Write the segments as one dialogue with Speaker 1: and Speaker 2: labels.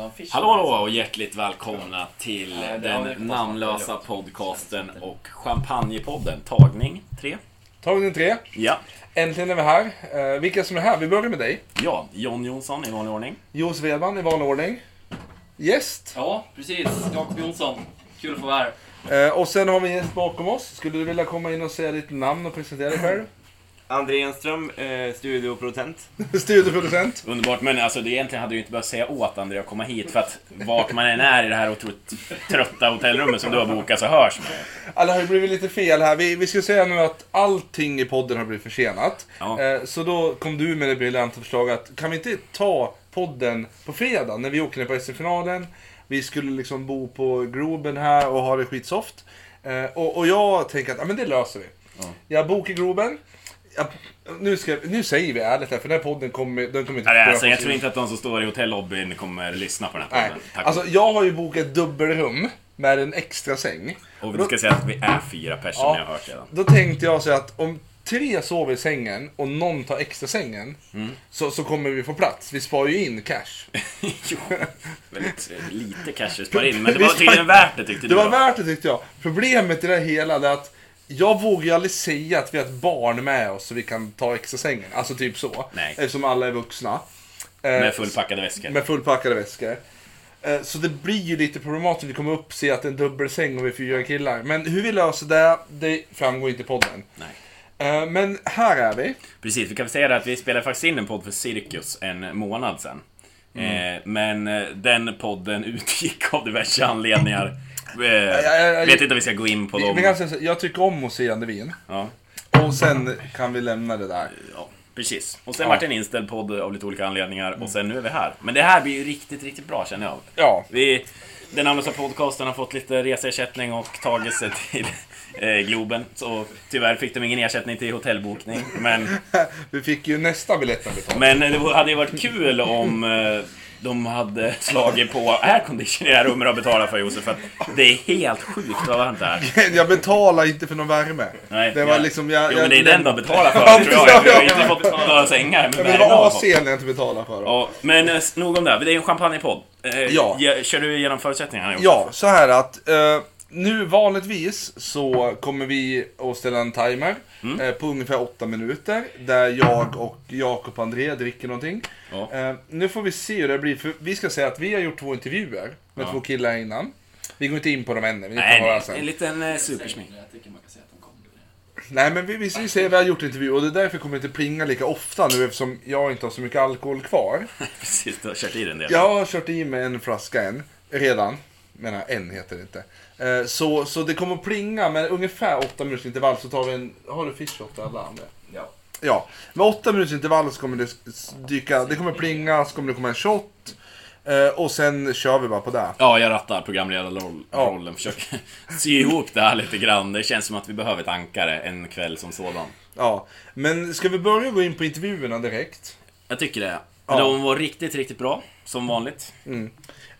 Speaker 1: Hallå hallå och hjärtligt välkomna till
Speaker 2: Ja, det har vi
Speaker 1: den
Speaker 2: kostat
Speaker 1: namnlösa
Speaker 2: förut.
Speaker 1: podcasten och champagnepodden Tagning 3.
Speaker 3: Tagning tre.
Speaker 1: Ja,
Speaker 3: Äntligen är vi här. Eh, vilka som är här? Vi börjar med dig.
Speaker 1: ja John Jonsson i vanlig ordning.
Speaker 3: Jos Wedman i vanlig ordning. Gäst.
Speaker 2: Ja, precis. Jakob Jonsson. Kul att få vara här.
Speaker 3: Eh, och sen har vi en gäst bakom oss. Skulle du vilja komma in och säga ditt namn och presentera dig själv?
Speaker 4: André Enström, eh, studioproducent.
Speaker 3: Studieproducent.
Speaker 1: Underbart, men alltså det egentligen hade du inte behövt säga åt André att komma hit för att vart man än är i det här otroligt trötta hotellrummet som du har bokat så hörs man.
Speaker 3: Ja, det har ju blivit lite fel här. Vi, vi ska säga nu att allting i podden har blivit försenat.
Speaker 1: Ja.
Speaker 3: Eh, så då kom du med det briljanta förslaget att kan vi inte ta podden på fredag när vi åker ner på SM-finalen. Vi skulle liksom bo på Groben här och ha det skitsoft. Eh, och, och jag tänker att ja, men det löser vi. Jag bokar Groben. Jag, nu, ska, nu säger vi ärligt här för den här podden kommer, den kommer inte
Speaker 1: Nej, alltså, jag
Speaker 3: beröras.
Speaker 1: tror inte att de som står i hotellobbyn kommer lyssna på den här
Speaker 3: Nej.
Speaker 1: podden. Tack.
Speaker 3: Alltså, jag har ju bokat dubbelrum med en extra säng.
Speaker 1: och vi ska säga att vi är fyra personer,
Speaker 3: Ja.
Speaker 1: jag har hört redan.
Speaker 3: Då tänkte jag så här att om tre sover i sängen och någon tar extra sängen
Speaker 1: Mm.
Speaker 3: så, så kommer vi få plats. Vi sparar ju in cash.
Speaker 1: jo, väldigt eh, lite cash vi sparar in, men det
Speaker 3: Vi
Speaker 1: var
Speaker 3: sparar-
Speaker 1: tydligen värt det tyckte
Speaker 3: Det
Speaker 1: du.
Speaker 3: var
Speaker 1: då.
Speaker 3: värt det tyckte jag. Problemet i det hela är att jag vågar ju aldrig säga att vi har ett barn med oss så vi kan ta extra sängen. Alltså typ så.
Speaker 1: Nej.
Speaker 3: Eftersom alla är vuxna. Eh,
Speaker 1: Med fullpackade väskor.
Speaker 3: med fullpackade väskor. Eh, Så det blir ju lite problematiskt. Vi kommer upp se att det är en dubbelsäng och vi är fyra killar. Men hur vi löser det, det framgår inte i podden.
Speaker 1: Nej.
Speaker 3: Eh, Men här är vi.
Speaker 1: Precis, vi kan väl säga det att vi spelade faktiskt in en podd för Cirkus en månad sedan.
Speaker 3: Mm.
Speaker 1: Eh, men eh, den podden utgick av diverse anledningar. Eh,
Speaker 3: ja, ja.
Speaker 1: vet inte om vi ska gå in på
Speaker 3: Vi,
Speaker 1: dem.
Speaker 3: vi kan säga så, jag tycker om att se Jan Levin.
Speaker 1: Ja,
Speaker 3: Och sen kan vi lämna det där.
Speaker 1: ja, precis. Och sen vart det en inställd podd av lite olika anledningar
Speaker 3: Mm.
Speaker 1: och sen nu är vi här. Men det här blir ju riktigt, riktigt bra känner jag.
Speaker 3: Ja.
Speaker 1: Vi, den amerikanska podcasten har fått lite reseersättning och tagit sig till eh, Globen. Så tyvärr fick de ingen ersättning till hotellbokning. Men
Speaker 3: Vi fick ju nästa biljetten betald.
Speaker 1: Men det hade ju varit kul om eh, de hade slagit på aircondition i det här rummet och betalat för Josef. För att det är helt sjukt vad varmt det är.
Speaker 3: Jag betalar inte för någon värme.
Speaker 1: Nej,
Speaker 3: det var
Speaker 1: ja.
Speaker 3: liksom... Jag,
Speaker 1: Jo,
Speaker 3: jag,
Speaker 1: men det är den de betalar
Speaker 3: Ja,
Speaker 1: för, tror jag. Vi har ju inte fått några sängar med
Speaker 3: Ja, men
Speaker 1: värme.
Speaker 3: det var
Speaker 1: och-
Speaker 3: AC'n jag inte betalade för.
Speaker 1: Ja, men eh, nog om det. Det är en champagnepodd. Eh,
Speaker 3: Ja.
Speaker 1: ge- Kör du igenom förutsättningarna? Josef?
Speaker 3: Ja, så här att eh, nu vanligtvis så kommer vi att ställa en timer
Speaker 1: Mm.
Speaker 3: eh, på ungefär åtta minuter där jag och Jakob och André dricker någonting.
Speaker 1: Ja.
Speaker 3: Eh, nu får vi se hur det blir, för vi ska säga att vi har gjort två intervjuer med
Speaker 1: Ja.
Speaker 3: två killar innan. Vi går inte in på dem än, vi
Speaker 1: Nej,
Speaker 3: tar några
Speaker 1: nej,
Speaker 3: sen.
Speaker 1: en liten eh, supersmink.
Speaker 2: Jag tycker man kan säga att de kommer.
Speaker 3: Nej men vi, vi vi säger att vi har gjort intervju och det är därför kommer det inte plinga lika ofta nu eftersom jag inte har så mycket alkohol kvar.
Speaker 1: Precis, du har kört i den delen.
Speaker 3: Jag har kört i mig en flaska än, redan. Menar en heter det inte. Eh, Så, så det kommer att plinga men ungefär åtta minuters intervall så tar vi en, har du fish åt alla andra?
Speaker 2: Ja.
Speaker 3: Ja, med åtta minuters intervall så kommer det s- dyka, det kommer plinga, så kommer det komma en shot. eh, Och sen kör vi bara på det.
Speaker 1: Ja, jag rattar programledarrollen.
Speaker 3: Ja.
Speaker 1: Försöker sy ihop det här lite grann. Det känns som att vi behöver ett ankare en kväll som sådan.
Speaker 3: Ja, men ska vi börja gå in på intervjuerna direkt?
Speaker 1: Jag tycker det.
Speaker 3: Ja.
Speaker 1: De var riktigt, riktigt bra, som vanligt.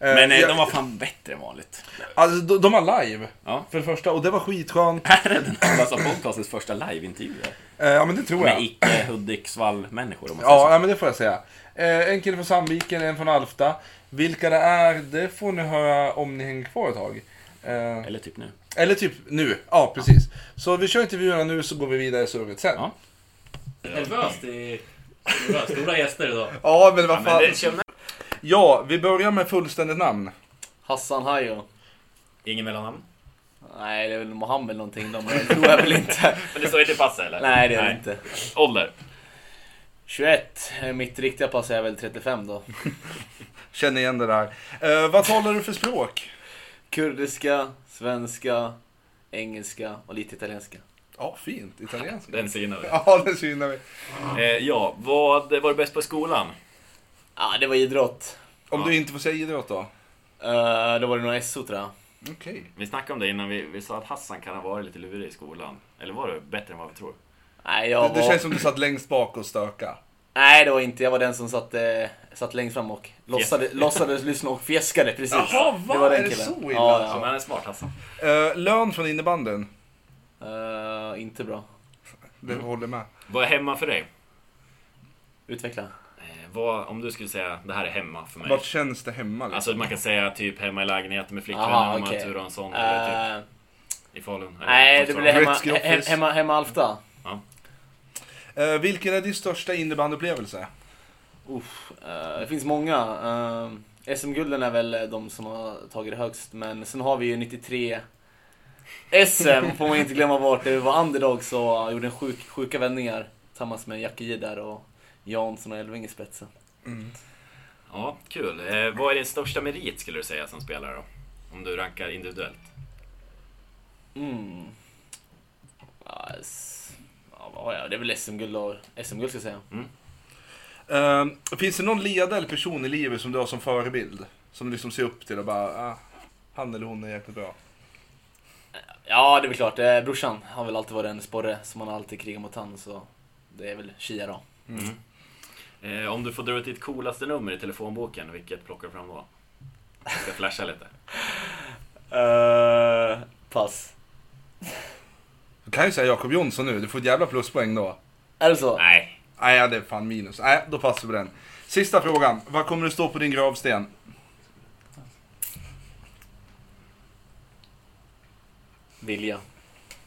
Speaker 3: Eh,
Speaker 1: Men eh,
Speaker 3: jag-
Speaker 1: de var fan bättre än vanligt.
Speaker 3: Alltså de, de var live.
Speaker 1: Ja.
Speaker 3: För det första, och det var skitskönt.
Speaker 1: Här är den här alltså, podcastens första liveintervju.
Speaker 3: Eh, Ja men det tror jag.
Speaker 1: Med icke Hudiksvall-människor, om man säger
Speaker 3: Ja,
Speaker 1: så.
Speaker 3: ja, men det får jag säga. Eh, en kille från Sandviken, en från Alfta. Vilka det är, det får ni höra om ni hänger kvar ett tag. Eh,
Speaker 1: Eller typ nu.
Speaker 3: eller typ nu. Ja, precis. Så vi kör intervjuerna nu så går vi vidare i surret sen.
Speaker 1: Ja.
Speaker 3: Ja,
Speaker 2: Nervöst i... nervöst. Stora gäster idag.
Speaker 3: men vad fan. Ja, vi börjar med fullständigt namn.
Speaker 2: Hassan Hayo.
Speaker 1: Ingen mellannamn?
Speaker 2: Nej, det är väl Mohammed eller någonting. De tror jag väl inte.
Speaker 1: Men det står inte i passet, eller?
Speaker 2: Nej, det är det inte.
Speaker 1: Ålder?
Speaker 2: 21. Mitt riktiga pass är väl 35 då.
Speaker 3: Känner igen det där. Eh, vad talar du för språk?
Speaker 2: Kurdiska, svenska, engelska och lite italienska.
Speaker 3: Ja, fint. Italienska.
Speaker 1: Den synar vi.
Speaker 3: Ja, det synar vi.
Speaker 1: ja, vad var du bäst på i skolan?
Speaker 2: Ja, ah, det var idrott.
Speaker 3: Om
Speaker 1: Ja.
Speaker 3: du inte får säga idrott då?
Speaker 2: Eh, då var det nog SO tror jag.
Speaker 3: Okej.
Speaker 1: Vi snackade om det innan, vi, vi sa att Hassan kan ha varit lite lurig i skolan. Eller var det bättre än vad vi tror?
Speaker 2: Nej, jag
Speaker 3: Det, det
Speaker 2: var...
Speaker 3: känns som du satt längst bak och stöka.
Speaker 2: Nej, det var inte. Jag var den som satt, eh, satt längst fram och låtsade, låtsades lyssna och fjäskade. Precis.
Speaker 3: Jaha, va? Är det så illa
Speaker 2: Ja,
Speaker 3: alltså?
Speaker 2: ja.
Speaker 1: men han är smart Hassan.
Speaker 3: Eh, lön från innebanden?
Speaker 2: Eh, inte bra.
Speaker 3: Det håller med.
Speaker 1: Vad är hemma för dig?
Speaker 2: Utveckla.
Speaker 1: Eh, vad, om du skulle säga det här är hemma för mig.
Speaker 3: Vart känns det hemma? Liksom?
Speaker 1: Alltså man kan säga typ hemma i lägenheten med flickvännen
Speaker 2: Aha,
Speaker 1: om man har
Speaker 2: okej.
Speaker 1: tur och en sån. Eller typ
Speaker 2: Eh,
Speaker 1: i Falun. eller
Speaker 2: nej, det
Speaker 1: Uppsala.
Speaker 2: blir hemma,
Speaker 3: Gretzky
Speaker 2: he,
Speaker 3: Office.
Speaker 2: hemma, hemma Alfta.
Speaker 3: Eh, vilken är din största innebandyupplevelse?
Speaker 2: Uff, eh, det finns många. Eh, SM-gulden är väl de som har tagit det högst, men sen har vi ju 93 SM, får man inte glömma bort. Det var underdog så gjorde en sjuk, sjuka vändningar tillsammans med Jackie J där och Jansson och Elving i spetsen.
Speaker 1: Ja, kul. Eh, vad är din största merit skulle du säga som spelare då? Om du rankar individuellt.
Speaker 2: Mm. Ja, s- ja, vad har jag? Det är väl SM-guld och SM-guld ska jag säga.
Speaker 3: Eh, finns det någon ledare eller person i livet som du har som förebild? Som du liksom ser upp till och bara, ah, han eller hon är jäkligt bra.
Speaker 2: Ja, det är väl klart. Eh, brorsan har väl alltid varit en sporre som man alltid krigar mot han så det är väl Chia då.
Speaker 1: Eh, om du får dra ut ditt coolaste nummer i telefonboken, vilket plockar du fram då? Jag ska flasha lite.
Speaker 2: pass.
Speaker 3: Du kan ju säga Jakob Jonsson nu, du får ett jävla pluspoäng då.
Speaker 2: Är det så?
Speaker 1: Nej.
Speaker 3: Nej, ja, det är fan minus. Nej, då passar vi på den. Sista frågan. Vad kommer det stå på din gravsten?
Speaker 2: Vilja.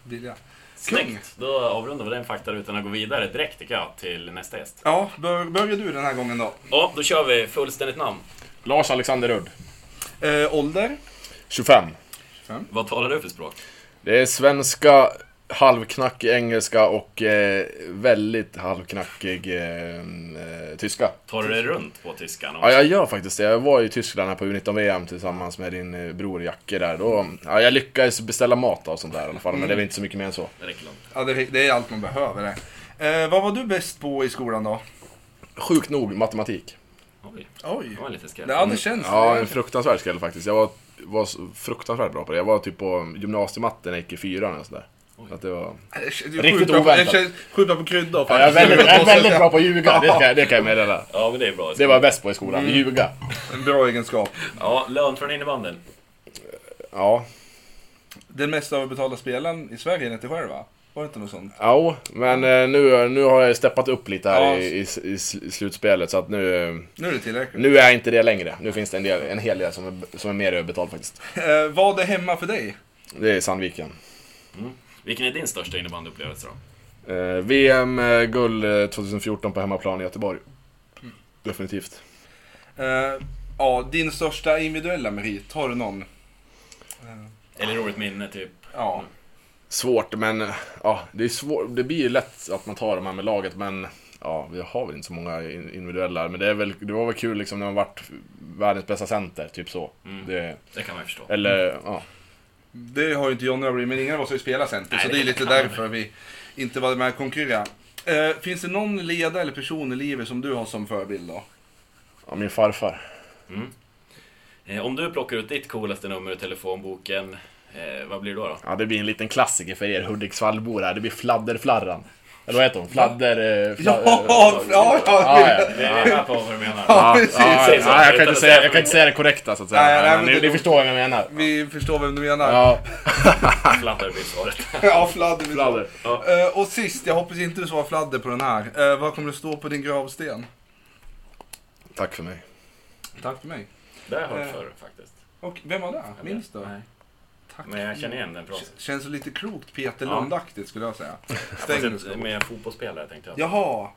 Speaker 3: Vilja.
Speaker 1: Snyggt! Då avrundar vi den faktarutan och går vidare direkt tycker jag till nästa gäst.
Speaker 3: Ja, bör, börjar du den här gången då.
Speaker 1: Ja, då kör vi fullständigt namn.
Speaker 5: Lars Alexander Udd,
Speaker 3: Eh, ålder?
Speaker 5: 25.
Speaker 1: Vad talar du för språk?
Speaker 5: Det är svenska, halvknackig engelska och eh, väldigt halvknackig eh, eh, tyska.
Speaker 1: Tar du dig runt på tyskan?
Speaker 5: Ja, jag gör faktiskt det. Jag var i Tyskland här på U19-VM tillsammans med din eh, bror Jacke där. Då, ja, jag lyckades beställa mat och sånt där i alla fall, men det var inte så mycket mer än så.
Speaker 1: Det räcker långt.
Speaker 3: Ja, det, det är allt man behöver det. Eh, vad var du bäst på i skolan då?
Speaker 5: Sjukt nog matematik.
Speaker 1: Oj,
Speaker 3: Oj.
Speaker 1: det var lite skräll.
Speaker 3: Det hade känts.
Speaker 5: Ja, en fruktansvärd skräll faktiskt. Jag var, var så fruktansvärt bra på det. Jag var typ på gymnasiematte när jag gick i fyran eller sådär. Så att det var...
Speaker 3: Riktigt
Speaker 5: oväntat.
Speaker 3: Sjukt bra på kryddor
Speaker 5: Ja, jag är väldigt, jag är väldigt bra på att ljuga, det
Speaker 3: Ja.
Speaker 5: kan, jag- det kan jag meddela.
Speaker 1: Ja, men det är bra.
Speaker 5: Det var jag bäst på i skolan, ljuga.
Speaker 3: En bra egenskap.
Speaker 1: Ja, lön från innebandyn.
Speaker 5: Ja,
Speaker 3: Den mest överbetalda spelaren i Sverige är inte själv va? Var det inte något sånt?
Speaker 5: ja men eh, nu, nu har jag ju steppat upp lite här
Speaker 3: Ja.
Speaker 5: i, i, i sl- slutspelet så att nu,
Speaker 3: Nu är det tillräckligt.
Speaker 5: nu är jag inte det längre. Nu finns det en, del, en hel del som är, som är mer överbetald faktiskt.
Speaker 3: Eh, vad är hemma för dig?
Speaker 5: Det är Sandviken.
Speaker 1: Vilken är din största innebandyupplevelse då?
Speaker 5: Eh, VM-guld eh, 2014 på hemmaplan i Göteborg. Mm. Definitivt.
Speaker 3: Eh, ja, din största individuella merit, har du någon?
Speaker 1: Eller roligt minne, typ.
Speaker 3: Ja.
Speaker 5: Svårt, men eh, ja, det, är svår, det blir ju lätt att man tar de här med laget, men ja, vi har väl inte så många in- individuella. Men det, är väl, det var väl kul liksom när man vart världens bästa center, typ så.
Speaker 1: Mm.
Speaker 5: Det,
Speaker 1: Det kan man ju förstå.
Speaker 5: eller ja.
Speaker 3: Det har ju inte Jonna blivit, men ingen av oss har ju spelat center.
Speaker 1: Nej,
Speaker 3: så
Speaker 1: det
Speaker 3: det är
Speaker 1: kan
Speaker 3: lite
Speaker 1: man väl.
Speaker 3: därför vi inte var med och konkurrerade. Eh, finns det någon ledare eller person i livet som du har som förebild då?
Speaker 5: ja, min farfar.
Speaker 1: Eh, Om du plockar ut ditt coolaste nummer ur telefonboken, eh, vad blir det då? då?
Speaker 5: Ja, det blir en liten klassiker för er Hudiksvallbor här. Det blir Fladderflarran. Eller vad heter hon? Fladder... eh,
Speaker 3: Ja,
Speaker 5: fla- eh,
Speaker 3: ja, ja,
Speaker 5: ja, ja.
Speaker 1: Vi är med på vad du menar.
Speaker 5: Ja,
Speaker 3: precis.
Speaker 5: ja,
Speaker 1: Precis.
Speaker 5: ja, jag, kan inte säga, jag kan inte säga det korrekta så att säga.
Speaker 3: Nej, nej,
Speaker 5: men
Speaker 3: men
Speaker 5: ni,
Speaker 3: det-
Speaker 5: ni förstår vad jag menar.
Speaker 3: Vi förstår vem du menar. Ja,
Speaker 5: Ja,
Speaker 1: Fladdrar blir svaret.
Speaker 3: fladder. vi
Speaker 5: fladder.
Speaker 3: tar. Eh, och sist, jag hoppas inte du svarar fladder på den här. Eh, vad kommer det stå på din gravsten?
Speaker 5: Tack för mig.
Speaker 3: Tack för mig.
Speaker 1: Det har jag hört förr faktiskt.
Speaker 3: Och vem var det?
Speaker 1: Jag
Speaker 3: Eh, Minns
Speaker 1: vet.
Speaker 3: du?
Speaker 1: Nej.
Speaker 3: Tack.
Speaker 1: Men jag känner igen den frasen.
Speaker 3: K- Känns det lite klokt Peter
Speaker 1: Ja.
Speaker 3: Lundaktigt skulle jag säga. Stäng nu
Speaker 1: Fast
Speaker 3: skål.
Speaker 1: ett- Med fotbollsspelare tänkte jag.
Speaker 3: Jaha.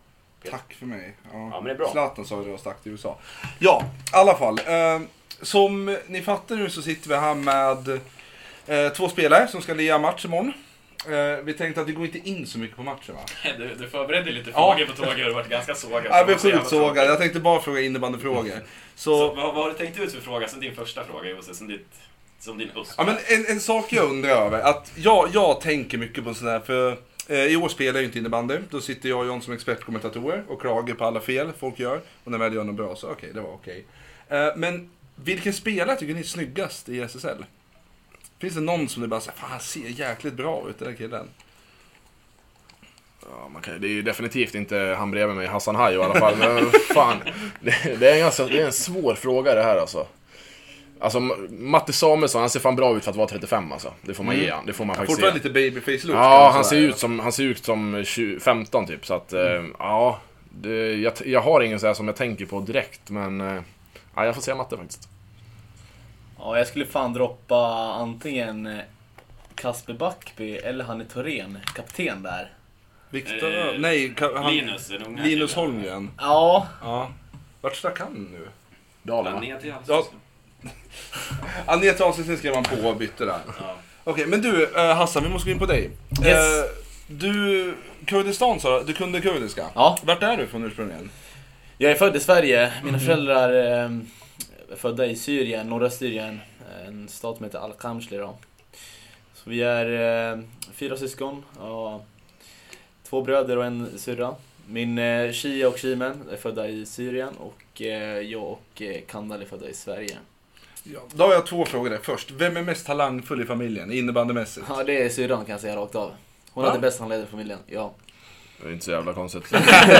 Speaker 3: Tack för mig. Ja,
Speaker 1: men det är bra.
Speaker 3: Zlatan sa ju det och stack till USA. Ja, i alla fall. Eh, som ni fattar nu så sitter vi här med eh, två spelare som ska lira match imorgon. Eh, vi tänkte att vi går inte in så mycket på matchen va?
Speaker 1: Du, du förberedde lite
Speaker 3: Ja.
Speaker 1: frågor på tåget och du varit ganska sågad.
Speaker 3: Jag blev
Speaker 1: Så jävla
Speaker 3: sjukt
Speaker 1: tråkigt.
Speaker 3: sågad. Jag tänkte bara fråga innebandyfrågor.
Speaker 1: Så
Speaker 3: Så,
Speaker 1: vad, vad har du tänkt ut för fråga sen din första fråga Jose, sen ditt, som din USP?
Speaker 3: ja, men en, en sak jag undrar över. Att jag, jag tänker mycket på sådana här. För eh, i år spelar jag ju inte innebandy. Då sitter jag och John som expertkommentatorer och klagar på alla fel folk gör. Och när väl gör något bra så okej, det var okej. Eh, men vilken spelare tycker ni är snyggast i SSL? Finns det någon som ni bara säger, fan han ser jäkligt bra ut den där killen.
Speaker 5: Ja, man kan, det är ju definitivt inte han bredvid mig, Hassan Hajo i alla fall. Men fan, det, det, är en ganska, det är en svår fråga det här alltså. Alltså Matte Samuelsson, han ser fan bra ut för att vara 35 alltså. Det får man ge han. Det får man faktiskt ge.
Speaker 3: Mm. Fortfarande lite babyface-look.
Speaker 5: Ja,
Speaker 3: kan man
Speaker 5: han ser,
Speaker 3: säga.
Speaker 5: ut som, han ser ut som 20, 15 typ. Så att, eh, ja. Det, jag, jag har ingen så här som jag tänker på direkt, men... eh, Ja, jag får säga matte faktiskt.
Speaker 2: Ja, jag skulle fan droppa antingen eh, Kasper Backby eller han är Torén, kapten där.
Speaker 3: Viktor...
Speaker 1: Eh,
Speaker 3: nej, ka- han,
Speaker 1: Linus, den unga
Speaker 3: Linus
Speaker 1: killen.
Speaker 3: Holmgren.
Speaker 2: Ja,
Speaker 3: Ja. Vart stack han nu?
Speaker 5: Dalarna.
Speaker 1: Ner till halsen.
Speaker 3: Ja. Ja, ner till avsnittet skrev han på och bytte där. Okej, men du eh, Hassan, vi måste gå in på dig.
Speaker 2: Yes.
Speaker 3: Eh, du, Kurdistan sa du, du kunde kurdiska.
Speaker 2: Ja.
Speaker 3: Vart är du från ursprungligen?
Speaker 2: jag är född i Sverige.
Speaker 3: Mhm.
Speaker 2: Mina föräldrar eh, är födda i Syrien, norra Syrien. En stad som heter Al-Qamshli då. Så vi är eh, fyra syskon. Och två bröder och en syrra. Min eh, Shia och Shimen är födda i Syrien och eh, jag och eh, Kandal är födda i Sverige.
Speaker 3: Ja, då har jag två frågor där. Först, vem är mest talangfull i familjen innebandymässigt?
Speaker 2: Ja, det är syrran kan jag säga rakt av. Hon
Speaker 3: Va?
Speaker 2: hade bäst handledare i familjen, ja.
Speaker 5: Det är inte så jävla konstigt.
Speaker 3: Ja, det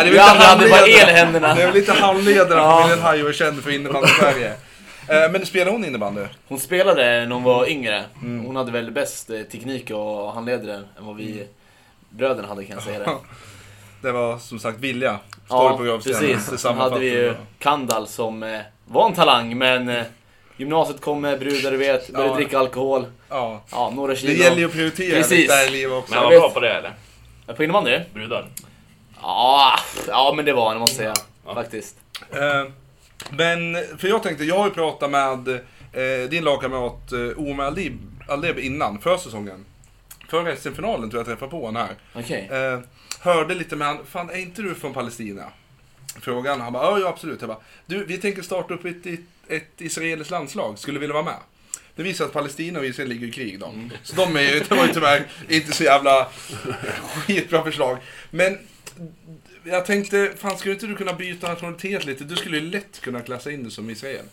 Speaker 3: är
Speaker 2: Vi
Speaker 3: väl
Speaker 2: andra
Speaker 3: inte
Speaker 2: hade bara el i
Speaker 3: handledare.
Speaker 2: händerna.
Speaker 3: Det är väl lite handledare
Speaker 2: Ja.
Speaker 3: familjen Hayo är känd för innebandy i Sverige. Eh, men spelar hon innebandy?
Speaker 2: Hon spelade när hon var
Speaker 3: Mm.
Speaker 2: yngre. Hon hade väl bäst eh, teknik och handledare än vad
Speaker 3: Mm.
Speaker 2: vi bröderna hade kan jag säga det.
Speaker 3: Det var som sagt vilja. Står det
Speaker 2: Ja,
Speaker 3: på gravstenen. Det
Speaker 2: precis. Sen hade
Speaker 3: sammanfattar
Speaker 2: vi
Speaker 3: det
Speaker 2: ju
Speaker 3: bra.
Speaker 2: Kandal som eh, var en talang, men eh, gymnasiet kommer, brudar du vet, började
Speaker 3: Ja.
Speaker 2: dricka alkohol.
Speaker 3: Ja.
Speaker 2: Ja, några kilo.
Speaker 3: Det gäller ju att prioritera
Speaker 2: Precis.
Speaker 3: lite här i livet också.
Speaker 6: Men han var
Speaker 2: vet-
Speaker 6: bra på det eller?
Speaker 2: På innebandy?
Speaker 6: Brudar?
Speaker 2: Ja, ja men det var han måste jag säga. Faktiskt.
Speaker 3: Eh, Men, för jag tänkte, jag har ju pratat med eh, din lagkamrat eh, Omar Aldib, Aldeb innan, för säsongen. Före SM-finalen tror jag jag träffade på honom här.
Speaker 2: Okej.
Speaker 3: Eh, hörde lite med han, fan är inte du från Palestina? Frågan, han bara, "Ja, ja absolut. Jag bara, du vi tänker starta upp ett, ett israeliskt landslag, skulle du vilja vara med? Det visar att Palestina och Israel ligger i krig då.
Speaker 6: Mm.
Speaker 3: Så de är ju, det var ju tyvärr inte så jävla skitbra förslag. Men jag tänkte, fan skulle inte du kunna byta nationalitet lite? Du skulle ju lätt kunna klassa in dig som Israel.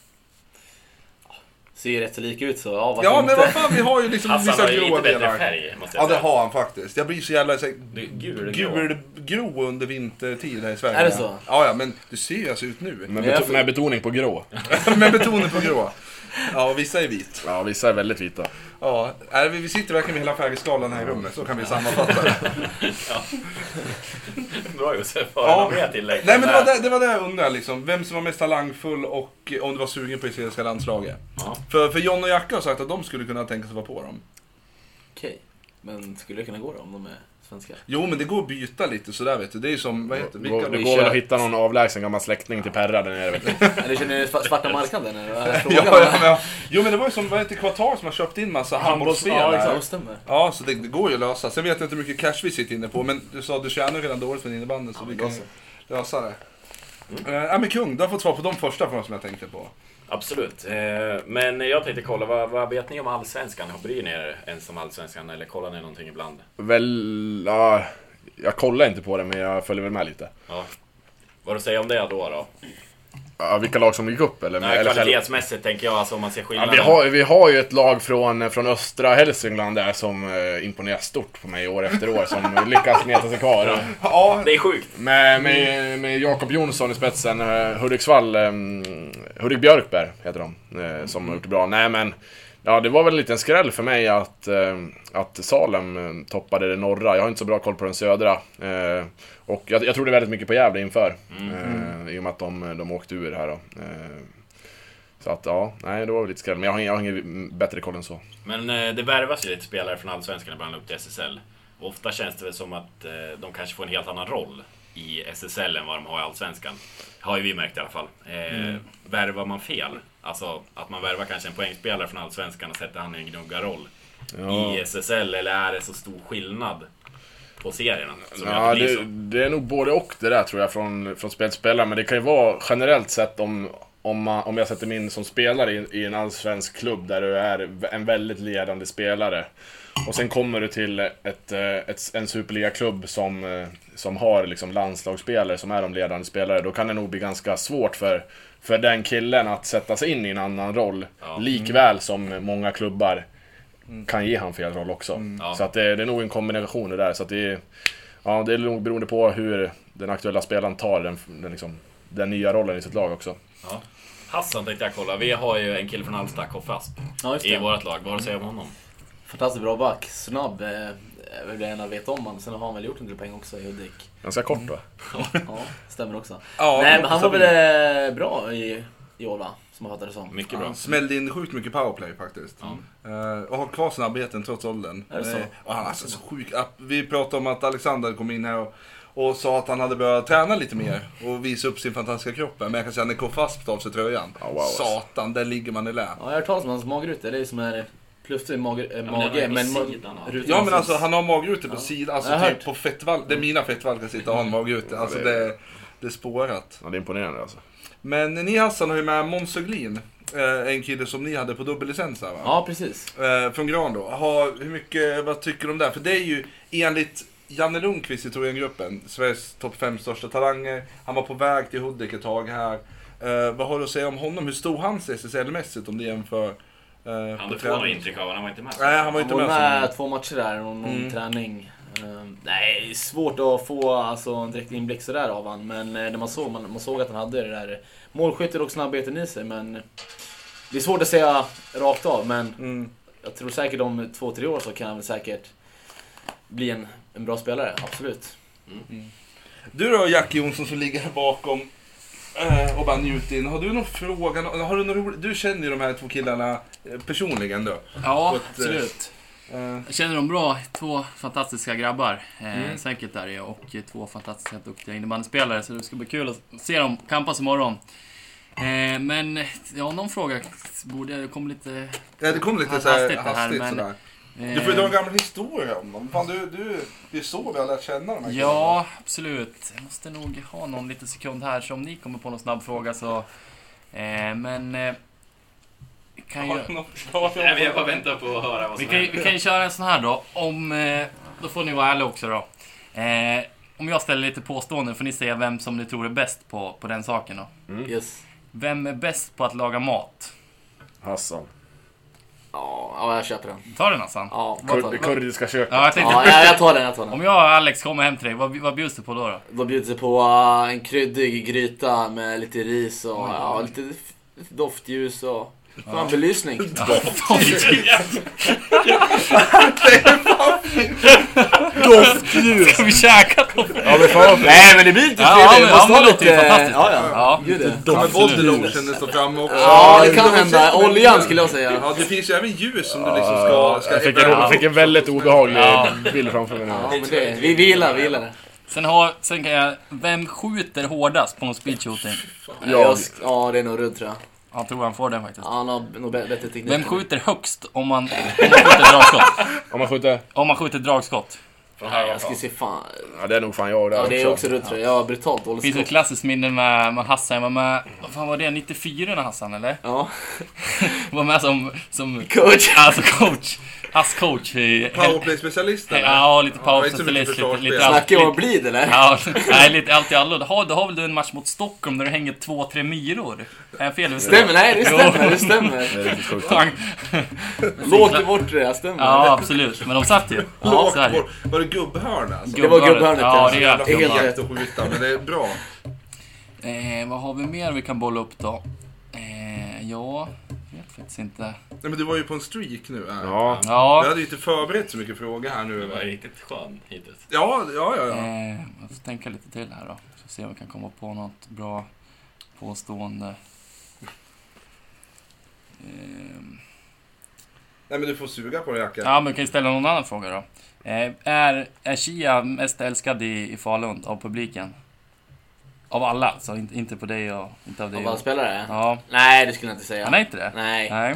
Speaker 2: Ser ju rätt så lika ut så ja, varför
Speaker 3: Ja
Speaker 2: inte?
Speaker 3: men vad fan, vi har ju liksom
Speaker 6: Hassan har
Speaker 3: vissa
Speaker 6: ju
Speaker 3: gråa
Speaker 6: lite bättre
Speaker 3: delar.
Speaker 6: färg måste
Speaker 3: Ja
Speaker 6: jag
Speaker 3: det
Speaker 6: säga.
Speaker 3: har han faktiskt. Jag blir så jävla så här,
Speaker 6: Det är gul och grå.
Speaker 3: gulgrå under vintertid här i Sverige.
Speaker 2: Är det så?
Speaker 3: Ja, ja, men du ser ju alltså ut nu.
Speaker 5: Med,
Speaker 2: Men jag
Speaker 5: beto-
Speaker 2: får-
Speaker 5: med betoning på grå.
Speaker 3: Med betoning på grå. Ja, och vissa är vit.
Speaker 5: Ja, vissa är väldigt vita.
Speaker 3: Ja, är vi, vi sitter verkligen med hela färgskalan här i rummet, så kan vi sammanfatta det.
Speaker 6: Bra Josef, har
Speaker 3: Ja.
Speaker 6: du något mer tillägg?
Speaker 3: Nej, men det var det, det var det jag undrade liksom. Vem som var mest talangfull och om du var sugen på israeliska landslaget.
Speaker 6: Ja.
Speaker 3: För, för John och Jacka har sagt att de skulle kunna tänka sig vara på dem.
Speaker 2: Okej. Men skulle jag kunna gå då om de är svenskar?
Speaker 3: Jo, men det går att byta lite sådär vet du. Det är ju som, vad heter
Speaker 5: Det går, det
Speaker 3: vilka-
Speaker 5: går väl att hitta någon avlägsen gammal släkting till Perra där nere. Vet du.
Speaker 2: Eller känner ni sva- svarta marknaden? Eller vad är
Speaker 3: Ja,
Speaker 2: frågan?
Speaker 3: ja, men, ja. Jo, men det var ju som, vad heter Qatar som har köpt in massa
Speaker 2: Ja,
Speaker 3: handbollsspelare.
Speaker 2: exakt. Det stämmer.
Speaker 3: Ja, så det, det går ju att lösa. Sen vet jag inte hur mycket cash vi sitter inne på, men du sa att du tjänar ju redan dåligt med innebandyn så vi kan ju lösa det. Mm. ja men kung, du har fått svar på de första frågorna som jag tänkte på.
Speaker 6: Absolut. Eh, Men jag tänkte kolla, vad, vad vet ni om Allsvenskan? Bryr ni er ens om Allsvenskan eller kollar ni någonting ibland?
Speaker 5: Väl, ja, jag kollar inte på det, men jag följer väl med lite.
Speaker 6: Ja. Vad du säger om det då? då?
Speaker 5: Ja, vilka lag som gick upp eller?
Speaker 6: Nej,
Speaker 5: eller
Speaker 6: kvalitetsmässigt tänker jag, alltså om man ser
Speaker 5: Ja,
Speaker 6: skillnaden.
Speaker 5: vi, har, vi har ju ett lag från, från östra Hälsingland där som eh, imponerar stort på mig år efter år, som lyckas smeta sig kvar.
Speaker 3: Ja,
Speaker 6: Det är sjukt.
Speaker 5: Med, med, med Jakob Jonsson i spetsen, eh, Hudiksvall, eh, Hudik Björkberg heter de, eh, som har gjort det bra. Nej men, ja det var väl en liten skräll för mig att, eh, att Salem eh, toppade det norra. Jag har inte så bra koll på den södra. Eh, och jag, jag trodde väldigt mycket på Gävle inför, eh, i och med att de, de åkte ur här då. Eh, så att ja, nej det var väl lite skräll. Men jag har, ingen- jag har ingen bättre koll än så.
Speaker 6: Men eh, det värvas ju lite spelare från Allsvenskan ibland upp till SSL. Och ofta känns det väl som att eh, de kanske får en helt annan roll i SSL än vad de har i Allsvenskan. Har ju vi märkt i alla fall. Eh, Värvar man fel? Alltså att man värvar kanske en poängspelare från Allsvenskan och sätter han i en gnuggarroll
Speaker 5: Ja.
Speaker 6: i SSL. Eller är det så stor skillnad på serierna? Som gör
Speaker 5: Ja,
Speaker 6: Alltså, att det blir
Speaker 5: det,
Speaker 6: så?
Speaker 5: det är nog både och det där tror jag från, från spel till spelare. Men det kan ju vara generellt sett om, om, man, om jag sätter mig in som spelare i, i en allsvensk klubb där du är en väldigt ledande spelare. Och sen kommer du till ett, eh, ett, en superligaklubb som, eh, som har liksom landslagsspelare som är de ledande spelare. Då kan det nog bli ganska svårt för, för den killen att sätta sig in i en annan roll.
Speaker 6: Ja.
Speaker 5: Likväl som många klubbar kan ge han fel roll också.
Speaker 6: Ja.
Speaker 5: Så att det, det är nog en kombination det där. Så att det, är- ja, det är nog beroende på hur den aktuella spelaren tar den, den, liksom, den nya rollen i sitt lag också.
Speaker 6: Ja. Hassan tänkte jag kolla. Vi har ju en kille från Halmstad, K. Asp,
Speaker 2: Ja, just
Speaker 6: i
Speaker 2: det.
Speaker 6: vårt lag. Vad har du att säga om honom?
Speaker 2: Fantastiskt bra back. Snabb. eh, Jag vill gärna veta om han. Sen har han väl gjort en del poäng också i Hudik.
Speaker 5: Ganska kort va?
Speaker 2: Ja, stämmer också.
Speaker 3: Ja,
Speaker 2: Nej, men han var
Speaker 3: så-
Speaker 2: väl eh, bra i, i år va? Som jag fattar det
Speaker 3: Mm.
Speaker 2: som.
Speaker 1: Mycket bra.
Speaker 3: Smällde in sjukt mycket powerplay faktiskt. Eh, och har kvar snabbheten trots åldern.
Speaker 2: Är det så?
Speaker 3: Eh, och han är alltså så sjuk. Ah, Vi pratade om att Alexander kom in här och, och sa att han hade börjat träna lite
Speaker 2: Mm.
Speaker 3: mer. Och visa upp sin fantastiska kropp. Men jag kan säga att Nico Fasp tar av sig tröjan.
Speaker 5: Ja, wow.
Speaker 2: alltså.
Speaker 3: Satan, där ligger man i lä.
Speaker 2: Ja, jag har hört talas om hans magruta. Det är ju som är plufsig mage, äh,
Speaker 1: den är
Speaker 2: mage
Speaker 1: på
Speaker 2: men
Speaker 1: sidan av.
Speaker 2: rutan
Speaker 3: Ja men alltså
Speaker 2: syns.
Speaker 3: han har magrute på sidan. Alltså
Speaker 2: Jag har
Speaker 3: typ
Speaker 2: hört. Mm.
Speaker 3: på fettvalv. Där mina fettvalv kan sitta och ha en magrute. Alltså
Speaker 5: det är-
Speaker 3: det, det är spårat.
Speaker 5: Ja, det är imponerande alltså.
Speaker 3: Men ni Hassan har ju med Måns Öglin. eh, En kille som ni hade på dubbellicens här va?
Speaker 2: Ja, precis.
Speaker 3: Eh, från Gran då. Ha, hur mycket, vad tycker du om det? här? För det är ju enligt Janne Lundqvist i Thorengruppen, Sveriges topp fem största talanger. Han var på väg till Hudik ett tag här. Eh, vad har du att säga om honom? Hur stod han sig SSL-mässigt om du jämför? eh, på
Speaker 1: Han får
Speaker 3: träning?
Speaker 1: nog intryck av, han var inte med.
Speaker 3: Nej, han var
Speaker 2: Han
Speaker 3: inte
Speaker 2: var
Speaker 3: med.
Speaker 2: med
Speaker 3: med.
Speaker 2: två matcher där och någon
Speaker 3: Mm.
Speaker 2: träning. Ehm, nej, det är svårt att få alltså, en direkt inblick sådär av han. Men eh, när man såg, man, man såg att han hade det där målskyttet och snabbheten i sig. Men det är svårt att säga rakt av. Men
Speaker 3: Mm.
Speaker 2: jag tror säkert om två, tre år så kan han väl säkert bli en, en bra spelare. Absolut.
Speaker 3: Mm. Du då Jack Jonsson som ligger här bakom eh, och bara njuter in. Har du någon fråga? Har du, någon rolig... du känner ju de här två killarna eh, personligen då.
Speaker 7: Ja,
Speaker 3: På ett, eh,
Speaker 7: absolut.
Speaker 3: Eh,
Speaker 7: Jag känner dem bra. Två fantastiska grabbar. Eh,
Speaker 2: Mm.
Speaker 7: Säkert där är jag. Och eh, två fantastiska duktiga innebandyspelare. Så det ska bli kul att se dem kampas imorgon. Eh, men, ja, någon fråga borde jag... Det kom lite...
Speaker 3: ja, det kom lite
Speaker 7: Hastigt
Speaker 3: så här,
Speaker 7: det här,
Speaker 3: hastigt
Speaker 7: men-
Speaker 3: sådär.
Speaker 7: eh,
Speaker 3: Du får ju dra en gammal historia om dem. Fan, du, du, det är så vi har lärt känna de här
Speaker 7: Ja, absolut. Jag måste nog ha någon liten sekund här, så om ni kommer på någon snabb fråga så... Eh, men... Eh, vi kan ju,
Speaker 3: killarna. Har du någon förslag?
Speaker 1: Nej, men jag bara väntar på att höra vad
Speaker 7: vi,
Speaker 1: som
Speaker 7: kan ju,
Speaker 1: händer.
Speaker 7: vi kan ju köra en sån här då, om... Eh, då får ni vara ärliga också då. Eh, om jag ställer lite påståenden får ni säga vem som ni tror är bäst på, på den saken då.
Speaker 2: Yes.
Speaker 7: Vem är bäst på att laga mat?
Speaker 5: Hassan.
Speaker 2: Ja, ja, jag köper den.
Speaker 7: Ta den Hassan.
Speaker 2: Ja, jag tar
Speaker 5: Kur det
Speaker 2: den.
Speaker 5: kurdiska köket.
Speaker 7: Ja, jag
Speaker 2: Ja,
Speaker 7: tänkte,
Speaker 2: jag, jag tar den. Jag tar den.
Speaker 7: om jag och Alex kommer hem till dig, vad, vad bjuds du på då? då?
Speaker 2: De bjuder sig på eh, en kryddig gryta med lite ris och ja, lite f- doftljus och fan belysning.
Speaker 7: Ska vi käka då?
Speaker 5: Ja, men fan vad
Speaker 2: Nej men det blir lite
Speaker 7: Ja, men- ja, men låter ju
Speaker 2: eh,
Speaker 7: fantastiskt.
Speaker 2: Ja, ja.
Speaker 7: Ja.
Speaker 2: Gud, ja.
Speaker 3: Kommer
Speaker 7: Absolut.
Speaker 3: bodylotion det står framme också.
Speaker 2: ja, det kan
Speaker 3: de
Speaker 2: hända.
Speaker 3: sätter-
Speaker 2: Oljan skulle jag säga.
Speaker 3: Ja, det finns ju även ljus som du liksom ska... ska
Speaker 5: jag, fick en, jag fick en väldigt obehaglig
Speaker 7: Ja.
Speaker 5: bild framför mig nu.
Speaker 2: Ja, men det, vi, vi gillar vi gillar det.
Speaker 7: Sen, har, sen kan jag... Vem skjuter hårdast på någon speedshooting?
Speaker 5: Jag.
Speaker 2: Jag sk- ja, det är nog Rudd tror jag.
Speaker 7: Jag tror han får den faktiskt.
Speaker 2: Ja, han har nog bä- bättre teknik.
Speaker 7: Vem skjuter högst om man, om man skjuter dragskott?
Speaker 5: Om man skjuter?
Speaker 7: Om man skjuter dragskott.
Speaker 2: Nej, jag skulle se fan.
Speaker 5: Ja, det är nog fan jag där
Speaker 2: Ja, det är också
Speaker 5: också.
Speaker 2: Rudd tror jag. Jag har brutalt
Speaker 7: Det finns
Speaker 2: dåligt
Speaker 7: ett
Speaker 2: skott.
Speaker 7: klassiskt minne med, med Hassan. Jag var med, vad fan var det, 94 när Hassan eller?
Speaker 2: Ja,
Speaker 7: Jag var med som, som
Speaker 2: coach.
Speaker 7: alltså coach. Hans coach i...
Speaker 3: Powerplay-specialist eller?
Speaker 7: Ja, lite
Speaker 3: Ja, inte så mycket
Speaker 7: pausspecialist. Lite,
Speaker 3: försvarsspel.
Speaker 7: lite allt.
Speaker 2: Snacka om att
Speaker 7: Lite,
Speaker 2: bli det eller?
Speaker 7: ja, nej, lite allt i allo. Jaha, Då har väl du en match mot Stockholm där du hänger två, tre myror? Är jag fel?
Speaker 2: Stämmer, nej det
Speaker 7: Jo.
Speaker 2: stämmer, det stämmer.
Speaker 5: Det är riktigt sjukt.
Speaker 7: Fan.
Speaker 2: Låt bort det, jag stämmer.
Speaker 7: Ja, absolut. Men de satt ju.
Speaker 3: Lågt
Speaker 7: Så är det.
Speaker 3: bort. Var det gubbhörn alltså?
Speaker 7: Gubb-
Speaker 2: Det var gubbhörnet
Speaker 7: Ja, det är
Speaker 3: Jävla
Speaker 7: jävla
Speaker 2: helt rätt.
Speaker 7: gubbhörnet.
Speaker 3: Helt att skjuta, men det är bra.
Speaker 7: Eh, vad har vi mer vi kan bolla upp då? Eh, ja, jag vet faktiskt inte.
Speaker 3: Nej, men du var ju på en streak nu här.
Speaker 5: Ja.
Speaker 3: Jag
Speaker 7: Ja,
Speaker 3: hade ju inte förberett så mycket frågor här nu.
Speaker 1: Det var
Speaker 3: eller?
Speaker 1: riktigt skön hittills.
Speaker 3: Ja, ja, ja.
Speaker 5: Mm.
Speaker 3: ja.
Speaker 7: eh, jag får tänka lite till här då. Ska se om vi kan komma på något bra påstående. Eh,
Speaker 3: Nej, men du får suga på det Jacke.
Speaker 7: ja, men vi kan ju ställa någon annan fråga då. Eh, är, är Chia mest älskad i, i Falun av publiken? Av alla, så inte, inte på dig och inte av dig.
Speaker 2: Av alla
Speaker 7: Och,
Speaker 2: spelare?
Speaker 7: ja,
Speaker 2: Nej, det skulle jag inte säga.
Speaker 7: han är inte det?
Speaker 2: Nej.
Speaker 7: Nej.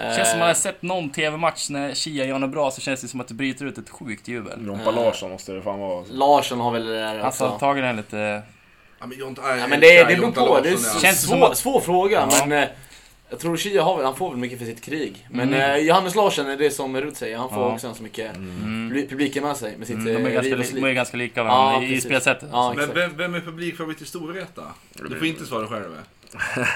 Speaker 2: Eh,
Speaker 7: Känns som man har sett någon TV-match när Chia gör något bra så känns det som att det bryter ut ett sjukt
Speaker 2: Mm.
Speaker 7: jubel.
Speaker 5: Jompa Larsson måste det fan vara. alltså.
Speaker 2: Eh, Larsson har väl det där
Speaker 7: Alltså
Speaker 2: också.
Speaker 7: tagit den
Speaker 2: Mm.
Speaker 7: lite...
Speaker 3: Ja, men, Jonte, nej,
Speaker 2: Ja, men det, det
Speaker 3: nej,
Speaker 2: beror
Speaker 3: Jonte
Speaker 2: på. Det är
Speaker 3: Larsson,
Speaker 2: svår,
Speaker 3: ja.
Speaker 7: Känns som att-
Speaker 2: svår fråga,
Speaker 7: Ja.
Speaker 2: men... eh, Jag tror Chia har väl, han får väl mycket för sitt krig. Men
Speaker 7: Mm.
Speaker 2: eh, Johannes Larsson, är det som Rud säger, han får
Speaker 7: Ja.
Speaker 2: också ganska mycket
Speaker 7: Mm.
Speaker 2: publi- publiken med sig. Med sitt
Speaker 7: Mm, de, är
Speaker 2: eh,
Speaker 7: ganska
Speaker 2: riv och
Speaker 7: li,
Speaker 2: slit.
Speaker 7: de är ganska lika
Speaker 2: Ja,
Speaker 7: varandra i, i
Speaker 2: precis.
Speaker 7: spelsättet.
Speaker 2: Ja,
Speaker 7: alltså.
Speaker 3: Men
Speaker 2: exakt.
Speaker 3: vem, vem är publikfavorit i Storvreta? Du får inte svara själv.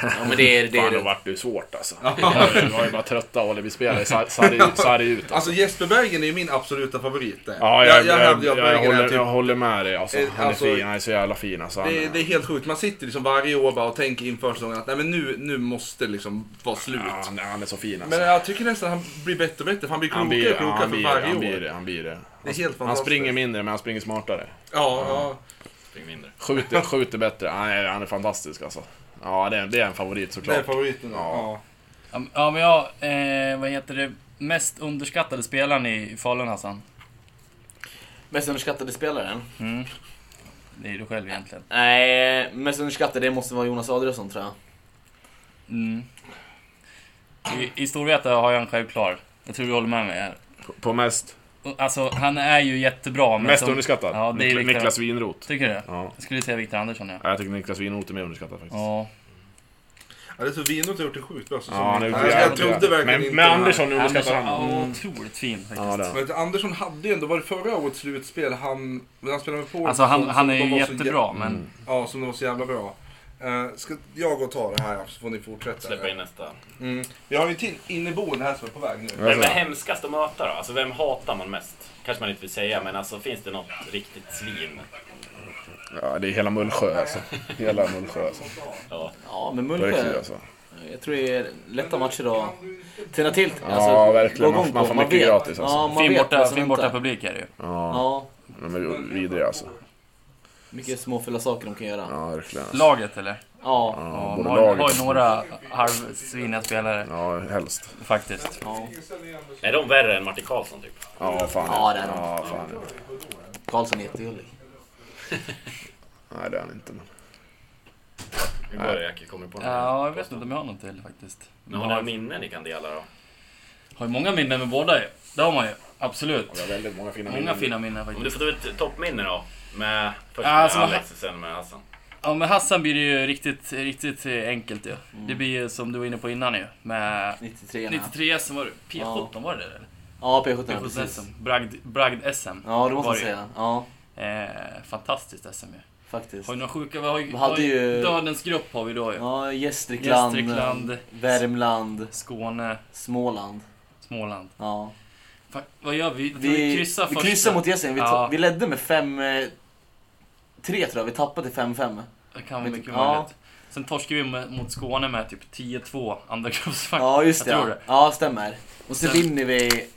Speaker 2: Ja, men det är det. Är
Speaker 5: Fan, då
Speaker 2: det.
Speaker 5: vart det ju svårt alltså. Jag var ju bara trötta alibispelare. Sarri- Sarri- Sarri ut.
Speaker 3: Alltså Jesper Bergen är ju min absoluta favorit. där.
Speaker 5: Ja, jag, jag,
Speaker 3: hävdar
Speaker 5: jag,
Speaker 3: ju att Bergen är
Speaker 5: håller,
Speaker 3: typ
Speaker 5: jag håller med dig alltså.
Speaker 3: Eh,
Speaker 5: Han är
Speaker 3: alltså,
Speaker 5: fin, han är så jävla fin alltså. Han,
Speaker 3: Det, det är helt sjukt. Man sitter liksom varje år bara och tänker inför säsongen att nej, men nu, nu måste det liksom vara slut.
Speaker 5: ja, han, han är så fin alltså.
Speaker 3: Men jag tycker nästan han blir bättre och bättre, för han blir
Speaker 5: han
Speaker 3: klokare
Speaker 5: blir,
Speaker 3: och
Speaker 5: ja,
Speaker 3: klokare
Speaker 5: han,
Speaker 3: för
Speaker 5: blir,
Speaker 3: varje
Speaker 5: han, blir,
Speaker 3: år.
Speaker 5: det, han blir det.
Speaker 3: Det är helt
Speaker 5: Han
Speaker 3: fantastiskt.
Speaker 5: springer mindre, men han springer smartare.
Speaker 3: Ja, ja.
Speaker 1: Spring mindre.
Speaker 5: Skjuter, skjuter bättre. Han är, han är fantastisk alltså. Ja, det är, det är en favorit
Speaker 3: Det är
Speaker 5: såklart.
Speaker 3: favoriten. Ja.
Speaker 7: Ja, men- Ja, men jag... Eh, vad heter det? Mest underskattade spelaren i Falun, Hassan?
Speaker 2: Mest underskattade spelaren?
Speaker 7: Mm. Det är du själv egentligen.
Speaker 2: Nej, mest underskattade det måste vara Jonas Adrielsson tror jag.
Speaker 7: Mm. I, I Storvreta har jag en självklar. Jag tror du håller med mig här.
Speaker 5: På, på mest,
Speaker 7: Alltså, han är ju jättebra. Men
Speaker 5: mest
Speaker 7: som,
Speaker 5: underskattad?
Speaker 7: Ja, det är
Speaker 5: Nikla-
Speaker 7: Viktor-
Speaker 5: Niklas Winroth.
Speaker 7: Tycker du det?
Speaker 5: Ja.
Speaker 7: Jag skulle säga Viktor Andersson, ja.
Speaker 5: Ja, Jag tycker Niklas Winroth är mer underskattad faktiskt.
Speaker 7: Ja.
Speaker 3: ja det är så Vinot har gjort det sjukt bra säsong.
Speaker 5: Ja, han är
Speaker 3: jag,
Speaker 5: jävligt
Speaker 3: jag trodde
Speaker 5: bra.
Speaker 3: verkligen
Speaker 5: men,
Speaker 3: inte
Speaker 5: Men
Speaker 3: det här.
Speaker 5: Andersson underskattar han.
Speaker 7: ja, otroligt fin faktiskt.
Speaker 5: Ja, det är han.
Speaker 3: Men Andersson hade ju ändå, var det förra årets slutspel han, när han spelade med Polen?
Speaker 7: Alltså, han,
Speaker 3: som-
Speaker 7: han är
Speaker 3: som
Speaker 7: ju
Speaker 3: de var så jä-
Speaker 7: jättebra, men...
Speaker 3: Ja, som det var så jävla bra. Eh, ska jag gå och ta det här så får ni fortsätta?
Speaker 1: Släppa in nästa.
Speaker 3: Mm. Vi har ju en till inneboende här som är på väg nu.
Speaker 1: Vem är hemskast att möta då? Alltså vem hatar man mest? Kanske man inte vill säga, men alltså finns det något riktigt svin?
Speaker 5: Ja, det är hela Mullsjö alltså. Hela Mullsjö alltså.
Speaker 1: Ja.
Speaker 2: Ja, men
Speaker 5: På riktigt
Speaker 2: Mullsjö.
Speaker 5: alltså.
Speaker 2: Jag tror det är lätta matcher att tända till. Alltså,
Speaker 5: Ja, verkligen.
Speaker 2: gå igång
Speaker 5: Man- man
Speaker 2: på.
Speaker 5: får mycket
Speaker 2: vet-
Speaker 5: gratis, alltså.
Speaker 2: Ja, man
Speaker 7: Fin
Speaker 2: vet vad
Speaker 7: borta,
Speaker 2: som
Speaker 7: fin
Speaker 2: väntar.
Speaker 7: borta publik är det ju.
Speaker 5: Ja,
Speaker 2: Ja,
Speaker 5: de är vidriga alltså.
Speaker 2: mycket småfula saker de kan göra.
Speaker 5: Ja, verkligen. Alltså.
Speaker 7: Laget, eller?
Speaker 2: Ja,
Speaker 5: Ja,
Speaker 7: de
Speaker 5: både
Speaker 7: har, har
Speaker 5: laget.
Speaker 7: ju några halvsviniga spelare,
Speaker 5: Ja, helst.
Speaker 7: faktiskt.
Speaker 2: ja.
Speaker 1: Är de värre än Martin Karlsson typ?
Speaker 5: Ja, fan.
Speaker 2: Ja, det är de.
Speaker 5: Ja, fan.
Speaker 2: Karlsson är jättegullig.
Speaker 5: Nej, det är han inte. Men...
Speaker 1: Nu börjar jag komma på något.
Speaker 7: Ja, jag vet inte om jag har någon till faktiskt.
Speaker 1: Men har ni minnen ni kan dela då?
Speaker 7: Har ju många minnen med båda ju. Det har man ju. Absolut.
Speaker 5: har väldigt många fina
Speaker 7: Många fina minnen
Speaker 1: Om Mm. du
Speaker 7: faktiskt.
Speaker 1: får ta ett toppminne då? Med, först
Speaker 7: Ja,
Speaker 1: med
Speaker 7: alltså,
Speaker 1: Alex och sen med Hassan.
Speaker 7: Ja men Hassan blir det ju riktigt, riktigt eh, enkelt ju.
Speaker 2: Mm.
Speaker 7: Det blir ju som du var inne på innan ju. Med
Speaker 2: 93 -orna.
Speaker 7: 93 som var det P17 var det det eller?
Speaker 2: Ja, P17
Speaker 7: P17 SM.
Speaker 2: precis.
Speaker 7: Bragd, Bragd SM.
Speaker 2: Ja, det måste
Speaker 7: var
Speaker 2: man
Speaker 7: det ju.
Speaker 2: säga. Ja,
Speaker 7: Eh, fantastiskt SM ju.
Speaker 2: faktiskt.
Speaker 7: Har ju några sjuka, vi har ju,
Speaker 2: Vi hade
Speaker 7: har ju...
Speaker 2: ju-
Speaker 7: Dödens grupp har vi då ju.
Speaker 2: Ja, Gästrikland,
Speaker 7: Gästrikland.
Speaker 2: Värmland,
Speaker 7: Skåne,
Speaker 2: Småland.
Speaker 7: Småland.
Speaker 2: Ja.
Speaker 7: Fan, vad gör vi? Jag tror
Speaker 2: Vi,
Speaker 7: vi kryssar
Speaker 2: vi
Speaker 7: första.
Speaker 2: kryssar mot Gästrikland. Vi, ta-
Speaker 7: Ja.
Speaker 2: vi ledde med 5... 3 tror jag, vi tappade till 5-5.
Speaker 7: Det kan vara
Speaker 2: Vet-
Speaker 7: mycket
Speaker 2: ja.
Speaker 7: möjligt. Sen torskade vi med, mot Skåne med typ 10-2 andra gruppsmatch.
Speaker 2: Ja, just det.
Speaker 7: Jag
Speaker 2: Ja.
Speaker 7: tror det.
Speaker 2: ja, stämmer. Och så
Speaker 7: Sen-
Speaker 2: vinner vi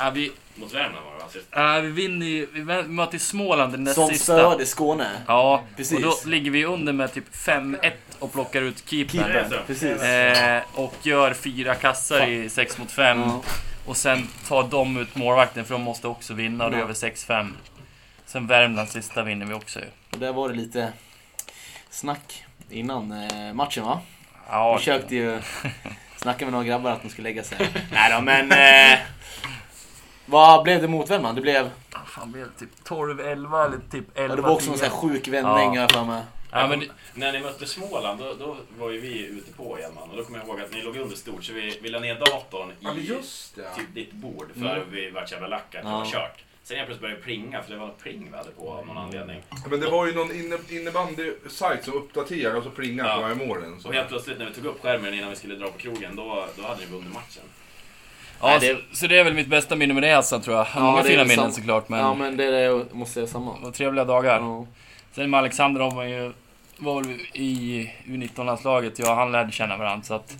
Speaker 7: Äh, vi,
Speaker 1: Mot Värmland var det alltså. va? Sist.
Speaker 7: äh, vi vinner ju, vi vä- möter ju Småland den näst
Speaker 2: som
Speaker 7: sista.
Speaker 2: stöd i Skåne.
Speaker 7: Ja,
Speaker 2: Precis.
Speaker 7: och då ligger vi under med typ 5-1 och plockar ut keepern.
Speaker 1: alltså.
Speaker 2: Keepern, precis.
Speaker 7: Eh, och gör fyra kassar i 6 mot 5.
Speaker 2: Ja.
Speaker 7: Och sen tar de ut målvakten för de måste också vinna och då
Speaker 2: Ja.
Speaker 7: gör vi 6-5. Sen Värmland sista vinner vi också ju.
Speaker 2: Och där var det lite snack innan eh, matchen va?
Speaker 7: Ja,
Speaker 2: Vi försökte ju snacka med några grabbar att de skulle lägga sig. Nej då, men... Eh, vad blev det mot Värmland? Det blev...
Speaker 7: vad fan blev det? Typ 12-11 eller typ 11
Speaker 2: Ja, det var också någon sån här sjuk vändning
Speaker 7: Ja.
Speaker 2: har jag för mig.
Speaker 7: ja, men det,
Speaker 1: När ni mötte Småland, då, då var ju vi ute på igen man. Och då kommer jag ihåg att ni låg under stort, så vi, vi la ner datorn i
Speaker 3: Ja, men just det.
Speaker 1: typ ditt bord för vi vart så jävla lacka att det
Speaker 2: Ja.
Speaker 1: var kört. Sen helt plötsligt började det plinga för det var något pling vi hade på av någon anledning.
Speaker 3: Men det var ju någon inne, innebandy-sajt som uppdaterade och så plingade
Speaker 1: Ja.
Speaker 3: på varje målen. Så.
Speaker 1: Och helt plötsligt när vi tog upp skärmen innan vi skulle dra på krogen, då, då hade ni vunnit matchen.
Speaker 7: ja,
Speaker 2: Nej, det-
Speaker 7: Så, så det är väl mitt bästa minne med det Hassan tror jag. Många
Speaker 2: det är
Speaker 7: fina
Speaker 2: väl
Speaker 7: minnen
Speaker 2: sant.
Speaker 7: såklart men...
Speaker 2: Ja, men det är det jag måste jag samma.
Speaker 7: Och trevliga dagar.
Speaker 2: Ja.
Speaker 7: Sen med Alexander har man ju var väl i U19-landslaget, jag och han lärde känna varandra. Så att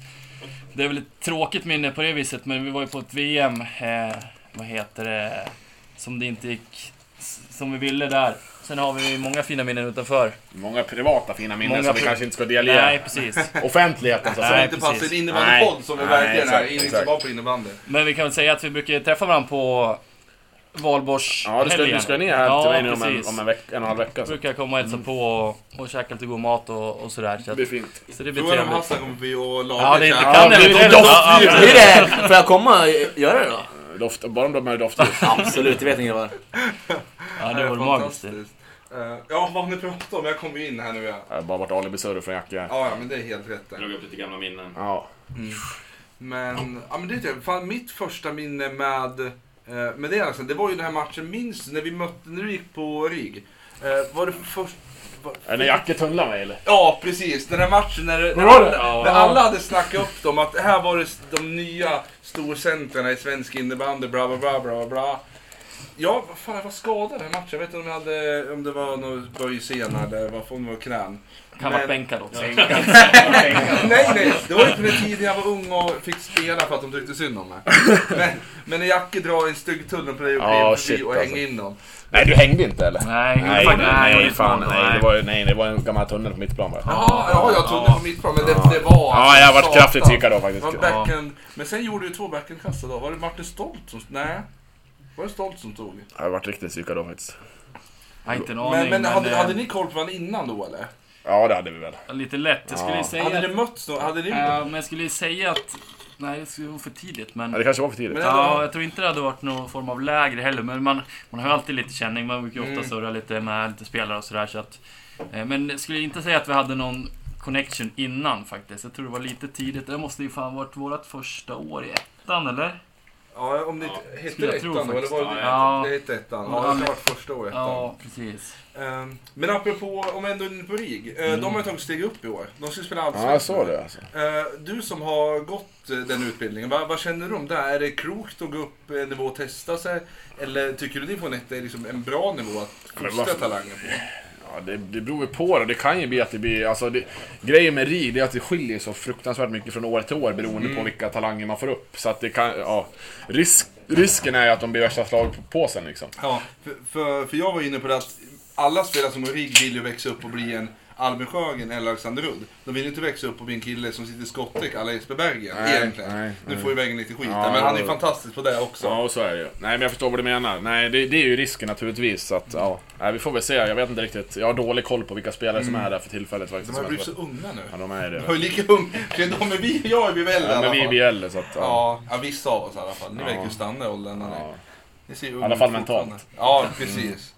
Speaker 7: det är väl ett tråkigt minne på det viset, men vi var ju på ett VM, eh, vad heter det, som det inte gick s- som vi ville där. Sen har vi många fina minnen utanför.
Speaker 5: Många privata fina minnen
Speaker 7: Många
Speaker 5: som vi
Speaker 7: pri-
Speaker 5: kanske inte ska delge
Speaker 7: Nej, precis.
Speaker 5: offentligheten. Så att
Speaker 7: Nej,
Speaker 5: säga.
Speaker 3: inte
Speaker 7: precis.
Speaker 3: passar en innebandypodd som vi
Speaker 5: Nej,
Speaker 3: verkligen
Speaker 5: exakt,
Speaker 3: är. Inte
Speaker 5: exakt.
Speaker 3: bara på innebandy.
Speaker 7: Men vi kan väl säga att vi brukar träffa varandra på valborgshelgen.
Speaker 5: Ja, du ska, du ska ner här till
Speaker 7: ja,
Speaker 5: mig nu om, en, Mm.
Speaker 7: precis.
Speaker 5: om en, veck, en och en halv vecka. Så.
Speaker 7: brukar jag komma och hälsa på och, och käka lite god mat och, och sådär. Så,
Speaker 5: Det
Speaker 7: att,
Speaker 5: blir fint.
Speaker 7: så det blir
Speaker 3: Frågan om
Speaker 7: trevligt.
Speaker 3: Hassan kommer bli och laga
Speaker 7: Ja, det inte
Speaker 3: kär-
Speaker 7: kan jag
Speaker 5: blir
Speaker 7: inte.
Speaker 5: det
Speaker 7: Ja, ja,
Speaker 2: Hur är det? Får jag komma och göra det då?
Speaker 5: Doft, bara om de är doftljus.
Speaker 2: Absolut, det vet ni grabbar.
Speaker 7: ja, det vore magiskt. det.
Speaker 3: Fantastiskt. Eh, Ja, vad har ni pratat om? Jag kommer ju in här nu. Ja,
Speaker 5: Jag har bara varit alibisurr från Jacke. här.
Speaker 3: ja, ja, men det är helt rätt.
Speaker 1: Jag
Speaker 3: där. Mm.
Speaker 1: drog upp lite gamla minnen.
Speaker 5: Ja.
Speaker 3: Men, ja men det är typ, fan, mitt första minne med, eh, med det, alltså, det var ju den här matchen, minns du när vi mötte, när du gick på RIG? Eh, var det först,
Speaker 1: Är det Jacke tunnlar mig eller?
Speaker 3: Ja, precis. Den här matchen när, när,
Speaker 1: Var det?
Speaker 3: alla, när alla hade snackat upp dem att det här var det, de nya storcentrarna i svensk innebandy, bla bla bla bla bla. Ja, vad fan, jag var skadad den matchen. Jag vet inte om, jag hade, om det var någon böjsena eller vad fan det var, knän.
Speaker 8: Kan
Speaker 3: Men-
Speaker 8: vara bänkad också.
Speaker 3: nej, nej. Det var ju på den tiden jag var ung och fick spela för att de tyckte synd om mig. Men, men när Jacke drar en stygg tunnel på dig och,
Speaker 5: Ja,
Speaker 3: oh,
Speaker 5: shit,
Speaker 3: och
Speaker 5: alltså.
Speaker 3: hänger in dem.
Speaker 5: Nej, du hängde inte eller?
Speaker 8: Nej,
Speaker 5: Nej,
Speaker 8: fan,
Speaker 5: nej,
Speaker 8: det var
Speaker 5: nej,
Speaker 8: ju
Speaker 5: fan,
Speaker 8: smart.
Speaker 5: nej, det var, ju- nej, det var en gammal tunnel på mitt plan bara.
Speaker 3: Jaha, ja, jag trodde på mitt plan, men det, det var...
Speaker 5: Ja, jag varit
Speaker 3: satan.
Speaker 5: kraftigt psykad då
Speaker 3: Det
Speaker 5: faktiskt.
Speaker 3: var backhand. Men sen gjorde ju två backhandkassar då. Var det Martin Stolt som... Nej. Var det Stolt som tog?
Speaker 5: Ja, Jag varit riktigt psykad då faktiskt.
Speaker 8: Jag har inte en
Speaker 3: men
Speaker 8: aning.
Speaker 3: men, hade,
Speaker 8: eh,
Speaker 3: hade ni koll på varandra innan då eller?
Speaker 5: Ja, det hade vi väl.
Speaker 8: Lite lätt. Jag skulle ju säga...
Speaker 3: Hade ni mötts då? Hade ni...
Speaker 8: eh, men jag skulle ju säga att... Nej, det skulle vara för tidigt, men...
Speaker 5: Ja, det kanske var för tidigt.
Speaker 3: Men-
Speaker 8: Ja, jag tror inte det hade varit någon form av läger heller, men man, man har ju alltid lite känning. Man brukar ju
Speaker 3: Mm.
Speaker 8: ofta surra lite med lite spelare och sådär. Så att, eh, men jag skulle inte säga att vi hade någon connection innan faktiskt. Jag tror det var lite tidigt. Det måste ju fan varit vårt första år i ettan, eller?
Speaker 3: Ja, om ni hette
Speaker 8: Skulle jag
Speaker 3: det
Speaker 8: tro
Speaker 3: ettan då? Eller
Speaker 8: faktiskt.
Speaker 3: var det,
Speaker 8: Ja.
Speaker 3: det hette ettan?
Speaker 8: Ja,
Speaker 3: Ja, det
Speaker 8: men-
Speaker 3: var första året ettan.
Speaker 8: Ja, precis.
Speaker 3: Ehm, men apropå, om vi ändå är inne på RIG. eh,
Speaker 8: Mm.
Speaker 3: De har ju tagit steg upp i år. De ska spela
Speaker 5: Ja, jag såg det alltså.
Speaker 3: Eh, Du som har gått eh, den utbildningen, vad, vad känner du om det? Är det klokt att gå upp en nivå och testa sig? Eller tycker du division 1 är liksom en bra nivå att
Speaker 5: Men
Speaker 3: fostra
Speaker 5: varför-
Speaker 3: talanger på?
Speaker 5: Ja, det, det beror ju på då. Det kan ju bli att det blir... Alltså, det, grejen med RIG det är att det skiljer så fruktansvärt mycket från år till år beroende
Speaker 3: Mm.
Speaker 5: på vilka talanger man får upp. Så att det kan... Ja, risk, risken är ju att de blir värsta slagpåsen liksom.
Speaker 3: Ja, för, för, för jag var inne på det att alla spelare som har rigg vill ju växa upp och bli en Albin Sjögren eller Alexander Rudd. De vill ju inte växa upp och bli en kille som sitter i skottdäck alla Jesper Berggren
Speaker 5: Nej,
Speaker 3: egentligen.
Speaker 5: nej,
Speaker 3: nu får ju Berggren lite skit
Speaker 5: Ja,
Speaker 3: där, men han är ju
Speaker 5: ja.
Speaker 3: fantastisk på det också.
Speaker 5: Ja, och så är det ju. Nej, men jag förstår vad du menar. Nej, det, det är ju risken naturligtvis. Så att, ja. Nej, vi får väl se. Jag vet inte riktigt. Jag har dålig koll på vilka spelare som är där för tillfället faktiskt.
Speaker 3: Mm. De har ju
Speaker 5: Men-
Speaker 3: blivit så unga nu.
Speaker 5: Ja, de är det.
Speaker 3: De är ju lika unga. De är vi och jag är vi väl i
Speaker 5: Ja,
Speaker 3: alla
Speaker 5: men vi är
Speaker 3: fall.
Speaker 5: BL, så att... Ja.
Speaker 3: Ja, ja, vissa av oss i alla fall. Ni
Speaker 5: Ja.
Speaker 3: verkar ju stanna i åldern. Ja.
Speaker 5: Ja.
Speaker 3: Ni ser ju
Speaker 5: I alla fall
Speaker 3: unga ut fortfarande.
Speaker 5: mentalt. Mm.
Speaker 3: Ja, precis.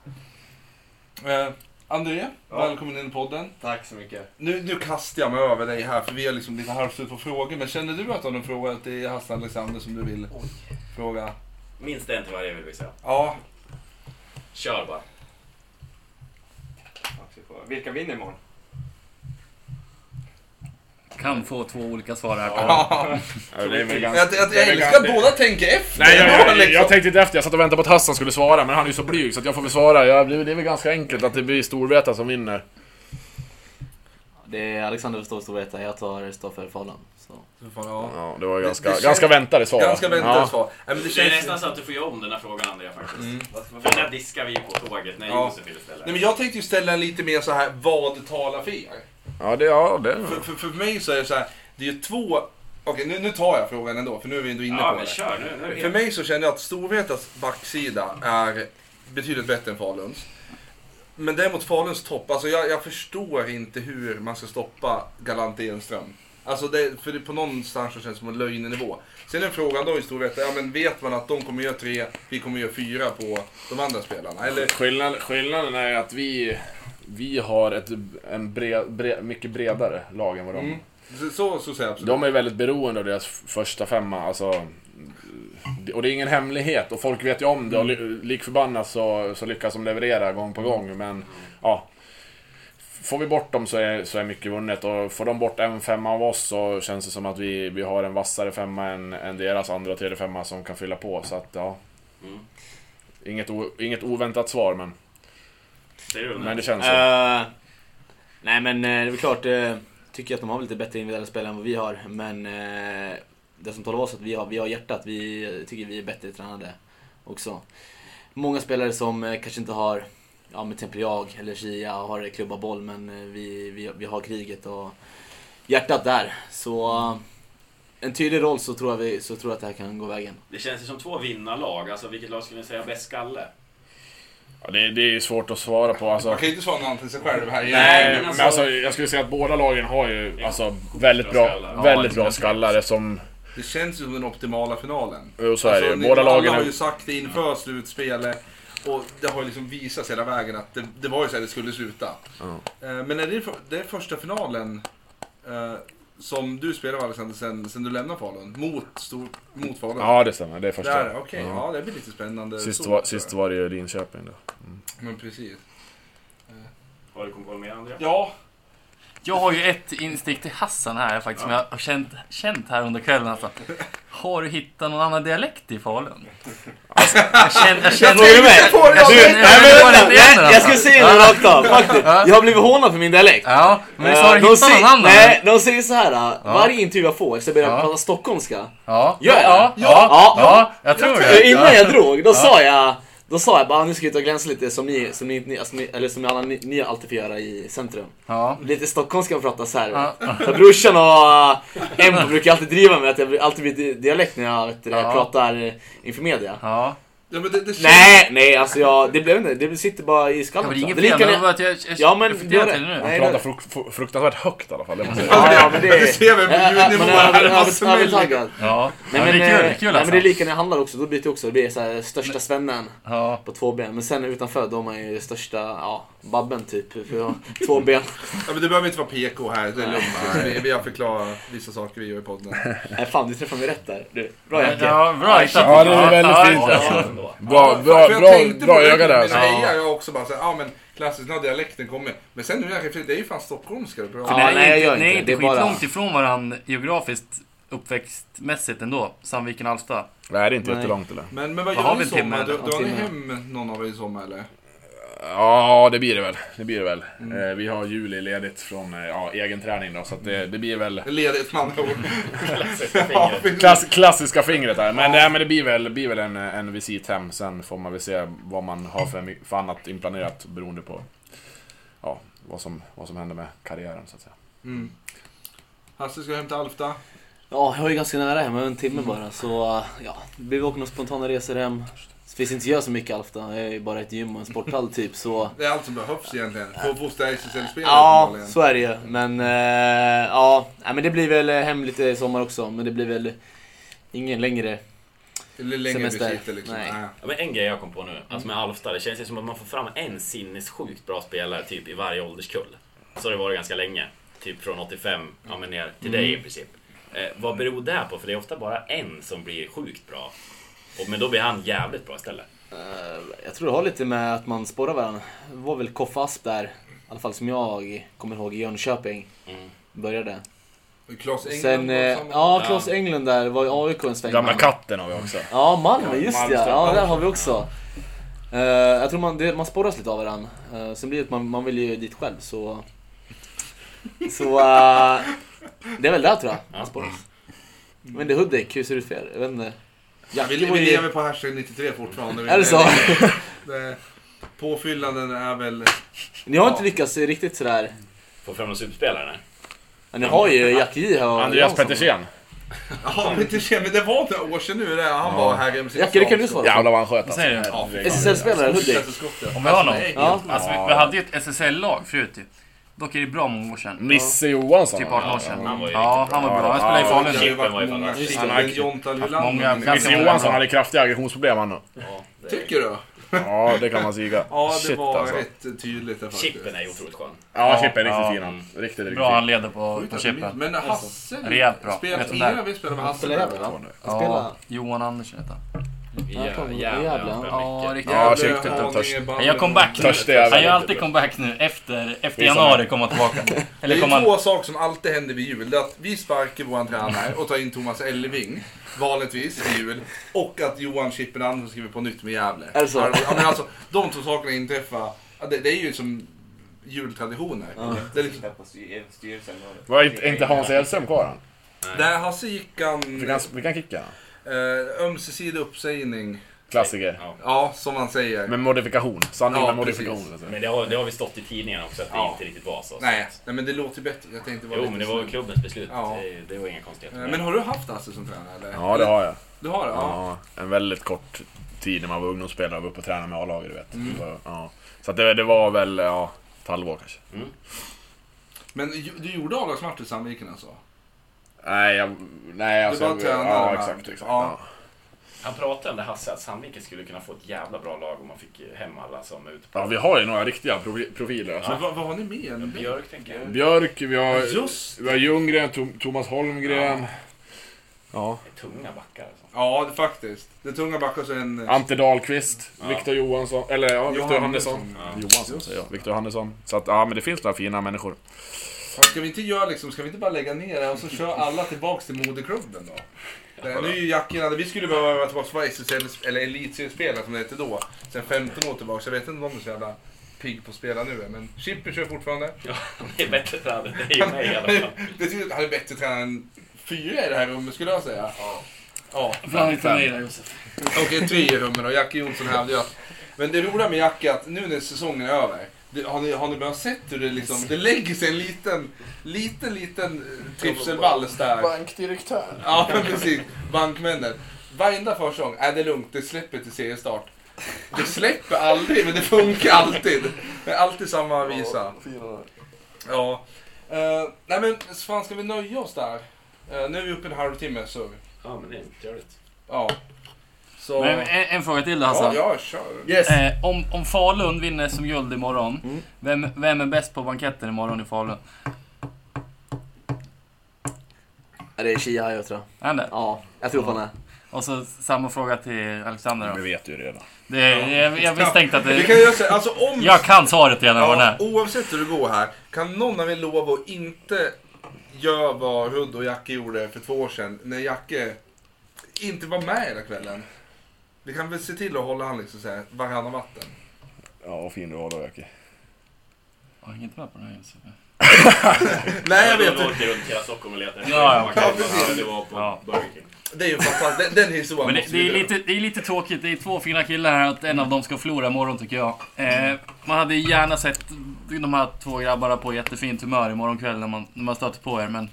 Speaker 3: Eh, André, välkommen in i podden.
Speaker 4: Tack så mycket.
Speaker 3: Nu, nu kastar jag mig över dig här för vi har liksom lite halvslut på frågor. Men känner du att du har någon fråga till Hassan Alexander som du vill fråga?
Speaker 6: Minst en till varje vill vi säga.
Speaker 3: Ja,
Speaker 6: Kör bara.
Speaker 4: Tack ska du få. Vilka vinner imorgon?
Speaker 8: Kan få två olika svar här.
Speaker 5: Ja, det är väl
Speaker 3: jag,
Speaker 5: ganska...
Speaker 3: jag, jag
Speaker 5: det är väl
Speaker 3: älskar att
Speaker 5: ganska-
Speaker 3: båda tänker efter.
Speaker 5: Nej, jag, jag, jag,
Speaker 3: liksom.
Speaker 5: jag tänkte inte efter. Jag satt och väntade på att Hassan skulle svara, men han är ju så blyg så att jag får väl svara. Jag, det det är väl ganska enkelt att det blir Storvreta som vinner.
Speaker 2: Det är Alexander förstår Storvreta, jag tar Stoffer Fallan. Så.
Speaker 3: Så fan, ja.
Speaker 5: Ja, det var
Speaker 3: Det-
Speaker 5: ganska,
Speaker 3: det känns-
Speaker 5: ganska väntade svar. va?
Speaker 3: Ganska väntat
Speaker 5: ja.
Speaker 3: svar. Nej, men det
Speaker 6: Det är
Speaker 3: känns...
Speaker 6: nästan så att du får göra om den här frågan Andrea faktiskt. För den här diskar vi på tåget när
Speaker 3: Mm. Ja.
Speaker 6: Josef ville ställa.
Speaker 3: Nej, men jag tänkte ju ställa en lite mer så här, vad talar för er?
Speaker 5: Ja, det... Ja, det.
Speaker 3: För, för, för mig så är det så här, det är ju två... Okej, nu, nu tar jag frågan ändå, för nu är vi ändå inne
Speaker 6: Ja
Speaker 3: på
Speaker 6: men
Speaker 3: det.
Speaker 6: kör nu. nu är det
Speaker 3: För mig så känner jag att Storvretas backsida är betydligt bättre än Faluns. Men däremot Faluns topp, alltså jag, jag förstår inte hur man ska stoppa Galant Enström. Alltså det, för det, på någonstans så känns det som en löjnenivå. Sen är frågan då i Storvreta, ja men vet man att de kommer göra tre, vi kommer göra fyra på de andra spelarna? Eller?
Speaker 5: Skillnad, skillnaden är att vi, vi har ett en bre, bre, mycket bredare lag än vad de
Speaker 3: Mm. Så, så, så säger jag absolut.
Speaker 5: De är väldigt beroende av deras första femma. Alltså, och det är ingen hemlighet och folk vet ju om det. Och li- lik förbannat så, så lyckas de leverera gång på gång. Men ja, får vi bort dem så är, så är mycket vunnet. Och får de bort en femma av oss så känns det som att vi, vi har en vassare femma än, än deras andra och tredje femma som kan fylla på. Så att ja.
Speaker 6: Mm.
Speaker 5: Inget, o, inget oväntat svar men,
Speaker 6: Säger du den här?
Speaker 5: men det känns så.
Speaker 2: Eh, nej men eh, det är väl klart, eh, tycker jag att de har lite bättre individuella spelare än vad vi har. Men eh, det som talar oss att vi har, vi har hjärtat, vi eh, tycker vi är bättre tränade också. Många spelare som eh, kanske inte har, ja men till exempel jag eller Shia har klubba boll men eh, vi, vi, vi har kriget och hjärtat där. Så eh, en tydlig roll så tror jag, vi, så tror jag att det här kan gå vägen.
Speaker 6: Det känns ju som två vinnarlag. Alltså vilket lag skulle ni säga bäst skalle?
Speaker 5: Ja, det, det är svårt att svara på. Alltså.
Speaker 3: Man kan ju inte svara någon annan till sig själv här.
Speaker 6: Nej,
Speaker 5: Nej,
Speaker 6: men
Speaker 5: men alltså, jag skulle säga att båda lagen har ju alltså, väldigt
Speaker 6: bra
Speaker 5: bra,
Speaker 6: skallar.
Speaker 5: väldigt bra skallar som...
Speaker 3: Det känns ju som den optimala finalen.
Speaker 5: Jo, så är det ju.
Speaker 3: Alltså, ni-
Speaker 5: Båda
Speaker 3: Alla
Speaker 5: lagen
Speaker 3: har
Speaker 5: är...
Speaker 3: ju sagt det inför slutspelet. Och det har ju liksom visats hela vägen att det, det var ju så här det skulle sluta. Eh, Men är det, för- det är första finalen eh, som du spelar Alexander sen, sen du lämnar Falun? Mot, stor, mot Falun?
Speaker 5: Ja, det stämmer. Det
Speaker 3: Där,
Speaker 5: är första.
Speaker 3: okej. Ja. det blir lite spännande.
Speaker 5: Sist
Speaker 3: så, tror
Speaker 5: var,
Speaker 3: jag.
Speaker 5: sist var det ju Linköping då.
Speaker 3: Men precis.
Speaker 9: Vad du kom på mer Andrea?
Speaker 3: Ja,
Speaker 7: Jag har ju ett instick till Hassan här faktiskt, som jag har känt, känt här under kvällen. Alltså. Har du hittat någon annan dialekt i Falun? Alltså, Jag känner... Jag känner...
Speaker 2: Är du med?
Speaker 7: Jag känner-
Speaker 2: Du,
Speaker 7: jag känner-
Speaker 2: nej,
Speaker 7: jag
Speaker 2: men
Speaker 7: känner
Speaker 2: vänta,
Speaker 7: igen
Speaker 2: nej,
Speaker 7: den,
Speaker 2: jag
Speaker 7: alltså.
Speaker 2: ska säga det rakt av, faktiskt. Jag har blivit hånad för min dialekt.
Speaker 7: Ja, men visst har
Speaker 2: Eh,
Speaker 7: du hittat
Speaker 2: säger-
Speaker 7: någon annan?
Speaker 2: Nej, de säger så här. eh, Varje intervju jag får, så jag börjar
Speaker 7: Ja.
Speaker 2: prata stockholmska.
Speaker 7: Ja,
Speaker 2: Gör
Speaker 7: ja,
Speaker 2: jag
Speaker 7: ja,
Speaker 2: det?
Speaker 7: ja,
Speaker 2: Ja.
Speaker 7: ja, jag tror
Speaker 2: För
Speaker 7: det.
Speaker 2: Innan jag drog, då sa jag då sa jag bara nu ska vi ta och glänsa lite som ni, som ni, inte- ni, alltså, ni eller som ni alla ni, ni alltid får göra i centrum.
Speaker 7: Ja.
Speaker 2: Lite stockholmska och prata så här.
Speaker 7: Ja.
Speaker 2: För brorsan och äh, Empo brukar alltid driva med att jag blir- alltid blir di- dialekt när jag vet, du det,
Speaker 7: Ja.
Speaker 2: pratar eh, inför media.
Speaker 7: Ja,
Speaker 3: ja men det, det känns...
Speaker 2: Nej, nej alltså jag, det blev inte, det sitter bara i
Speaker 7: det
Speaker 2: skallen.
Speaker 7: var
Speaker 2: så.
Speaker 7: inget
Speaker 2: Det
Speaker 7: fel.
Speaker 2: är lika
Speaker 7: Det var
Speaker 2: när-
Speaker 7: bara att jag, jag
Speaker 2: Ja, men
Speaker 7: reflekterar
Speaker 2: det-
Speaker 7: till det nu.
Speaker 2: nej,
Speaker 5: pratar
Speaker 2: det-
Speaker 5: fruk fru- fruktansvärt högt i alla fall. Det måste jag säga.
Speaker 2: Ja, ja, men det
Speaker 3: Det ser vi på
Speaker 2: Ja, ja, men
Speaker 3: ljudnivån.
Speaker 2: över-
Speaker 3: här, vad
Speaker 2: över-
Speaker 3: som helst.
Speaker 2: Övertaggad.
Speaker 7: Ja,
Speaker 2: Nej,
Speaker 7: men
Speaker 2: men,
Speaker 7: det är kul, det är
Speaker 2: eh,
Speaker 7: kul
Speaker 2: Nej
Speaker 7: alltså.
Speaker 2: men det är lika när jag handlar också, då byter jag också. Det blir så här, största svennen.
Speaker 7: Ja,
Speaker 2: på två ben. Men sen utanför då är man ju största, ja, babben typ. För jag har två ben.
Speaker 3: Ja, men det behöver inte vara PK här, det är lugnt. Alltså, vi, vi har förklarat vissa saker vi gör i podden.
Speaker 2: Nej fan, du träffade mig rätt där. Du, bra Janke.
Speaker 7: ja, bra hittat.
Speaker 5: Ja, det är väldigt
Speaker 7: Ja,
Speaker 5: fint.
Speaker 7: ja, ja.
Speaker 5: Bra, bra, bra,
Speaker 3: För jag
Speaker 5: bra,
Speaker 3: tänkte på
Speaker 5: bra
Speaker 3: det,
Speaker 5: öga där.
Speaker 3: Mina
Speaker 5: alltså.
Speaker 3: hejar jag också bara såhär, ja men klassiskt, nu har dialekten kommit. Men sen nu när jag reflekterar, det är ju fan stockholmska du pratar.
Speaker 2: Ja,
Speaker 7: Ja,
Speaker 2: nej, jag gör
Speaker 7: inte, nej,
Speaker 2: inte.
Speaker 7: inte
Speaker 2: Det är bara-
Speaker 7: skitlångt ifrån varandra geografiskt uppväxtmässigt ändå. Sandviken, Alfta.
Speaker 5: Nej, det är inte
Speaker 2: Nej.
Speaker 5: jättelångt eller?
Speaker 3: Men, men vad
Speaker 7: Vad har
Speaker 3: gör ni
Speaker 7: vi
Speaker 3: i
Speaker 7: en timme
Speaker 3: sommar?
Speaker 7: eller?
Speaker 3: Dra- Drar
Speaker 2: En
Speaker 3: ni
Speaker 2: timme.
Speaker 3: hem någon av er i sommar eller?
Speaker 5: Ja, det blir det väl. Det blir det väl. Eh, vi har juli ledigt från eh, ja, egen träning då, så att det, det blir väl...
Speaker 3: Ledigt med andra ord. Ja,
Speaker 1: Fingret.
Speaker 3: precis.
Speaker 5: Klass, klassiska fingret där. Men, nej, men det blir väl, blir väl en, en visit hem. Sen får man väl se vad man har för, för annat inplanerat beroende på ja, vad, som, vad som händer med karriären så att säga.
Speaker 3: Mm. Hasse ska hem till Alfta.
Speaker 2: Ja, jag var ju ganska nära hem, en timme bara. Så ja, vi åker några spontana resor hem. Det finns inte göra så mycket i Alfta, jag är ju bara ett gym och en sporthall typ så.
Speaker 3: Det är allt som behövs egentligen. För att fostra SSL-spelare
Speaker 2: Ja,
Speaker 3: uppenbarligen.
Speaker 2: så är det ju. Men eh, ja, nej, men det blir väl eh, hem lite i sommar också. Men det blir väl ingen längre.
Speaker 3: Eller längre
Speaker 2: Semester.
Speaker 3: besitter liksom.
Speaker 2: Nej.
Speaker 3: Nej.
Speaker 1: Ja, men en grej jag kom på nu, alltså med Alfta, det känns ju som att man får fram en sinnessjukt bra spelare typ i varje ålderskull. Så har det varit ganska länge. Typ från 85, ja men ner till dig i princip. Eh, vad beror det på? För det är ofta bara en som blir sjukt bra. Och, men då blir han jävligt bra istället.
Speaker 2: Eh, Jag tror det har lite med att man sporrar varandra. Det var väl Koffe Asp där, i alla fall som jag kommer ihåg, i Jönköping.
Speaker 1: Mm.
Speaker 2: Började.
Speaker 3: Claes England
Speaker 2: Sen,
Speaker 3: var
Speaker 2: eh,
Speaker 3: samma.
Speaker 2: ja, Claes Englund där var i AIK en sväng.
Speaker 5: Gamla katten har vi också.
Speaker 2: Ja, Malmö, just
Speaker 3: Malmö
Speaker 2: ja. Ja,
Speaker 3: Strömberg.
Speaker 2: där har vi också. Eh, jag tror man, det, man sporras lite av varandra. Uh, sen blir det att man, man vill ju dit själv så... Så... eh, det är väl där tror jag, man sporras. Men det är Hudik, hur ser det ut för er? Jag vet inte.
Speaker 3: Vi,
Speaker 2: Jacke var
Speaker 3: vi lever
Speaker 2: ju...
Speaker 3: på hashtag 93 fortfarande. Vi-
Speaker 2: Är det så?
Speaker 3: det- Påfyllnaden är väl...
Speaker 2: Ni har inte lyckats riktigt sådär...
Speaker 1: Får fram någon superspelare? nej?
Speaker 2: Ja, ni har ju Jack J här och
Speaker 5: Andreas
Speaker 2: Jansson.
Speaker 5: Pettersen.
Speaker 3: Ja, men det, känner- det var några år sedan nu det. Han var här i MC.
Speaker 2: Jacke, det kan du svara på.
Speaker 5: Jävlar vad han sköt
Speaker 7: Vad
Speaker 5: alltså.
Speaker 7: säger du?
Speaker 3: Ja, fy fan.
Speaker 2: SSL-spelare, Hudik.
Speaker 3: Fortsätter skottet.
Speaker 7: Om vi har någon?
Speaker 3: Nej.
Speaker 2: Ja.
Speaker 7: Alltså, vi, vi hade ju ett SSL-lag förut ju. Dock är det bra många år sedan.
Speaker 5: Nisse Johansson.
Speaker 7: Typ
Speaker 5: va?
Speaker 7: 18 år sedan.
Speaker 1: han var ju
Speaker 7: Ja, han var bra. Han spelade i
Speaker 5: Ja,
Speaker 3: Det har
Speaker 1: Chippen var
Speaker 3: ju varit
Speaker 7: Falun.
Speaker 1: ju
Speaker 3: många
Speaker 1: fan-
Speaker 3: Chippen, Jonta
Speaker 7: många-
Speaker 3: Lylander.
Speaker 5: Nisse Johansson hade kraftiga aggressionsproblem han då.
Speaker 1: Ja, det är...
Speaker 3: Tycker du?
Speaker 5: Ja, det kan man siga.
Speaker 3: Ja, det
Speaker 5: Shit,
Speaker 3: var
Speaker 5: alltså.
Speaker 3: rätt tydligt där faktiskt.
Speaker 1: Chippen är ju otroligt skön.
Speaker 5: Ja, Chippen är
Speaker 7: Ja.
Speaker 5: riktigt fin han. Riktigt, riktigt
Speaker 7: Bra
Speaker 5: fin.
Speaker 7: handledare på, på chippen.
Speaker 3: Men Hasse...
Speaker 7: Rejält bra.
Speaker 3: Spelar,
Speaker 7: Vet du där?
Speaker 3: innan vi spelade med Hasse.
Speaker 2: Spelar
Speaker 3: där,
Speaker 2: jävla
Speaker 3: va?
Speaker 2: bra.
Speaker 7: Ja, Johan Andersson hette han.
Speaker 1: Ja,
Speaker 2: Ja,
Speaker 1: jävlar,
Speaker 2: fan,
Speaker 1: jävlar.
Speaker 2: jävlar.
Speaker 1: han spelar
Speaker 7: Ja,
Speaker 1: mycket.
Speaker 7: riktigt.
Speaker 5: Ja,
Speaker 3: Jävla
Speaker 5: Chippen
Speaker 3: Haninge
Speaker 5: törs.
Speaker 3: band.
Speaker 7: Men jag kom back nu.
Speaker 5: Törste jävel.
Speaker 7: Han gör alltid comeback nu efter, efter
Speaker 5: Det är så
Speaker 7: januari
Speaker 5: här.
Speaker 7: kommer han tillbaka.
Speaker 3: Det
Speaker 7: Eller
Speaker 3: är
Speaker 7: kommer han...
Speaker 3: två saker som alltid händer vid jul. Det är att vi sparkar vår tränare och tar in Thomas Elving, vanligtvis, i jul. Och att Johan Chippen Andersson skriver på nytt med Gävle.
Speaker 2: Är det så?
Speaker 3: Ja, men alltså, de två sakerna inträffar. ja, Det, det är ju som jultraditioner. Det är liksom,
Speaker 5: Var inte, inte Hans Hellström kvar han?
Speaker 3: där Hasse gick han...
Speaker 5: Vi kan, vi kan kicka han.
Speaker 3: Eh, ömsesidig uppsägning.
Speaker 5: Klassiker.
Speaker 3: Ja, som man säger.
Speaker 5: Med modifikation. Sanning
Speaker 3: Ja,
Speaker 5: med
Speaker 3: precis.
Speaker 5: modifikation. alltså.
Speaker 1: Men det har, det har vi stått i tidningarna också att det
Speaker 3: Ja.
Speaker 1: inte riktigt var så.
Speaker 3: nej, nej, men det låter bättre. Jag tänkte vara
Speaker 1: Jo,
Speaker 3: lite
Speaker 1: men det var ju
Speaker 3: snäll.
Speaker 1: klubbens beslut.
Speaker 3: Ja.
Speaker 1: Det, det var inga konstigheter.
Speaker 3: Eh, Men har du haft Hasse som tränare? Eller?
Speaker 5: Ja, det har jag.
Speaker 3: Du har det? Ja.
Speaker 5: Ja, en väldigt kort tid när man var ungdomsspelare och var uppe och tränade med A-laget, du vet. Det var- Ja. Så att det, det var väl, ja, ett halvår kanske.
Speaker 3: Men ju- du gjorde A-lagsmatch i Sandviken alltså?
Speaker 5: Nej, jag... Nej, alltså...
Speaker 3: bara tränade
Speaker 5: ja,
Speaker 3: med.
Speaker 5: exakt, exakt.
Speaker 3: Ja.
Speaker 5: Ja.
Speaker 1: Han pratade om det Hasse, att Sandviken skulle kunna få ett jävla bra lag om man fick eh, hem alla som är ute på...
Speaker 5: Ja, vi har ju några riktiga provi- profiler. Alltså.
Speaker 3: Men vad, vad har ni med er?
Speaker 1: Björk, tänker jag.
Speaker 5: Björk, vi har,
Speaker 3: Just
Speaker 5: vi har Ljunggren, Tom- Thomas Holmgren. Ja.
Speaker 1: Tunga backar alltså.
Speaker 3: Ja, det- faktiskt. Det är tunga backar så en...
Speaker 5: Ante Dahlqvist, Viktor Johansson, eller ja, Viktor Johannesson. Johansson
Speaker 3: Just.
Speaker 5: säger jag, Viktor Johannesson. Så att, ja men det finns några fina människor.
Speaker 3: Ja, Ska vi inte göra liksom, ska vi inte bara lägga ner det och så kör alla tillbaks till moderklubben då? Eh, Nu är ju Jacken hade- vi skulle behöva vara tillbaka på SSL, eller elitseriespelare som det hette då. Sen 15 år tillbaka, så jag vet inte om de är så jävla pigg på att spela nu än, men Chipper kör fortfarande.
Speaker 1: Det är bättre för dig än dig och mig i alla fall.
Speaker 3: Det tycker jag- han är bättre tränare än fyra i det här rummet skulle jag säga. Ja.
Speaker 7: Fan, inte mig där Josef.
Speaker 3: Okej, tre i rummet då. Jackie Jonsson hävdar ju att... Men det roliga med Jackie är att nu när säsongen är över. Det, har, ni, har ni börjat sett hur det liksom... Det lägger sig en liten, liten, liten eh, trivselvals där.
Speaker 5: Bankdirektör.
Speaker 3: Ja, men precis. Bankmännen. Varenda försäsong, är det är lugnt, det släpper till seriestart. Det släpper aldrig, men det funkar alltid. Det är alltid samma visa. Ja. Eh, nej men, fan ska vi nöja oss där? Eh, nu är vi uppe i en halvtimme, så...
Speaker 1: Ja, men det är inte görligt.
Speaker 3: Ja. Så...
Speaker 7: Men en, en fråga till då
Speaker 3: ja,
Speaker 7: Hassan.
Speaker 3: jag kör.
Speaker 4: Yes!
Speaker 7: Alltså. Eh, om, om Falun vinner som guld imorgon, vem, vem är bäst på banketten imorgon i Falun?
Speaker 4: Ja, Det är Chia jag tror.
Speaker 7: Är han det?
Speaker 4: Ja, jag tror på henne.
Speaker 7: Och så samma fråga till Alexander
Speaker 5: Vi
Speaker 7: då.
Speaker 5: vet ju redan.
Speaker 7: Det, jag, jag misstänkte att
Speaker 3: Vi kan
Speaker 7: det...
Speaker 3: göra så här, alltså om...
Speaker 7: Jag kan svaret redan vad den
Speaker 3: ja,
Speaker 7: är.
Speaker 3: oavsett hur det går här, kan någon av er lova att inte göra vad Rudd och Jacke gjorde för två år sedan, när Jacke inte var med hela kvällen? Vi kan väl se till att hålla han liksom så här, varannan vatten.
Speaker 5: Ja, vad fin du har då Jackie.
Speaker 7: Jag hänger inte med på den här Josef.
Speaker 3: Nej, jag vet
Speaker 1: Då
Speaker 3: inte.
Speaker 1: åker runt hela Stockholm och letar efter
Speaker 7: Ja, ja.
Speaker 1: en backar.
Speaker 3: Ja, precis.
Speaker 1: Det var på
Speaker 7: Ja.
Speaker 1: Burger King.
Speaker 3: Det är ju fantastiskt. Den, den historien
Speaker 7: Men det,
Speaker 3: måste
Speaker 7: det,
Speaker 3: vi
Speaker 7: är
Speaker 3: dra.
Speaker 7: lite, det är lite tråkigt. Det är två fina killar här att en av dem ska förlora imorgon tycker jag. Eh, man hade gärna sett de här två grabbarna på jättefint humör imorgon kväll när man, när man stöter på er. Men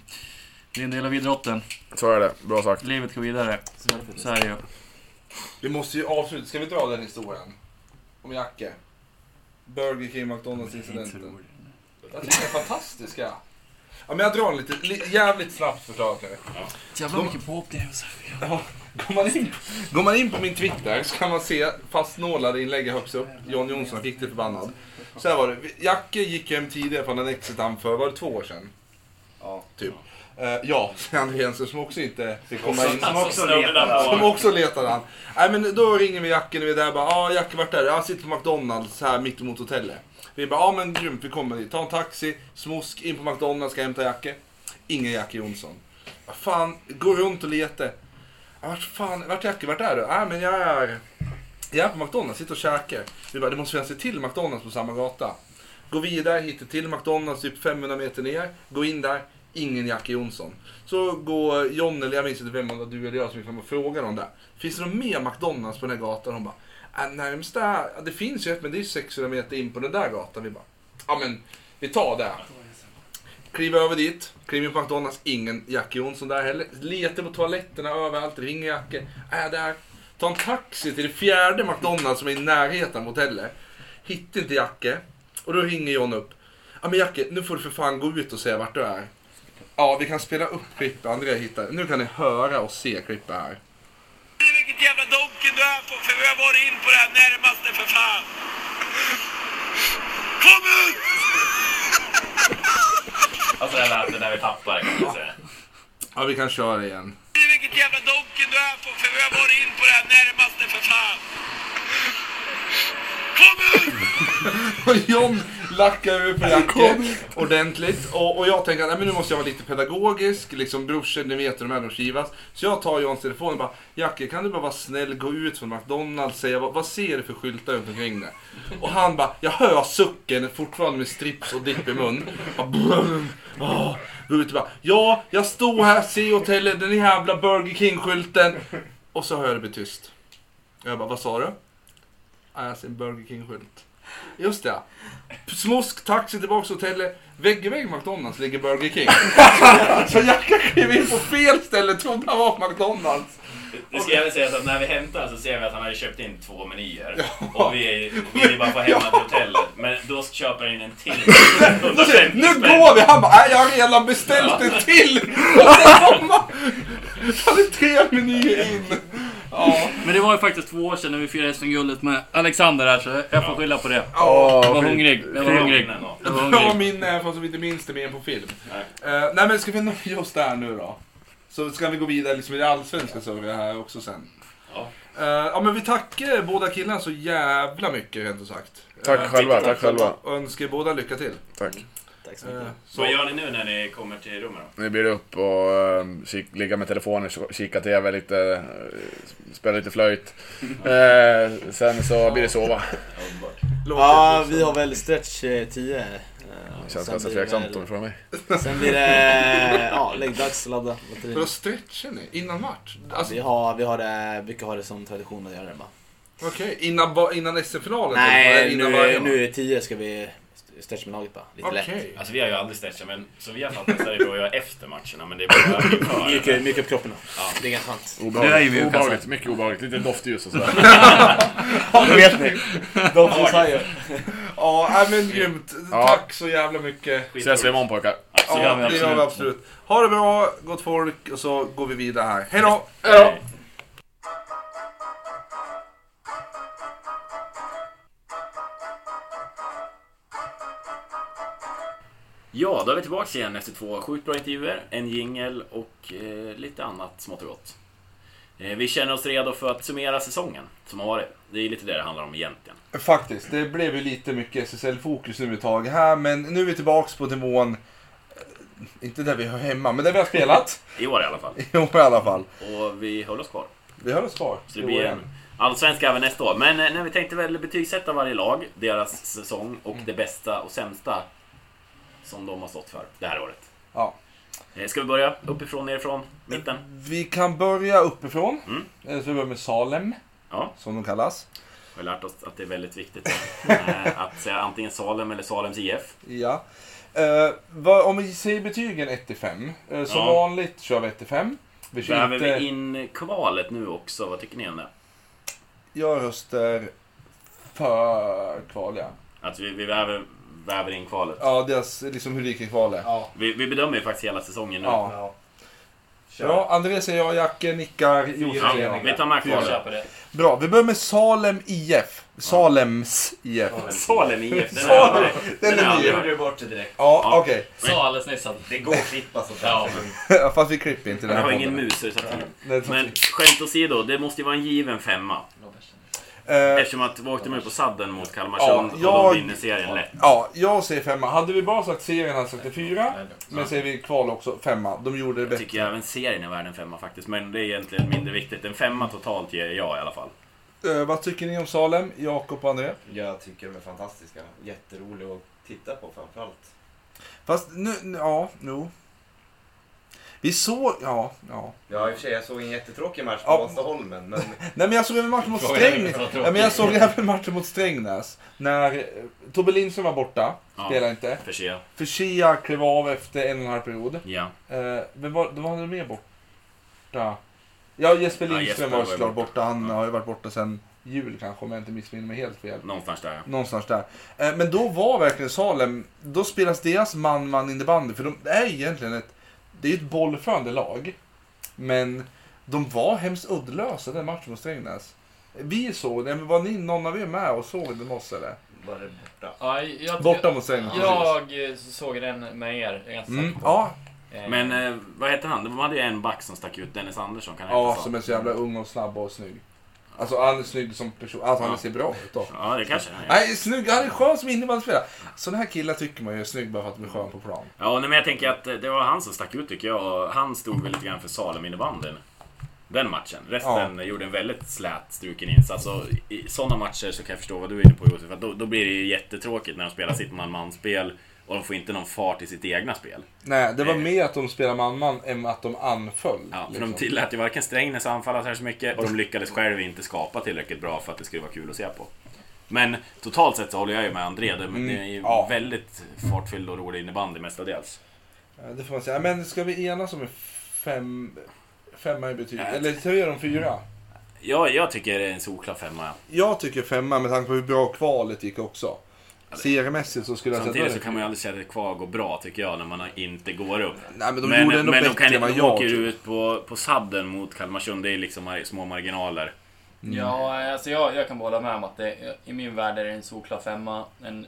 Speaker 7: det är en del av idrotten.
Speaker 5: Så är det, bra sagt.
Speaker 7: Livet går vidare. Så är det ju.
Speaker 3: Vi måste ju avsluta. Ska vi dra den historien? Om Jacke? Burger King, McDonalds incidenten. Jag tycker den är fantastisk. Ja, Ja, men jag drar den lite, li- jävligt snabbt förklarat nu.
Speaker 7: Jävlar vilken påhopp det är Josef.
Speaker 3: Går man, in, går man in på min Twitter så kan man se fastnålade inlägg högst upp. John Jonsson, riktigt förbannad. Så här var det. Jacke gick hem tidigare från en exit han för, var det två år sedan? Ja, typ. Eh, ja, säger Andreasen som också inte fick komma in.
Speaker 1: Som också letar.
Speaker 3: Som också letade han. Nej men då ringer vi Jacke när vi är där bara, ja Jacke vart är du? Jag sitter på McDonalds här mitt emot hotellet. Vi bara, ja men grymt vi kommer dit. Ta en taxi, smosk, in på McDonalds, ska hämta Jacke. Ingen Jacke Jonsson. Vad Fan, gå runt och leta. Ja, Vart fan, vart Jacke, vart är du? Ja men jag är, jag är på McDonalds, sitter och käkar. Vi bara, det måste finnas ett till McDonalds på samma gata. Gå vidare, hittar till McDonalds, typ 500 meter ner. Gå in där, ingen Jackie Jonsson. Så går John, eller jag minns inte vem, om det var du eller jag som gick fram och frågade dem där. Finns det någon mer McDonalds på den här gatan? Hon bara, äh, närmsta, ja, det finns ju ett men det är 600 meter in på den där gatan. Vi bara, ja men vi tar det. Kliver över dit, kliver in på McDonalds, ingen Jackie Jonsson där heller. Letar på toaletterna överallt, ringer Jackie, är där. Tar en taxi till det fjärde McDonalds som är i närheten av hotellet. Hittar inte Jacke. Och då ringer John upp. Ja men Jacke, nu får du för fan gå ut och säga vart du är. Ja, vi kan spela upp klippet Andrea hittar. Nu kan ni höra och se klippet här.
Speaker 10: Vilket jävla donken du är på, för vi har varit in på det här närmaste för fan. Kom ut!
Speaker 1: Alltså det där, det där vi tappar kan man säga.
Speaker 3: Ja, vi kan köra igen.
Speaker 10: Vilket jävla donken du är på, för vi har varit in på det här närmaste för fan. Kom ut!
Speaker 3: Och John lackar ur på Jacke ordentligt. Och, och jag tänker att nej, men nu måste jag vara lite pedagogisk. Liksom brorsor, ni vet hur de är, de kivas. Så jag tar Johns telefon och bara, Jacke kan du bara vara snäll, gå ut från McDonalds, säga vad, vad ser du för skyltar runt omkring dig? Och han bara, jag hör sucken fortfarande med strips och dipp i mun. Bara, brum, åh. Går ut och bara, ja, jag står här, ser hotellet, den jävla Burger King-skylten. Och så hör jag det bli tyst. Jag bara, vad sa du? "Ja, Jag ser en Burger King-skylt. Just det. Smosk, taxi tillbaka till hotellet. Vägg i vägg med McDonalds ligger Burger King. så Jacka klev in på fel ställe, trodde han var på McDonalds.
Speaker 1: Nu ska jag väl säga så att när vi hämtar så ser vi att han hade köpt in två menyer. Och vi ville bara få hem honom till hotellet. Men då köper han in en till.
Speaker 3: Då säger, nu går vi! Han bara, "Nej, jag har redan beställt en till! Och sen kom han. Han är tre menyer in. Ja,
Speaker 7: Men det var ju faktiskt två år sedan när vi firade SM-guldet med Alexander här, så jag får skylla på det.
Speaker 3: ja.
Speaker 7: Jag var hungrig. Jag var hungrig. Jag var
Speaker 3: Bra
Speaker 7: hungrig.
Speaker 3: minne, fast vi inte minns det mer än på film. Eh,
Speaker 1: Nej.
Speaker 3: Nej. nej men ska vi nöja oss där nu då? Så ska vi gå vidare liksom i det allsvenska så har vi det här också sen.
Speaker 1: Ja.
Speaker 3: Eh, ja men vi tackar båda killarna så jävla mycket rent ut sagt.
Speaker 5: Tack
Speaker 3: Eh,
Speaker 5: själva, tack själva.
Speaker 3: Och önskar er båda lycka till.
Speaker 5: Tack.
Speaker 2: Tack så mycket.
Speaker 3: Eh,
Speaker 1: Mm. Vad
Speaker 3: så,
Speaker 1: gör ni nu när ni kommer till rummet då?
Speaker 5: Nu blir det upp och eh, kik, ligga med telefonen, ki- kika TV lite, eh, spela lite flöjt. Eh, sen så blir det sova.
Speaker 2: Ja, vi har väl stretch eh, 10. eh,
Speaker 5: Det
Speaker 2: sen
Speaker 5: känns ganska
Speaker 2: blir det
Speaker 5: tveksamt
Speaker 2: väl-
Speaker 5: om du frågar mig.
Speaker 2: Sen blir det... eh, Ja, lägg dags att ladda
Speaker 3: Vadå
Speaker 2: batteriet.
Speaker 3: stretchar ni? Innan match? Alltså,
Speaker 2: Vi har, vi har det, brukar ha det som tradition att göra det bara.
Speaker 3: Okej, innan, ba- innan SM-finalen? Eller
Speaker 2: Nej,
Speaker 3: innan
Speaker 2: nu,
Speaker 3: varje
Speaker 2: nu är 10 ska vi stretcha med laget bara. Lite
Speaker 3: match?
Speaker 2: lätt.
Speaker 3: Okej.
Speaker 1: Alltså vi har ju aldrig stretchat, men som vi har fattat så är det bra att göra efter matcherna, men det är bara inför.
Speaker 2: Mjuka, mjuka upp kroppen då.
Speaker 1: Ja.
Speaker 2: Det är ganska skönt.
Speaker 11: Det är ju mjuka,
Speaker 5: Obehagligt, obehagligt, mycket obehagligt. Lite doftljus och sådär.
Speaker 2: Det vet ni. De som säger.
Speaker 3: Ja, nej, men grymt.
Speaker 5: Ja.
Speaker 3: Tack så jävla mycket.
Speaker 5: Ses vi imorgon pojkar.
Speaker 3: Ja,
Speaker 11: gör vi
Speaker 3: det gör vi
Speaker 11: absolut.
Speaker 3: absolut. Ha det bra, gott folk, och så går vi vidare här. Hej då!
Speaker 1: Ja, då är vi tillbaka igen efter två sjukt bra intervjuer, en jingel och eh, lite annat smått och gott. Eh, vi känner oss redo för att summera säsongen som har varit. Det är lite det det handlar om egentligen.
Speaker 3: Faktiskt, det blev ju lite mycket SSL-fokus nu ett tag här, men nu är vi tillbaks på nivån, eh, inte där vi hör hemma, men där vi har spelat.
Speaker 1: I år i alla fall.
Speaker 3: Jo, i alla fall.
Speaker 1: Och vi höll oss kvar.
Speaker 3: Vi höll oss kvar.
Speaker 1: Så det blir en allsvenska även nästa år. Men eh, när vi tänkte väl betygsätta varje lag, deras säsong och det bästa och sämsta som de har stått för det här året.
Speaker 3: Ja.
Speaker 1: Eh, Ska vi börja uppifrån, nerifrån, mitten?
Speaker 3: Vi kan börja uppifrån.
Speaker 1: Mm.
Speaker 3: Eh, Så vi börjar med Salem,
Speaker 1: Ja.
Speaker 3: som de kallas.
Speaker 1: Vi har lärt oss att det är väldigt viktigt eh, att säga antingen Salem eller Salems IF.
Speaker 3: Ja. Eh, vad, om vi säger betygen 1-5, eh, som
Speaker 1: Ja.
Speaker 3: vanligt kör vi 1-5. Vi kör
Speaker 1: Väver
Speaker 3: inte...
Speaker 1: vi in kvalet nu också? Vad tycker ni om det?
Speaker 3: Jag röstar för kval, ja.
Speaker 1: Att vi, vi väver, väver in kvalet.
Speaker 3: Ja, deras, liksom hur det gick i kvalet. Ja.
Speaker 1: Vi, vi bedömer ju faktiskt hela säsongen nu.
Speaker 3: Ja. André säger jag, Jacke nickar, Josef
Speaker 1: Ja,
Speaker 3: säger jag.
Speaker 1: vi tar med kvalet.
Speaker 3: Bra, vi börjar med Salem IF. Salems IF.
Speaker 1: Salem IF, den
Speaker 3: Salem,
Speaker 1: är
Speaker 3: den är ny.
Speaker 1: aldrig-
Speaker 4: bort det direkt.
Speaker 3: Ja,
Speaker 1: Ja.
Speaker 3: okej.
Speaker 11: Sa alldeles nyss att...
Speaker 4: Det går att klippa sånt här.
Speaker 11: Ja.
Speaker 3: Fast vi klipper inte den
Speaker 1: Jag
Speaker 3: här
Speaker 1: har ingen
Speaker 3: podden.
Speaker 1: mus så det tar tid.
Speaker 3: Nej, det tar
Speaker 1: Men
Speaker 3: tid.
Speaker 1: skämt åsido, det måste ju vara en given femma.
Speaker 3: Eh,
Speaker 1: Eftersom att vi åkte med på sadden mot
Speaker 3: Ja,
Speaker 1: Kalmarsund och
Speaker 3: jag-
Speaker 1: de vinner serien lätt.
Speaker 3: Ja, jag säger femma. Hade vi bara sagt serien hade jag sagt det fyra. Men säger vi kval också, femma. De gjorde det
Speaker 1: Jag
Speaker 3: bättre.
Speaker 1: tycker även serien är värd en femma faktiskt, men det är egentligen mindre viktigt. En femma totalt ger jag i alla fall.
Speaker 3: Eh, vad tycker ni om Salem, Jakob och André?
Speaker 4: Jag tycker de är fantastiska. Jätteroliga att titta på framförallt.
Speaker 3: Fast nu, nu- ja, jo. Vi såg, ja, ja.
Speaker 4: Ja, i och för sig, jag såg en jättetråkig match på
Speaker 3: Ja.
Speaker 4: Vasaholmen, men
Speaker 3: Nej men jag såg även matchen mot Strängnäs. Nej, men jag såg även matchen mot Strängnäs. När eh, Tobbe Lindström var borta,
Speaker 1: Ja.
Speaker 3: spelade inte.
Speaker 1: För se.
Speaker 3: Fechia klev av efter en och en halv period.
Speaker 1: Ja.
Speaker 3: Eh, men var, då var det mer borta? Ja, Jesper
Speaker 1: Ja,
Speaker 3: Lindström
Speaker 1: Jesper
Speaker 3: var
Speaker 1: var
Speaker 3: såklart borta. Han har ju varit borta sedan jul kanske, om jag inte missminner mig helt fel.
Speaker 1: Någonstans där.
Speaker 3: Någonstans där. Eh, Men då var verkligen Salem, då spelas deras man-man innebandy. För de det är egentligen ett, det är ju ett bollförande lag. Men de var hemskt uddlösa den matchen mot Strängnäs. Vi såg den, men var ni någon av er med och såg den med oss eller?
Speaker 4: var det borta.
Speaker 7: Ja, jag,
Speaker 3: Borta mot Strängnäs. precis.
Speaker 7: jag eh, såg den med er. Jag är ganska
Speaker 3: Mm,
Speaker 7: säker på.
Speaker 3: ja,
Speaker 7: Eh,
Speaker 1: Men eh, vad hette han? De hade ju en back som stack ut, Dennis Andersson. Kan han
Speaker 3: ja,
Speaker 1: heta så?
Speaker 3: som är så jävla ung och snabb och snygg. Alltså han är snygg som person, alltså han
Speaker 1: Ja.
Speaker 3: ser bra ut då.
Speaker 1: Ja, det kanske han är.
Speaker 3: Nej, snygg, han är skön som innebandyspelare. Sådana här killar tycker man ju är snygg bara för att de är skön på plan.
Speaker 1: Ja, nej, men jag tänker att eh, det var han som stack ut tycker jag. Och han stod väl lite grann för Salem innebandyn. Den matchen. Resten gjorde en väldigt slät, struken insats. Och I sådana matcher så kan jag förstå vad du är inne på Josef. Att då, då blir det ju jättetråkigt när de spelar sitt man-man-spel och de får inte någon fart i sitt egna spel.
Speaker 3: Nej, det var
Speaker 1: Eh.
Speaker 3: mer att de spelade man-man än att de anföll.
Speaker 1: Ja, för
Speaker 3: liksom.
Speaker 1: de tillät ju varken Strängnäs anfalla så här så mycket och de lyckades själv inte skapa tillräckligt bra för att det skulle vara kul att se på. Men totalt sett så håller jag ju med André. Det, det är ju
Speaker 3: Mm. ja.
Speaker 1: väldigt fartfylld och rolig innebandy mestadels.
Speaker 3: Ja, Eh, Det får man säga. Men ska vi enas om en fem, femma i betyg? Eller ska vi göra om fyra?
Speaker 1: Mm. Jag, jag tycker det är en solklar femma.
Speaker 3: Jag tycker femma med tanke på hur bra kvalet gick också. Seriemässigt så skulle jag sätta
Speaker 1: Samtidigt så
Speaker 3: det.
Speaker 1: kan man ju aldrig säga att kvar går bra tycker jag när man inte går upp.
Speaker 3: Nej, men de
Speaker 1: men
Speaker 3: gjorde ändå
Speaker 1: men de,
Speaker 3: bättre
Speaker 1: kan,
Speaker 3: än vad
Speaker 1: de
Speaker 3: jag
Speaker 1: åker
Speaker 3: tror.
Speaker 1: ju ut på, på sadden mot Kalmarsund. Det är liksom mar- små marginaler.
Speaker 7: Ja, alltså jag, jag kan bara hålla med om att det, i min värld är det en solklar femma. En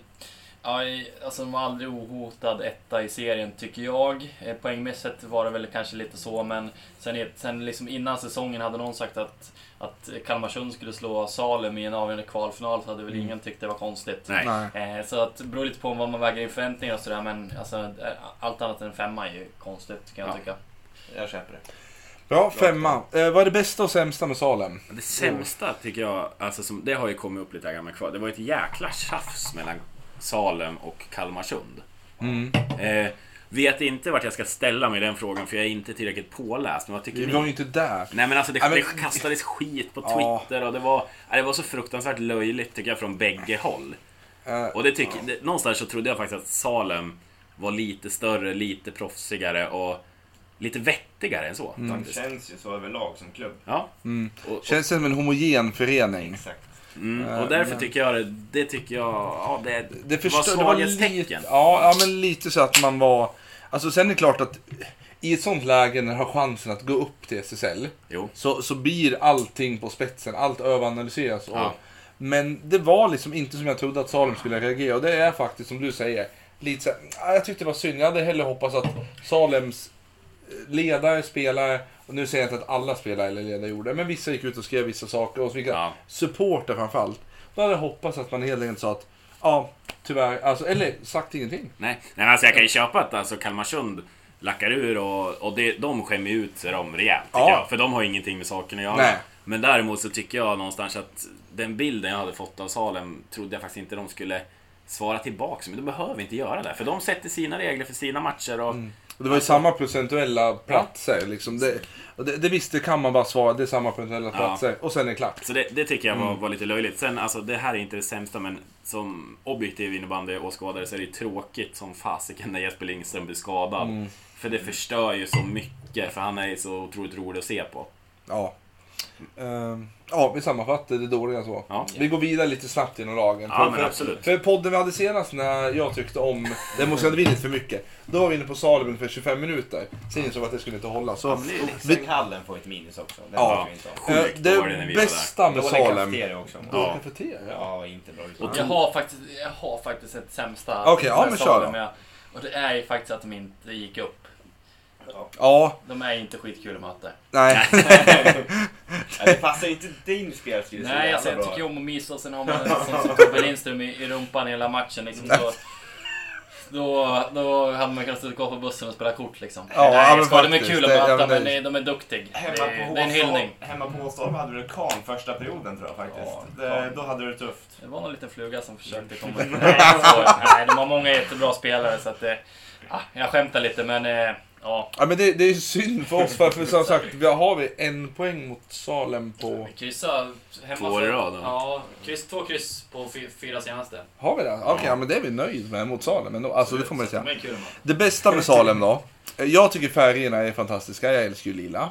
Speaker 7: Ja, i- alltså de var aldrig ohotad etta i serien tycker jag. Eh, Poängmässigt var det väl kanske lite så, men sen, i- sen liksom innan säsongen hade någon sagt att, att Kalmarsund skulle slå Salem i en avgörande kvalfinal så hade väl ingen tyckt det var konstigt.
Speaker 1: Nej.
Speaker 3: Nej.
Speaker 7: Eh, Så att, det beror lite på vad man väger in förväntningar och sådär, men alltså, eh, allt annat än femma är ju konstigt kan jag tycka.
Speaker 2: Jag köper det.
Speaker 3: Bra, femma. Eh, vad är det bästa och sämsta med Salem?
Speaker 1: Det sämsta tycker jag, alltså som, det har ju kommit upp lite här gamla kvar. Det var ett jäkla tjafs mellan Salem och Kalmarsund.
Speaker 3: Mm.
Speaker 1: Eh, vet inte vart jag ska ställa mig i den frågan för jag är inte tillräckligt påläst. Men vad tycker
Speaker 3: Vi
Speaker 1: ni?
Speaker 3: var ju inte där.
Speaker 1: Nej men alltså det,
Speaker 3: Ja, men-
Speaker 1: det kastades skit på
Speaker 3: Ja.
Speaker 1: Twitter och det var, ja, det var så fruktansvärt löjligt tycker jag från bägge håll.
Speaker 3: Eh,
Speaker 1: Och det tycker, det, någonstans så trodde jag faktiskt att Salem var lite större, lite proffsigare och lite vettigare än så.
Speaker 3: Mm.
Speaker 4: Det
Speaker 1: Faktiskt.
Speaker 4: känns ju så överlag som klubb.
Speaker 1: Ja. Och, och,
Speaker 3: Känns det som en homogen förening.
Speaker 4: Exakt.
Speaker 1: mm, och därför tycker jag det, det tycker jag, ja det,
Speaker 3: Det, förstör,
Speaker 1: var
Speaker 3: lite,
Speaker 1: svaghetstecken.
Speaker 3: ja, ja, men lite så att man var... Alltså sen är det klart att i ett sånt läge när du har chansen att gå upp till SSL
Speaker 1: Jo.
Speaker 3: så, så blir allting på spetsen. Allt överanalyseras. Och,
Speaker 1: Ja.
Speaker 3: Men det var liksom inte som jag trodde att Salem skulle reagera. Och det är faktiskt som du säger. Lite så här, "Ah, jag tyckte det var synd. Jag hade hellre hoppats att Salems eh, ledare, spelare, och nu säger jag inte att alla spelare eller ledare gjorde det, men vissa gick ut och skrev vissa saker. Och så vilka
Speaker 1: Ja.
Speaker 3: supporter framförallt. Då hade jag hoppats att man helt enkelt sa att, ja, tyvärr, alltså, eller sagt ingenting.
Speaker 1: Nej, nej men alltså jag kan ju köpa att alltså Kalmarsund lackar ur och, och det, de skämmer ut sig de rejält. tycker
Speaker 3: Ja.
Speaker 1: Jag, för de har ju ingenting med saken att göra.
Speaker 3: Nej.
Speaker 1: Men däremot så tycker jag någonstans att den bilden jag hade fått av Salem trodde jag faktiskt inte de skulle svara tillbaks Men de behöver inte göra det. För de sätter sina regler för sina matcher och...
Speaker 3: Och det var ju samma procentuella platser. Liksom. Det, och det, det visste kan man bara svara, det är samma procentuella platser. Och sen är det klart.
Speaker 1: Så det, det tycker jag var,
Speaker 3: Mm.
Speaker 1: var lite löjligt. Sen, alltså det här är inte det sämsta men som objektiv innebandyåskådare så är det ju tråkigt som fasiken när Jesper Lindström blir skadad.
Speaker 3: Mm.
Speaker 1: För det förstör ju så mycket, för han är ju så otroligt rolig att se på.
Speaker 3: Ja. Ehm, ja, vi sammanfattar det dåliga så.
Speaker 1: Ja.
Speaker 3: Vi går vidare lite snabbt genom lagen.
Speaker 1: Ja, men absolut.
Speaker 3: för podden vi hade senast när jag tyckte om den måste jag hade vinit för mycket. Då var vi inne på Salem ungefär 25 minuter. Sen insåg vi att det skulle inte hålla. Så,
Speaker 4: Oxenhallen liksom får ett minus också. Den
Speaker 3: Ja.
Speaker 4: ja. vi inte om.
Speaker 3: eh,
Speaker 1: Sjukt dålig när
Speaker 3: det
Speaker 1: vi var där.
Speaker 3: bästa med
Speaker 4: Dålig
Speaker 3: Salem...
Speaker 4: kafeteria också.
Speaker 1: Ja.
Speaker 3: Dålig kafeteria?
Speaker 4: Ja, inte bra utseende.
Speaker 7: Jag har faktiskt, jag har faktiskt ett sämsta.
Speaker 3: Okej, ja,
Speaker 7: med
Speaker 3: men kör
Speaker 7: Salem,
Speaker 3: då.
Speaker 7: men jag- Och det är ju faktiskt att de inte gick upp.
Speaker 3: Ja,
Speaker 7: De är inte skitkul att möta.
Speaker 3: nej.
Speaker 4: Ja, Det passar ju inte din spelstil så
Speaker 7: Nej,
Speaker 4: jävla
Speaker 7: alltså, jag
Speaker 4: bra.
Speaker 7: tycker ju om att missa och sen har man en sån som Tobbe Lindström i, i rumpan hela matchen. Liksom, då, då, då hade man kunnat sitta kvar på bussen och spela kort liksom.
Speaker 3: Ja, ja, men
Speaker 7: Nej, ska, de är
Speaker 3: faktiskt.
Speaker 7: kul
Speaker 3: Det-
Speaker 7: att
Speaker 3: ja,
Speaker 7: möta,
Speaker 3: men
Speaker 7: men
Speaker 3: det-
Speaker 7: de är duktiga. Det,
Speaker 4: Hemma
Speaker 7: det
Speaker 4: på
Speaker 7: är en
Speaker 4: Håstorp-
Speaker 7: hyllning.
Speaker 4: Hemma på Åstorp hade du orkan första perioden tror jag faktiskt. det, då hade du det tufft.
Speaker 7: Det var någon liten fluga som försökte
Speaker 4: Mm.
Speaker 7: komma in. Nej, så, nej, de har många jättebra spelare så att det... Ah, jag skämtar lite men... eh, Ja,
Speaker 3: ja men det, det är synd för oss för, för som sagt, vi har vi en poäng mot Salem på...
Speaker 7: kryssa hemma.
Speaker 1: Två i
Speaker 7: för-
Speaker 1: rad, då.
Speaker 7: Ja, kryss, två kryss på fy- fyra senaste.
Speaker 3: Har vi det? Okej, ja. men det är vi nöjd med mot Salem ändå. Alltså det får man ju säga.
Speaker 7: De är kul att möta.
Speaker 3: Det bästa med Salem då? Jag tycker färgerna är fantastiska. Jag älskar ju lila.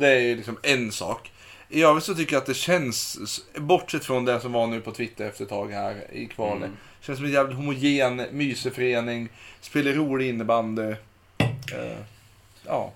Speaker 3: Det är ju liksom en sak. I övrigt så tycker jag att det känns, bortsett från det som var nu på Twitter efter ett tag här i kvalet.
Speaker 7: Mm.
Speaker 3: Känns som en jävligt homogen myseförening. Spelar rolig innebandy. Eh, ja.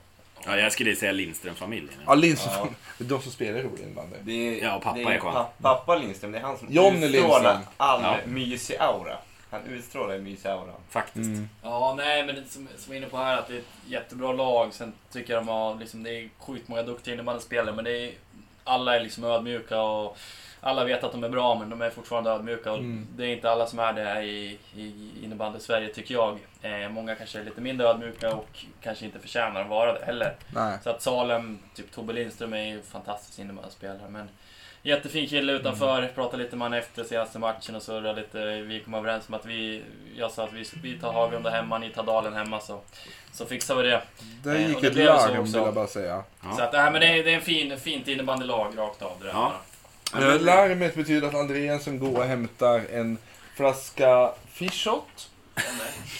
Speaker 1: Ja, jag skulle säga Lindström-familjen.
Speaker 3: Ja, Lindström.
Speaker 4: Ja.
Speaker 3: De som spelar rolig innebandy.
Speaker 4: Det är,
Speaker 1: Ja, och pappa
Speaker 4: det
Speaker 1: är skön.
Speaker 4: pa- Pappa Lindström, det är han som
Speaker 3: Johnny
Speaker 4: utstrålar
Speaker 3: Lindström.
Speaker 4: all
Speaker 1: Ja.
Speaker 4: mysig aura. Han utstrålar en mysig aura.
Speaker 1: Faktiskt.
Speaker 7: Ja, nej men det som, som jag är inne på här att det är ett jättebra lag. Sen tycker jag de har liksom, det är sjukt många duktiga innebandyspelare men det är, alla är liksom ödmjuka och alla vet att de är bra men de är fortfarande ödmjuka. Och
Speaker 3: Mm.
Speaker 7: Det är inte alla som är det här i, i innebandy-Sverige tycker jag. Eh, många kanske är lite mindre ödmjuka och kanske inte förtjänar att vara det heller.
Speaker 3: Nej.
Speaker 7: Så att Salem, typ Tobbe Lindström är ju en fantastisk innebandyspelare. Men jättefin kille utanför, pratade lite med honom efter senaste matchen och surrade lite. Vi kom överens om att vi, jag sa att vi, vi tar Hagunda hemma, ni tar Dalen hemma så, så fixar vi det.
Speaker 3: Där
Speaker 7: Eh,
Speaker 3: gick
Speaker 7: och det
Speaker 3: ett
Speaker 7: blev så
Speaker 3: larm vill
Speaker 7: också.
Speaker 3: jag bara säga.
Speaker 1: Ja.
Speaker 7: Så att, nej, men det, är, det är en fin, fint innebandylag rakt av det där.
Speaker 1: Ja.
Speaker 3: Eh, Larmet betyder att Andreasen går och hämtar en flaska Fishot.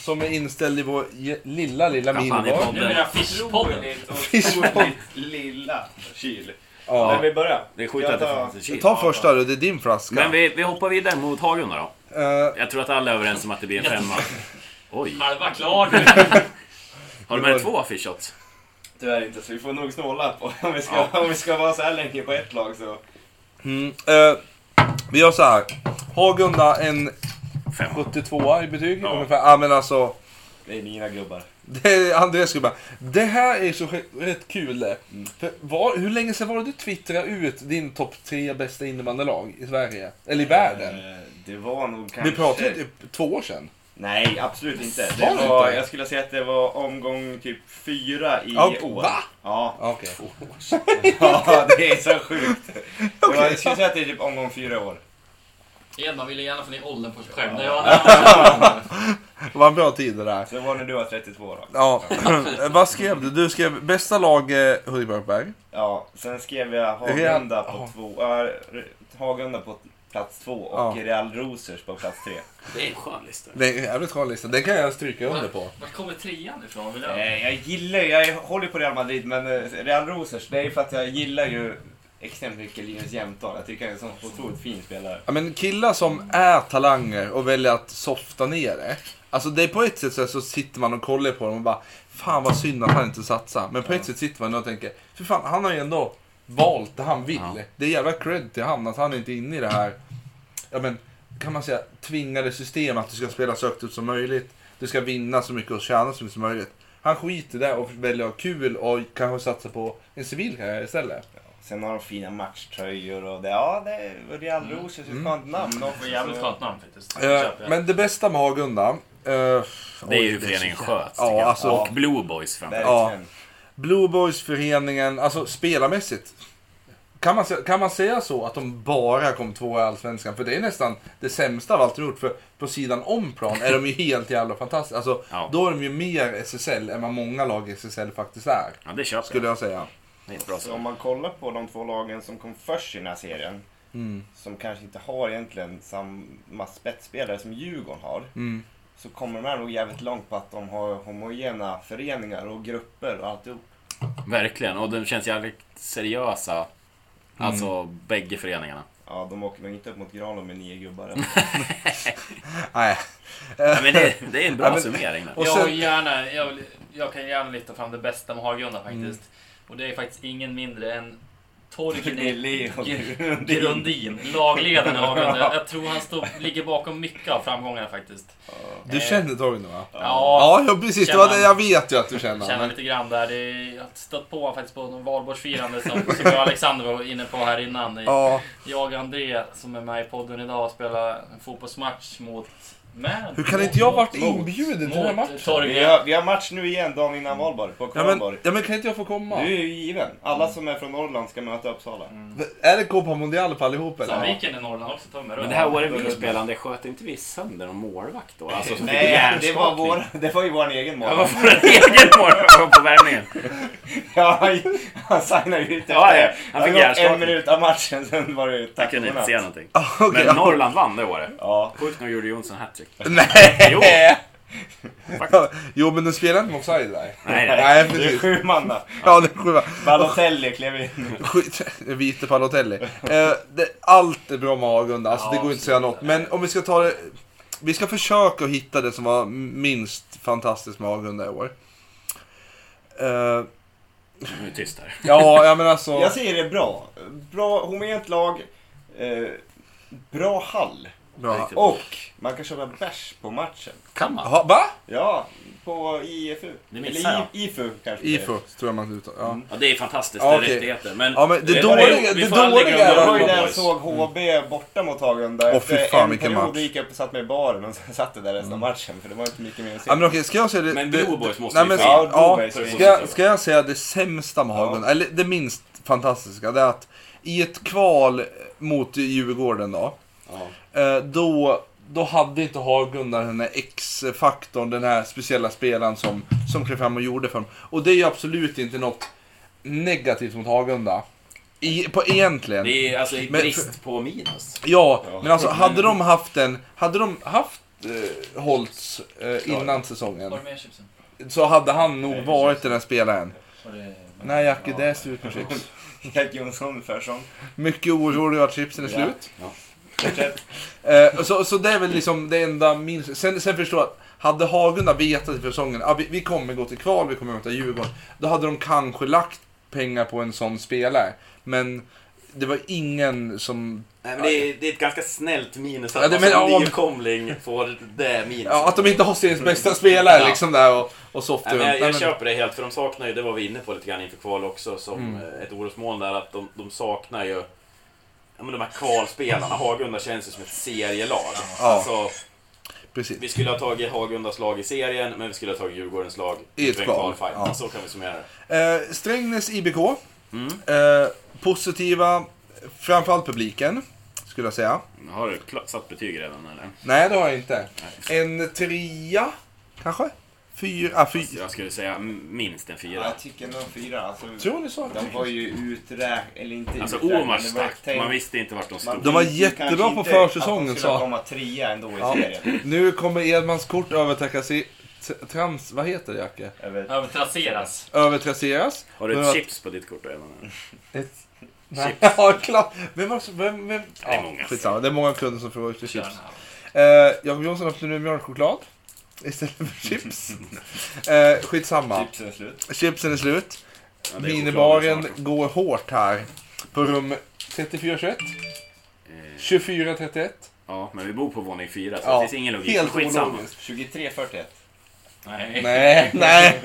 Speaker 3: Som är inställd i vår je- lilla, lilla
Speaker 1: Champagne i
Speaker 3: minibar.
Speaker 1: podden.
Speaker 7: Nu menar jag Fishpodden.
Speaker 3: Fishpodden.
Speaker 4: lilla kyl.
Speaker 3: Ja.
Speaker 4: Men vi börjar.
Speaker 1: Det är sjukt att det
Speaker 4: Jag tar-
Speaker 1: fanns en kyl.
Speaker 3: Ta första du, det är din flaska.
Speaker 1: Men vi, vi hoppar vidare mot Hagunda då.
Speaker 3: Eh,
Speaker 1: Jag tror att alla är överens om att det blir en femma. Oj.
Speaker 7: Halva klar nu.
Speaker 1: Har du med dig två affischshots?
Speaker 4: Tyvärr inte, så vi får nog snåla på om vi ska, om vi ska vara så här länge på ett lag så.
Speaker 3: mm, eh, vi gör så här. Hagunda en 72 i betyg ungefär. Ja, men alltså,
Speaker 4: Det är mina gubbar.
Speaker 3: det är Andreas skulle bara, det här är så rätt- rätt kul det.
Speaker 1: Mm.
Speaker 3: För var, hur länge sedan var det du twittrade ut din topp tre bästa innebandylag i Sverige? Eller i världen?
Speaker 4: Eh, Det var nog kanske...
Speaker 3: Vi pratade ju typ två år sedan.
Speaker 4: Nej, absolut inte.
Speaker 3: Var det
Speaker 4: Det var,
Speaker 3: inte?
Speaker 4: jag skulle säga att det var omgång typ fyra i
Speaker 3: Ja,
Speaker 4: år.
Speaker 3: va?
Speaker 4: Ja.
Speaker 3: Ja, Okej.
Speaker 4: ja, det är så sjukt. Det var, jag skulle säga att det är typ omgång fyra i år.
Speaker 7: Edman ville gärna få ner åldern på sig själv. Det
Speaker 3: Det var en bra tid det där.
Speaker 4: Så det var när du var 32 då.
Speaker 3: Ja. Vad skrev du? Du skrev bästa lag eh, Hurtig-Björkberg.
Speaker 4: Ja, sen skrev jag Hagunda på, två, äh, Hagunda på plats två och
Speaker 3: Ja.
Speaker 4: Real Rosers på plats tre.
Speaker 7: Det är en skön lista.
Speaker 3: Det är en jävligt skön lista. Den kan jag stryka under på.
Speaker 7: Var kommer trean ifrån? Vill jag...
Speaker 4: Eh, jag gillar ju, jag håller ju på Real Madrid, men eh, Real Rosers, det är ju för att jag gillar ju extremt mycket Linus Jämtdal. Jag tycker han är en sån otroligt fin spelare.
Speaker 3: Ja, men killar som är talanger och väljer att softa ner det. Alltså det är på ett sätt så, här, så sitter man och kollar på dem och bara Fan vad synd att han inte satsar. Men på ett sätt sitter man och tänker För fan, han har ju ändå valt det han vill. Det är jävla cred till han att han inte är inne i det här ja, men, kan man säga, tvingade system att du ska spela så högt upp som möjligt. Du ska vinna så mycket och tjäna så mycket som möjligt. Han skiter där och väljer att ha kul och kanske satsa på en civil karriär istället.
Speaker 4: Sen har de fina matchtröjor och det, ja, det är Real Rosers, ett skönt namn också.
Speaker 7: Det var jävligt
Speaker 4: så-
Speaker 7: skönt namn faktiskt.
Speaker 3: Eh,
Speaker 7: Köper jag.
Speaker 3: men det bästa med Hagunda. eh,
Speaker 1: Det är
Speaker 3: oj,
Speaker 1: ju hur
Speaker 3: så
Speaker 1: föreningen
Speaker 3: jävla-
Speaker 1: sköts.
Speaker 3: Ja,
Speaker 1: tycker jag.
Speaker 3: alltså-
Speaker 1: och Blue Boys framförallt.
Speaker 4: Verkligen.
Speaker 3: Blue Boys-föreningen, alltså spelarmässigt. Kan man, sä- kan man säga så att de bara kom två i Allsvenskan? För det är nästan det sämsta av allt de gjort. För på sidan om plan är de ju helt jävla fantastiska. Alltså,
Speaker 1: Ja.
Speaker 3: Då är de ju mer SSL än vad många lag i SSL faktiskt är.
Speaker 1: Ja, det köper
Speaker 3: Skulle
Speaker 1: jag.
Speaker 3: jag säga.
Speaker 1: Det är ett bra
Speaker 4: Så om
Speaker 1: svar.
Speaker 4: man kollar på de två lagen som kom först i den här serien, som kanske inte har egentligen samma spetsspelare som Djurgården har, så kommer de här nog jävligt långt på att de har homogena föreningar och grupper och alltihop.
Speaker 1: Verkligen. Och de känns jävligt seriösa. Alltså bägge föreningarna.
Speaker 4: Ja, de åker nog inte upp mot Granlund med nio gubbar. än.
Speaker 3: Nej. Eh,
Speaker 1: Ja, men det, det är en bra
Speaker 3: men-
Speaker 1: summering. Där.
Speaker 3: Och
Speaker 7: jag,
Speaker 3: sen,
Speaker 7: vill gärna, jag, vill, jag kan gärna lyfta fram det bästa med Hagunda faktiskt. Och det är faktiskt ingen mindre än
Speaker 4: Det är
Speaker 7: Torgny
Speaker 4: Leo
Speaker 7: Gr- Grundin, lagledaren i Hagunda. Jag, jag tror han står, ligger bakom mycket av framgångarna faktiskt.
Speaker 3: du känner Torgny va?
Speaker 7: Ja,
Speaker 3: Ja, ja precis. Det var det jag vet ju att du känner.
Speaker 7: känner
Speaker 3: Men,
Speaker 7: lite grann där. Det är, jag har stött på honom faktiskt på någon valborgsfirande som, som jag och Alexander var inne på här innan. I-
Speaker 3: ja,
Speaker 7: Jag och André, som är med i podden idag, spelar en fotbollsmatch mot... Med,
Speaker 3: hur kan inte jag
Speaker 7: mot-
Speaker 3: varit inbjuden till den här
Speaker 7: mot
Speaker 3: matchen?
Speaker 7: Torgny.
Speaker 4: Vi har, vi har match nu igen dagen innan valborg på
Speaker 3: Ja men,
Speaker 4: Kvarnborg.
Speaker 3: ja men kan inte jag få komma?
Speaker 4: Du är ju given. Alla som är från Norrland ska möta Uppsala.
Speaker 3: Är det Copa Mundial på allihop eller?
Speaker 7: Sandviken i Norrland också, ta mig
Speaker 1: Men
Speaker 7: runt.
Speaker 1: det här året vi spelade, sköt inte vi sönder någon målvakt då? Alltså, som fick
Speaker 4: Nej, det var,
Speaker 1: hjärnskakning?
Speaker 4: vår, det var ju vår egen
Speaker 1: Ja,
Speaker 4: mål.
Speaker 1: vad får en egen målvakt på värmningen?
Speaker 4: Ja, han- han signade ju ut efter
Speaker 1: Ja, ja. Han
Speaker 4: det.
Speaker 1: fick
Speaker 4: Det hade gått en
Speaker 1: hjärnskakning.
Speaker 4: minut av matchen, sen var det ju
Speaker 1: Jag
Speaker 4: tack
Speaker 1: kunde inte
Speaker 4: godnatt.
Speaker 1: se någonting.
Speaker 3: Ah, okej.
Speaker 1: Men Norrland vann det året.
Speaker 4: Ja,
Speaker 1: Sjukt nog gjorde Jonsson hattrick.
Speaker 3: Nej!
Speaker 1: Jo.
Speaker 3: jo, men den spelar inte med offside där.
Speaker 1: Nej, nej.
Speaker 3: Nej,
Speaker 4: det är
Speaker 3: precis.
Speaker 4: sju manna.
Speaker 3: Ja, det är sjuan.
Speaker 4: Balotelli klev in.
Speaker 3: Skit, vite Palotelli. Eh, det, allt är bra med Hagunda, alltså, det går inte att säga något. Men om vi ska ta det... Vi ska försöka att hitta det som var minst fantastiskt med Hagunda i år. Eh,
Speaker 1: Nu är det tyst här.
Speaker 3: ja, jag menar alltså...
Speaker 4: Jag säger det bra. Bra homogent lag, eh, bra hall.
Speaker 3: Bra.
Speaker 1: Typ.
Speaker 4: Och man kan köpa bärs på matchen.
Speaker 1: Kan man?
Speaker 3: Ha, va?
Speaker 4: Ja, på IFU.
Speaker 1: Det
Speaker 4: Eller
Speaker 1: missar jag.
Speaker 4: I- IFU kanske det är.
Speaker 3: IFO, tror jag man uttalar. Ja.
Speaker 1: Ja, det är fantastiskt.
Speaker 3: Ja,
Speaker 1: Det
Speaker 3: okej.
Speaker 1: Mm. är rättigheter. Men
Speaker 3: Ja, men det
Speaker 1: vi får-
Speaker 3: dåliga-
Speaker 1: vi
Speaker 3: det
Speaker 1: får aldrig
Speaker 3: dåliga
Speaker 1: glömma
Speaker 4: Det var
Speaker 3: är-
Speaker 4: ju
Speaker 1: Blue
Speaker 4: när jag
Speaker 1: Boys.
Speaker 4: såg HB borta mot Hagunda.
Speaker 3: Mm. Åh,
Speaker 4: Efter
Speaker 3: fy fan,
Speaker 4: en
Speaker 3: vilken
Speaker 4: period
Speaker 3: match. Mm.
Speaker 4: gick jag upp och satte mig i baren och sen satt jag där resten av matchen. För det var inte mycket mer att se.
Speaker 3: Ja, men okej, ska jag säga det...
Speaker 1: Men
Speaker 3: det-
Speaker 1: Blue Boys måste
Speaker 3: Nej,
Speaker 1: vi
Speaker 3: men,
Speaker 1: få
Speaker 4: in. Ja,
Speaker 3: ja,
Speaker 4: Blue Boys.
Speaker 3: ska, jag- ska jag säga det sämsta med Hagunda, eller det minst fantastiska, det är att i ett kval mot Djurgården då, eh, då, då hade inte Hagunda den här X-faktorn, den här speciella spelaren som, som klev fram och gjorde för dem. Och det är ju absolut inte något negativt mot Hagunda. I, på egentligen.
Speaker 1: Det är alltså i
Speaker 3: Men-
Speaker 1: brist på minus.
Speaker 3: Ja, men alltså hade de haft en, hade de haft eh, Holtz eh, innan säsongen
Speaker 7: Var det mer chipsen?
Speaker 3: så hade han nog varit den här spelaren.
Speaker 7: Var det...
Speaker 3: Nej Jacke, det är slut med chips.
Speaker 4: Jack Jonsson för sån.
Speaker 3: Mycket orolig att chipsen är
Speaker 4: Ja.
Speaker 3: slut. Eh, så, så det är väl liksom det enda minst. Sen, sen förstår jag att hade Hagunda vetat i säsongen att ah, vi, vi kommer gå till kval, vi kommer möta Djurgården. Då hade de kanske lagt pengar på en sån spelare. Men det var ingen som...
Speaker 1: Nej, men det, är, det är ett ganska snällt minus att
Speaker 3: Ja, det
Speaker 1: man som
Speaker 3: men- ja, men-
Speaker 1: nykomling får det minus.
Speaker 3: Ja, att de inte har seriens bästa spelare
Speaker 1: Ja.
Speaker 3: liksom där och, och soft
Speaker 1: Nej, men jag,
Speaker 3: Nej,
Speaker 1: jag
Speaker 3: men-
Speaker 1: köper det helt, för de saknar ju, det var vi inne på lite grann inför kval också, som
Speaker 3: Mm.
Speaker 1: eh, ett orosmoln där, att de, de saknar ju ja, men de här kvalspelarna. Hagunda känns ju som ett serielag. Alltså,
Speaker 3: Precis.
Speaker 1: vi skulle ha tagit Hagundas lag i serien, men vi skulle ha tagit Djurgårdens lag
Speaker 3: I ett
Speaker 1: inför en
Speaker 3: kval.
Speaker 1: kvalfight.
Speaker 3: Ja.
Speaker 1: Så kan vi summera det.
Speaker 3: Eh, Strängnäs IBK. Eh, positiva, framförallt publiken, skulle jag säga.
Speaker 1: Har du kla- satt betyg redan eller?
Speaker 3: Nej, det har jag inte. En trea, kanske? Fyra, ah, fyra.
Speaker 1: Jag skulle säga m- minst en
Speaker 4: Ja,
Speaker 1: fyra.
Speaker 4: jag tycker nog fyra. Alltså,
Speaker 3: Tror ni så?
Speaker 4: de var ju uträknade, eller inte
Speaker 1: Alltså
Speaker 4: uträknade,
Speaker 1: Omar
Speaker 4: men det var
Speaker 1: stack,
Speaker 4: tänkt-
Speaker 1: man visste inte vart de stod.
Speaker 3: De var
Speaker 4: visste ju
Speaker 3: jättebra
Speaker 4: kanske
Speaker 3: på
Speaker 4: inte
Speaker 3: försäsongen,
Speaker 4: att de
Speaker 3: sa-
Speaker 4: skulle komma trea ändå i serien.
Speaker 3: Nu kommer Edmans kort övertäckas i... t- Trans... Vad heter det, Jacke?
Speaker 4: Över
Speaker 7: Övertrasseras.
Speaker 3: Övertrasseras.
Speaker 1: Har du
Speaker 3: Men
Speaker 1: ett
Speaker 3: att-
Speaker 1: chips på ditt kort Evan?
Speaker 3: Ett... Nej, ja, klart. Vem var vem, vem?
Speaker 1: Det är många.
Speaker 3: Skitsamma, det är många kunder som frågar efter chips. Eh, Jakob Jonsson öppnar nu mjölkchoklad istället för chips. Eh, skitsamma.
Speaker 4: Tipsen är slut.
Speaker 3: Chipsen är slut.
Speaker 1: Ja, det är
Speaker 3: Minibaren
Speaker 1: choklad snart.
Speaker 3: går hårt här. På rum 3421,
Speaker 1: Eh,
Speaker 3: 2431.
Speaker 1: Ja, men vi bor på våning fyra så
Speaker 3: Ja,
Speaker 1: det finns ingen logik.
Speaker 3: helt
Speaker 1: Skitsamma.
Speaker 3: ologiskt.
Speaker 4: 23.41.
Speaker 7: Nej.
Speaker 3: Nej, nej.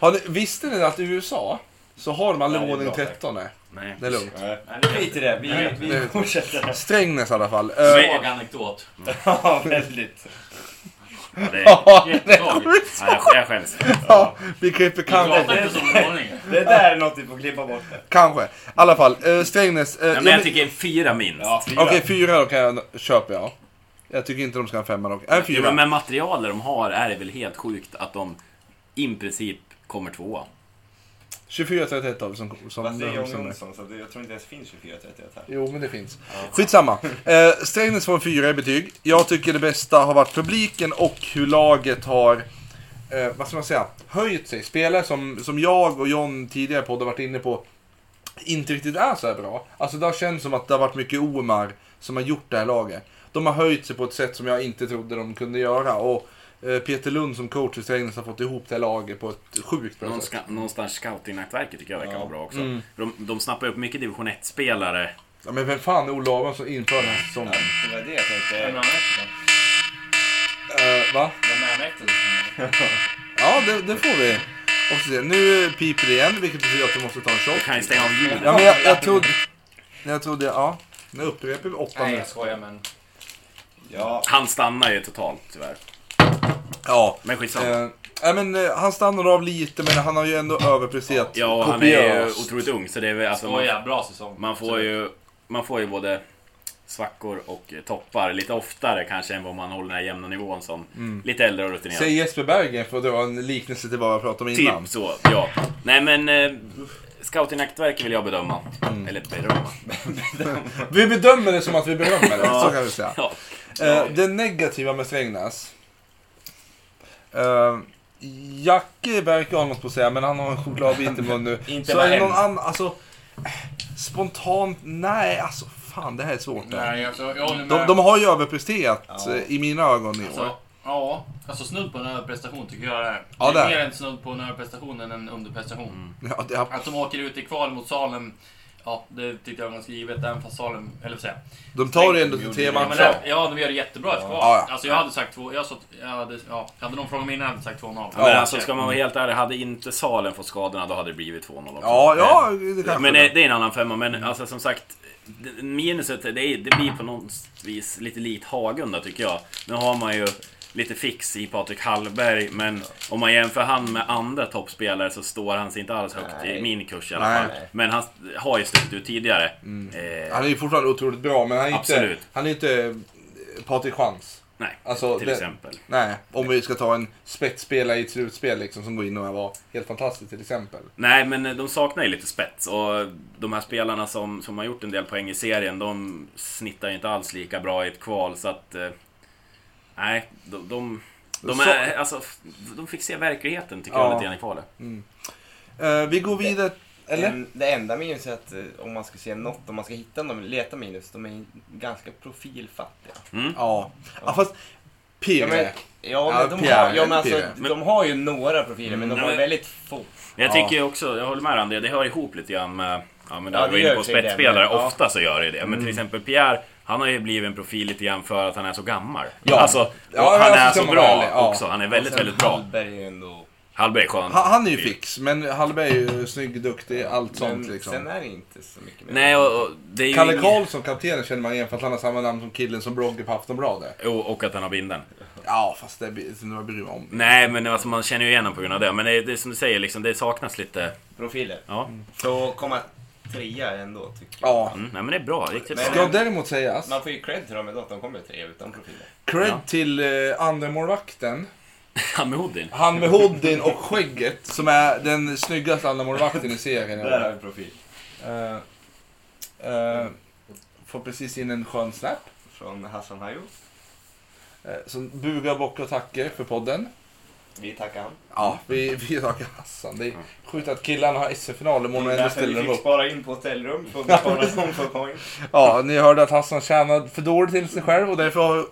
Speaker 3: Har ni, visste ni att i USA så har de aldrig
Speaker 4: Nej, det är
Speaker 3: våning
Speaker 4: bra, tack.
Speaker 3: 13? Nej.
Speaker 1: Nej.
Speaker 3: Det är lugnt.
Speaker 4: Nej, skit i Eh, det. Vi, vi
Speaker 3: Nej.
Speaker 4: fortsätter.
Speaker 3: Strängnäs i alla fall. Eh,
Speaker 7: Svag anekdot.
Speaker 4: Ja, väldigt.
Speaker 1: Ja, det är...
Speaker 3: ja,
Speaker 7: Jättesvag.
Speaker 1: Nej, jag, jag skäms.
Speaker 3: ja, vi klipper kanske.
Speaker 7: Prata inte som ordning.
Speaker 4: Det där är något vi får klippa bort. det.
Speaker 3: Kanske. I alla fall, eh, Strängnäs. eh,
Speaker 1: Nej, men
Speaker 3: jag-
Speaker 1: jag tycker en fyra minst.
Speaker 4: fyra.
Speaker 3: Okej, fyra då kan jag köpa ja. Jag tycker inte de ska ha en femma dock. Nej,
Speaker 1: Jo, men
Speaker 3: fyra.
Speaker 1: med materialet de har är det väl helt sjukt att de i princip kommer tvåa.
Speaker 3: 24-31 har vi som...
Speaker 4: Fast
Speaker 3: som,
Speaker 4: det är John
Speaker 3: som
Speaker 4: Jonsson, så det, jag tror inte ens finns 24.31 här.
Speaker 3: jo, men det finns. Skitsamma. Eh, Strängnäs får en fyra i betyg. Jag tycker det bästa har varit publiken och hur laget har... Eh, vad ska man säga? Höjt sig. Spelare som, som jag och John tidigare på har varit inne på inte riktigt är så här bra. Alltså det har känts som att det har varit mycket Omar som har gjort det här laget. De har höjt sig på ett sätt som jag inte trodde de kunde göra. Och eh, Peter Lund som coach i Strängnäs har fått ihop det här laget på ett sjukt bra
Speaker 1: Någon
Speaker 3: sätt.
Speaker 1: ska, någonstans scoutingnätverket tycker jag verkar vara bra också. För de, de snappar upp mycket division 1-spelare.
Speaker 3: Ja, men vem fan är Olle Abrahamsson inför den här säsongen?
Speaker 4: Det var det jag
Speaker 7: Vem
Speaker 4: tänkte.
Speaker 7: är anekdoten?
Speaker 3: Eh, va?
Speaker 7: Vem är anekdoten?
Speaker 3: Ja, det, det får vi. Och så, nu piper det igen, vilket betyder att vi måste ta en
Speaker 1: Du
Speaker 3: shot.
Speaker 1: kan ju stänga av ljudet.
Speaker 3: Ja, men jag, jag trodde... Jag trodde, ja. Nu upprepar vi liksom. åtta
Speaker 7: Nej,
Speaker 3: nu.
Speaker 7: jag skojar men.
Speaker 4: Ja,
Speaker 1: Han stannar ju totalt tyvärr.
Speaker 3: Ja.
Speaker 1: Men skitsamma.
Speaker 3: Eh, nej, men, eh, han stannar av lite, men han har ju ändå överpresterat
Speaker 1: ja, han är ju
Speaker 3: kopiöst.
Speaker 1: otroligt ung så det är väl alltså... Man,
Speaker 7: Skoja, bra säsong.
Speaker 1: man, får ju, man får ju både svackor och eh, toppar lite oftare kanske än vad man håller den här jämna nivån som
Speaker 3: Mm.
Speaker 1: lite äldre och rutinerad.
Speaker 3: Säger Jesper Berggren för att dra en liknelse till vad vi pratade om
Speaker 1: Typ
Speaker 3: innan.
Speaker 1: så, ja. Nej men... Eh, Scoutingnätverket vill jag bedöma.
Speaker 3: Mm.
Speaker 1: Eller bedöma.
Speaker 3: Vi bedömer det som att vi berömmer det, så kan vi säga.
Speaker 1: Ja.
Speaker 3: Eh, det negativa med Strängnäs. Eh, Jacke verkar ha något på att säga, men han har en chokladbit i munnen nu.
Speaker 7: Inte
Speaker 3: så
Speaker 7: vad
Speaker 3: är det någon
Speaker 7: hemskt.
Speaker 3: annan, alltså. eh, Spontant, nej alltså fan det här är svårt. eh.
Speaker 7: Nej, alltså, jag håller med.
Speaker 3: De, de har ju överpresterat eh, i mina ögon i år.
Speaker 7: Alltså, ja, alltså snudd på en överprestation tycker jag det är.
Speaker 3: Ja, Mm.
Speaker 7: det är
Speaker 3: det är.
Speaker 7: mer en snudd på en överprestation än en underprestation.
Speaker 3: Ja, det,
Speaker 7: Att de åker ut i kval mot Salem, ja det tyckte jag var ganska givet. Även fast Salem, eller vad säger jag?
Speaker 3: de tar det ändå till tre
Speaker 7: Ja, men
Speaker 3: matcher.
Speaker 7: det, ja, de gör det jättebra i ett kval.
Speaker 3: Ja, ja.
Speaker 7: Alltså jag hade sagt två... Jag, sa, jag hade, ja, hade någon frågat mig innan hade jag sagt 2-0.
Speaker 1: Ja, men alltså ska man vara helt ärlig, hade inte Salen fått skadorna då hade det blivit 2-0 också.
Speaker 3: Ja, ja, det kanske
Speaker 1: Men
Speaker 3: det.
Speaker 1: eh, det är en annan femma, men alltså som sagt det- Minuset, det, är, det blir på något vis lite likt Hagunda tycker jag. Nu har man ju lite fix i Patrik Hallberg, men om man jämför han med andra toppspelare så står han sig inte alls högt i
Speaker 4: Nej.
Speaker 1: min kurs i alla fall.
Speaker 3: Nej. Mm.
Speaker 1: Men han har ju stuckit ut tidigare. Eh,
Speaker 3: Han är ju fortfarande otroligt bra, men han är inte,
Speaker 1: Absolut.
Speaker 3: han är inte eh, Patrik Chans.
Speaker 1: nej,
Speaker 3: Alltså,
Speaker 1: till
Speaker 3: det-
Speaker 1: exempel.
Speaker 3: Nej, om vi ska ta en spetsspelare i ett slutspel liksom, som går in och var helt fantastisk till exempel.
Speaker 1: Nej, men eh, de saknar ju lite spets och de här spelarna som, som har gjort en del poäng i serien, de snittar ju inte alls lika bra i ett kval så att... Eh, nej, de... de de, är, alltså, f- de fick se verkligheten tycker jag
Speaker 3: Ja.
Speaker 1: lite grann i kvalet.
Speaker 3: Eh, vi går vidare, eller?
Speaker 4: En, Ehm, det enda minuset är att eh, om man ska se något, om man ska hitta någon, leta minus, de är ganska profilfattiga.
Speaker 3: Ja. ja. Fast
Speaker 4: Ja, men,
Speaker 3: Pirre.
Speaker 4: ja, men, de,
Speaker 3: Pierre,
Speaker 4: har, ja, men alltså,
Speaker 3: Pierre.
Speaker 4: de har ju några profiler, men de
Speaker 1: Mm, Nej,
Speaker 4: har
Speaker 1: men-
Speaker 4: väldigt få.
Speaker 1: Jag tycker också, jag håller med André, det hör ihop lite grann med... Ja men
Speaker 4: Ja,
Speaker 1: där
Speaker 4: det
Speaker 1: vi var inne
Speaker 4: gör
Speaker 1: på
Speaker 4: sig det,
Speaker 1: spetsspelare,
Speaker 4: men- ja.
Speaker 1: ofta så gör det det. Men
Speaker 3: Mm.
Speaker 1: till exempel Pierre, han har ju blivit en profil lite grann för att han är så gammal.
Speaker 3: Ja.
Speaker 1: Alltså, och
Speaker 3: Ja,
Speaker 1: han
Speaker 3: alltså,
Speaker 1: är
Speaker 3: ska
Speaker 1: så
Speaker 3: man
Speaker 1: bra
Speaker 3: vara ärlig, ja.
Speaker 1: också. Han är väldigt, väldigt bra.
Speaker 4: Hallberg är ju ändå...
Speaker 1: Hallberg är skön.
Speaker 3: Ha- Han är ju fix, men Hallberg är ju snygg, duktig, allt sånt
Speaker 4: Men sen
Speaker 3: liksom.
Speaker 4: är det inte så mycket mer.
Speaker 1: Nej, och, och det är ju...
Speaker 3: Kalle
Speaker 1: ingen-
Speaker 3: Karlsson, kaptenen, känner man igen för att han har samma namn som killen som bloggar på Aftonbladet.
Speaker 1: Jo, och att han har binden.
Speaker 3: Ja, fast det bryr jag mig om.
Speaker 1: Nej, men alltså, man känner ju igen honom på grund av det. Men det är, det är som du säger, liksom, det saknas lite...
Speaker 4: Profiler.
Speaker 1: Ja,
Speaker 4: Så komma trea ändå, tycker jag.
Speaker 3: Ja.
Speaker 1: mm, nej, men det är bra. Riktigt
Speaker 4: Men-
Speaker 1: bra.
Speaker 3: Ska däremot sägas,
Speaker 4: Man får ju cred till dem ändå att de kommer trea utan profiler.
Speaker 3: cred till eh, andremålvakten.
Speaker 1: Han med hoodien.
Speaker 3: Han med hoodien och skägget, som är den snyggaste andremålvakten i serien. i
Speaker 4: Där
Speaker 3: år.
Speaker 4: har vi profil.
Speaker 3: Eh, eh, Får precis in en skön snap.
Speaker 4: Från Hassan Hayo.
Speaker 3: Eh, Som bugar, bockar och tackar för podden.
Speaker 4: Vi tackar han.
Speaker 3: Ja, Mm. vi, vi tackar Hassan. Det är sjukt att killarna har SM-final
Speaker 1: Mm,
Speaker 3: imorgon och ändå
Speaker 4: Därför
Speaker 3: ställer
Speaker 4: vi
Speaker 3: de
Speaker 4: fick
Speaker 3: upp.
Speaker 4: spara in på hotellrum för att betala dem för poäng.
Speaker 3: Ja, ni hörde att Hassan tjänade för dåligt till sig själv och därför har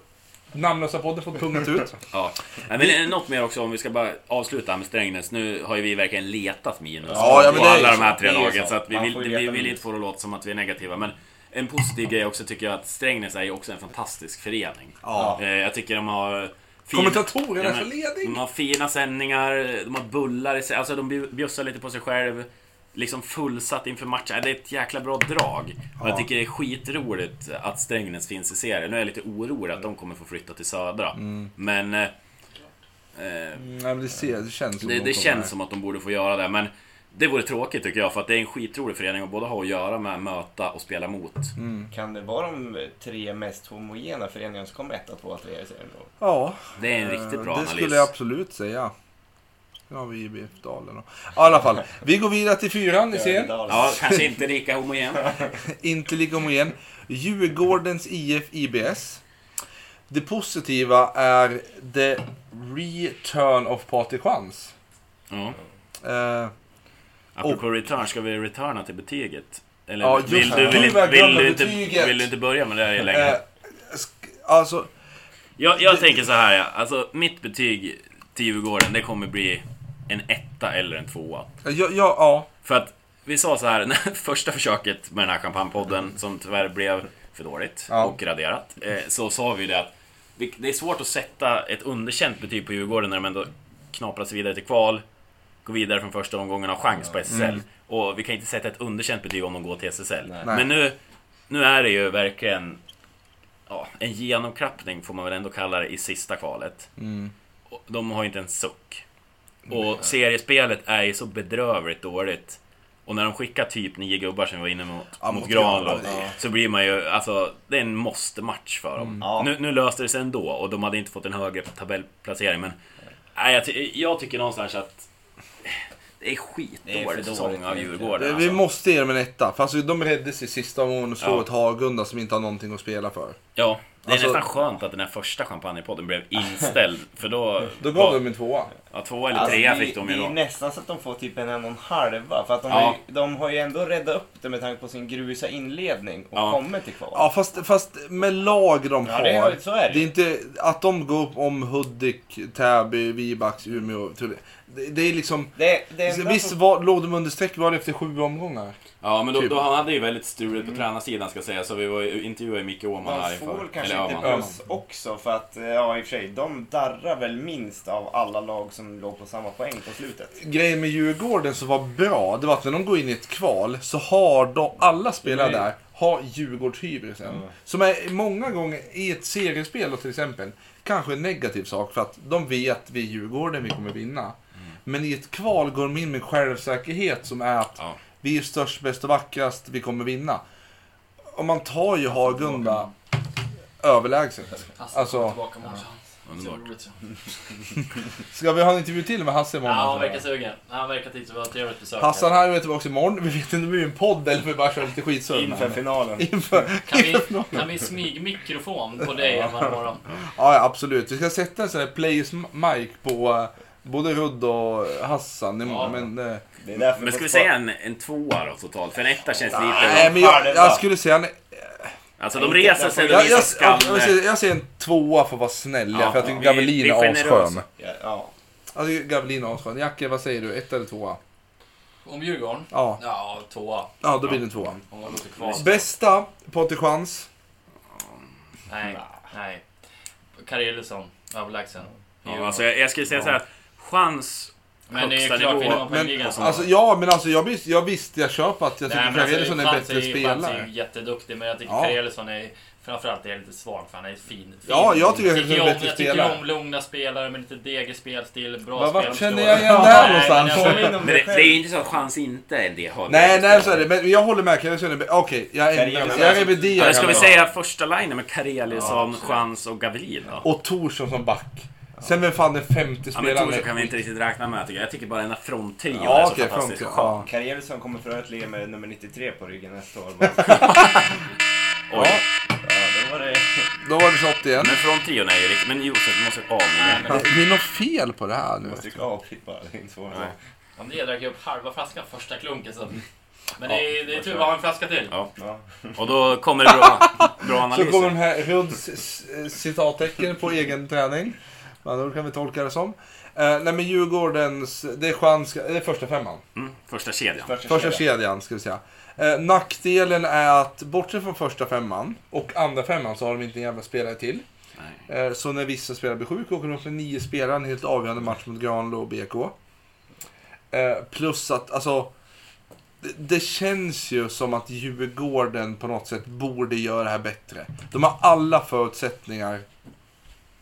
Speaker 3: namnlösa podden fått punkt ut.
Speaker 1: Ja. Nej, men det är något mer också om vi ska bara avsluta med Strängnäs. Nu har ju vi verkligen letat minus
Speaker 3: Ja, ja, men
Speaker 1: på
Speaker 3: det är ju
Speaker 1: alla de
Speaker 3: så.
Speaker 1: här tre
Speaker 4: Det är ju
Speaker 1: lagen.
Speaker 4: så.
Speaker 1: Så att vi
Speaker 4: Man
Speaker 1: vill,
Speaker 4: får ju
Speaker 1: vi
Speaker 4: leta
Speaker 1: vill
Speaker 4: minus.
Speaker 1: inte få det att låta som att vi är negativa. Men en positiv grej också tycker jag att Strängnäs är ju också en fantastisk förening.
Speaker 3: Ja.
Speaker 1: Eh, Jag tycker de har... fin-
Speaker 3: Kommentatorerna är
Speaker 1: Ja,
Speaker 3: så
Speaker 1: men De
Speaker 3: ledig.
Speaker 1: har fina sändningar, de har bullar i sig, alltså de bju- bjussar lite på sig själv. Liksom fullsatt inför matchen. Äh, Det är ett jäkla bra drag. Och jag tycker det är skitroligt att Strängnäs finns i serien. Nu är jag lite orolig att de kommer få flytta till södra.
Speaker 3: Mm.
Speaker 1: Men... eh, eh,
Speaker 3: Ja, men det, ser, det känns som
Speaker 1: det,
Speaker 3: de
Speaker 1: det
Speaker 3: kommer
Speaker 1: känns
Speaker 3: här.
Speaker 1: som att de borde få göra det, men det vore tråkigt tycker jag, för att det är en skitrolig förening att både ha att göra med, möta och spela mot.
Speaker 3: Mm.
Speaker 4: Kan det vara de tre mest homogena föreningarna som kommer etta, tvåa, trea i serien då?
Speaker 3: Ja,
Speaker 1: Det är en
Speaker 3: eh,
Speaker 1: riktigt bra
Speaker 3: det
Speaker 1: analys.
Speaker 3: skulle jag absolut säga. Nu har vi IBF Dalen och... Ja, I alla fall, vi går vidare till fyran i serien.
Speaker 1: Ja, kanske inte lika homogen.
Speaker 3: Inte lika homogen. Djurgårdens IF IBS. Det positiva är the return of Patrik Schantz.
Speaker 1: Ja.
Speaker 3: Eh,
Speaker 1: Apropå return, ska vi returna till betyget? Eller
Speaker 3: Ja, just
Speaker 1: vill,
Speaker 3: det.
Speaker 1: du, vill,
Speaker 3: Nu
Speaker 1: inte-
Speaker 3: har jag
Speaker 1: vill,
Speaker 3: glömt
Speaker 1: du inte,
Speaker 3: betyget.
Speaker 1: vill du inte börja med det längre?
Speaker 3: eh, sk- alltså,
Speaker 1: jag jag tänker så här, ja. alltså mitt betyg till Djurgården, det kommer bli en etta eller en tvåa.
Speaker 3: ja, ja, ja.
Speaker 1: För att vi sa så här, när första försöket med den här champagnepodden som tyvärr blev för dåligt
Speaker 3: Ja.
Speaker 1: och raderat. eh, Så sa vi det att vi- det är svårt att sätta ett underkänt betyg på Djurgården när de ändå knaprar sig vidare till kval, går vidare från första omgången och har chans på SSL. Och vi kan inte sätta ett underkänt betyg om de går till SSL. Men nu, nu är det ju verkligen ja, en genomklappning får man väl ändå kalla det i sista kvalet.
Speaker 3: Mm.
Speaker 1: Och De har inte en suck. Och seriespelet är ju så bedrövligt dåligt. Och när de skickar typ nio gubbar som vi var inne mot,
Speaker 3: Ja, Mm.
Speaker 1: mot
Speaker 3: mot Granlund,
Speaker 1: Granlund. Så blir man ju, alltså det är en måste-match för dem.
Speaker 4: Ja.
Speaker 1: Nu, nu löste det sig ändå och de hade inte fått en högre tabellplacering men... Nej, jag, ty- jag tycker någonstans att... Det är
Speaker 4: Det är för
Speaker 1: skitdålig
Speaker 4: dåligt,
Speaker 1: säsong av
Speaker 4: egentligen.
Speaker 1: Djurgården
Speaker 3: Vi
Speaker 1: alltså.
Speaker 3: måste ge dem en etta. För alltså, de räddades i sista omgången och slog
Speaker 1: Ja.
Speaker 3: ett Hagunda som inte har någonting att spela för.
Speaker 1: Ja, det är
Speaker 3: Alltså-
Speaker 1: nästan skönt att den här första champagnepodden blev inställd. för då...
Speaker 3: Då gav de en tvåa.
Speaker 1: Ja, två eller
Speaker 4: Alltså,
Speaker 1: trea
Speaker 4: det-
Speaker 1: fick de ju
Speaker 4: Det
Speaker 1: då.
Speaker 4: är nästan så att de får typ en och en halva. För att de,
Speaker 1: Ja.
Speaker 4: har, ju, de har ju ändå räddat upp det med tanke på sin grusa inledning och
Speaker 1: Ja.
Speaker 4: kommit till kval.
Speaker 3: Ja, fast, fast med lag de
Speaker 4: Ja,
Speaker 3: har.
Speaker 4: det är- så är det.
Speaker 3: är inte att de går upp om Hudik, Täby, Vibax, Umeå, Tullinge. Det, det är liksom...
Speaker 4: Det, det enda
Speaker 3: Visst
Speaker 4: som-
Speaker 3: var, låg de under streck var det efter sju omgångar?
Speaker 1: Ja, men då,
Speaker 3: Typ.
Speaker 1: då hade ju väldigt struligt på tränarsidan ska jag säga, så vi var ju intervjuade Micke Åhman här
Speaker 4: de
Speaker 1: inför.
Speaker 4: får väl kanske
Speaker 1: eller
Speaker 4: inte
Speaker 1: Öhman.
Speaker 4: plus också för att, eh, ja i och för sig, de darrar väl minst av alla lag som låg på samma poäng på slutet.
Speaker 3: Grejen med Djurgården som var bra, det var att när de går in i ett kval så har de, alla spelare
Speaker 4: Nej.
Speaker 3: där, har Djurgårdshybrisen. Som är många gånger i ett seriespel då, till exempel, kanske en negativ sak för att de vet vi är Djurgården, vi kommer vinna. Men i ett kval går de in med en självsäkerhet som är att
Speaker 1: Ja.
Speaker 3: vi är störst, bäst och vackrast, vi kommer vinna. Och man tar ju Hagunda överlägset. Alltså,
Speaker 7: Tillbaka med också. Så
Speaker 1: Underbart.
Speaker 7: roligt så.
Speaker 3: ska vi ha en intervju till med Hasse
Speaker 7: Ja,
Speaker 3: imorgon?
Speaker 7: han verkar sugen. Han verkar tycka det var ett trevligt besök.
Speaker 3: Hassan här är tillbaka imorgon. Vi vet inte om det blir en podd eller om vi bara kör lite skitsömn.
Speaker 4: Inför finalen.
Speaker 3: Inför.
Speaker 7: Kan vi, kan vi smygmikrofon på dig hemma imorgon?
Speaker 3: Ja, ja, absolut. Vi ska sätta en sån här players mic på eh, både Rudd och Hassan imorgon.
Speaker 7: Ja.
Speaker 3: Men, eh,
Speaker 4: Det är därför
Speaker 1: Men ska
Speaker 4: de
Speaker 1: vi
Speaker 4: spar-
Speaker 1: säga en, en tvåa då totalt? För en etta känns lite...
Speaker 3: nej, men jag,
Speaker 4: det
Speaker 3: jag
Speaker 4: är bra.
Speaker 3: skulle säga... en-
Speaker 1: Alltså de reser sig, de
Speaker 3: Jag, jag,
Speaker 1: visar
Speaker 3: jag, jag,
Speaker 1: skalle.
Speaker 3: säger- jag säger en tvåa får vara snäll.
Speaker 1: Ja,
Speaker 3: för jag tycker
Speaker 1: vi-
Speaker 3: Gavelin
Speaker 1: vi är
Speaker 3: är
Speaker 1: generösa.
Speaker 3: asskön.
Speaker 4: Ja, ja.
Speaker 3: Jag tycker Gavelin är asskön. Jacke, vad säger du? Ett eller tvåa?
Speaker 7: Om Djurgården?
Speaker 3: Ja,
Speaker 7: Ja, tvåa.
Speaker 3: ja då blir det en tvåa.
Speaker 7: Om man låter kvar.
Speaker 3: Bästa Patrik-chans.
Speaker 7: Nej, nej. Kareliusson, överlägsen.
Speaker 1: Ja, alltså, jag, jag skulle säga så här att chans...
Speaker 7: Men det är
Speaker 1: högsta
Speaker 7: klart, vinner
Speaker 1: nivå.
Speaker 7: man på
Speaker 3: Men,
Speaker 7: en liga så...
Speaker 3: alltså, ja, men alltså, jag, visst, jag visst, jag köper att jag
Speaker 7: Nej,
Speaker 3: tycker
Speaker 7: men alltså,
Speaker 3: Gavelin är en
Speaker 7: Frans
Speaker 3: bättre
Speaker 7: ju- Frans är
Speaker 3: spelare.
Speaker 7: ju jätteduktig, men jag tycker
Speaker 3: Ja.
Speaker 7: Kareliusson är framförallt är lite svag för han är fin. fin
Speaker 3: Ja, jag tycker han är en
Speaker 7: om-
Speaker 3: bättre
Speaker 7: Jag tycker
Speaker 3: spelare.
Speaker 7: om lugna spelare med lite degig spelstil, bra
Speaker 3: Vad- Vart
Speaker 7: spelförståelse.
Speaker 3: känner jag igen det här
Speaker 7: Nej, men
Speaker 3: någonstans?
Speaker 7: alltså,
Speaker 1: Men det, det är ju inte så att chans inte är en del av
Speaker 3: Nej, nej så är det. Men jag håller med. Kan jag känna- Okej, jag
Speaker 4: Karelius
Speaker 3: ändrar mig.
Speaker 4: är
Speaker 3: Jag
Speaker 1: Ja,
Speaker 4: alltså-
Speaker 3: reviderar.
Speaker 1: men ska vi
Speaker 3: mig.
Speaker 1: säga första linjen med Karelisson, Chans och Gavelin då?
Speaker 3: Och Torsson som back. Sen vem fan den femte
Speaker 1: Ja, men
Speaker 3: spelaren?
Speaker 1: Torsson kan vi inte riktigt räkna med tycker jag. Jag tycker bara den här fronttrion
Speaker 3: Ja,
Speaker 1: är så
Speaker 3: okej.
Speaker 1: fantastisk.
Speaker 3: Frank, ja.
Speaker 4: Kareliusson kommer för övrigt ligga med nummer 93 på ryggen nästa år. Bara,
Speaker 1: Oj.
Speaker 4: ja, då var det...
Speaker 3: Då var det shot igen.
Speaker 1: Men fronttrion är ju riktigt... Men Josef, du måste av med
Speaker 3: Det är något fel på det här
Speaker 1: Mm.
Speaker 3: nu.
Speaker 4: Jag tycker avbryt bara, det är inte svårare.
Speaker 7: Om det drack jag upp halva flaskan första klunken så... Men det är, det är tur, vi har en flaska till.
Speaker 4: Ja.
Speaker 1: Och då kommer det bra, bra
Speaker 3: Så kommer
Speaker 1: analyser.
Speaker 3: de här Rudds s- s- citattecken på egen träning. Med andra ord kan vi tolka det som. Eh, nej men Djurgårdens, det är chans, det är första femman.
Speaker 1: Mm, första kedjan.
Speaker 3: Första kedjan ska vi säga. Eh, nackdelen är att bortsett från första femman och andra femman så har de inte en jävla spelare till. Eh, så när vissa spelare blir sjuka åker de upp med nio spelare en helt avgörande match mot Granlo och BK. Eh, plus att, alltså. det- Det känns ju som att Djurgården på något sätt borde göra det här bättre. De har alla förutsättningar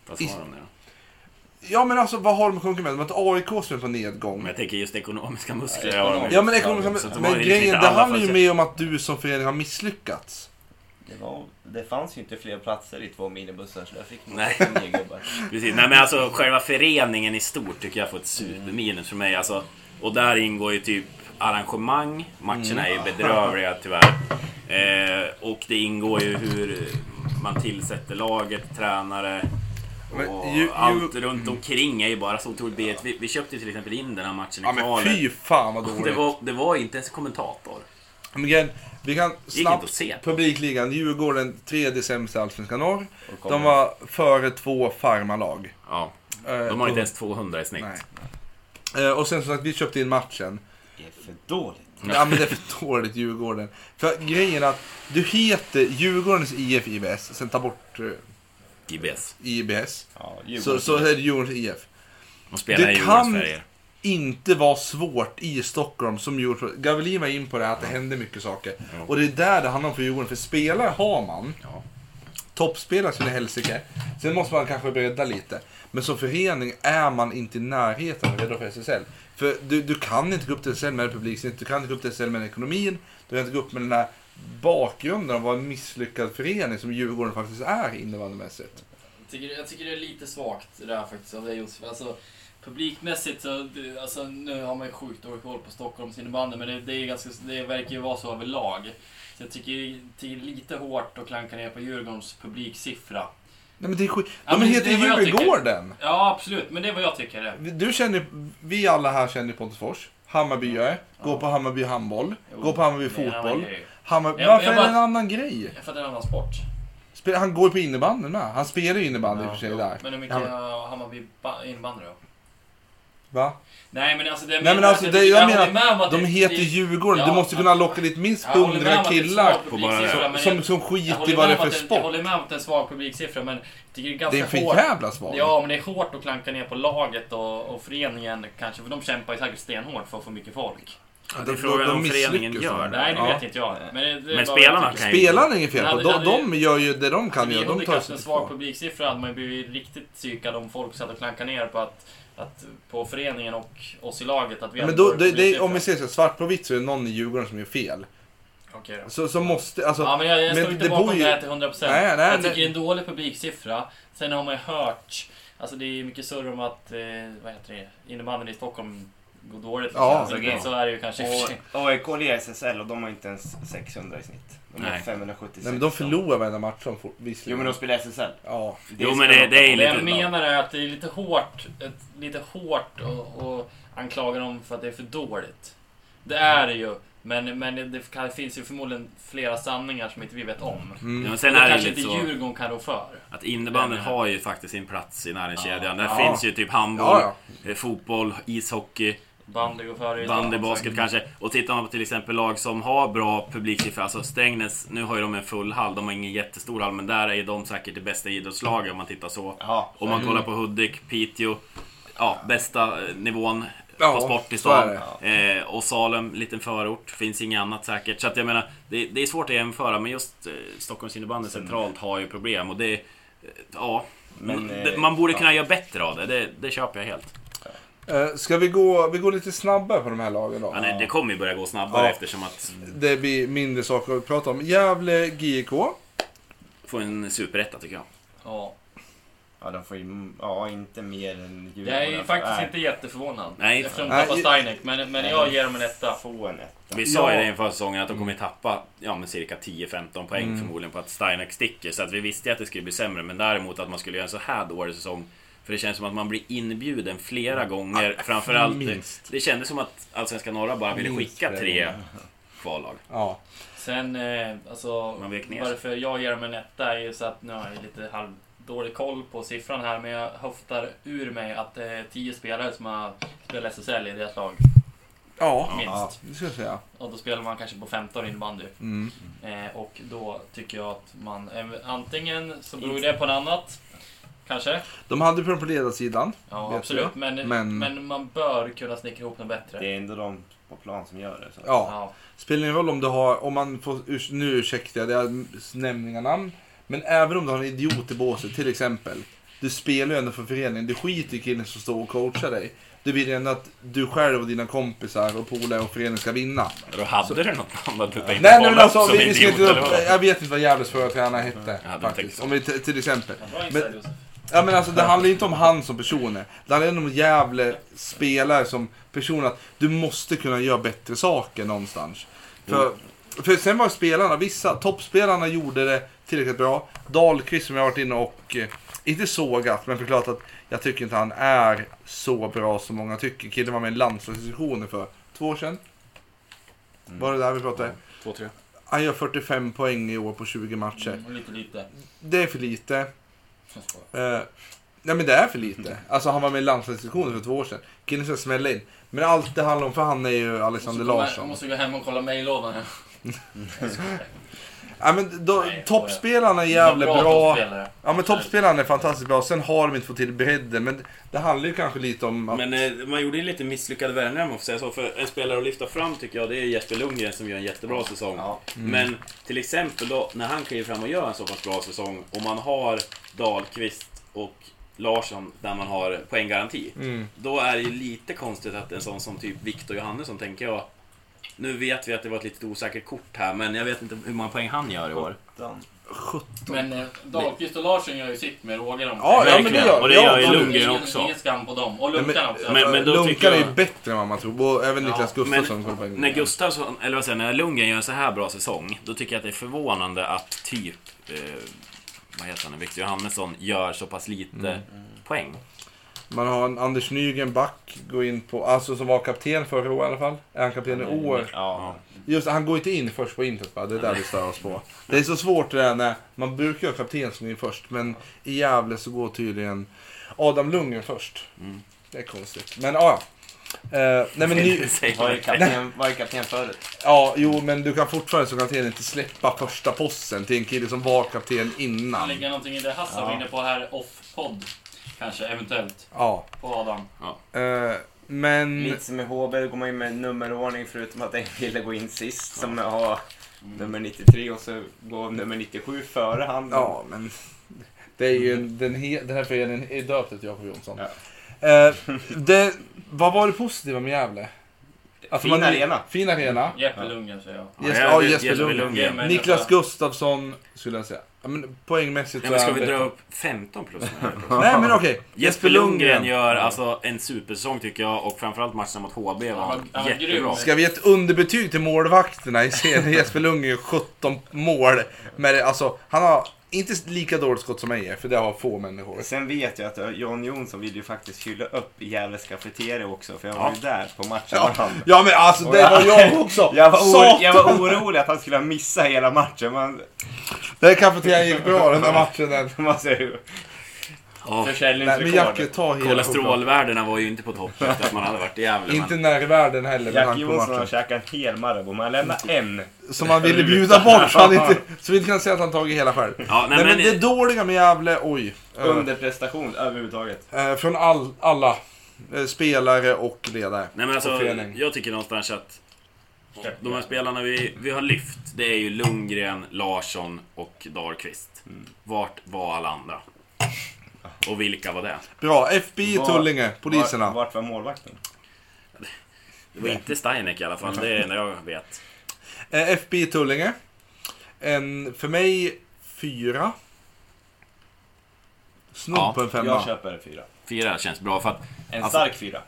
Speaker 1: Vad har de nu då?
Speaker 3: Ja men alltså vad har de att konkurrera med? De har ett AIK som är på nedgång.
Speaker 1: Men jag tänker just ekonomiska muskler. har de ju.
Speaker 3: Ja men ekonomiska...
Speaker 1: Så de har
Speaker 3: Men
Speaker 1: ju liksom
Speaker 3: grejen,
Speaker 1: inte
Speaker 3: det
Speaker 1: alla
Speaker 3: handlar ju
Speaker 1: förutsätt-
Speaker 3: mer om att du som förening har misslyckats.
Speaker 4: Det, var, det fanns ju inte fler platser i två minibussar så där fick man
Speaker 1: Nej.
Speaker 4: nio gubbar.
Speaker 1: Precis. Nej men alltså själva föreningen i stort tycker jag får ett superminus för mig. Alltså, och där ingår ju typ arrangemang. Matcherna
Speaker 3: Mm.
Speaker 1: är ju bedrövliga tyvärr. Eh, och det ingår ju hur man tillsätter laget, tränare.
Speaker 3: Men
Speaker 1: Och
Speaker 3: ju- ju-
Speaker 1: allt runt omkring är ju bara så otroligt bet. Vi, vi köpte ju till exempel in den här matchen i
Speaker 3: Ja men
Speaker 1: kvalet.
Speaker 3: fy fan vad
Speaker 1: Det
Speaker 3: dåligt.
Speaker 1: var, det var inte ens kommentator.
Speaker 3: Men grejen, vi kan
Speaker 1: inte att
Speaker 3: snabbt...
Speaker 1: se.
Speaker 3: Publikligan, Djurgården tredje sämsta i Allsvenskan norr.
Speaker 4: kommer.
Speaker 3: De var före två farmalag.
Speaker 1: Ja.
Speaker 3: Eh,
Speaker 1: De har
Speaker 3: på-
Speaker 1: inte ens 200 i snitt.
Speaker 3: Nej. Eh, Och sen som sagt, vi köpte in matchen.
Speaker 4: Det är för dåligt.
Speaker 1: Mm.
Speaker 3: Ja men det är för dåligt Djurgården. För grejen är att du heter Djurgårdens IF IBS, sen ta bort eh,
Speaker 1: GBS.
Speaker 3: IBS.
Speaker 4: Ja,
Speaker 3: Så,
Speaker 4: Djurgården.
Speaker 3: så är det Djurgårdens IF.
Speaker 1: De spelar
Speaker 3: Det
Speaker 1: i
Speaker 3: kan-
Speaker 1: Djurgårdens
Speaker 3: inte var svårt i Stockholm som Djurgården. Gavelin var in på det här att det hände mycket saker. Och det är där det handlar om för Djurgården. För spelare har man. Toppspelare som är helsike. Sen måste man kanske bredda lite. Men som förening är man inte i närheten av redo för SSL. För du, du kan inte gå upp till SSL med publiksnitt, du kan inte gå upp till SSL med ekonomin. Du kan inte gå upp med den här bakgrunden av vad en misslyckad förening som Djurgården faktiskt är innebandymässigt.
Speaker 7: Jag tycker, jag tycker det är lite svagt det där faktiskt av dig Josef. Alltså, publikmässigt så, det- alltså, nu har man ju sjukt dålig koll på Stockholms innebandy men det, det, är ganska, det verkar ju vara så överlag. Så jag tycker det är lite hårt att klanka ner på Djurgårdens publiksiffra.
Speaker 3: Nej men det är skit.
Speaker 7: Ja,
Speaker 3: De
Speaker 7: men
Speaker 3: heter
Speaker 7: det är vad jag tycker.
Speaker 3: Djurgården!
Speaker 7: Ja absolut, men det är vad jag tycker. Det.
Speaker 3: Du känner, vi alla här känner Pontus Fors. Hammarbyare. Går på Hammarby handboll. Går på Hammarby
Speaker 7: Det är en annan
Speaker 3: fotboll.
Speaker 7: grej.
Speaker 3: Hammarby,
Speaker 7: Jag-
Speaker 3: varför
Speaker 7: jag
Speaker 3: är det en
Speaker 7: bara-
Speaker 3: annan grej?
Speaker 7: För att det är en annan sport.
Speaker 3: Spel- Han går ju på innebandy med. Han spelar ju innebandy i och för sig där.
Speaker 7: Men hur mycket
Speaker 3: Ja, men-
Speaker 7: har Hammarby ba- innebandy då?
Speaker 3: Va?
Speaker 7: Nej men alltså det
Speaker 3: Nej men alltså, det, jag menar, att de heter
Speaker 7: Djurgården.
Speaker 3: Djurgården. Du
Speaker 7: Ja,
Speaker 3: måste
Speaker 7: men-
Speaker 3: kunna locka dit minst
Speaker 7: Jag håller med om
Speaker 3: hundra
Speaker 7: att det är en
Speaker 3: killar
Speaker 7: svag publiksiffra, men
Speaker 3: som,
Speaker 7: jag-
Speaker 3: som
Speaker 7: jag
Speaker 3: skiter i
Speaker 7: håller
Speaker 3: vad det är
Speaker 7: med om
Speaker 3: för
Speaker 7: att det- Jag
Speaker 3: sport.
Speaker 7: håller med om att det är en svag publiksiffra, men jag tycker det är
Speaker 3: Det är
Speaker 7: ganska
Speaker 3: för
Speaker 7: hårt.
Speaker 3: jävla svag.
Speaker 7: Ja, men det är hårt att klanka ner på laget och, och föreningen kanske, för de kämpar ju säkert stenhårt för att få mycket folk.
Speaker 3: De-
Speaker 1: det är
Speaker 3: de-
Speaker 1: frågan
Speaker 3: de
Speaker 1: om föreningen
Speaker 3: misslyckas
Speaker 1: gör
Speaker 3: med
Speaker 7: Nej, det
Speaker 3: Ja.
Speaker 7: vet inte jag. Men, det, det är
Speaker 1: Men
Speaker 7: bara vad jag
Speaker 1: spelarna
Speaker 7: tycker.
Speaker 1: kan ju...
Speaker 3: Spelarna är inget fel på.
Speaker 7: Men hade-
Speaker 3: De, de gör ju det de kan göra.
Speaker 7: Hade
Speaker 3: De
Speaker 7: vi
Speaker 3: tar
Speaker 7: haft
Speaker 3: sig
Speaker 7: en
Speaker 3: till
Speaker 7: svag
Speaker 3: kvar.
Speaker 7: publiksiffra hade man ju blivit riktigt psykad om folk satt och klankade ner på att, att på föreningen och oss i laget att vi
Speaker 3: Men
Speaker 7: hade
Speaker 3: då,
Speaker 7: dålig
Speaker 3: det, det,
Speaker 7: publiksiffra.
Speaker 3: om vi ser så här, svart på vitt så är det någon i Djurgården som gör fel.
Speaker 7: Okej då.
Speaker 3: Så, så måste, alltså.
Speaker 7: Ja, men jag, jag står
Speaker 3: men
Speaker 7: inte
Speaker 3: det
Speaker 7: bakom
Speaker 3: bor ju-
Speaker 7: det här till 100%.
Speaker 3: Nej, nej,
Speaker 7: jag
Speaker 3: nej.
Speaker 7: tycker det är en dålig publiksiffra. Sen har man ju hört, alltså det är mycket surr om att, eh, vad heter det, innebandyn i Stockholm går dåligt.
Speaker 3: Ja,
Speaker 7: Alltså,
Speaker 4: det är
Speaker 7: så är det ju kanske i och för sig.
Speaker 4: Och AIK ligger i SSL och de har inte ens 600 i snitt. De har
Speaker 1: Nej.
Speaker 4: 576.
Speaker 3: Nej, men de förlorar varenda match som får, visserligen.
Speaker 4: Jo men de spelar SSL.
Speaker 3: Ja.
Speaker 1: Jo, men det- det är
Speaker 7: Det jag
Speaker 1: lite-
Speaker 7: menar är att det är lite hårt, ett, lite hårt att- att anklaga dem för att det är för dåligt. Det är det ju. Men, men det kan, finns ju förmodligen flera sanningar som inte vi vet om.
Speaker 3: Mm.
Speaker 1: Ja, men
Speaker 7: Sen
Speaker 1: sen är det
Speaker 7: kanske
Speaker 1: lite
Speaker 7: inte
Speaker 1: så
Speaker 7: Djurgården kan rå för.
Speaker 1: att innebandyn
Speaker 7: Nej, nej.
Speaker 1: har ju faktiskt sin plats i näringskedjan. Där
Speaker 3: Ja.
Speaker 1: finns ju typ handboll,
Speaker 3: Ja,
Speaker 1: eh, fotboll, ishockey,
Speaker 7: Bandy går före.
Speaker 1: bandy, basket kanske. Och tittar man på till exempel lag som har bra publiksiffror, alltså Strängnäs, nu har ju de en full hall. De har ingen jättestor hall, men där är ju de säkert det bästa idrottslaget om man tittar så.
Speaker 4: Ja,
Speaker 1: Om
Speaker 3: Mm.
Speaker 1: man kollar på Hudik, Piteå, ja, bästa eh, nivån
Speaker 3: Ja,
Speaker 1: på sport i
Speaker 3: så är
Speaker 1: stan. Eh, och Salem, liten förort, finns inget annat säkert. Så att jag menar, det, det är svårt att jämföra, men just eh, Stockholms innebandy
Speaker 4: Mm.
Speaker 1: centralt har ju problem och det... eh, Ja.
Speaker 4: Men,
Speaker 1: Mm, det-
Speaker 4: eh,
Speaker 1: man borde
Speaker 4: ja.
Speaker 1: kunna göra bättre av det, det, det köper jag helt.
Speaker 3: Eh, Ska vi gå, vi går lite snabbare på de här lagen då?
Speaker 1: Men eh, det kommer ju börja gå snabbare
Speaker 3: Ja.
Speaker 1: eftersom att
Speaker 3: Det blir mindre saker att prata om. Gävle GIK.
Speaker 1: få en superetta tycker jag.
Speaker 7: Ja.
Speaker 4: Ja, de får ju... Ja, inte mer än Djurgården.
Speaker 7: Jag är ju faktiskt
Speaker 4: Nej,
Speaker 7: inte jätteförvånad.
Speaker 1: Nej.
Speaker 7: Eftersom de
Speaker 3: Nej.
Speaker 7: tappar Steinek, men, men jag ger dem en etta.
Speaker 4: Få en etta.
Speaker 1: Vi sa ju
Speaker 3: Ja.
Speaker 1: det inför säsongen att de
Speaker 4: Mm.
Speaker 1: kommer tappa ja, men cirka 10-15 poäng förmodligen på att Steinek sticker. Så att vi visste ju att det skulle bli sämre. Men däremot att man skulle göra en så här dålig säsong. För det känns som att man blir inbjuden flera
Speaker 4: Mm.
Speaker 1: gånger.
Speaker 4: Ah,
Speaker 1: Framförallt,
Speaker 3: minst.
Speaker 1: det skändes som att Allsvenska norra bara ville
Speaker 3: Minst
Speaker 1: skicka
Speaker 3: flera
Speaker 1: tre kvallag.
Speaker 3: Ja.
Speaker 7: Sen, eh, alltså,
Speaker 1: Man vek ner sig.
Speaker 7: varför jag ger dem en etta är ju så att nu har jag lite halv dålig koll på siffran här, men jag höftar ur mig att det är tio spelare som har spelat SSL i deras lag,
Speaker 3: Ja,
Speaker 7: minst.
Speaker 4: Ja.
Speaker 3: det ska jag säga.
Speaker 7: Och då spelar man kanske på 15 innebandy.
Speaker 3: Mm.
Speaker 7: Eh, och då tycker jag att man, eh, antingen så beror det på något annat, kanske.
Speaker 3: De hade problem på ledarsidan.
Speaker 7: Ja,
Speaker 3: Vet
Speaker 7: absolut.
Speaker 3: jag.
Speaker 7: Men,
Speaker 3: Men-
Speaker 7: men... man bör kunna snickra ihop något bättre.
Speaker 4: Det är ändå de på plan som gör det. Så.
Speaker 3: Ja.
Speaker 7: Ja.
Speaker 3: Spelar ingen roll om du har, om man får, urs- nu ursäktar jag, det är nämningar namn. Men även om du har en idiot i båset, till exempel. Du spelar ju ändå för föreningen, du skiter i killen som står och coachar dig. Du vill ju ändå att du själv och dina kompisar och polare och föreningen ska vinna.
Speaker 1: Då hade du något namn att putta in
Speaker 3: Nej,
Speaker 1: på
Speaker 3: nej men
Speaker 1: bollen
Speaker 3: alltså,
Speaker 1: som
Speaker 3: vi, vi ska
Speaker 1: idiot,
Speaker 3: inte,
Speaker 1: eller vad?
Speaker 3: jag vet inte vad Gävles förtränare hette.
Speaker 1: Ja, det
Speaker 3: faktiskt.
Speaker 1: tänkte jag.
Speaker 3: Om vi t- till exempel.
Speaker 7: Bra
Speaker 3: Men-
Speaker 7: insight, Josef.
Speaker 3: Ja men alltså det handlar ju inte om han som person. Det handlar ju om Gävle spelare som person. Att du måste kunna göra bättre saker någonstans. För, för sen var spelarna, vissa, toppspelarna gjorde det tillräckligt bra. Dahlqvist som jag har varit inne och, eh, inte sågat, men förklarat att jag tycker inte han är så bra som många tycker. Killen var med i landslagsdiskussionen för två år sedan. Var det där vi pratade?
Speaker 5: Mm. Två, tre.
Speaker 3: Han gör 45 poäng i år på 20 matcher.
Speaker 7: Mm, lite lite.
Speaker 3: Det är för lite. Eh, nej men det är för lite. Alltså han var med i landslagssektionen för två år sedan. Killen ska smälla in. Men allt det handlar om, för han är ju Alexander
Speaker 7: Måste gå- Jag
Speaker 3: Larsson.
Speaker 7: måste gå hem och kolla mejllådan. här.
Speaker 3: Ja, men då,
Speaker 7: Nej,
Speaker 3: toppspelarna är jävla
Speaker 7: Bra
Speaker 3: bra.
Speaker 7: toppspelare.
Speaker 3: Ja men toppspelarna är fantastiskt bra. Sen har de inte fått till bredden. Men det handlar ju kanske lite om att...
Speaker 1: Men eh, man gjorde ju lite misslyckade värvningar om man får säga så. För en spelare att lyfta fram tycker jag, det är Jesper Lundgren som gör en jättebra säsong.
Speaker 4: Ja.
Speaker 1: Men till exempel då, när han kliver fram och gör en så pass bra säsong och man har Dahlqvist och Larsson där man har poänggaranti.
Speaker 3: Mm.
Speaker 1: Då är det ju lite konstigt att en sån som typ Viktor Johannesson tänker jag nu vet vi att det var ett litet osäkert kort här, men jag vet inte hur många poäng han gör i år.
Speaker 7: Men eh, Dahlqvist och Larsson gör ju sitt med råge. de.
Speaker 3: Ja, ja men det
Speaker 1: Verkligen.
Speaker 3: gör
Speaker 1: Och det
Speaker 3: ja,
Speaker 1: gör ju
Speaker 3: de-
Speaker 1: Lundgren
Speaker 7: Ingen-
Speaker 1: också.
Speaker 7: Ingen skam på dem. Och
Speaker 3: Nej, men-
Speaker 7: Lunkan också.
Speaker 1: Men- men då
Speaker 3: Lunkan
Speaker 1: tycker
Speaker 3: är
Speaker 1: jag-
Speaker 3: ju bättre än vad man tror. Och även Niklas Gustafsson. kommer på en gång.
Speaker 1: När Gustafsson, eller vad säger jag, när Lundgren gör en så här bra säsong, då tycker jag att det är förvånande att typ, eh, vad heter han, Victor Johannesson gör så pass lite poäng.
Speaker 3: Man har en Anders Nygren back, går in på, alltså som var kapten förra året i alla fall. Är han kapten i år?
Speaker 4: Ja.
Speaker 3: Just det, han går inte in först på intet va? Det är där vi stör oss på. Det är så svårt det där när man brukar göra kapten som in först. Men i Gävle så går tydligen Adam Lundgren först.
Speaker 4: Mm.
Speaker 3: Det är konstigt. Men ja. ja. Eh, nej men ny,
Speaker 4: Var är kapten, var är kapten förut?
Speaker 3: ja, jo men du kan fortfarande som kapten inte släppa första posten till en kille som var kapten
Speaker 7: Det
Speaker 3: innan.
Speaker 7: ligger någonting i det Hassan var inne på här off-podd. Kanske, eventuellt.
Speaker 3: Ja.
Speaker 7: På Adam.
Speaker 3: Eh, men...
Speaker 4: Lite som med HB, då går man in med nummerordning förutom att en kille går in sist som har
Speaker 3: Mm.
Speaker 4: nummer 93 och så går nummer 97 före han.
Speaker 3: Ja men... Det är ju en, den, he, den här föreningen är döpt efter Jakob Jonsson.
Speaker 4: Ja.
Speaker 3: Eh, det, vad var det positiva med Gävle? Att
Speaker 4: Fin arena.
Speaker 3: Fin arena.
Speaker 7: Jeppe Lundgren säger jag.
Speaker 3: Jesper,
Speaker 1: Ja,
Speaker 3: ja,
Speaker 1: Jesper
Speaker 3: Jesper
Speaker 1: Lundgren.
Speaker 3: Lundgren.
Speaker 7: Ge mig en
Speaker 3: Niklas
Speaker 7: etta.
Speaker 3: Gustafsson skulle jag säga. Ja, men poängmässigt
Speaker 1: Ja, men ska
Speaker 3: är
Speaker 1: vi
Speaker 3: han
Speaker 1: dra
Speaker 3: bättre.
Speaker 1: upp 15 plus?
Speaker 3: Nej men okej.
Speaker 1: Jesper Lundgren gör alltså en supersäsong tycker jag och framförallt matchen mot HB var
Speaker 7: Han var- han var
Speaker 1: jättebra.
Speaker 7: grym.
Speaker 3: Ska vi ge ett underbetyg till målvakterna i serien? Jesper Lundgren gör 17 mål. Men det, alltså, han har Inte lika dåligt skott som jag är, för det har få människor.
Speaker 4: Sen vet jag att John Jonsson vill ju faktiskt kyla upp Gävles cafeteria också, för jag var ju där på matchen med
Speaker 3: Ja,
Speaker 4: han.
Speaker 3: ja men alltså det var jag också!
Speaker 4: Jag var,
Speaker 3: Satan!
Speaker 4: or- jag var orolig att han skulle missa hela matchen, men
Speaker 3: Den kafeterian gick bra den där matchen. Den.
Speaker 4: man ser ju
Speaker 1: Ja.
Speaker 3: Nej, men Jacke,
Speaker 4: försäljningsrekordet.
Speaker 3: ta hela skjortan.
Speaker 1: Kolesterolvärdena var ju inte på topp efter att man hade varit i Gävle.
Speaker 3: Inte
Speaker 1: Men
Speaker 3: nära världen heller, men
Speaker 4: Jack
Speaker 3: han på
Speaker 4: Jonsson har
Speaker 3: matchen.
Speaker 4: käkat en hel Marabou, men han lämnar en.
Speaker 3: Som han ville bjuda bort, så, han inte, så vi inte kan säga att han tagit hela själv.
Speaker 1: Ja, nej,
Speaker 3: nej, men
Speaker 1: men-
Speaker 3: det dåliga med Gävle, oj. Eh,
Speaker 4: Underprestation överhuvudtaget.
Speaker 3: eh, från all, alla. eh, Spelare och ledare.
Speaker 1: Nej, men
Speaker 3: Och
Speaker 1: alltså,
Speaker 3: förening.
Speaker 1: jag tycker någonstans att de här spelarna vi, vi har lyft, det är ju Lundgren, Larsson och Dahlqvist. Vart var alla andra? Och vilka var det?
Speaker 3: Bra, FBI,
Speaker 4: Var-
Speaker 3: Tullinge, poliserna.
Speaker 4: Vart, vart var målvakten?
Speaker 1: Det var inte Steinek i alla fall, det är det jag vet.
Speaker 3: Eh, FBI Tullinge. En, för mig, fyra. Snudd
Speaker 1: Ja,
Speaker 3: på en
Speaker 4: Jag
Speaker 3: femma.
Speaker 4: köper en fyra.
Speaker 1: Fyra känns bra för att
Speaker 4: En
Speaker 1: Alltså-
Speaker 4: stark fyra.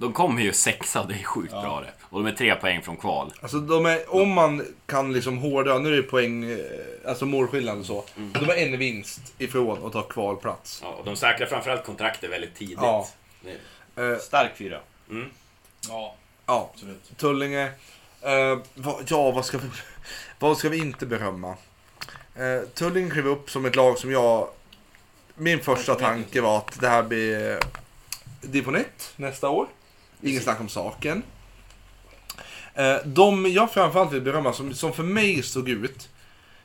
Speaker 1: de kommer ju sexa, det är sjukt bra det. Och de är tre poäng från kval.
Speaker 3: Alltså de är, om man kan liksom hårdra, nu är det poäng, eh, alltså målskillnad och så.
Speaker 1: Mm.
Speaker 3: De är en vinst ifrån att ta kvalplats.
Speaker 1: Ja, och de säkrar framförallt kontraktet väldigt tidigt. Mm.
Speaker 3: Ja. Eh,
Speaker 4: Stark fyra.
Speaker 7: Ja,
Speaker 3: ja,
Speaker 7: absolut.
Speaker 3: Tullinge. Eh, vad, ja, vad ska, vi, vad ska vi inte berömma? Eh, Tullinge klev upp som ett lag som jag... Min första tanke var att det här blir division 1 nästa år. Inget snack om saken. Eh, de jag framförallt vill berömma, som, som för mig stod ut,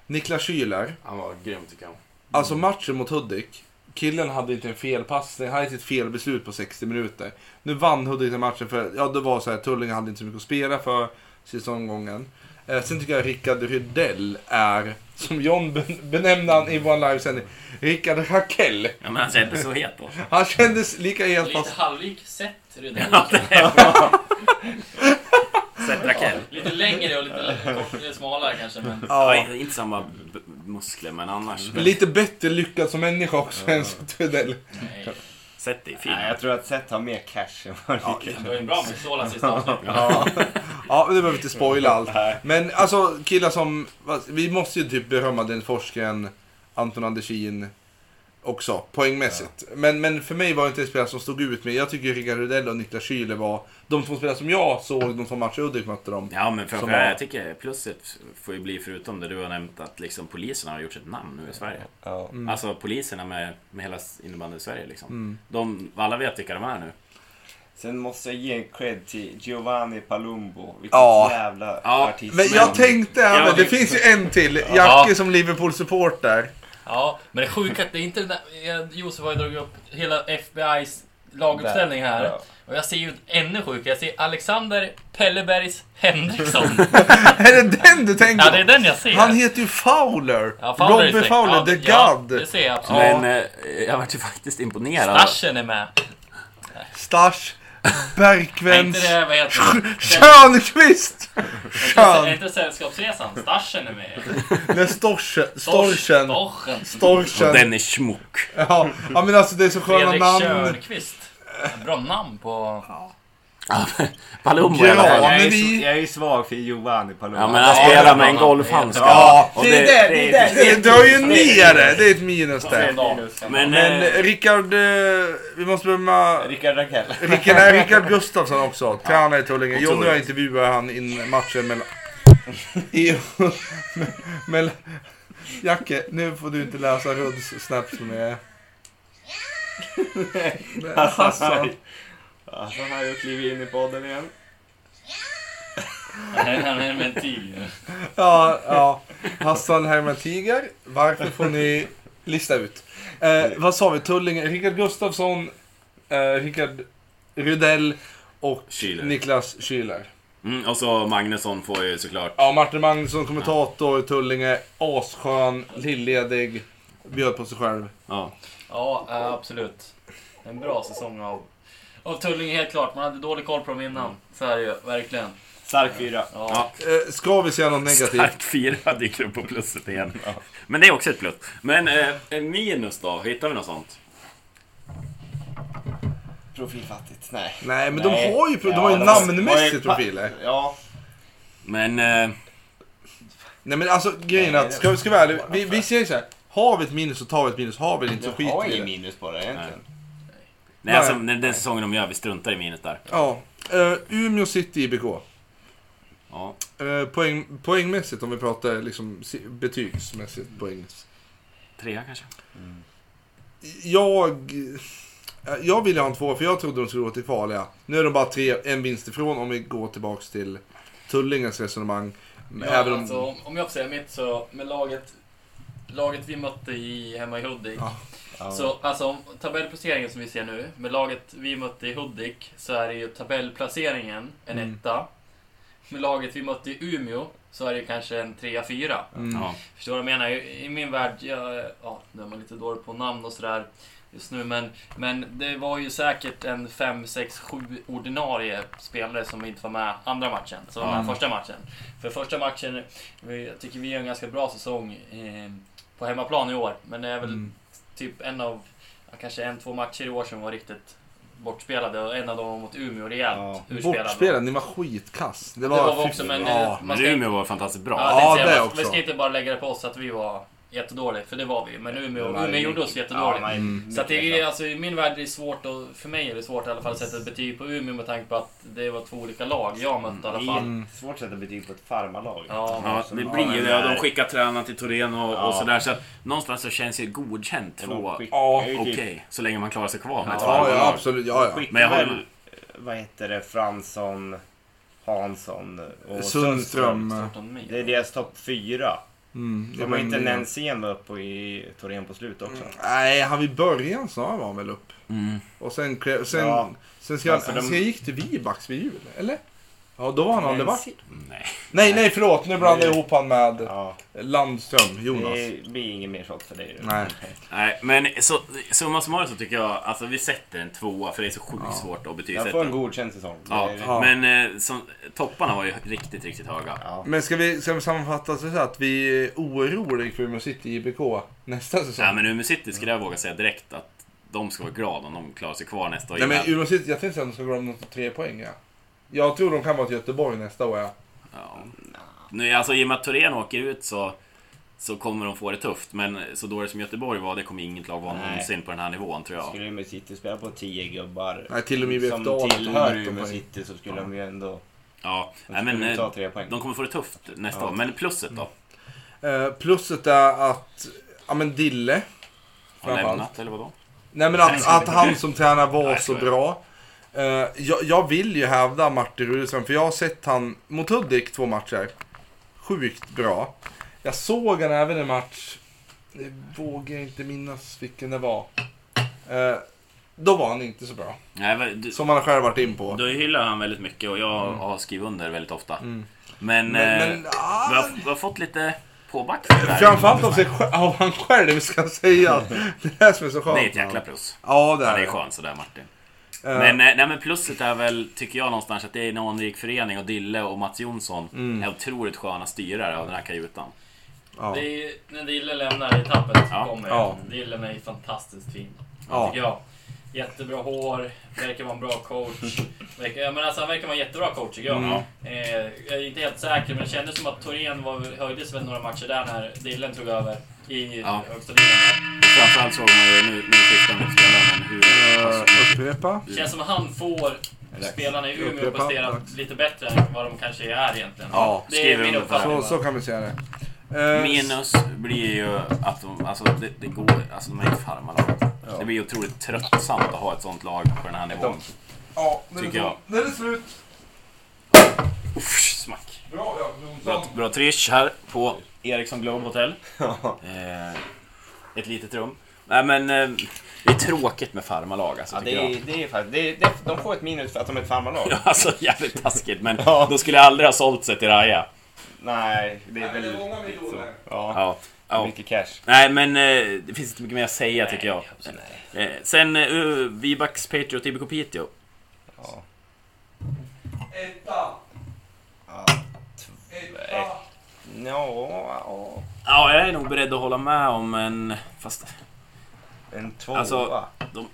Speaker 3: Niklas Schüler.
Speaker 1: Han var grym tycker jag.
Speaker 3: Alltså matchen mot Hudik. Killen hade inte en felpassning, han hade inte ett felbeslut på 60 minuter. Nu vann Hudik den matchen för, ja det var så här, Tullinge hade inte så mycket att spela för sista omgången. Eh, sen tycker jag Rickard Rydell är, som John ben- benämnde han i vår livesändning, Rickard Rakell.
Speaker 1: Ja, men alltså, han kändes så het då.
Speaker 3: Han kändes lika het
Speaker 7: Lite
Speaker 3: fast...
Speaker 7: halvlik sett redan.
Speaker 1: Sett Rakell.
Speaker 7: Lite längre och lite kort- smalare kanske. Men
Speaker 1: Ja.
Speaker 3: Ja,
Speaker 1: inte- inte samma b- muskler, men annars.
Speaker 3: lite bättre lyckad som människa också än som Rydell.
Speaker 7: nej.
Speaker 1: Sett det, fin.
Speaker 4: Nej, jag tror att Seth har mer cash än vad ja,
Speaker 7: Det var ju en bra med Sola sista avsnittet.
Speaker 3: Ja, ja men det behöver vi inte spoila allt. Men alltså killar som, vi måste ju typ berömma den forskaren Anton Andersin också, poängmässigt. Men, men för mig var det inte en spelare som stod ut med, jag tycker Rickard Rudell och Niklas Schüler var de två spelare som jag såg, de som matchade Uddevik mötte dem.
Speaker 1: Ja men för,
Speaker 3: Som
Speaker 1: för
Speaker 3: var-
Speaker 1: jag tycker plusset får ju bli förutom det du har nämnt att liksom poliserna har gjort sitt namn nu i Sverige.
Speaker 4: Ja.
Speaker 1: Alltså poliserna med, med hela innebandy i Sverige liksom. De, alla vet vilka de är nu.
Speaker 4: Sen måste jag ge en cred till Giovanni Palumbo. Vilket
Speaker 3: Ja.
Speaker 4: jävla
Speaker 1: Ja,
Speaker 4: artist.
Speaker 3: Men jag tänkte, ja, men det
Speaker 1: Ja.
Speaker 3: finns ju en till, Jackie som Liverpool-supporter.
Speaker 7: Ja, men det sjuka är att det är inte den där, eh, Josef har ju dragit upp hela FBI's laguppställning här.
Speaker 4: Ja.
Speaker 7: Och jag ser ju ännu sjukare. Jag ser Alexander Pellebergs Henriksson.
Speaker 3: är det den du tänker
Speaker 7: Ja, det är
Speaker 3: på?
Speaker 7: den jag ser.
Speaker 3: Han heter ju Fowler!
Speaker 7: ja, Fowler är
Speaker 3: Robbie
Speaker 7: snygg.
Speaker 3: Fowler,
Speaker 7: ja,
Speaker 3: the
Speaker 7: ja,
Speaker 3: God!
Speaker 7: det ser jag absolut.
Speaker 1: Men eh, jag vart ju faktiskt imponerad.
Speaker 7: Stashen är med.
Speaker 3: Stasch,
Speaker 7: Är
Speaker 3: Bergkvens,
Speaker 7: inte det, vad heter det?
Speaker 3: Tjörnqvist!
Speaker 7: Är
Speaker 3: Tjörn!
Speaker 7: inte Sällskapsresan? Stashen är med.
Speaker 3: Nej, Storchen. Storchen.
Speaker 7: Storchen.
Speaker 1: Och
Speaker 3: Storchen.
Speaker 1: den är schmuck.
Speaker 3: Ja, ja, men alltså det är så sköna
Speaker 7: Fredrik
Speaker 3: namn.
Speaker 7: Körnqvist. Bra namn på...
Speaker 1: Palumbo i alla fall.
Speaker 4: Jag är,
Speaker 3: men vi-
Speaker 4: ju, jag är ju svag för Giovanni Palumbo.
Speaker 1: Ja men han spelar med en golfhandska.
Speaker 3: Ja,
Speaker 1: Och det, det,
Speaker 3: alltså, Det drar ju ner det. Det är ett minus där.
Speaker 1: Men,
Speaker 3: Men
Speaker 1: eh,
Speaker 3: Rickard, eh, vi måste berömma
Speaker 4: Rickard Rakell.
Speaker 3: Rickard, nej, Rickard Gustafsson också. Tränare i Tullinge. Jonny och jag intervjuade han in matchen mellan... I, mellan Jacke, nu får du inte läsa Rudds snaps med... Hassan.
Speaker 4: Alltså, han har ju klivit in i podden igen.
Speaker 7: Han är med en tigre.
Speaker 3: Ja, ja. Hassan Herman Tiger. Varför får ni lista ut? Eh, vad sa vi? Tullinge, Rickard Gustafsson, eh, Rickard Rydell och
Speaker 1: Schüler.
Speaker 3: Niklas Schüler.
Speaker 1: mm, och så Magnusson får ju såklart.
Speaker 3: Ja, Martin Magnusson, kommentator, Tullinge, asskön, lilledig, bjöd på sig själv.
Speaker 1: Ja.
Speaker 7: Ja, eh, absolut. En bra säsong av, av Tullinge helt klart. Man hade dålig koll på dem innan. Så är det ju, verkligen.
Speaker 4: Stark fyra.
Speaker 7: Ja.
Speaker 3: Eh, ska vi säga något negativt?
Speaker 1: Stark fyra dyker upp på plusset igen. Men det är också ett plus. Men eh, en minus då? Hittar vi något sånt?
Speaker 4: Profilfattigt. Nej.
Speaker 3: Nej, men
Speaker 4: Nej.
Speaker 3: de har ju, pro- de
Speaker 4: Ja,
Speaker 3: har ju
Speaker 4: de har-
Speaker 3: namnmässigt profiler.
Speaker 4: Ja.
Speaker 1: Men... Eh,
Speaker 3: Nej men alltså grejen är att, ska, ska vi vara ärliga, vi, vi säger så här. Har vi ett minus så tar vi ett minus, har vi det inte så
Speaker 4: Jag har
Speaker 3: skiter vi i
Speaker 4: inget
Speaker 3: det.
Speaker 4: minus på det egentligen.
Speaker 1: Nej, alltså, den, den säsongen de gör, vi struntar i minnet där.
Speaker 3: Ja. Eh, Umeå City IBK.
Speaker 1: Ja.
Speaker 3: Eh, poäng, poängmässigt om vi pratar liksom, si- betygsmässigt poäng.
Speaker 1: Trea kanske?
Speaker 3: Jag, eh, jag ville ha en två för jag trodde de skulle gå till Kvalia. Nu är de bara tre, en vinst ifrån om vi går tillbaks till Tullingens resonemang.
Speaker 7: Ja,
Speaker 3: Även om...
Speaker 7: alltså, om... om jag får säga mitt så, med laget, laget vi mötte i, hemma i Hudik.
Speaker 3: Ja.
Speaker 7: Så alltså om tabellplaceringen som vi ser nu, med laget vi mötte i Hudik så är det ju tabellplaceringen en
Speaker 3: Mm.
Speaker 7: etta. Med laget vi mötte i Umeå så är det ju kanske en trea, fyra.
Speaker 3: Mm.
Speaker 1: Ja.
Speaker 7: Förstår du vad jag menar? I i min värld, jag, ja, nu är man lite dålig på namn och sådär just nu, men, men det var ju säkert en 5, 6, 7 ordinarie spelare som inte var med andra matchen, som var med
Speaker 1: Mm.
Speaker 7: första matchen. För första matchen, vi- jag tycker vi gör en ganska bra säsong eh, på hemmaplan i år, men det är väl
Speaker 3: Mm.
Speaker 7: typ en av, ja, kanske en, två matcher i år som var riktigt bortspelade och en av dem var mot Umeå rejält
Speaker 4: Ja.
Speaker 7: urspelad.
Speaker 3: Bortspelad, ni var skitkass. Det
Speaker 7: Det var vi
Speaker 3: fy-
Speaker 7: också, men...
Speaker 3: ja.
Speaker 7: eh, man
Speaker 1: Men
Speaker 7: ska-
Speaker 1: Umeå var fantastiskt bra.
Speaker 7: Ja,
Speaker 3: Ja,
Speaker 7: jag tänkte
Speaker 3: det
Speaker 7: säga,
Speaker 3: också.
Speaker 7: Vi ska inte bara lägga det på oss att vi var jättedåliga, för det var vi. Men Umeå,
Speaker 4: Det var
Speaker 7: Umeå
Speaker 4: ju-
Speaker 7: gjorde oss jättedåligt.
Speaker 4: Ja, men- Mm.
Speaker 7: så att det är, alltså, i min värld är det svårt, och för mig är det svårt i alla fall, att sätta ett betyg på Umeå med tanke på att det var två olika lag jag mötte i alla fall.
Speaker 3: Mm.
Speaker 4: Svårt att sätta betyg på ett farmarlag.
Speaker 7: Ja.
Speaker 1: Ja, eh,
Speaker 4: Som
Speaker 1: det
Speaker 4: har
Speaker 1: blir ju
Speaker 4: den
Speaker 1: det.
Speaker 4: där-
Speaker 1: De skickar tränaren till Torino och, och
Speaker 4: Ja.
Speaker 1: sådär. Så att någonstans så känns ju godkänt
Speaker 4: de
Speaker 1: två
Speaker 4: skickar
Speaker 3: Ja,
Speaker 4: ju
Speaker 1: okej.
Speaker 4: typ-
Speaker 1: Så länge man klarar sig kvar med ett
Speaker 3: Ja, ja,
Speaker 1: farmarlag.
Speaker 3: absolut. Ja, ja.
Speaker 4: Skickar
Speaker 1: Men jag håller
Speaker 4: väl, vad heter det, Fransson, Hansson och
Speaker 3: Sundström. eh,
Speaker 7: mil.
Speaker 4: Det är deras topp fyra.
Speaker 3: Mm,
Speaker 4: De har inte Nensén var uppe i Torén på slut också.
Speaker 3: Nej, han vid början snarare var han väl upp.
Speaker 1: Mm.
Speaker 3: Och sen, krä- sen,
Speaker 4: Ja.
Speaker 3: sen ska,
Speaker 4: Alltså, de-
Speaker 3: sen gick till Vibax vid jul, eller? Ja, då var han aldrig varit.
Speaker 1: Nej.
Speaker 3: Nej, nej, förlåt. Nu blandade jag ihop han med
Speaker 4: Ja,
Speaker 3: Landström, Jonas.
Speaker 4: det blir ingen mer shot för dig.
Speaker 3: Nej.
Speaker 1: Nej, men så, summa summarum så tycker jag, alltså vi sätter en tvåa för det är så sjukt svårt att
Speaker 4: Jag får
Speaker 1: betygsätta.
Speaker 4: en godkänd säsong.
Speaker 1: Ja,
Speaker 4: Det är-
Speaker 3: Ja.
Speaker 1: men eh, som, topparna var ju riktigt, riktigt höga.
Speaker 4: Ja.
Speaker 3: Men ska vi, ska vi sammanfatta så här att vi är oroliga för Umeå City i IBK nästa säsong?
Speaker 1: Ja, men Umeå City skulle jag våga säga direkt att de ska vara glada om de klarar sig kvar nästa år.
Speaker 3: Nej, men Umeå City, jag tänkte att de ska gå om något tre poäng. Ja. Jag tror de kan vara till Göteborg nästa år. Ja.
Speaker 1: Ja. Nu, alltså, I och med att Torén åker ut så, så kommer de få det tufft. Men så dåligt som Göteborg var, det kommer inget lag vara
Speaker 4: Nej.
Speaker 1: någonsin på den här nivån tror jag.
Speaker 4: Skulle Umeå City spela på tio gubbar
Speaker 3: Nej, till och med IBF
Speaker 4: som
Speaker 3: Dalen tog
Speaker 4: tillhör
Speaker 3: 19
Speaker 4: Umeå
Speaker 3: poäng.
Speaker 4: City så skulle de ju ändå...
Speaker 1: Ja.
Speaker 4: De
Speaker 1: Nej, men,
Speaker 4: skulle ta
Speaker 1: eh,
Speaker 4: tre poäng.
Speaker 1: de kommer få det tufft nästa år. Men plusset då?
Speaker 3: Eh, plusset är att, ja men Dille.
Speaker 1: Har
Speaker 3: Framförallt.
Speaker 1: lämnat eller vadå?
Speaker 3: Nej men att, att han som tränar var
Speaker 1: Nej,
Speaker 3: så
Speaker 1: så är det.
Speaker 3: bra. Eh, jag, jag vill ju hävda Martin Rudström, för jag har sett han mot Hudik två matcher. Sjukt bra. Jag såg han även en match, det vågar jag inte minnas vilken det var. Eh, då var han inte så bra.
Speaker 1: Nej, men du,
Speaker 3: Som han själv varit in på.
Speaker 1: du hyllar han väldigt mycket och jag har skrivit under väldigt ofta.
Speaker 3: Mm.
Speaker 1: Men,
Speaker 3: Men,
Speaker 1: eh,
Speaker 3: men ah,
Speaker 1: Vi, har, vi har fått lite påback för det där.
Speaker 3: framförallt av, sig, sj- av han själv ska jag säga. Det är det som är så skönt.
Speaker 1: Det är ett jäkla plus.
Speaker 3: Ja, det
Speaker 1: Ja,
Speaker 3: är
Speaker 1: det är
Speaker 3: det.
Speaker 1: skönt sådär Martin.
Speaker 3: Eh,
Speaker 1: Men, eh, nej, men plusset är väl, tycker jag någonstans, att det är en anrik förening och Dille och Mats Jonsson
Speaker 3: Mm.
Speaker 1: är otroligt sköna styrare av den här kajutan.
Speaker 3: ja.
Speaker 7: Det är, ju- när Dille lämnar i tappet
Speaker 1: Ja.
Speaker 7: kommer
Speaker 3: Ja.
Speaker 7: Dille är ju fantastiskt fin.
Speaker 3: Ja.
Speaker 7: Tycker jag. Jättebra hår, verkar vara en bra coach. Verkar, ja, men alltså, han verkar vara en jättebra coach tycker jag.
Speaker 1: Mm.
Speaker 7: Eh, jag är inte helt säker, men det kändes som att Torén var- höjdes väl några matcher där när Dillen tog över i
Speaker 1: Ja.
Speaker 7: högsta ligan.
Speaker 1: Och framförallt såg man ju, nu, nu skiftar han ut spelare, men hur...
Speaker 3: Eh, upprepa.
Speaker 1: Mm.
Speaker 7: Det känns som att han får spelarna i Umeå att
Speaker 3: Upprepa.
Speaker 7: prestera
Speaker 3: Dags.
Speaker 7: lite bättre än vad de kanske är egentligen.
Speaker 1: Ja,
Speaker 7: det är
Speaker 1: skriver
Speaker 7: min
Speaker 1: under på det.
Speaker 7: uppfattning.
Speaker 3: Så, så kan vi säga det. Eh,
Speaker 1: Minus blir ju att de, alltså det, det går, alltså de är ju farmarlag. Det blir otroligt tröttsamt att ha ett sånt lag på den här nivån.
Speaker 3: Ja, nu
Speaker 1: Tycker jag.
Speaker 3: Nu är det slut.
Speaker 1: Uff, smack!
Speaker 3: Bra, ja,
Speaker 1: Bra, bra trish här på Ericsson Globe Hotel. eh, ett litet rum. Nej men, eh, det är tråkigt med farmarlag alltså,
Speaker 4: Ja, det
Speaker 1: tycker jag.
Speaker 4: är, det är faktiskt... Det är, det är, de får ett minus för att de är ett farmarlag.
Speaker 1: Ja, alltså jävligt taskigt men
Speaker 4: Ja.
Speaker 1: då skulle jag aldrig ha sålt sig till Raja.
Speaker 4: Nej, det är väl... så. Ja,
Speaker 1: Ja. Ja.
Speaker 4: mycket cash.
Speaker 1: Nej men eh, det finns inte mycket mer att säga tycker jag. Eh, sen uh, Vibax Patriot IBK Piteå.
Speaker 4: Ja.
Speaker 3: Etta.
Speaker 4: Ja.
Speaker 3: Etta.
Speaker 4: Ja,
Speaker 1: Ja, jag är nog beredd att hålla med om en... Fast
Speaker 4: en tvåa.
Speaker 1: Alltså, de-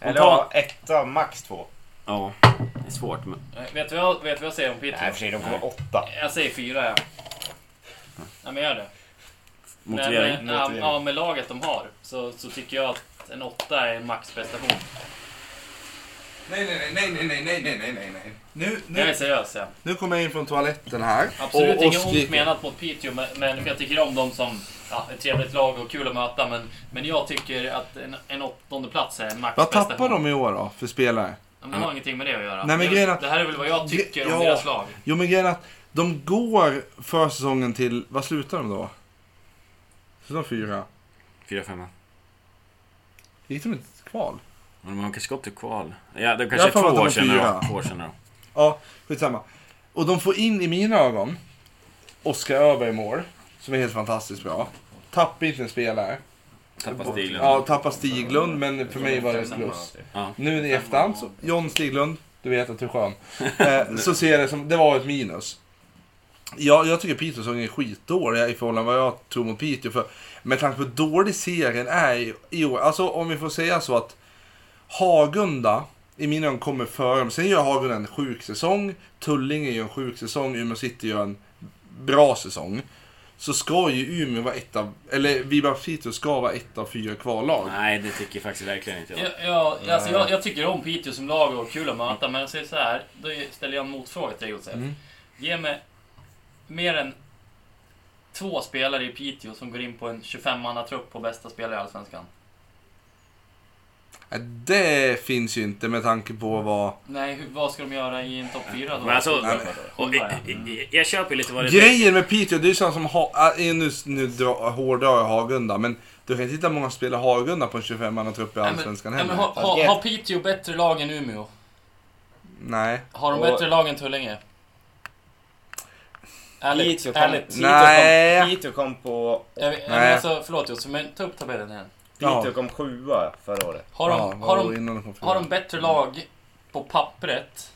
Speaker 4: Eller ja,
Speaker 1: spontant...
Speaker 4: etta, max två.
Speaker 1: Ja, det är svårt men...
Speaker 7: Eh, Vet du vad, jag- vet du vad jag säger om Peter?
Speaker 4: Nej, för sig, de kommer åtta.
Speaker 7: Jag säger fyra, ja. Ja, men gör det.
Speaker 1: Motivering.
Speaker 7: Men, ja, ja, med laget de har så, så tycker jag att en åtta är en maxprestation.
Speaker 3: Nej, nej, nej, nej, nej, nej, nej, nej, nej, nej. Nu,
Speaker 7: Jag är
Speaker 3: nu,
Speaker 7: seriös. Ja.
Speaker 3: nu kommer jag in från toaletten här.
Speaker 7: Absolut
Speaker 3: och, och
Speaker 7: inget ont
Speaker 3: skriker.
Speaker 7: menat mot Piteå, men, men jag tycker om dem som ja, ett trevligt lag och kul att möta. Men, men jag tycker att en, en åttonde plats är en
Speaker 3: Vad
Speaker 7: maxprestation.
Speaker 3: tappar de i år då, för spelare?
Speaker 7: Ja, men det har ingenting med det att göra.
Speaker 3: Nej, men
Speaker 7: det,
Speaker 3: grejen är att-
Speaker 7: det här är väl vad jag tycker om
Speaker 3: Ja.
Speaker 7: deras lag.
Speaker 3: Jo, men grejen är att de går försäsongen till... Vad slutar de då? Slutar de fyra?
Speaker 1: Fyra, femma.
Speaker 3: Gick de inte till kval?
Speaker 1: Men de har kanske gått till kval. Ja, det
Speaker 3: Jag har
Speaker 1: kanske är
Speaker 3: för mig
Speaker 1: två år
Speaker 3: att de är
Speaker 1: sedan då.
Speaker 3: fyra.
Speaker 1: Två år sedan då.
Speaker 3: Ja, skitsamma. Och de får in i mina ögon Oskar Öberg i mål, som är helt fantastiskt bra. Tappar inte en spelare.
Speaker 1: Tappar stilen.
Speaker 3: Ja, tappar Stiglund, men för mig var det ett plus.
Speaker 1: Ja.
Speaker 3: Nu i efterhand, så, John Stiglund, du vet att du är skön. Eh, så ser jag det som, det var ett minus. Ja, jag tycker Piteå-säsongen är skitdålig i förhållande till vad jag tror mot Piteå. För, med tanke på hur dålig serien är i- i år. Alltså om vi får säga så att Hagunda i mina ögon kommer före. Men Sen gör Hagunda en sjuk säsong. Tullinge gör en sjuk säsong. Umeå City gör en bra säsong. Så ska ju Umeå vara ett av, eller Vibra Piteå ska vara ett av fyra kvallag.
Speaker 1: Nej, det tycker faktiskt verkligen inte jag.
Speaker 7: Jag, jag, alltså jag, jag tycker om Piteå som lag och kul att möta, men jag säger så här, då ställer jag en motfråga till dig Josef.
Speaker 3: Mm.
Speaker 7: Ge mig mer än två spelare i Piteå som går in på en 25-mannatrupp på bästa spelare i Allsvenskan.
Speaker 3: Nej, Det finns ju inte med tanke
Speaker 7: Mm.
Speaker 3: på vad...
Speaker 7: Nej, hur, vad ska de göra i en topp 4 då?
Speaker 1: Men alltså,
Speaker 7: Sjunga,
Speaker 1: och,
Speaker 7: ja.
Speaker 1: jag, jag, jag köper lite vad det
Speaker 3: Grejen med Piteå, det är ju sånt som... Ha, äh, nu nu dra- hårdrar jag Hagunda, men du kan inte hitta många spelare Hagunda på en 25-mannatrupp i
Speaker 7: Nej, men-
Speaker 3: Allsvenskan
Speaker 7: nej, men
Speaker 3: heller.
Speaker 7: har, har, har Piteå bättre lag än Umeå?
Speaker 3: Nej.
Speaker 7: Har de
Speaker 2: Och-
Speaker 7: bättre lag än Tullinge? Ärligt,
Speaker 4: Piteå kan-
Speaker 7: ärligt.
Speaker 4: Piteå
Speaker 3: Nej.
Speaker 4: kom- Piteå kom på...
Speaker 7: Jag, vet-
Speaker 3: Nej.
Speaker 7: men alltså, förlåt Josef, men ta upp tabellen igen.
Speaker 3: Ja.
Speaker 4: Piteå kom sjua förra året.
Speaker 7: Har de,
Speaker 3: Ja, vad
Speaker 7: har
Speaker 3: var
Speaker 7: de
Speaker 3: det innan de kom fyra?
Speaker 7: Har de bättre lag på pappret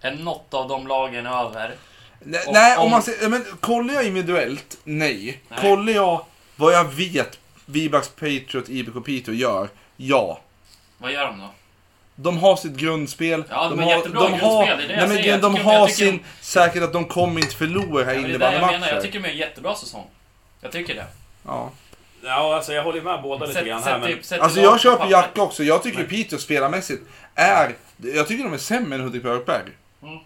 Speaker 7: än något av de lagen över?
Speaker 3: Nej,
Speaker 7: Och
Speaker 3: nej, om,
Speaker 7: om-
Speaker 3: man ser, men kollar jag individuellt, nej. Kollar jag vad jag vet Vibax Patriot IBK Piteå gör, ja.
Speaker 7: Vad gör de då?
Speaker 3: De har sitt grundspel.
Speaker 7: Ja, de är
Speaker 3: har,
Speaker 7: jättebra
Speaker 3: de
Speaker 7: grundspel,
Speaker 3: har,
Speaker 7: det är det jag
Speaker 3: nej, men,
Speaker 7: säger.
Speaker 3: grejen, De
Speaker 7: Jag tycker-
Speaker 3: har
Speaker 7: jag tycker
Speaker 3: sin... Säkert att de kommer inte förlora här
Speaker 7: Ja, men det är det jag
Speaker 3: innebandymatcher.
Speaker 7: menar. Jag tycker de är en jättebra säsong. Jag tycker det.
Speaker 3: ja.
Speaker 1: Ja, alltså jag håller med båda lite grann
Speaker 7: Sätt,
Speaker 1: här.
Speaker 7: sätt,
Speaker 1: Men
Speaker 7: typ, sätt
Speaker 3: Alltså
Speaker 7: lag på
Speaker 3: jag köper
Speaker 7: pappret.
Speaker 3: Jacka också. Jag tycker Piteå spelarmässigt är... Jag tycker de är sämre än Hudik Björkberg.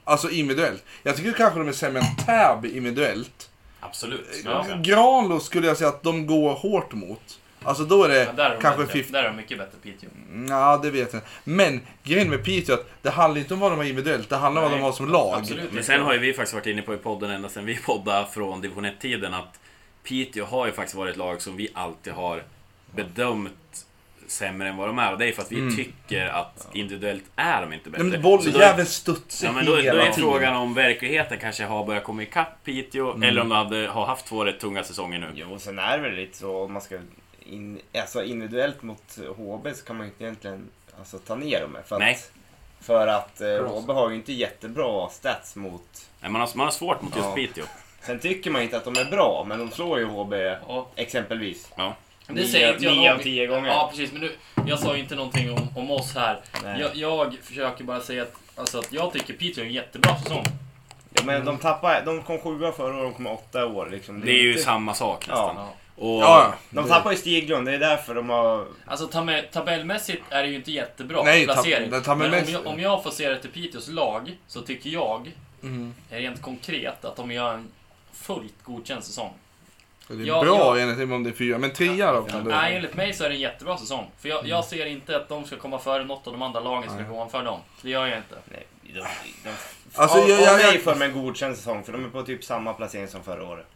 Speaker 3: Alltså individuellt. Jag tycker kanske de är sämre än Täby individuellt.
Speaker 1: absolut. skulle jag
Speaker 7: Ja.
Speaker 1: säga.
Speaker 3: Granlo skulle jag säga att de går hårt mot. Alltså då är det
Speaker 7: Ja, där är de
Speaker 3: kanske
Speaker 7: bättre.
Speaker 3: 50...
Speaker 7: Där är de mycket bättre Piteå.
Speaker 3: Ja, det vet jag inte. Men grejen med Piteå är att det handlar inte om vad de har individuellt. Det handlar om vad de har som lag.
Speaker 7: Absolut.
Speaker 1: Men sen har ju vi faktiskt varit inne på i podden ända sedan vi poddade från division 1-tiden att Piteå har ju faktiskt varit ett lag som vi alltid har bedömt sämre än vad de är. Och det är för att vi tycker att individuellt är de inte
Speaker 3: Nej,
Speaker 1: bättre.
Speaker 3: men
Speaker 1: Så då är-
Speaker 3: bolljäveln studsar
Speaker 1: Ja, men då, då
Speaker 3: hela
Speaker 1: är
Speaker 3: tiden.
Speaker 1: frågan om verkligheten kanske har börjat komma ikapp Piteå eller om de hade, har haft två rätt tunga säsonger nu.
Speaker 4: Jo, sen är det väl lite så om man ska... In, alltså individuellt mot HB så kan man ju inte egentligen alltså, ta ner dem. För att,
Speaker 1: Nej.
Speaker 4: För att eh, HB har ju inte jättebra stats mot...
Speaker 1: Nej, Man har, man har svårt mot just
Speaker 4: Ja.
Speaker 1: Piteå.
Speaker 4: Sen tycker man inte att de är bra, men de slår ju HB
Speaker 7: Ja.
Speaker 4: exempelvis.
Speaker 1: Ja.
Speaker 7: Men
Speaker 4: Nio-
Speaker 7: Det säger inte jag
Speaker 4: nio av
Speaker 7: någon-
Speaker 4: tio gånger.
Speaker 7: Ja, precis. Men nu, jag sa ju inte någonting om, om oss här.
Speaker 4: Nej.
Speaker 7: Jag, jag försöker bara säga att, alltså, att jag tycker Piteå är en jättebra säsong.
Speaker 4: Ja, men de tappar, de kom sjua förra året, de kommer åtta i år. Liksom.
Speaker 1: Det är ju
Speaker 4: inte-
Speaker 1: samma sak nästan.
Speaker 4: Ja.
Speaker 1: Och,
Speaker 3: Ja, ja.
Speaker 4: De tappar ju Stiglund, det är därför de har...
Speaker 7: Alltså tab- tabellmässigt är det ju inte jättebra
Speaker 3: Nej, tab-
Speaker 7: placering.
Speaker 3: det- tabellmässigt-
Speaker 7: Men om jag, om jag får se det till Piteås lag så tycker jag
Speaker 3: Mm.
Speaker 7: rent konkret att de gör en fullt godkänd säsong.
Speaker 3: Det är
Speaker 7: Ja,
Speaker 3: bra
Speaker 7: ja.
Speaker 3: enligt mig om det är fyra, men trea då? Mm. kan du-
Speaker 7: Nej, enligt mig så är det en jättebra säsong. För jag, jag ser inte att de ska komma före något av de andra lagen som är ovanför dem. Det gör jag inte.
Speaker 4: Nej, de, de,
Speaker 3: Alltså,
Speaker 4: av,
Speaker 3: jag-
Speaker 4: av
Speaker 3: jag-
Speaker 4: mig
Speaker 3: jag-
Speaker 4: får de en godkänd säsong, för de är på typ samma placering som förra året.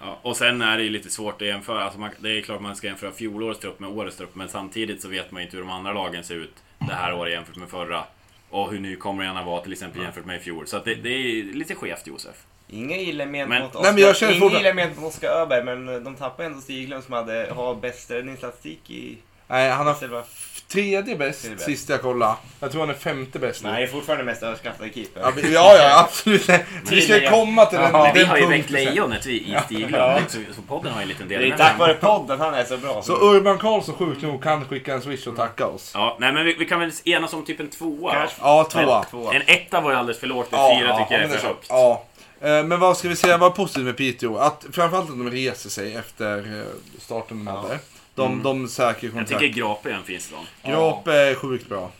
Speaker 1: Ja, och sen är det ju lite svårt att jämföra. Alltså man, det är klart man ska jämföra fjolårets trupp med årets trupp, men samtidigt så vet man ju inte hur de andra lagen ser ut det här året jämfört med förra. Och hur nykomlingarna var till exempel jämfört med i fjol. Så att det, det är lite skevt Josef.
Speaker 4: Inga illa men
Speaker 1: Men-
Speaker 4: mot
Speaker 3: Nej, men jag
Speaker 4: Oskar-
Speaker 3: känner
Speaker 4: inga
Speaker 3: fortfarande-
Speaker 4: illa men mot Oskar Öberg, men de tappar ändå Stiglund som hade, har bäst räddningsstatistik i
Speaker 3: Nej, han har
Speaker 4: selva...
Speaker 3: f- tredje bäst
Speaker 4: Tredje bäst.
Speaker 3: sist jag kollade. Jag tror han är femte bäst nu.
Speaker 4: Nej, fortfarande mest överskattade keeper.
Speaker 3: Ja, vi- ja, ja, absolut. Vi ska
Speaker 4: Tydligen.
Speaker 3: komma till den,
Speaker 4: Jaha.
Speaker 1: Vi
Speaker 3: den
Speaker 1: har ju
Speaker 3: punkten
Speaker 1: väckt
Speaker 3: sen.
Speaker 1: lejonet vi i Stiglund. Så, så podden har ju en liten del
Speaker 4: Det
Speaker 1: i
Speaker 4: är
Speaker 1: den.
Speaker 4: tack vare podden han är så bra.
Speaker 3: Så Urban Karlsson sjukt nog kan skicka en swish och tacka oss.
Speaker 1: Ja, nej men vi, vi kan väl enas om typ en tvåa.
Speaker 4: Kanske.
Speaker 3: Ja, tvåa.
Speaker 1: En etta var ju alldeles för lågt, en
Speaker 3: Ja,
Speaker 1: fyra
Speaker 3: ja,
Speaker 1: tycker jag
Speaker 3: men
Speaker 1: är
Speaker 3: det
Speaker 1: för högt.
Speaker 3: Ja. Eh, Men vad ska vi säga var positivt med Piteå? Att framförallt att de reser sig efter eh, starten de hade. De, de
Speaker 1: Mm.
Speaker 3: säker
Speaker 1: Jag
Speaker 3: kontrakt.
Speaker 1: tycker Grape är en fin slant.
Speaker 3: Grape är sjukt bra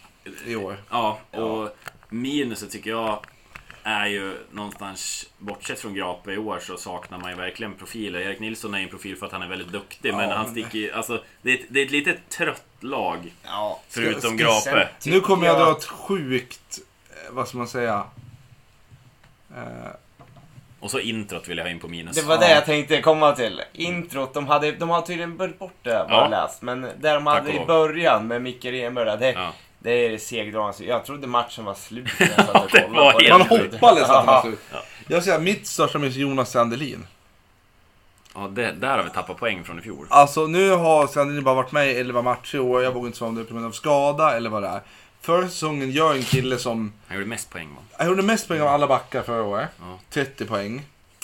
Speaker 3: i år.
Speaker 1: Ja, och minuset tycker jag är ju någonstans, bortsett från Grape i år, så saknar man ju verkligen profiler. Erik Nilsson är ju en profil för att han är väldigt duktig, men han sticker ju... Alltså, det är, ett, det är ett lite trött lag,
Speaker 4: Ja.
Speaker 1: förutom
Speaker 4: Sen
Speaker 1: Grape.
Speaker 4: tycker
Speaker 3: Nu kommer jag dra ett sjukt, eh, vad ska man säga? Eh,
Speaker 1: Och så introt vill jag ha in på minus.
Speaker 4: Det var det jag tänkte komma till. Introt, de hade, de hade tydligen börjat bort det vad
Speaker 1: Ja.
Speaker 4: jag läst. Men där de
Speaker 1: Tack och
Speaker 4: hade i
Speaker 1: lov.
Speaker 4: början med Micke Renberg, där, det,
Speaker 1: Ja.
Speaker 4: det är det segdragande. Jag trodde matchen var slut när jag satt och
Speaker 1: det
Speaker 4: kollade
Speaker 1: var
Speaker 4: på det.
Speaker 1: helt
Speaker 3: Man hoppades att
Speaker 4: Ja.
Speaker 3: han ut. Jag säger mitt största minus är Jonas Sandelin.
Speaker 1: Ja, det, där har vi tappat poäng från i fjol.
Speaker 3: Alltså nu har Sandelin bara varit med i 11 matcher i år. Jag vågar inte svara om det är på grund av skada eller vad det är. Förra säsongen gör en kille som
Speaker 1: Han gjorde mest poäng, va?
Speaker 3: Han gjorde mest poäng av alla backar förra året.
Speaker 1: Ja.
Speaker 3: 30 poäng.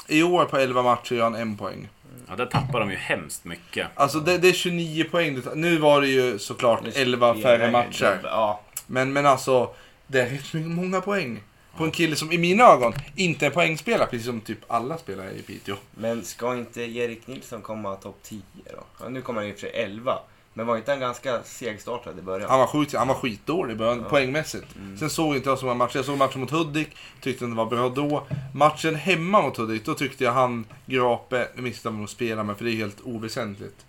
Speaker 3: I år på 11 matcher gör han en poäng.
Speaker 1: Ja, där tappar de ju hemskt mycket.
Speaker 3: Alltså det, det är 29 poäng. Nu var det ju såklart
Speaker 4: Nu spelar
Speaker 3: 11 färre
Speaker 4: jag-
Speaker 3: matcher.
Speaker 4: Ja.
Speaker 3: Men, men alltså, det är rätt mycket- många poäng. På en kille som i mina ögon inte är poängspelare, precis som typ alla spelare i Piteå.
Speaker 4: Men ska inte Erik Nilsson komma topp 10 då? Ja, nu kommer han i och för sig 11. Men var inte han ganska segstartad i början?
Speaker 3: Han var, sjukt, han var skitdålig i början, poängmässigt.
Speaker 1: Mm.
Speaker 3: Sen såg inte jag så många matcher. Jag såg matchen mot Hudik, tyckte den var bra då. Matchen hemma mot Hudik, då tyckte jag han, Grape, nu missade man att spela med för det är helt oväsentligt.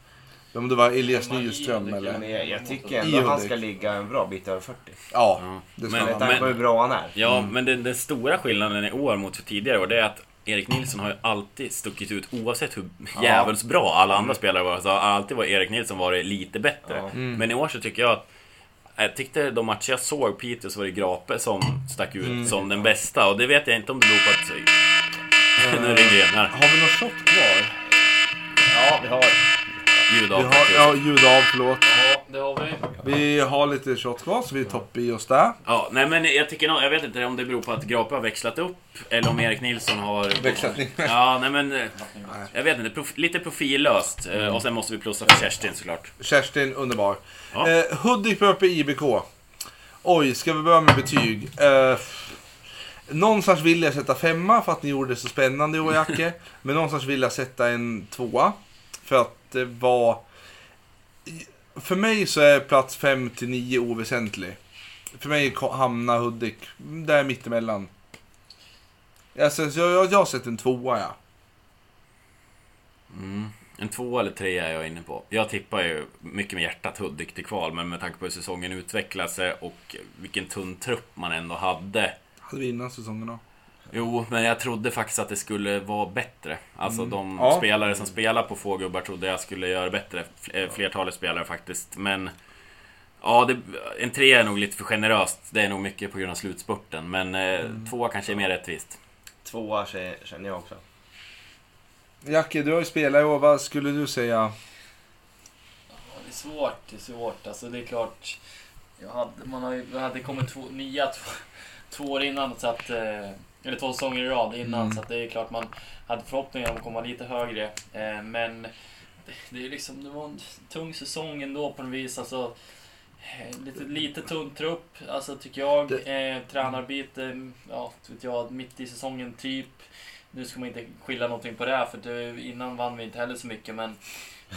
Speaker 3: Om det var Elias
Speaker 7: Hemma i
Speaker 3: Nyström
Speaker 7: Hudik,
Speaker 3: eller...
Speaker 4: Men jag, jag tycker
Speaker 3: I
Speaker 4: ändå att han
Speaker 3: Hudik.
Speaker 4: ska ligga en bra bit över 40.
Speaker 3: Ja,
Speaker 1: Ja.
Speaker 3: det ska
Speaker 1: Men-
Speaker 4: Med
Speaker 3: han.
Speaker 4: tanke på hur bra han är.
Speaker 1: Ja, men den, den stora skillnaden i år mot för tidigare år, det är att Erik Nilsson har ju alltid stuckit ut oavsett hur jävligt bra alla andra spelare var. Så har alltid var Erik Nilsson varit lite bättre.
Speaker 4: Ja.
Speaker 1: Men i år så tycker jag att jag tyckte de matcher jag såg, Peter, så var det Grape som stack ut som den bästa. Och det vet jag inte om det beror på att... nu ringer det igen här.
Speaker 3: Har vi något shot kvar?
Speaker 4: Ja, vi har...
Speaker 1: Ljud av.
Speaker 3: Vi har,
Speaker 1: faktiskt.
Speaker 3: ja, ljud av, förlåt.
Speaker 7: Ja, det har vi.
Speaker 3: Vi har lite shot kvar, så vi toppar i oss där.
Speaker 1: Ja, nej men jag tycker nog, jag vet inte om det beror på att Grape har växlat upp eller om Erik Nilsson har...
Speaker 3: Växlat ner.
Speaker 1: Ja, nej men... eh, Jag vet inte, prof, lite profillöst. Eh,
Speaker 3: Mm.
Speaker 1: Och sen måste vi plussa för Kerstin såklart.
Speaker 3: Kerstin, underbar.
Speaker 1: Ja.
Speaker 3: Eh, Hudik möter IBK. Oj, ska vi börja med betyg? Eh, någonstans vill jag sätta femma för att ni gjorde det så spännande i år, Jacke. Men någonstans vill jag sätta en tvåa. För att det var... För mig så är plats 5 till 9 oväsentlig. För mig ko- hamnar Hudik där mittemellan. Jag, jag, jag, jag har sett en tvåa, ja.
Speaker 1: En två eller tre är jag inne på. Jag tippar ju mycket med hjärtat Hudik till kval, men med tanke på hur säsongen utvecklade sig och vilken tunn trupp man ändå hade.
Speaker 3: Hade vi innan säsongen då.
Speaker 1: Jo, men jag trodde faktiskt att det skulle vara bättre. Alltså de
Speaker 3: Mm. Ja.
Speaker 1: spelare som spelar på få gubbar trodde jag skulle göra bättre. F- eh, Flertalet spelare faktiskt, men... Ja, det, en tre är nog lite för generöst. Det är nog mycket på grund av slutspurten, men eh,
Speaker 3: Mm.
Speaker 1: tvåa kanske är mer rättvist.
Speaker 4: Tvåa tje- känner jag också.
Speaker 3: Jacke, du har ju spelat i år. Vad skulle du säga?
Speaker 7: Ja, det är svårt, det är svårt. Alltså det är klart. Jag hade, man har ju, jag hade kommit två, nia två, två år innan, så att, eh, eller två säsonger i rad innan. Så att det är klart man hade förhoppningar om att komma lite högre. Eh, men det, det, är liksom, det var en tung säsong ändå på något vis. Alltså, eh, lite, lite tunn trupp, alltså, tycker jag. Eh, tränarbyte, ja, vet jag, mitt i säsongen typ. Nu ska man inte skilja någonting på det här, för det, innan vann vi inte heller så mycket. Men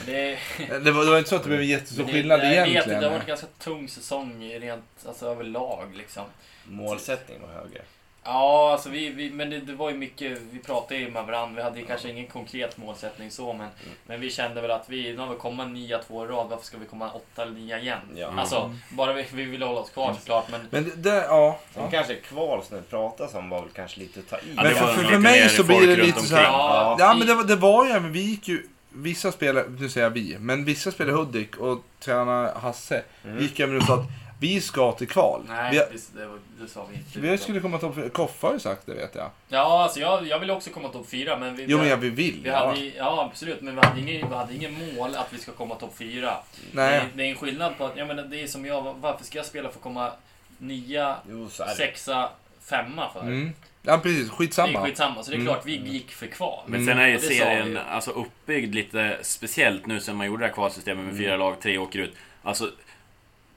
Speaker 7: det,
Speaker 3: Eh, Det var, det var inte så att det blev en jättestor
Speaker 7: det-
Speaker 3: skillnad
Speaker 7: jag vet inte,
Speaker 3: egentligen.
Speaker 7: Det har varit en ganska tung säsong i rent alltså, överlag. Liksom.
Speaker 4: Målsättningen var högre.
Speaker 7: Ja, alltså, vi, vi, men det, det var ju mycket, vi pratade ju med varandra. Vi hade ju kanske ingen konkret målsättning så, men,
Speaker 3: Mm.
Speaker 7: men vi kände väl att vi, nu har vi kommit nia två i rad, varför ska vi komma åtta eller nia igen?
Speaker 4: Ja.
Speaker 7: Alltså, bara vi, vi vill hålla oss kvar såklart, men
Speaker 3: Mm. Men det, det, ja.
Speaker 4: Sen kanske kval som det pratas om var väl kanske lite att ta i.
Speaker 1: Ja,
Speaker 3: Men
Speaker 1: det
Speaker 3: för-
Speaker 1: var
Speaker 3: för-
Speaker 1: lite
Speaker 3: för mig
Speaker 1: mer
Speaker 3: så
Speaker 1: folk
Speaker 3: blir det
Speaker 1: runt
Speaker 3: lite så
Speaker 1: omkring.
Speaker 3: här-
Speaker 4: Ja.
Speaker 3: ja, men det, var- det var ju, men vi gick ju, vissa spelare, nu säger jag vi, men vissa spelare Hudik och tränare Hasse
Speaker 4: Mm.
Speaker 3: gick över och sa att vi ska till kval.
Speaker 7: Mm. nej,
Speaker 3: vi,
Speaker 7: det, det, var- det sa vi inte.
Speaker 3: vi skulle komma till Koffa har ju sagt det vet jag.
Speaker 7: Ja, alltså, jag, jag ville också komma topp fyra, men vi...
Speaker 3: Jo men jag vi vill.
Speaker 7: Vi
Speaker 3: ja.
Speaker 7: hade, ju- ja, absolut. Men vi hade, ingen, vi hade ingen mål att vi ska komma topp fyra. Det,
Speaker 3: Nej.
Speaker 7: är, det är en skillnad på att, jag menar, det är som jag, varför ska jag spela för att komma nia,
Speaker 4: Jo, så är det.
Speaker 7: sexa, femma för?
Speaker 3: Mm. Ja precis,
Speaker 7: Det är
Speaker 3: skitsamma.
Speaker 7: skitsamma, så det är klart vi gick för kval.
Speaker 1: Men
Speaker 3: Mm.
Speaker 1: sen är ju
Speaker 7: Och Mm. det sa vi
Speaker 1: serien
Speaker 7: ju.
Speaker 1: alltså, uppbyggd lite speciellt nu sen man gjorde det här kvalsystemet med fyra lag, tre åker ut. Alltså,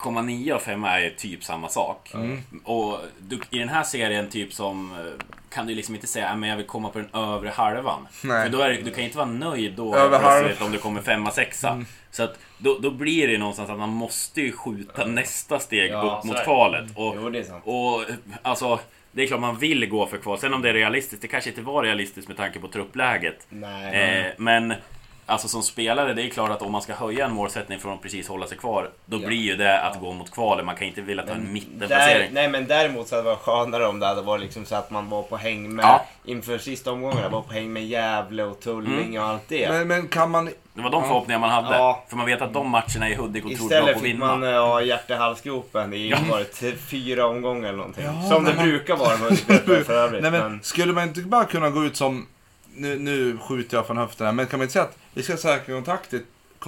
Speaker 1: 1,9 och 5 är typ samma sak. Och du, i den här serien typ som eh, kan du liksom inte säga "Ah, men jag vill komma på den övre halvan.
Speaker 3: Nej.
Speaker 1: För då är, det- du kan inte vara nöjd då
Speaker 3: Över
Speaker 1: plötsligt
Speaker 3: halv.
Speaker 1: om du kommer femma, sexa. Så att då, då blir det någonstans att man måste ju skjuta nästa steg
Speaker 4: Ja,
Speaker 1: upp
Speaker 4: så
Speaker 1: mot
Speaker 4: är det.
Speaker 1: kvalet. Och,
Speaker 4: Jo, det är sant.
Speaker 1: och alltså, det är klart man vill gå för kval. Sen om det är realistiskt, det kanske inte var realistiskt med tanke på truppläget.
Speaker 4: Nej.
Speaker 1: Eh, men alltså som spelare, det är klart att om man ska höja en målsättning från att precis hålla sig kvar, då
Speaker 4: Ja.
Speaker 1: blir ju det att gå mot kvalet. Man kan inte vilja ta en
Speaker 4: Där,
Speaker 1: mittenplacering.
Speaker 4: nej men däremot så hade det varit skönare om det hade varit liksom så att man var på häng med,
Speaker 1: Ja.
Speaker 4: inför sista omgångarna, var på häng med Gävle och Tullinge
Speaker 1: Mm.
Speaker 4: och allt det.
Speaker 3: Men, men kan man...
Speaker 1: Det var de förhoppningar man hade.
Speaker 4: Ja.
Speaker 1: För man vet att de matcherna i Hudik och trodde bra på
Speaker 4: Istället
Speaker 1: att
Speaker 4: fick
Speaker 1: vinna.
Speaker 4: man eh, ja, hjärta i halsgropen i var det, t- fyra omgångar eller någonting. Som det brukar vara med Hudiksvall för övrigt.
Speaker 3: Nej, men,
Speaker 4: men-
Speaker 3: skulle man inte bara kunna gå ut som... Nu, nu skjuter jag från höften här, men kan man inte säga att vi ska säkra kontraktet,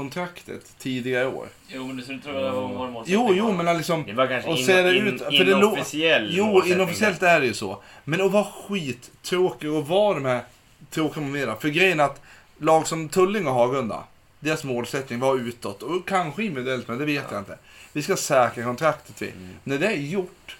Speaker 3: kontraktet tidigare i år?
Speaker 7: Jo, men du skulle tro att det var
Speaker 1: Mm.
Speaker 7: vår målsättning.
Speaker 3: Jo, jo, men liksom...
Speaker 4: Det var kanske
Speaker 3: Och
Speaker 4: in,
Speaker 3: ser det
Speaker 4: in,
Speaker 3: ut- för det lå-
Speaker 4: inofficiell
Speaker 3: Jo,
Speaker 4: målsättning.
Speaker 3: inofficiellt är det ju så. Men att vara skittråkig och vara de här tråkiga momentena. För grejen är att lag som Tullinge och Hagunda, deras målsättning var utåt och kanske individuellt, men det vet jag inte. Vi ska säkra kontraktet vi. När det är gjort,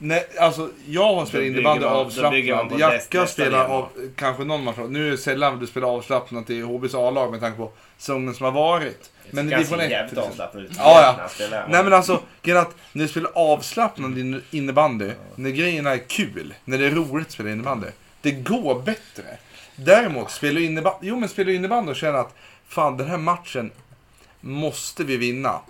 Speaker 3: när, alltså jag har spelat
Speaker 4: bygger
Speaker 3: innebandy
Speaker 4: man- Mm. då bygger man
Speaker 3: avslappnat.
Speaker 4: på näst-
Speaker 3: Jacka
Speaker 4: nästa
Speaker 3: spelar
Speaker 4: nivå.
Speaker 3: av, kanske någon match, nu är det sällan du spelar avslappnat i HBs A-lag med tanke på säsongen som har varit. Men
Speaker 4: Det
Speaker 3: det är från
Speaker 4: ser
Speaker 3: ett liksom.
Speaker 4: jävligt
Speaker 3: till exempel.
Speaker 4: avslappnat ut.
Speaker 3: Ja, ja.
Speaker 4: när han spelar.
Speaker 3: Nej men alltså, grejen är att när du spelar avslappnad in- innebandy, när grejerna är kul, när det är roligt att spela innebandy, det går bättre. Däremot, spelar du innebandy, jo men spelar du innebandy och känner att fan den här matchen måste vi vinna.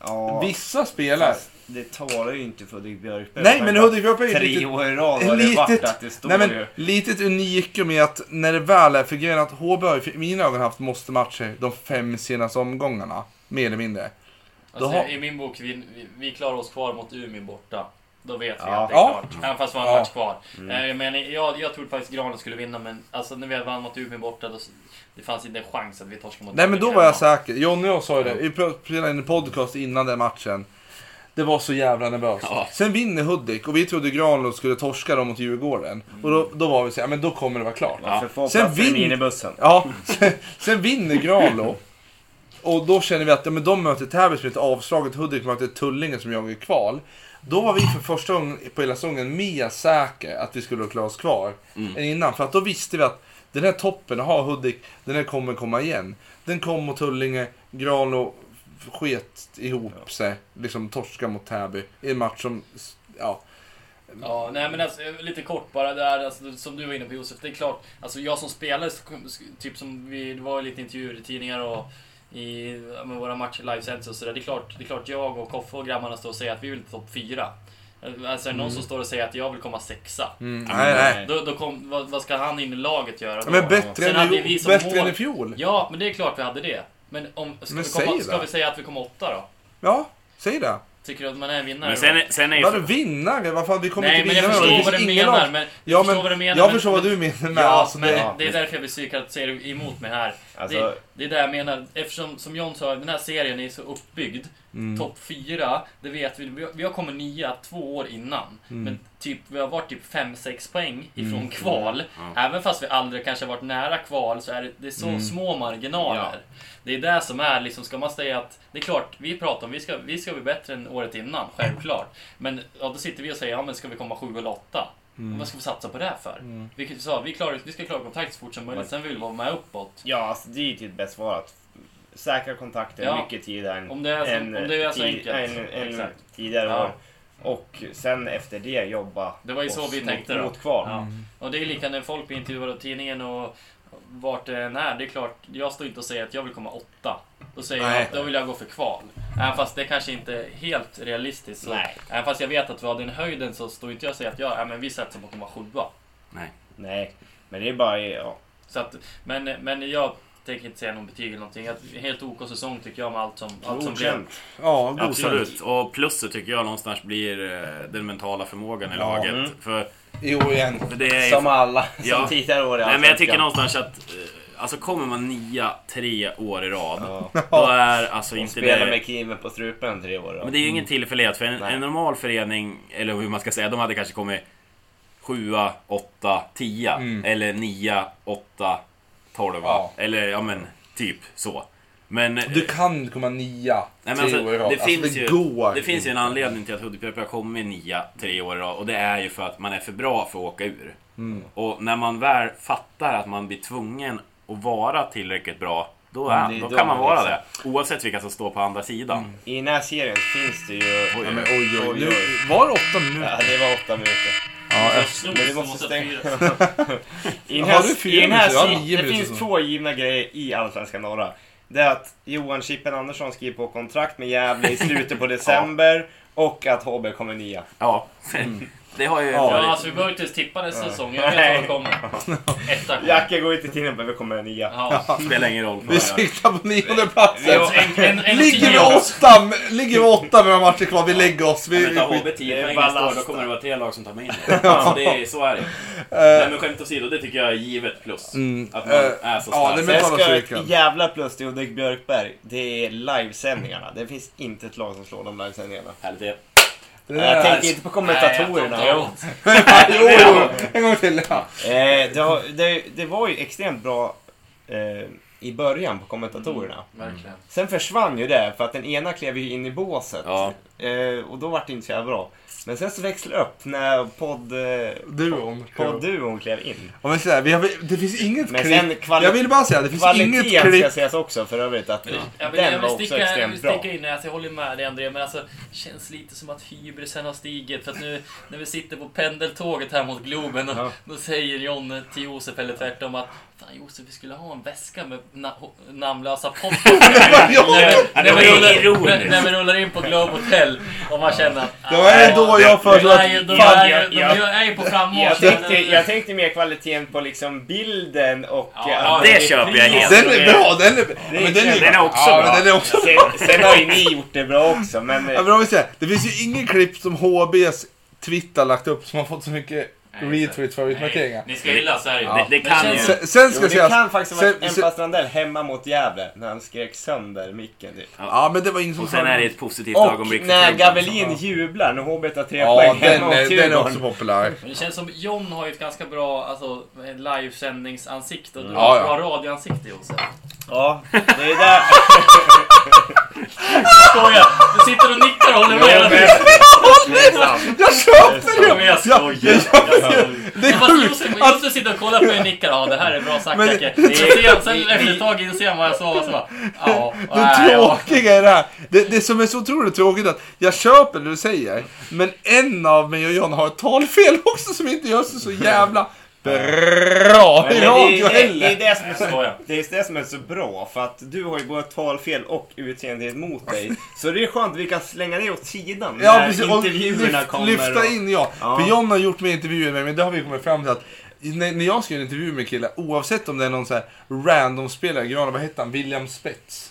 Speaker 4: Ja,
Speaker 3: Vissa spelare,
Speaker 4: fast Det talar ju inte för Hudik Björkberg.
Speaker 3: nej men Hudik Björkby är ju
Speaker 4: Tre
Speaker 3: lite-
Speaker 4: år i rad har det varit att det
Speaker 3: litet,
Speaker 4: står
Speaker 3: nej, men,
Speaker 4: ju.
Speaker 3: litet unikum i att när det väl är, för grejen är att HB har ju i mina ögon haft måste-matcher de fem senaste omgångarna, mer eller mindre.
Speaker 7: Alltså,
Speaker 3: Då har-
Speaker 7: I min bok, vi, vi- vi klarar oss kvar mot Umeå borta. Då vet vi
Speaker 4: Ja.
Speaker 7: att det är
Speaker 3: Ja.
Speaker 7: klart. Även fast vi har en
Speaker 3: Ja. Mm.
Speaker 7: match kvar. Eh, Men jag, jag trodde faktiskt Granen skulle vinna, men alltså, när vi vann mot Umeå borta, då, s- det fanns inte en chans att vi torskade mot
Speaker 3: Nej men
Speaker 7: Umeå
Speaker 3: då var jag
Speaker 7: hemma.
Speaker 3: säker. Jonny och jag sa ju det. Vi spelade in en podcast innan den matchen. Det var så jävla nervöst.
Speaker 1: Ja.
Speaker 3: Sen vinner Hudik och vi trodde Granlund skulle torska dem mot Djurgården. Och då, då var vi så här, "Ja, men då kommer det vara klart. Ja,
Speaker 4: För få
Speaker 3: Sen
Speaker 4: plats i
Speaker 3: vin-
Speaker 4: minibussen.
Speaker 3: sen, sen vinner Granlund. Och då känner vi att ja, men de möter Täby som är ett avslaget. Hudik möter Tullinge som jagar i kval. Då var vi för första gången på hela säsongen mer säkra att vi skulle klara oss kvar än innan. För att då visste vi att den här toppen, ha Hudik, den här kommer komma igen. Den kom mot Tullinge, Granlo sket ihop sig, liksom torska mot Täby i en match som, ja.
Speaker 7: Ja, nej men alltså, lite kort bara där, alltså, som du var inne på Josef. Det är klart, alltså jag som spelare, så kom- sk- typ som vi, det var ju lite intervjuer i tidningar och i ja, men våra matcher livesänds och sådär. Det är klart, det är klart jag och Koffe och grabbarna står och säger att vi vill till topp fyra. Alltså är det någon
Speaker 3: Mm.
Speaker 7: som står och säger att jag vill komma sexa.
Speaker 3: nej, nej.
Speaker 7: Då, då kom, vad, vad ska han in i laget göra då?
Speaker 3: Mm. Ja, men bättre,
Speaker 7: Sen
Speaker 3: än,
Speaker 7: hade
Speaker 3: i-
Speaker 7: vi som
Speaker 3: bättre
Speaker 7: mål-
Speaker 3: än i fjol.
Speaker 7: Ja, men det är klart vi hade det. Men, om, ska,
Speaker 3: Men
Speaker 7: vi,
Speaker 3: säg
Speaker 7: komma,
Speaker 3: det.
Speaker 7: ska vi säga att vi kom åtta då?
Speaker 3: Ja, säg det.
Speaker 7: Tycker du att man är en vinnare
Speaker 1: Men
Speaker 7: då?
Speaker 1: sen, är- sen är ju...
Speaker 3: Vadå vinnare? Vad fan, vi kommer
Speaker 7: Nej,
Speaker 3: inte
Speaker 7: men
Speaker 3: vinna
Speaker 7: jag
Speaker 3: några.
Speaker 7: förstår
Speaker 3: Det
Speaker 7: vad
Speaker 3: finns
Speaker 7: du
Speaker 3: ingen
Speaker 7: menar.
Speaker 3: lag-
Speaker 7: Men,
Speaker 3: Ja, men,
Speaker 7: jag förstår vad du menar.
Speaker 3: jag
Speaker 7: men-
Speaker 3: förstår vad
Speaker 7: men-
Speaker 3: du menar med.
Speaker 7: Ja,
Speaker 3: alltså,
Speaker 7: men
Speaker 3: det,
Speaker 7: det är därför jag blir psykad att säga emot mig här.
Speaker 4: Alltså-
Speaker 7: det, det är det jag menar. Eftersom, som John sa, den här serien är så uppbyggd. Topp fyra, det vet vi. Vi har- Vi har kommit nia två år innan. Men typ, vi har varit typ 5-6 poäng ifrån kval. Även fast vi aldrig kanske har varit nära kval så är det, det är så små marginaler. Det är det som är liksom, ska man säga att det är klart, vi pratar om vi ska, vi ska bli bättre än året innan, självklart. Men ja, då sitter vi och säger, ja men ska vi komma 7 eller 8? Vad ska vi satsa på det här för? Vi kan- sa, vi, klarar, vi ska klara kontakt så fort som möjligt, sen vill vi vara med uppåt.
Speaker 4: Ja, alltså, det är ju typ bäst svar att säkra kontakter
Speaker 7: Ja.
Speaker 4: mycket tidigare än,
Speaker 7: Om det är så-
Speaker 4: än,
Speaker 7: Alltså, om det är så
Speaker 4: tid-
Speaker 7: enkelt.
Speaker 4: än- än
Speaker 7: Exakt.
Speaker 4: tidigare
Speaker 7: Ja.
Speaker 4: år. Och sen efter det jobba
Speaker 7: Det var ju så
Speaker 4: oss
Speaker 7: vi tänkte
Speaker 4: mot,
Speaker 7: då.
Speaker 4: mot kval.
Speaker 7: Ja. Och det är lika när folk blir intervjuade av tidningen och vart det än är. Det är klart, jag står inte och säger att jag vill komma åtta. Då säger jag
Speaker 3: Nej.
Speaker 7: att då vill jag gå för kval. Även fast det kanske inte är helt realistiskt. Så
Speaker 4: Nej.
Speaker 7: Även fast jag vet att vi har den höjden så står inte jag och säger att jag, ja, men vi satsar på att komma sjua.
Speaker 4: Nej, men det är bara... Ja.
Speaker 7: Så att, men, men jag tänker inte säga någon betyg eller någonting. Att- Helt OK säsong tycker jag med allt som, allt som blev.
Speaker 4: Godkänt.
Speaker 3: ja, godkänt.
Speaker 1: Absolut. Och plus så tycker jag någonstans blir eh, den mentala förmågan i laget.
Speaker 4: Mm.
Speaker 1: För,
Speaker 3: Jo, igen.
Speaker 1: för det är ju
Speaker 4: Som alla.
Speaker 1: Ja.
Speaker 4: Som tidigare år
Speaker 1: Nej men
Speaker 4: i
Speaker 1: jag
Speaker 4: Allsvenskan.
Speaker 1: tycker någonstans att eh, Alltså kommer man nia tre år i rad Då är alltså
Speaker 4: De
Speaker 1: inte
Speaker 4: spelar
Speaker 1: det
Speaker 4: med Kimen på strupen tre år. Då.
Speaker 1: Men det är ju ingen tillfällighet för en,
Speaker 4: Nej.
Speaker 1: en normal förening Eller hur man ska säga, de hade kanske kommit Sjua, åtta, tia Eller nia, åtta, tolva
Speaker 3: Ja.
Speaker 1: Eller ja men typ så Men,
Speaker 3: Du kan komma nia
Speaker 1: Nej, men
Speaker 3: tre
Speaker 1: alltså,
Speaker 3: år i
Speaker 1: det,
Speaker 3: rad. Alltså,
Speaker 1: finns ju,
Speaker 3: går
Speaker 1: det finns ju en
Speaker 3: inte.
Speaker 1: anledning till att Hudik-PP har kommit nia tre år i rad, och det är ju för att man är för bra för att åka ur. Och när man väl fattar att man blir tvungen att vara tillräckligt bra, då, är,
Speaker 4: det är
Speaker 1: då
Speaker 4: då
Speaker 1: kan man
Speaker 4: man
Speaker 1: vara
Speaker 4: växer.
Speaker 1: det. Oavsett vilka som står på andra sidan.
Speaker 4: I den här serien finns det ju...
Speaker 3: Ja, men oj, oj, oj. Nu, var det åtta
Speaker 4: Ja,
Speaker 3: minuter?
Speaker 4: det var åtta minuter.
Speaker 3: Ja,
Speaker 4: Men vi
Speaker 7: Snus
Speaker 4: måste
Speaker 7: måste
Speaker 4: stänga...
Speaker 7: firas.
Speaker 4: I den
Speaker 3: Har du
Speaker 4: här,
Speaker 3: fyra
Speaker 4: i den här
Speaker 3: minuter? Jag har
Speaker 4: serien-
Speaker 3: nio
Speaker 4: det
Speaker 3: minuter
Speaker 4: finns
Speaker 3: så.
Speaker 4: två givna grejer i Allsvenskan norra. Det är att Johan Chippen Andersson skriver på kontrakt med Gävle i slutet på december. Och att HB kommer nia.
Speaker 1: Ja. Det har ju...
Speaker 7: Ja, alltså vi behöver inte ens tippa nästa säsong. Jag vet vad det kommer. Etta kommer.
Speaker 4: Jacka går inte till den, behöver komma nia.
Speaker 7: Ja.
Speaker 1: spelar ingen roll.
Speaker 3: Vi siktar på nionde platsen.
Speaker 7: Ja, en, en, en
Speaker 3: Ligger vi
Speaker 7: tionde.
Speaker 3: åtta, med- ligger vi åtta med några matcher kvar, vi lägger oss. Vi,
Speaker 1: Vi,
Speaker 3: vi
Speaker 1: tar
Speaker 3: skiter-
Speaker 1: HB 10
Speaker 4: Det är
Speaker 1: poäng nästa år, då
Speaker 4: ballast.
Speaker 1: kommer det vara tre lag som tar mig in det. alltså, det är, Så är det.
Speaker 3: Eh,
Speaker 1: Nej, men skämt åsido, det tycker jag är givet plus.
Speaker 3: Mm.
Speaker 1: Att man
Speaker 3: Eh,
Speaker 1: är så
Speaker 3: ja,
Speaker 1: stark.
Speaker 3: det-
Speaker 4: Sen
Speaker 3: talar
Speaker 4: ska jag
Speaker 3: cirkeln.
Speaker 4: ett jävla plus till Hudik Björkberg. Det är livesändningarna. Det finns inte ett lag som slår de livesändningarna.
Speaker 1: Härligt det.
Speaker 3: Det
Speaker 4: Jag
Speaker 3: där-
Speaker 4: tänker inte på kommentatorerna.
Speaker 7: Nej, jag tar
Speaker 3: Jo, jo, en gång till. Ja.
Speaker 4: Eh, det, har, det, det var ju extremt bra eh, i början på kommentatorerna.
Speaker 7: Verkligen.
Speaker 4: Sen försvann ju det för att den ena klev ju in i båset.
Speaker 1: Ja.
Speaker 4: Eh, och då var det inte så jävla bra. Men sen så växlade det upp när podd, eh,
Speaker 3: Duon.
Speaker 4: podd-duon klev in.
Speaker 3: Om jag säger, vi har, det finns inget
Speaker 4: Men
Speaker 3: klipp.
Speaker 4: sen kvali-
Speaker 3: jag vill bara säga, det finns inget
Speaker 4: Kvaliteten
Speaker 3: klipp.
Speaker 4: ska sägas också för övrigt att
Speaker 7: Jag vill, jag
Speaker 4: den
Speaker 7: vill
Speaker 4: var också
Speaker 7: sticka, jag vill
Speaker 4: extremt bra.
Speaker 7: sticka in, alltså, jag håller med dig André, men alltså känns lite som att hybrisen har stigit. För att nu när vi sitter på pendeltåget här mot Globen, och,
Speaker 4: Ja.
Speaker 7: då säger John till Josef, eller tvärtom, att Fan Josef, vi skulle ha en väska med na namnlösa potter. när, när, vi rullar- när, när vi rullar in på Globe Hotel och man känner att...
Speaker 3: Det var
Speaker 7: ah,
Speaker 3: ju då jag
Speaker 7: de
Speaker 3: föreslog
Speaker 7: är
Speaker 3: att
Speaker 7: ju- de
Speaker 4: Fan,
Speaker 7: är
Speaker 4: jag-
Speaker 7: ju- de
Speaker 4: jag-
Speaker 7: är ju på
Speaker 4: Jag
Speaker 7: frammarsch.
Speaker 4: tänkte, jag tänkte mer kvaliteten på liksom bilden och...
Speaker 7: Ja,
Speaker 4: eh,
Speaker 7: ja,
Speaker 1: det
Speaker 4: reprisen.
Speaker 1: köper jag helt.
Speaker 3: den är bra, den är,
Speaker 4: Det är
Speaker 3: men den är,
Speaker 1: Den är också
Speaker 3: ja,
Speaker 1: bra.
Speaker 3: Men den är också
Speaker 4: Sen, sen har ju ni gjort det bra också men...
Speaker 3: Ja,
Speaker 4: eh,
Speaker 3: men om vi säger, det finns ju ingen klipp som HBs Twitter lagt upp som har fått så mycket
Speaker 7: Nej, just det.
Speaker 3: retweets för
Speaker 7: Nej,
Speaker 3: utmarkeringar.
Speaker 7: Ni ska gilla Sverige.
Speaker 1: Det, det kan ju...
Speaker 7: känns-
Speaker 3: Sen, sen
Speaker 4: Jo,
Speaker 3: ska
Speaker 4: det
Speaker 3: sägas...
Speaker 4: kan faktiskt ha varit
Speaker 3: sen- sen-
Speaker 4: Empa Strandell hemma mot Gävle när han skrek sönder micken. Typ.
Speaker 3: Ja, men det var ingen som
Speaker 1: Och sen
Speaker 3: sa-
Speaker 1: är det ett positivt
Speaker 4: Och
Speaker 1: ögonblick för
Speaker 4: när
Speaker 1: klubben.
Speaker 4: Gavelin jublar när HB tar tre
Speaker 3: Ja,
Speaker 4: poäng
Speaker 3: den
Speaker 4: hemma mot
Speaker 3: är, den är också
Speaker 4: Djurgården.
Speaker 3: populär.
Speaker 7: Men det känns som John har ju ett ganska bra alltså, livesändningsansikte och du
Speaker 3: Ja,
Speaker 7: har ett
Speaker 3: Mm. ja.
Speaker 7: bra radioansikte Josef.
Speaker 4: Ja, det är där.
Speaker 7: Skojar! Du sitter och nickar och håller med hela tiden.
Speaker 3: Jag köper det!
Speaker 7: Jag skojar!
Speaker 3: Det är
Speaker 7: Fast
Speaker 3: sjukt!
Speaker 7: Josef, Josef sitter och kollar på mig och nickar. Ja, det här är bra sagt
Speaker 3: Men det-
Speaker 7: Jacke. Sen sen efter ett tag inser han vad jag sa och så bara... Ja, nej,
Speaker 3: Det
Speaker 7: ja.
Speaker 3: tråkiga är det här. Det, det som är så otroligt tråkigt är att jag köper det du säger, men en av mig och John har ett talfel också som inte gör sig så jävla bra
Speaker 4: Men
Speaker 3: i
Speaker 4: det,
Speaker 3: radio
Speaker 4: är, det, är- det,
Speaker 3: heller.
Speaker 4: är det, som är så,
Speaker 7: Skoja.
Speaker 4: det är det som är så bra, för att du har ju både talfel och utseendet mot dig. Så det är skönt att vi kan slänga det åt sidan
Speaker 3: Ja,
Speaker 4: när
Speaker 3: precis. Och
Speaker 4: intervjuerna
Speaker 3: lyft-
Speaker 4: kommer.
Speaker 3: lyfta
Speaker 4: och-
Speaker 3: in ja.
Speaker 4: Ja.
Speaker 3: För John har gjort mer intervjuer med mig, men det har vi kommit fram till att när, när jag ska göra en intervju med killar, oavsett om det är någon så här random spelare, Grana, vad hette han? William Spets?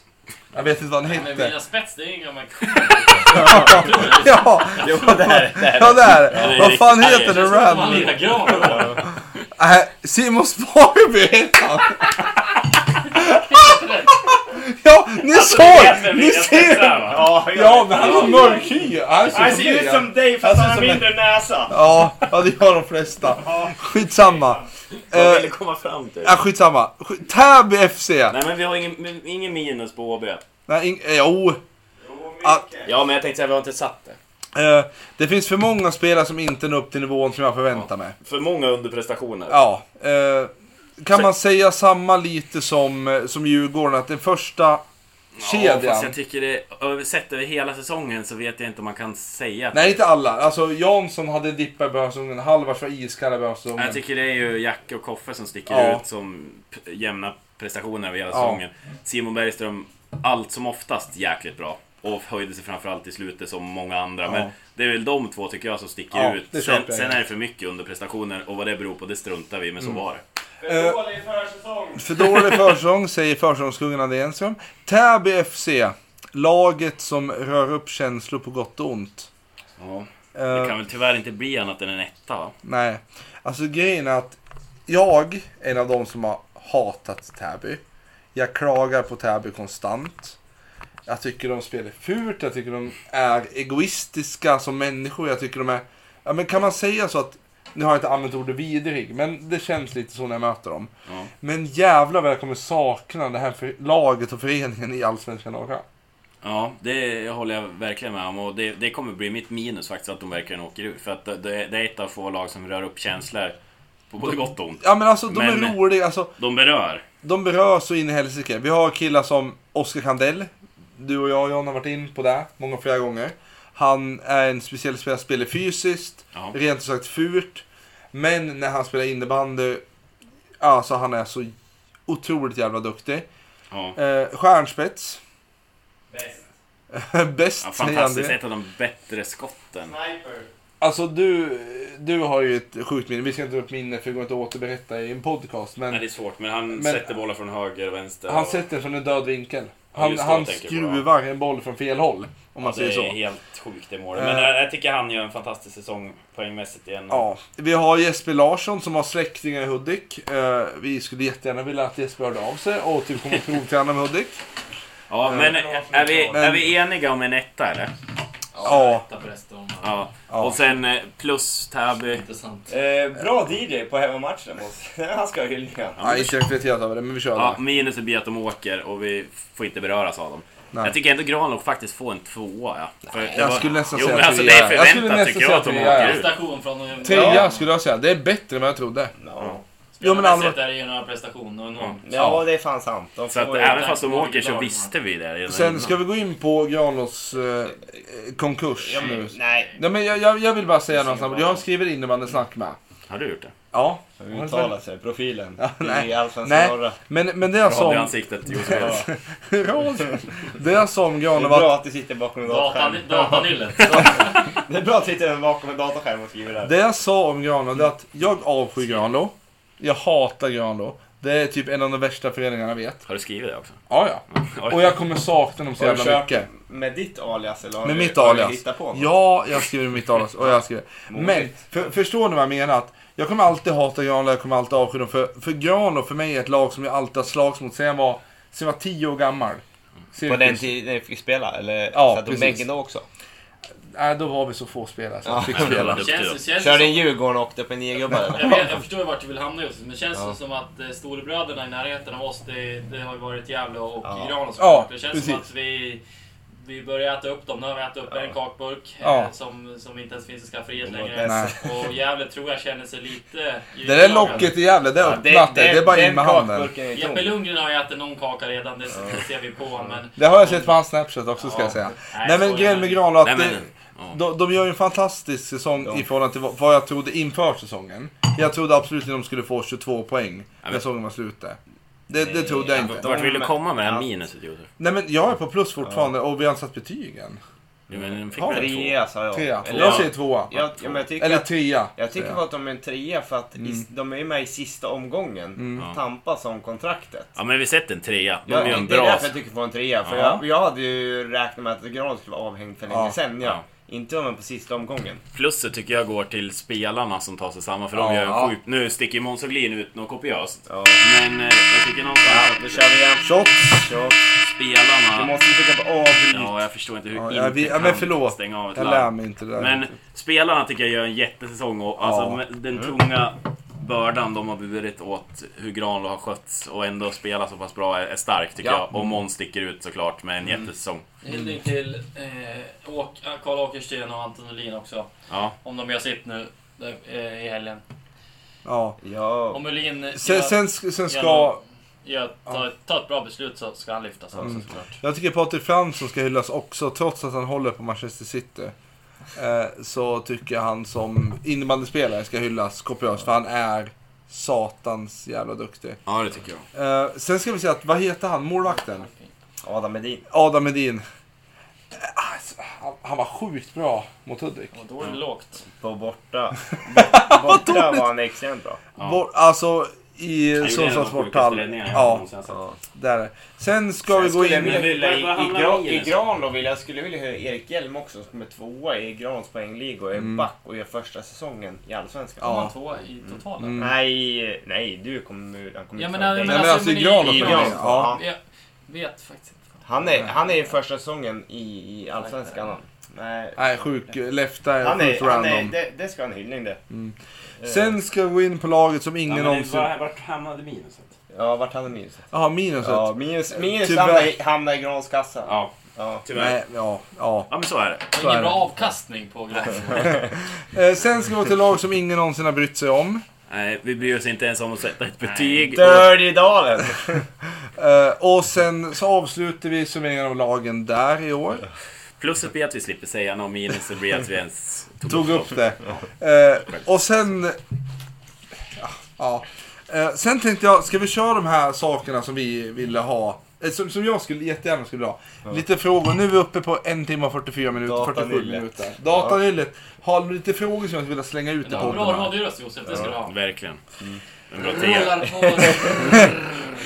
Speaker 3: Jag vet inte vad han
Speaker 7: Men
Speaker 3: hette.
Speaker 7: William Spets, det är ju ingen gammal...
Speaker 3: Ja,
Speaker 4: Jo, det här, det här.
Speaker 3: ja där!
Speaker 1: är
Speaker 3: Vad fan
Speaker 1: riktigt
Speaker 3: heter
Speaker 7: Det
Speaker 3: det
Speaker 7: känns som att
Speaker 3: random?
Speaker 7: han lirar gran.
Speaker 3: Nej, Simon Sparby hette han. ja, ni
Speaker 6: vet
Speaker 3: såg!
Speaker 6: vem
Speaker 3: Ni
Speaker 6: William Spets
Speaker 3: ser!
Speaker 6: är, va?
Speaker 4: Ja, jag
Speaker 3: Ja,
Speaker 4: vet.
Speaker 3: men han har mörk hy. Han ser
Speaker 4: Han
Speaker 3: som
Speaker 4: ser
Speaker 3: det.
Speaker 4: ut som dig fast
Speaker 3: Alltså,
Speaker 4: han har
Speaker 3: som en-
Speaker 4: mindre näsa.
Speaker 3: Ja, ja, det gör de flesta. Skitsamma.
Speaker 1: Vad
Speaker 3: Eh,
Speaker 1: vill du komma fram till?
Speaker 3: ja, skitsamma. Sk- Täby FC.
Speaker 1: Nej men vi har ingen, men ingen minus på HB.
Speaker 3: Nej, ing- eh, jo.
Speaker 1: Ja men jag tänkte säga vi har inte satt det.
Speaker 3: Eh, det finns för många spelare som inte når upp till nivån som jag förväntar mig.
Speaker 1: För många underprestationer.
Speaker 3: Ja. eh, kan man säga samma lite som, eh, som Djurgården, att den första
Speaker 1: Ja, fast
Speaker 3: kedjan...
Speaker 1: jag tycker det, över- sett över hela säsongen så vet jag inte om man kan säga att
Speaker 3: Nej, inte alla. Alltså, Jansson hade dippar i början av säsongen. Halvars var iskall i början av säsongen.
Speaker 1: Jag tycker det är ju Jacke och Koffe som sticker
Speaker 3: Ja.
Speaker 1: ut som p- jämna prestationer över hela
Speaker 3: Ja.
Speaker 1: säsongen. Simon Bergström, allt som oftast jäkligt bra. Och höjde sig framförallt i slutet som många andra. Men det är väl de två tycker jag som sticker
Speaker 3: Ja, det
Speaker 1: ut.
Speaker 3: köper
Speaker 1: Sen,
Speaker 3: jag.
Speaker 1: sen är det för mycket underprestationer och vad det beror på det struntar vi i, men så var det.
Speaker 3: Eh,
Speaker 4: Dålig försäsong.
Speaker 3: För dålig försång, säger försångskungen André Enström. Täby FC, laget som rör upp känslor på gott och ont. Eh,
Speaker 1: Det kan väl tyvärr inte bli annat än en etta va?
Speaker 3: Nej, alltså grejen är att jag är en av de som har hatat Täby. Jag klagar på Täby konstant. Jag tycker de spelar fult, jag tycker de är egoistiska som människor, jag tycker de är... Ja men kan man säga så att Nu har jag inte använt ordet vidrig, men det känns lite så när jag möter dem. Men jävlar vad jag kommer sakna det här för, laget och föreningen i Allsvenskan norra.
Speaker 1: Ja, det håller jag verkligen med om och det, det kommer bli mitt minus faktiskt att de verkligen åker ur. För att det, det är ett av få lag som rör upp känslor på både gott och ont.
Speaker 3: Ja men alltså de är
Speaker 1: Men-
Speaker 3: roliga. Alltså,
Speaker 1: De berör.
Speaker 3: de berör så in i helsike. Vi har killar som Oskar Kandell. Du och jag John har varit in på det många flera gånger. Han är en speciell spelare, spelar fysiskt,
Speaker 1: Ja.
Speaker 3: rent ut sagt fult. Men när han spelar innebandy, alltså han är så otroligt jävla duktig.
Speaker 1: Ja.
Speaker 3: Eh, stjärnspets. Bäst. Bäst
Speaker 1: Ja,
Speaker 3: säger han
Speaker 1: fantastiskt,
Speaker 3: det.
Speaker 1: ett av de bättre skotten.
Speaker 3: Alltså du, du har ju ett sjukt minne. Vi ska inte ta upp minne för det går inte att återberätta i en podcast. Men
Speaker 1: Nej, det är svårt, men han
Speaker 3: Men-
Speaker 1: sätter bollar från höger och vänster.
Speaker 3: Han
Speaker 1: och-
Speaker 3: sätter den från en död vinkel.
Speaker 1: Ja,
Speaker 3: Han,
Speaker 1: just det,
Speaker 3: han
Speaker 1: jag tänker på det.
Speaker 3: skruvar en boll från fel håll. Om man
Speaker 1: Ja, det
Speaker 3: säger
Speaker 1: är
Speaker 3: så.
Speaker 1: helt sjukt det målet. Men
Speaker 3: Eh.
Speaker 1: jag, jag tycker han gör en fantastisk säsong poängmässigt igen.
Speaker 3: Ja. Vi har Jesper Larsson som har släktingar i Hudik. Eh, vi skulle jättegärna vilja att Jesper hörde av sig och typ kommer och provträna med Hudik.
Speaker 1: Ja, men eh, är vi, är
Speaker 3: Eh. Men-
Speaker 1: vi eniga om en etta eller?
Speaker 3: Ja.
Speaker 7: Titta på resten om
Speaker 1: Ja.
Speaker 3: Ja.
Speaker 1: Och sen eh, plus Täby.
Speaker 7: intressant.
Speaker 4: Eh, bra DJ på hemmamatchen. måste- Han ska ha hyllningar.
Speaker 3: Nej, inte reflekterat över det, men vi kör
Speaker 1: Ja,
Speaker 3: det.
Speaker 1: minus blir att de åker och vi får inte beröras av dem.
Speaker 3: Nej.
Speaker 1: Jag tycker ändå Granlund faktiskt får en tvåa. Ja. För det
Speaker 3: Jag
Speaker 1: var-
Speaker 3: skulle nästan
Speaker 1: jo,
Speaker 3: säga
Speaker 1: men alltså,
Speaker 3: trea.
Speaker 1: Det är
Speaker 3: Jag skulle
Speaker 1: förväntat
Speaker 3: nästan
Speaker 1: tycker jag att de
Speaker 3: säga trea.
Speaker 1: åker ut.
Speaker 7: Prestation från en
Speaker 3: Trea
Speaker 4: Ja.
Speaker 3: skulle jag säga. Det är bättre än vad jag trodde.
Speaker 4: Ja.
Speaker 3: Jo, men
Speaker 7: Spelarmässigt
Speaker 3: allvar-
Speaker 7: är det ju en prestation och enormt.
Speaker 4: ja, det är fan sant. De
Speaker 1: Så att
Speaker 4: får ju-
Speaker 1: även fast de
Speaker 7: Lag-
Speaker 1: åker så
Speaker 7: lag-
Speaker 1: visste vi det. redan
Speaker 3: Sen
Speaker 1: innan.
Speaker 3: ska vi gå in på Granlunds eh, konkurs
Speaker 4: Ja, men-
Speaker 3: nu.
Speaker 4: Nej,
Speaker 3: Nej, men jag, jag, jag vill bara säga något snabbt. Jag skriver innebandysnack med.
Speaker 1: Har du gjort det?
Speaker 3: Ja.
Speaker 4: uttala sig. Profilen.
Speaker 3: Alltså, nej.
Speaker 4: I Allsvenskan
Speaker 3: Nej.
Speaker 4: norra.
Speaker 3: Men, men det jag sa om...
Speaker 1: Radioansiktet Josef.
Speaker 4: Ja.
Speaker 3: Radio. Det jag sa om
Speaker 4: Det är
Speaker 3: Granlund var
Speaker 4: bra
Speaker 3: att,
Speaker 4: att du sitter bakom en dataskärm.
Speaker 7: Datan- Datanyllet.
Speaker 4: Det är bra att du sitter bakom en dataskärm och skriver där.
Speaker 3: det jag sa om Granlund är att jag avskyr Granlund. Jag hatar Granlund. Det är typ en av de värsta föreningarna jag vet.
Speaker 1: Har du skrivit det också?
Speaker 3: Ja, ja.
Speaker 1: Oj.
Speaker 3: Och jag kommer sakna dem så
Speaker 4: Har du
Speaker 3: jävla
Speaker 4: kört
Speaker 3: mycket.
Speaker 4: Med ditt alias eller har
Speaker 3: Med
Speaker 4: du-
Speaker 3: mitt
Speaker 4: har du
Speaker 3: alias.
Speaker 4: hittat på något?
Speaker 3: Ja, jag skriver mitt alias. Och jag skriver. Men, för, förstår ni vad jag menar? Att jag kommer alltid hata Granlund, jag kommer alltid avsky dem. För, för Granlund för mig är ett lag som jag alltid har slagits mot sen jag var, sen jag var tio år gammal.
Speaker 4: På den
Speaker 3: Cirkus.
Speaker 4: tiden ni fick spela? Eller
Speaker 3: Ja,
Speaker 4: satt du
Speaker 3: precis.
Speaker 4: på bänken då också?
Speaker 3: Nej, då var vi så få spelare så
Speaker 4: Ja.
Speaker 3: jag fick
Speaker 1: Ja,
Speaker 3: spela.
Speaker 1: duktig då.
Speaker 7: Känns, känns
Speaker 4: Körde
Speaker 7: som,
Speaker 4: en Djurgården och åkte upp en nio gubbar
Speaker 7: jag,
Speaker 4: eller?
Speaker 7: vet, jag förstår ju vart du vill hamna just men känns
Speaker 4: Ja.
Speaker 7: det som att eh, storebröderna i närheten av oss, det, det har ju varit Gävle och
Speaker 4: Ja.
Speaker 7: ja. Gran och så.
Speaker 3: Ja,
Speaker 7: det känns som
Speaker 3: precis.
Speaker 7: att vi, vi börjar äta upp dem. Nu har vi ätit upp en kakburk eh,
Speaker 3: Ja.
Speaker 7: som, som inte ens finns i skafferiet
Speaker 4: Det var
Speaker 7: längre.
Speaker 3: Nej.
Speaker 7: Och Gävle tror jag känner sig lite...
Speaker 3: Det där locket i Gävle, det är öppnat. det, det är bara in med handen.
Speaker 4: kakburken är
Speaker 7: Jeppe
Speaker 4: tom.
Speaker 7: Lundgren har ju ätit någon kaka redan, det det ser vi på honom. Men,
Speaker 3: Det har jag sett på hans Snapchat också ska
Speaker 4: Ja.
Speaker 3: jag säga.
Speaker 7: Nej,
Speaker 3: Nej men
Speaker 7: skojar.
Speaker 3: grejen med Granlund att
Speaker 1: Nej, men,
Speaker 3: det, de, de gör ju en fantastisk säsong
Speaker 4: Ja.
Speaker 3: i förhållande till vad- vad jag trodde inför säsongen. Jag trodde absolut att de skulle få 22 poäng när
Speaker 1: men-
Speaker 3: säsongen var slut. där. Det, det trodde jag inte.
Speaker 4: de-
Speaker 1: Vart vill du komma med det här
Speaker 4: Ja.
Speaker 1: minuset Josef?
Speaker 3: Nej men jag är på plus fortfarande och vi har inte satt betygen.
Speaker 1: Du men, den fick
Speaker 3: Ja,
Speaker 1: väl två?
Speaker 4: Trea sa jag.
Speaker 3: Trea.
Speaker 4: Eller
Speaker 3: Jag
Speaker 4: ja.
Speaker 3: säger tvåa.
Speaker 4: Jag, ja, men jag tycker,
Speaker 3: Eller
Speaker 4: att,
Speaker 3: trea. Mm.
Speaker 4: jag tycker
Speaker 3: säger
Speaker 4: bara att de är en trea för att i, de är ju med i sista omgången.
Speaker 3: Mm.
Speaker 4: Tampas om kontraktet.
Speaker 1: Ja men vi sätter en trea. De
Speaker 4: Ja,
Speaker 1: gör en
Speaker 4: det är
Speaker 1: bra...
Speaker 4: därför jag tycker på en trea. För
Speaker 3: Ja.
Speaker 4: jag, jag hade ju räknat med att Gran skulle vara avhängd för länge
Speaker 3: Ja.
Speaker 4: sedan. Ja.
Speaker 1: Ja.
Speaker 4: Inte om en på sista omgången.
Speaker 1: Plusset tycker jag går till spelarna som tar sig samman för
Speaker 3: Ja,
Speaker 1: de gör
Speaker 3: ja.
Speaker 1: en sjuk... Nu sticker ju Måns Höglin ut något kopiöst.
Speaker 4: Ja.
Speaker 1: Men eh, jag tycker någonstans
Speaker 4: Då
Speaker 1: att
Speaker 4: kör vi igen.
Speaker 3: Shots.
Speaker 4: Shot. Du
Speaker 1: spelarna...
Speaker 4: måste ju trycka på avbryt.
Speaker 1: Ja, jag förstår inte hur
Speaker 3: Ja,
Speaker 1: ja,
Speaker 3: jag-
Speaker 1: inte
Speaker 3: vi- ja,
Speaker 1: kan
Speaker 3: men förlåt.
Speaker 1: stänga av ett
Speaker 3: Jag lär
Speaker 1: larm.
Speaker 3: mig inte det där.
Speaker 1: Men spelarna tycker jag gör en jättesäsong och
Speaker 3: Ja.
Speaker 1: alltså, med den tunga bördan de har burit åt hur Granlund har skötts och ändå spela så pass bra är, är stark tycker
Speaker 4: Ja.
Speaker 1: jag. Och Måns sticker ut såklart med en jättesäsong.
Speaker 7: Hyllning till eh, Åk- Karl Åkersten och Anton Olin också.
Speaker 1: Ja.
Speaker 7: Om de gör sitt nu där, eh, i helgen.
Speaker 3: Ja.
Speaker 4: Ja.
Speaker 7: Om Ulin eh,
Speaker 3: Sen,
Speaker 7: gör,
Speaker 3: sen, sen ska...
Speaker 7: gör, gör, tar, tar ett bra beslut så ska han lyftas också såklart.
Speaker 3: Mm. Jag tycker Patrik Fransson ska hyllas också, trots att han håller på Manchester City. Eh, så tycker jag han som innebandyspelare ska hyllas kopiöst, för han är satans jävla duktig.
Speaker 1: ja, det tycker jag.
Speaker 3: Eh, sen ska vi säga att, vad heter han, målvakten?
Speaker 4: Adam Medin.
Speaker 3: Adam Edin. Eh, alltså, han, han var sjukt bra mot Hudik.
Speaker 7: Och då är det lågt.
Speaker 4: På borta. Bort- Borta var han extremt bra.
Speaker 1: Ja.
Speaker 3: Vår, alltså, i
Speaker 1: gjorde en av de
Speaker 3: Sundsvalls
Speaker 1: sjukaste
Speaker 3: bortall.
Speaker 1: räddningarna jag
Speaker 3: Ja,
Speaker 1: någonsin har sett.
Speaker 3: där är det. Sen ska vi
Speaker 4: Jag
Speaker 3: gå
Speaker 4: skulle
Speaker 3: in...
Speaker 4: vilja hylla i,
Speaker 1: Vad- vad
Speaker 4: i,
Speaker 1: hamnar
Speaker 4: gran,
Speaker 1: vi i
Speaker 4: i
Speaker 1: nästa?
Speaker 4: gran då vill jag skulle vilja höra Erik Hjelm också som är tvåa i Grans poängliga och är back och gör första säsongen i Allsvenskan.
Speaker 7: Om
Speaker 3: Mm. Ja. Mm.
Speaker 7: han tvåa i totalen.
Speaker 4: Nej, nej du kommer ur- han kommer
Speaker 7: Ja,
Speaker 4: ut
Speaker 7: men
Speaker 4: från
Speaker 7: jag
Speaker 4: dig.
Speaker 3: Nej, men
Speaker 7: Alltså,
Speaker 3: alltså i
Speaker 7: men i-
Speaker 3: Granlund
Speaker 4: I
Speaker 3: för
Speaker 7: men
Speaker 4: gran,
Speaker 3: mig.
Speaker 7: alltså,
Speaker 3: Ja.
Speaker 4: ja.
Speaker 7: Jag vet faktiskt inte.
Speaker 4: Han är, han är i första säsongen i, i Allsvenskan. Nej.
Speaker 3: Nej, sjuk. Lefta är
Speaker 4: Han är,
Speaker 3: sjukt
Speaker 4: han
Speaker 3: random.
Speaker 4: är, det, det ska han en hyllning det. Eh,
Speaker 3: Sen ska vi gå in på laget som ingen någonsin...
Speaker 1: Vart hamnade minuset?
Speaker 4: Ja, vart hade minus?
Speaker 3: Jaha, minuset.
Speaker 4: Ja, minus, minus
Speaker 3: Alltså, eh, Tyvärr.
Speaker 4: hamnar i, hamnar i Grans kassa.
Speaker 1: Ja,
Speaker 4: Ja.
Speaker 1: tyvärr.
Speaker 3: Nej, ja, ja.
Speaker 1: Ja, men så är det.
Speaker 7: Det
Speaker 3: Så är
Speaker 7: är ingen
Speaker 3: det.
Speaker 7: bra avkastning på Granström.
Speaker 3: Eh, sen ska vi gå till lag som ingen någonsin har brytt sig om.
Speaker 1: Nej, vi bryr oss inte ens om att sätta ett betyg.
Speaker 4: Dirty Dalen!
Speaker 3: Eh, och sen så avslutar vi summeringen av lagen där i år.
Speaker 1: Plusset blir att vi slipper säga något, minuset blir att vi ens
Speaker 3: Tog upp det. Eh, och sen... Ja, Ja. Eh, sen tänkte jag, ska vi köra de här sakerna som vi ville ha? Eh, Som, som jag skulle, jättegärna skulle vilja ha. Lite frågor. Nu är vi uppe på en timme och 44 minuter. 47
Speaker 4: Datanyllet.
Speaker 3: minuter. Datanyllet. Har lite frågor som jag skulle vilja slänga ut i
Speaker 7: Ja,
Speaker 3: podden.
Speaker 7: bra
Speaker 3: här.
Speaker 7: radioröst Josef, det ska du ha.
Speaker 1: Verkligen. En bra tia.
Speaker 7: Rullar på.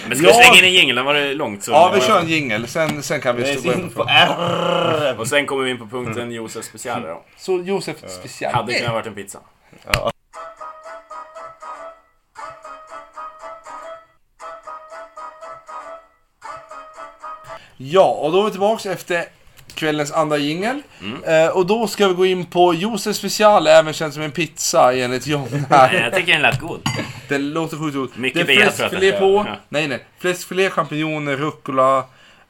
Speaker 1: Men ska vi slänga in en jingel? Den var det långt så.
Speaker 3: Ja, vi kör en jingel. Sen, sen kan vi
Speaker 4: Det
Speaker 3: stå
Speaker 4: är in på R!
Speaker 1: Och sen kommer vi in på
Speaker 3: Mm.
Speaker 1: punkten Josef special då.
Speaker 3: Så Josef speciellt.
Speaker 1: Hade kunnat varit en pizza.
Speaker 3: Ja, och då är vi tillbaka efter kvällens andra jingel.
Speaker 1: Mm.
Speaker 3: Eh, och då ska vi gå in på Josef special, även känd som en pizza enligt John
Speaker 1: Nej,
Speaker 3: här.
Speaker 1: Eh, jag tycker den lät god.
Speaker 3: Det låter sjukt roligt.
Speaker 1: Mycket
Speaker 3: Det är
Speaker 1: begär, tror jag att
Speaker 3: fläskfilé
Speaker 1: det är.
Speaker 3: på.
Speaker 1: Ja.
Speaker 3: Nej, nej. Fläskfilé, champinjoner, rucola,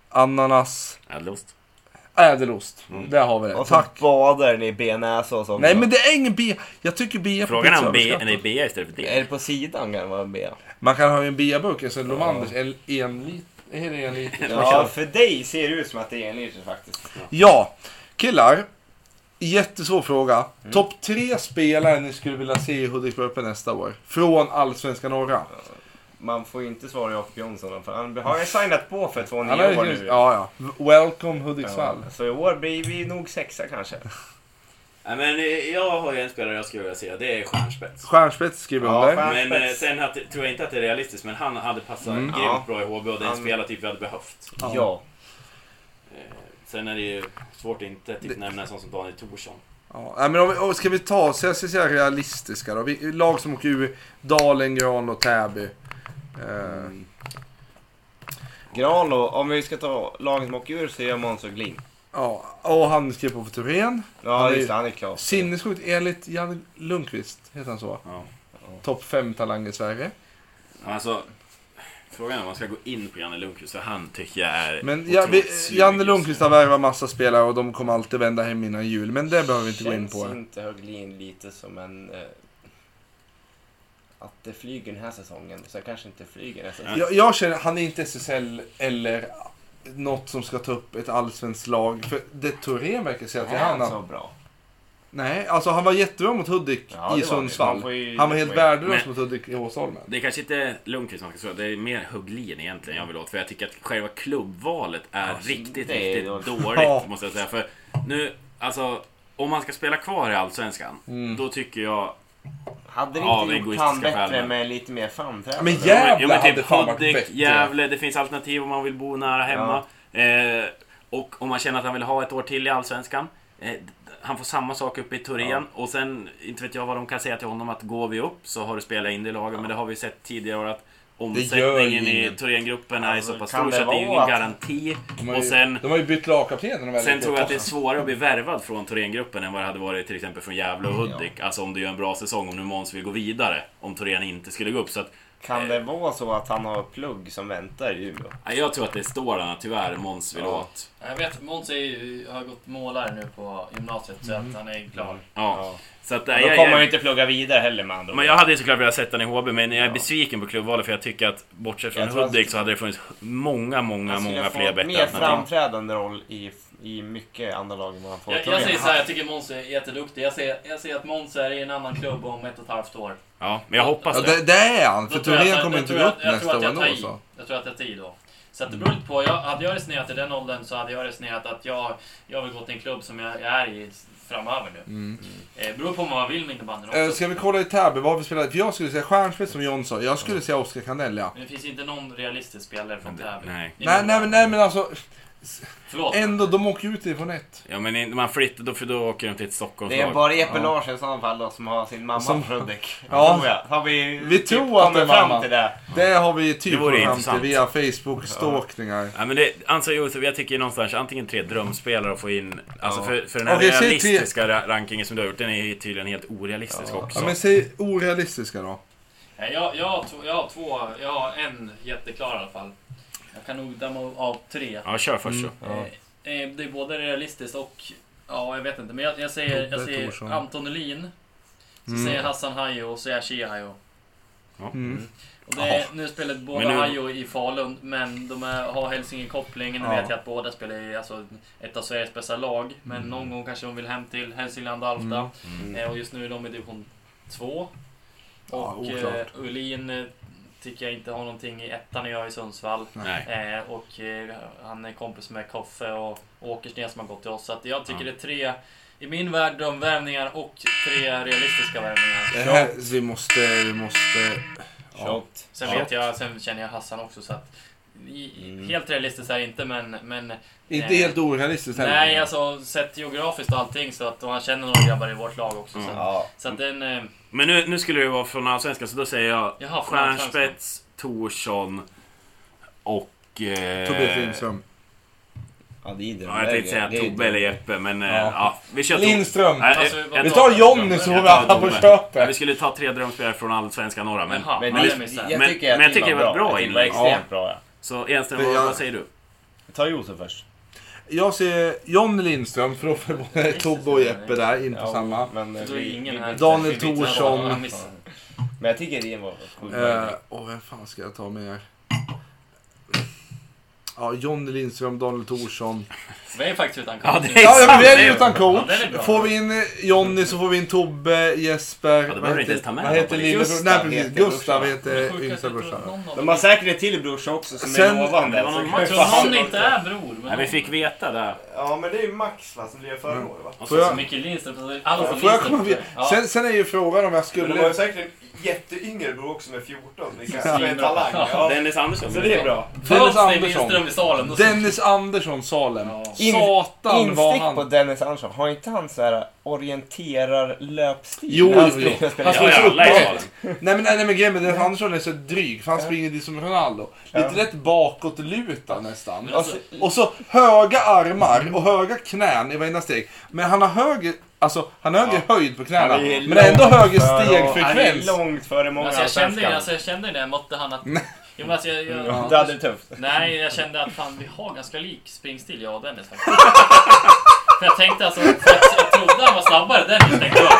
Speaker 3: ananas, Äh,
Speaker 1: Ädelost.
Speaker 3: ädelost.
Speaker 1: Mm.
Speaker 3: Där har vi det.
Speaker 4: Och så
Speaker 3: Tack.
Speaker 4: badar den i benäsa och sånt.
Speaker 3: Nej, men det är ingen B. Jag tycker B på
Speaker 1: Frågan är
Speaker 3: pizza
Speaker 1: om B,
Speaker 3: överskattat.
Speaker 1: nej, B istället för
Speaker 4: Är
Speaker 1: D.
Speaker 4: det på sidan kan det vara B?
Speaker 3: Man kan ha en B-burk, alltså Lomanders, en, en liter. Är det en liter?
Speaker 4: Ja, för dig ser det ut som att det är en liter faktiskt.
Speaker 3: Ja, killar. Jättesvår fråga.
Speaker 4: Mm.
Speaker 3: Topp tre spelare ni skulle vilja se i Hudiksvall Öppen nästa år? Från Allsvenska norra.
Speaker 4: Man får ju inte svara Jakob Jonsson för han har ju signat på för två
Speaker 3: Han har
Speaker 4: nya år
Speaker 3: ju-
Speaker 4: nu.
Speaker 3: ja, ja. Welcome Hudiksvall.
Speaker 4: Ja, Så i år blir vi nog sexa kanske.
Speaker 1: Nej, men eh, jag har ju en spelare jag skulle vilja se. Det är Stjärnspets.
Speaker 3: Stjärnspets Mm. skriver
Speaker 4: Ja,
Speaker 3: under.
Speaker 4: fan.
Speaker 1: Men eh, sen att, tror jag inte att det är realistiskt, men han hade passat grymt
Speaker 4: Ja.
Speaker 1: bra i HB och det är en
Speaker 4: Han-
Speaker 1: spelartyp vi hade behövt.
Speaker 3: Ja.
Speaker 1: Sen är det ju svårt att inte typ, nämna en sån som Daniel Thorsson.
Speaker 3: Ja, nej, men om vi, om, ska vi ta, så jag ska säga realistiska då. Vi, lag som åker ur, Dalen, Gran och Täby. Eh,
Speaker 4: Mm. Gran och om vi ska ta lagen som åker ur så är jag Måns och Glim.
Speaker 3: ja, och han skrev på för Torén. Han
Speaker 4: Ja,
Speaker 3: är-
Speaker 4: just det. Han är klar.
Speaker 3: Sinnessjukt enligt Janne Lundqvist, heter han så?
Speaker 1: Ja.
Speaker 3: Topp 5 talang i Sverige.
Speaker 1: Alltså, frågan är om man ska gå in på Janne Lundqvist, för han tycker jag är
Speaker 3: Men ja, vi,
Speaker 1: otroligt slug
Speaker 3: Janne
Speaker 1: just
Speaker 3: Lundqvist
Speaker 1: nu.
Speaker 3: har värvat massa spelare och de kommer alltid vända hem innan jul. Men det behöver vi inte gå in
Speaker 4: Känns
Speaker 3: på.
Speaker 4: inte Höglin lite som en... Eh, att det flyger den här säsongen. Så jag kanske inte flyger nästa säsong.
Speaker 3: Jag, jag känner, han är inte SSL eller något som ska ta upp ett allsvenskt lag. För det Thorén verkar säga till
Speaker 4: Är han så
Speaker 3: han.
Speaker 4: bra?
Speaker 3: Nej, alltså han var jättebra mot Hudik
Speaker 4: alltså. Ja,
Speaker 3: i
Speaker 4: det var han. Man
Speaker 3: Sundsvall.
Speaker 4: får ju-
Speaker 3: Han var helt
Speaker 4: man får ju-
Speaker 3: värdelös
Speaker 1: Men-
Speaker 3: mot Hudik i Åsholmen.
Speaker 1: Det är kanske inte Lundqvist man ska säga, det är mer Hugglin egentligen jag vill åt. För jag tycker att själva klubbvalet är riktigt,
Speaker 4: det är
Speaker 1: riktigt
Speaker 4: dåligt.
Speaker 1: dåligt
Speaker 3: Ja.
Speaker 1: måste jag säga. För nu, alltså, om man ska spela kvar i Allsvenskan,
Speaker 4: Mm.
Speaker 1: då tycker jag...
Speaker 4: Hade det
Speaker 1: Ja,
Speaker 4: inte
Speaker 1: men
Speaker 4: gjort
Speaker 1: egoistiska
Speaker 4: han bättre
Speaker 1: skäl.
Speaker 4: med lite mer framträdande?
Speaker 3: Men jävlar
Speaker 1: Ja, men
Speaker 3: hade
Speaker 1: typ
Speaker 3: fan varit
Speaker 1: Hudik,
Speaker 3: bättre.
Speaker 1: Gävle, det finns alternativ om man vill bo nära hemma. Eh, och om man känner att han vill ha ett år till i Allsvenskan. Eh, d- han får samma sak uppe i Torén. Och sen, inte vet jag vad de kan säga till honom, att går vi upp så har du spelat in det i laget. Men det har vi sett tidigare år att
Speaker 3: gör
Speaker 1: omsättningen i
Speaker 3: ingen.
Speaker 1: Torén-gruppen är
Speaker 4: Alltså,
Speaker 1: så pass
Speaker 4: kan
Speaker 1: stor
Speaker 4: det
Speaker 1: så att det är ju
Speaker 4: vara
Speaker 1: ingen
Speaker 4: att-
Speaker 1: garanti.
Speaker 3: De har ju,
Speaker 1: Och sen,
Speaker 3: de har ju bytt lagkapten. när de väl
Speaker 1: sen
Speaker 3: gick
Speaker 1: tror
Speaker 3: upp
Speaker 1: jag att det är
Speaker 3: också.
Speaker 1: svårare att bli värvad från Thorengruppen än vad det hade varit till exempel från Gävle och
Speaker 3: Mm,
Speaker 1: Hudik. Alltså om du gör en bra säsong, om nu Måns vill gå vidare. Om Thorén inte skulle gå upp. Så att
Speaker 4: Kan det vara så att han har plugg som väntar i Umeå?
Speaker 1: Nej, Jag tror att det är stålarna tyvärr Måns vill
Speaker 4: Ja.
Speaker 1: åt.
Speaker 7: Jag vet, Måns är ju- har gått målare nu på gymnasiet så
Speaker 3: Mm.
Speaker 7: att han är klar.
Speaker 1: Ja.
Speaker 4: Ja.
Speaker 1: Så att, äh,
Speaker 4: Då
Speaker 1: jag,
Speaker 4: kommer han ju
Speaker 1: jag,
Speaker 4: inte plugga vidare heller med andra
Speaker 1: men
Speaker 4: ord.
Speaker 1: jag hade ju såklart velat sätta den i HB, men jag är besviken på klubbvalet för jag tycker att bortsett från
Speaker 4: Jag tror att-
Speaker 1: Hudik så hade det funnits många, många,
Speaker 4: Han skulle
Speaker 1: många
Speaker 4: få
Speaker 1: fler
Speaker 4: Mer
Speaker 1: bättre alternativ.
Speaker 4: framträdande roll i, i mycket andra lag än vad han får.
Speaker 7: Jag, jag säger så här, jag tycker Måns är jätteduktig. Jag säger, jag säger att Måns är i en annan klubb om ett och ett halvt år.
Speaker 1: Ja, men jag
Speaker 3: Ja,
Speaker 1: hoppas det.
Speaker 3: det, det är han.
Speaker 7: Då
Speaker 3: För
Speaker 7: tror jag att-
Speaker 3: Torén kommer
Speaker 7: jag
Speaker 3: inte
Speaker 7: tror
Speaker 3: gå
Speaker 7: att-
Speaker 3: upp
Speaker 7: jag tror
Speaker 3: nästa
Speaker 7: att
Speaker 3: år
Speaker 7: jag
Speaker 3: ändå.
Speaker 7: tar i.
Speaker 3: så. Mm.
Speaker 7: Jag tror att jag tar i då. Så att det beror lite på. Jag, hade jag resonerat i den åldern så hade jag resonerat att jag, jag vill gå till en klubb som jag, jag är i framöver nu. Eh, beror på vad man vill med innebandyn
Speaker 3: Mm. Eh,
Speaker 7: också.
Speaker 3: Ska vi kolla i Täby vad vi spelade? För jag skulle säga Stjärnspets som John sa. Jag skulle säga Oskar Kanell ja.
Speaker 7: Men det finns inte någon realistisk spelare från Täby.
Speaker 1: Nej.
Speaker 7: I
Speaker 3: Nej, nej,
Speaker 7: min värld.
Speaker 3: men- nej men alltså.
Speaker 7: Förlåt.
Speaker 3: Ändå, de åker ju ut i division 1.
Speaker 1: Ja men in- man flyttar, då, för då åker de till ett
Speaker 4: Det är
Speaker 1: Stockholmslag.
Speaker 4: bara Jeppe Larsson i sådana fall då som har sin mamma
Speaker 3: Som-
Speaker 4: som... Fredrik.
Speaker 3: Ja.
Speaker 4: Tror jag. Oh, Har vi,
Speaker 3: Vi
Speaker 4: typ
Speaker 3: tror att
Speaker 4: kommit
Speaker 3: det är mamma.
Speaker 4: fram till det.
Speaker 3: Det har vi
Speaker 1: Det vore
Speaker 3: typ kommit fram till
Speaker 1: intressant.
Speaker 3: via Facebook-stalkningar.
Speaker 1: Ja, men det, alltså Josef, jag tycker någonstans antingen tre drömspelare att få in. Alltså
Speaker 4: Ja.
Speaker 1: för, för den här
Speaker 3: Okej, säg tre.
Speaker 1: realistiska ra- rankingen som du har gjort, den är ju tydligen helt orealistisk också.
Speaker 3: Ja, men säg orealistiska då.
Speaker 7: Nej, Eh, Jag, jag, har två, jag har två, jag har en jätteklar i alla fall. Jag kan nog damma av tre.
Speaker 1: Ja, kör först så.
Speaker 3: Ja.
Speaker 7: Eh, eh, Det är både realistiskt och... Ja, jag vet inte. Men jag, jag säger, jag
Speaker 3: Tobbe Thorsson.
Speaker 7: säger Anton Elin. Så
Speaker 3: Mm.
Speaker 7: säger Hassan Hayo och så säger jag Shihayo.
Speaker 3: Mm.
Speaker 7: Och det är, nu spelar båda
Speaker 1: Men nu-
Speaker 7: Hayo i Falun, men de är, har Hälsinge-koppling. Nu
Speaker 3: Ja.
Speaker 7: vet jag att båda spelar i alltså, ett av Sveriges bästa lag. Men någon gång kanske de vill hem till Hälsingland och Alfta.
Speaker 4: Mm.
Speaker 7: Eh, Och just nu är de i division 2.
Speaker 3: Ja,
Speaker 7: Och eh,
Speaker 3: oklart.
Speaker 7: Ulin eh, tycker jag inte har någonting i ettan när jag är i Sundsvall.
Speaker 1: Nej.
Speaker 7: Eh, och eh, han är kompis med Koffe och Åkersten som har gått till oss. Så att jag tycker
Speaker 1: Ja.
Speaker 7: det är tre, i min värld, drömvärvningar och tre realistiska värvningar.
Speaker 3: Det här, vi måste, vi måste... Ja.
Speaker 4: Tjockt.
Speaker 7: Sen vet jag, sen känner jag Hassan också så att i-
Speaker 4: Mm.
Speaker 7: Helt realistiskt är det inte men... men
Speaker 3: Inte helt orealistiskt heller.
Speaker 7: Nej, alltså sett geografiskt och allting så att och han känner några grabbar i vårt lag också. Så, att-
Speaker 4: Ja.
Speaker 7: så att den... eh,
Speaker 1: Men nu, nu skulle det vara från Allsvenskan, så då säger jag
Speaker 7: Jaha, från Allsvenskan.
Speaker 1: Stjärnspets, Torsson och... Eh,
Speaker 3: Tobias Lindström.
Speaker 4: ja, det är det.
Speaker 1: Ja, jag tänkte säga
Speaker 4: Det är-
Speaker 1: Tobbe eller Jeppe, men... eh,
Speaker 3: Ja.
Speaker 1: Ja, vi kör Tor-
Speaker 3: Lindström!
Speaker 1: Nej, eh,
Speaker 7: Alltså,
Speaker 1: jag-
Speaker 7: vad
Speaker 1: jag
Speaker 3: Vi
Speaker 7: tar
Speaker 3: tar Jonny så får vi
Speaker 1: Jag tar
Speaker 3: alla på
Speaker 1: Tobbe. Ja, vi
Speaker 3: köpet.
Speaker 1: skulle ta tre drömspelare från Allsvenskan norra, men...
Speaker 7: Jaha,
Speaker 4: Men,
Speaker 7: ja,
Speaker 4: det-
Speaker 7: det missade jag.
Speaker 4: jag
Speaker 1: Men-
Speaker 4: tycker,
Speaker 1: men jag tycker det var ett bra
Speaker 4: Det var
Speaker 1: inlägg.
Speaker 4: extremt bra. Ja.
Speaker 1: Så Enström,
Speaker 3: Det
Speaker 1: vad,
Speaker 3: jag-
Speaker 1: vad säger du?
Speaker 4: Ta Josef först.
Speaker 3: Jag ser Jonny Lindström, för då får vi både Tobbe och Jeppe där, in på samma.
Speaker 4: Men, eh,
Speaker 7: Så det är
Speaker 4: vi-
Speaker 7: ingen
Speaker 4: vi-
Speaker 7: här.
Speaker 3: Daniel
Speaker 4: vi byter
Speaker 3: Thorsson.
Speaker 4: namn.
Speaker 7: Jag missade.
Speaker 4: Men jag tycker det var sjukt
Speaker 3: Eh, och vem fan ska jag ta med? Ja, Jonny Lindström, Daniel Thorsson.
Speaker 7: Vi är faktiskt utan
Speaker 1: Ja,
Speaker 7: coach.
Speaker 1: det är
Speaker 3: Ja, men
Speaker 1: sant!
Speaker 3: vi
Speaker 1: det
Speaker 3: är
Speaker 1: är-
Speaker 3: utan coach.
Speaker 7: Ja, den är bra.
Speaker 3: får vi in eh, Jonny så får vi in Tobbe, Jesper.
Speaker 1: behöver du
Speaker 3: vad
Speaker 1: inte
Speaker 3: heter,
Speaker 1: ens ta med
Speaker 3: vad
Speaker 1: någon
Speaker 3: heter
Speaker 1: på
Speaker 3: lillebror?
Speaker 4: listan.
Speaker 3: Nej
Speaker 4: Gustav
Speaker 3: precis,
Speaker 4: heter
Speaker 3: Gustav
Speaker 4: brorsan.
Speaker 3: heter yngsta brorsan.
Speaker 4: De har säkert ett till brorsa också som
Speaker 3: Sen-
Speaker 4: är lovande.
Speaker 1: Det var någon
Speaker 4: Så-
Speaker 1: match.
Speaker 7: Tror någon inte är bror.
Speaker 1: Nej,
Speaker 7: Men
Speaker 1: vi fick veta det.
Speaker 4: Ja, men det är ju Max va, som blev förra året va?
Speaker 1: Och
Speaker 3: Får
Speaker 1: så,
Speaker 3: jag-
Speaker 7: så mycket Lindström. precis. Allt som
Speaker 3: Får jag komma
Speaker 7: Lindström.
Speaker 3: vidare?
Speaker 7: Ja.
Speaker 3: sen, sen är ju frågan
Speaker 12: Men
Speaker 3: om jag
Speaker 12: de har
Speaker 3: skulle...
Speaker 12: ju säkert en jätteyngre bror också med 14. Det
Speaker 7: Ja.
Speaker 12: kanske är en talang. Ja.
Speaker 1: Dennis Andersson.
Speaker 12: Så det är bra.
Speaker 3: Dennis
Speaker 7: Föds det
Speaker 3: Andersson.
Speaker 7: Lindström i Salem då
Speaker 3: Dennis Andersson, Salem.
Speaker 7: Ja.
Speaker 3: Satan vad
Speaker 4: Instick på
Speaker 3: han...
Speaker 4: Dennis Andersson. Har inte han så här orienterar löpstil?
Speaker 3: Jo,
Speaker 4: När han
Speaker 3: jo,
Speaker 4: springer
Speaker 3: jo.
Speaker 4: och spelar
Speaker 3: Han
Speaker 1: Ja,
Speaker 3: spelar
Speaker 1: ja,
Speaker 3: så
Speaker 1: alla i
Speaker 3: uppåt.
Speaker 1: salen.
Speaker 3: Nej men, nej, men grejen med Dennis Andersson är så dryg för han springer dit som Ronaldo. Lite lätt bakåtlutad nästan.
Speaker 7: alltså-
Speaker 3: och så höga armar och höga knän i varenda steg. Men han har högre, alltså, han har högre höjd på knäna.
Speaker 4: Han är
Speaker 3: Men ändå
Speaker 4: långt
Speaker 3: högre
Speaker 4: före- Han är
Speaker 3: stegfrekvens.
Speaker 4: långt före många
Speaker 7: Alltså jag kände ju
Speaker 4: allsvenskar.
Speaker 7: alltså, jag kände ju det, mötte han att... Jo, men alltså, jag, jag,
Speaker 4: Det hade det tufft.
Speaker 7: Nej, jag kände att fan, vi har ganska lik springstil jag och Dennis faktiskt. För jag tänkte alltså, för jag, jag trodde han var snabbare Dennis tänkte jag.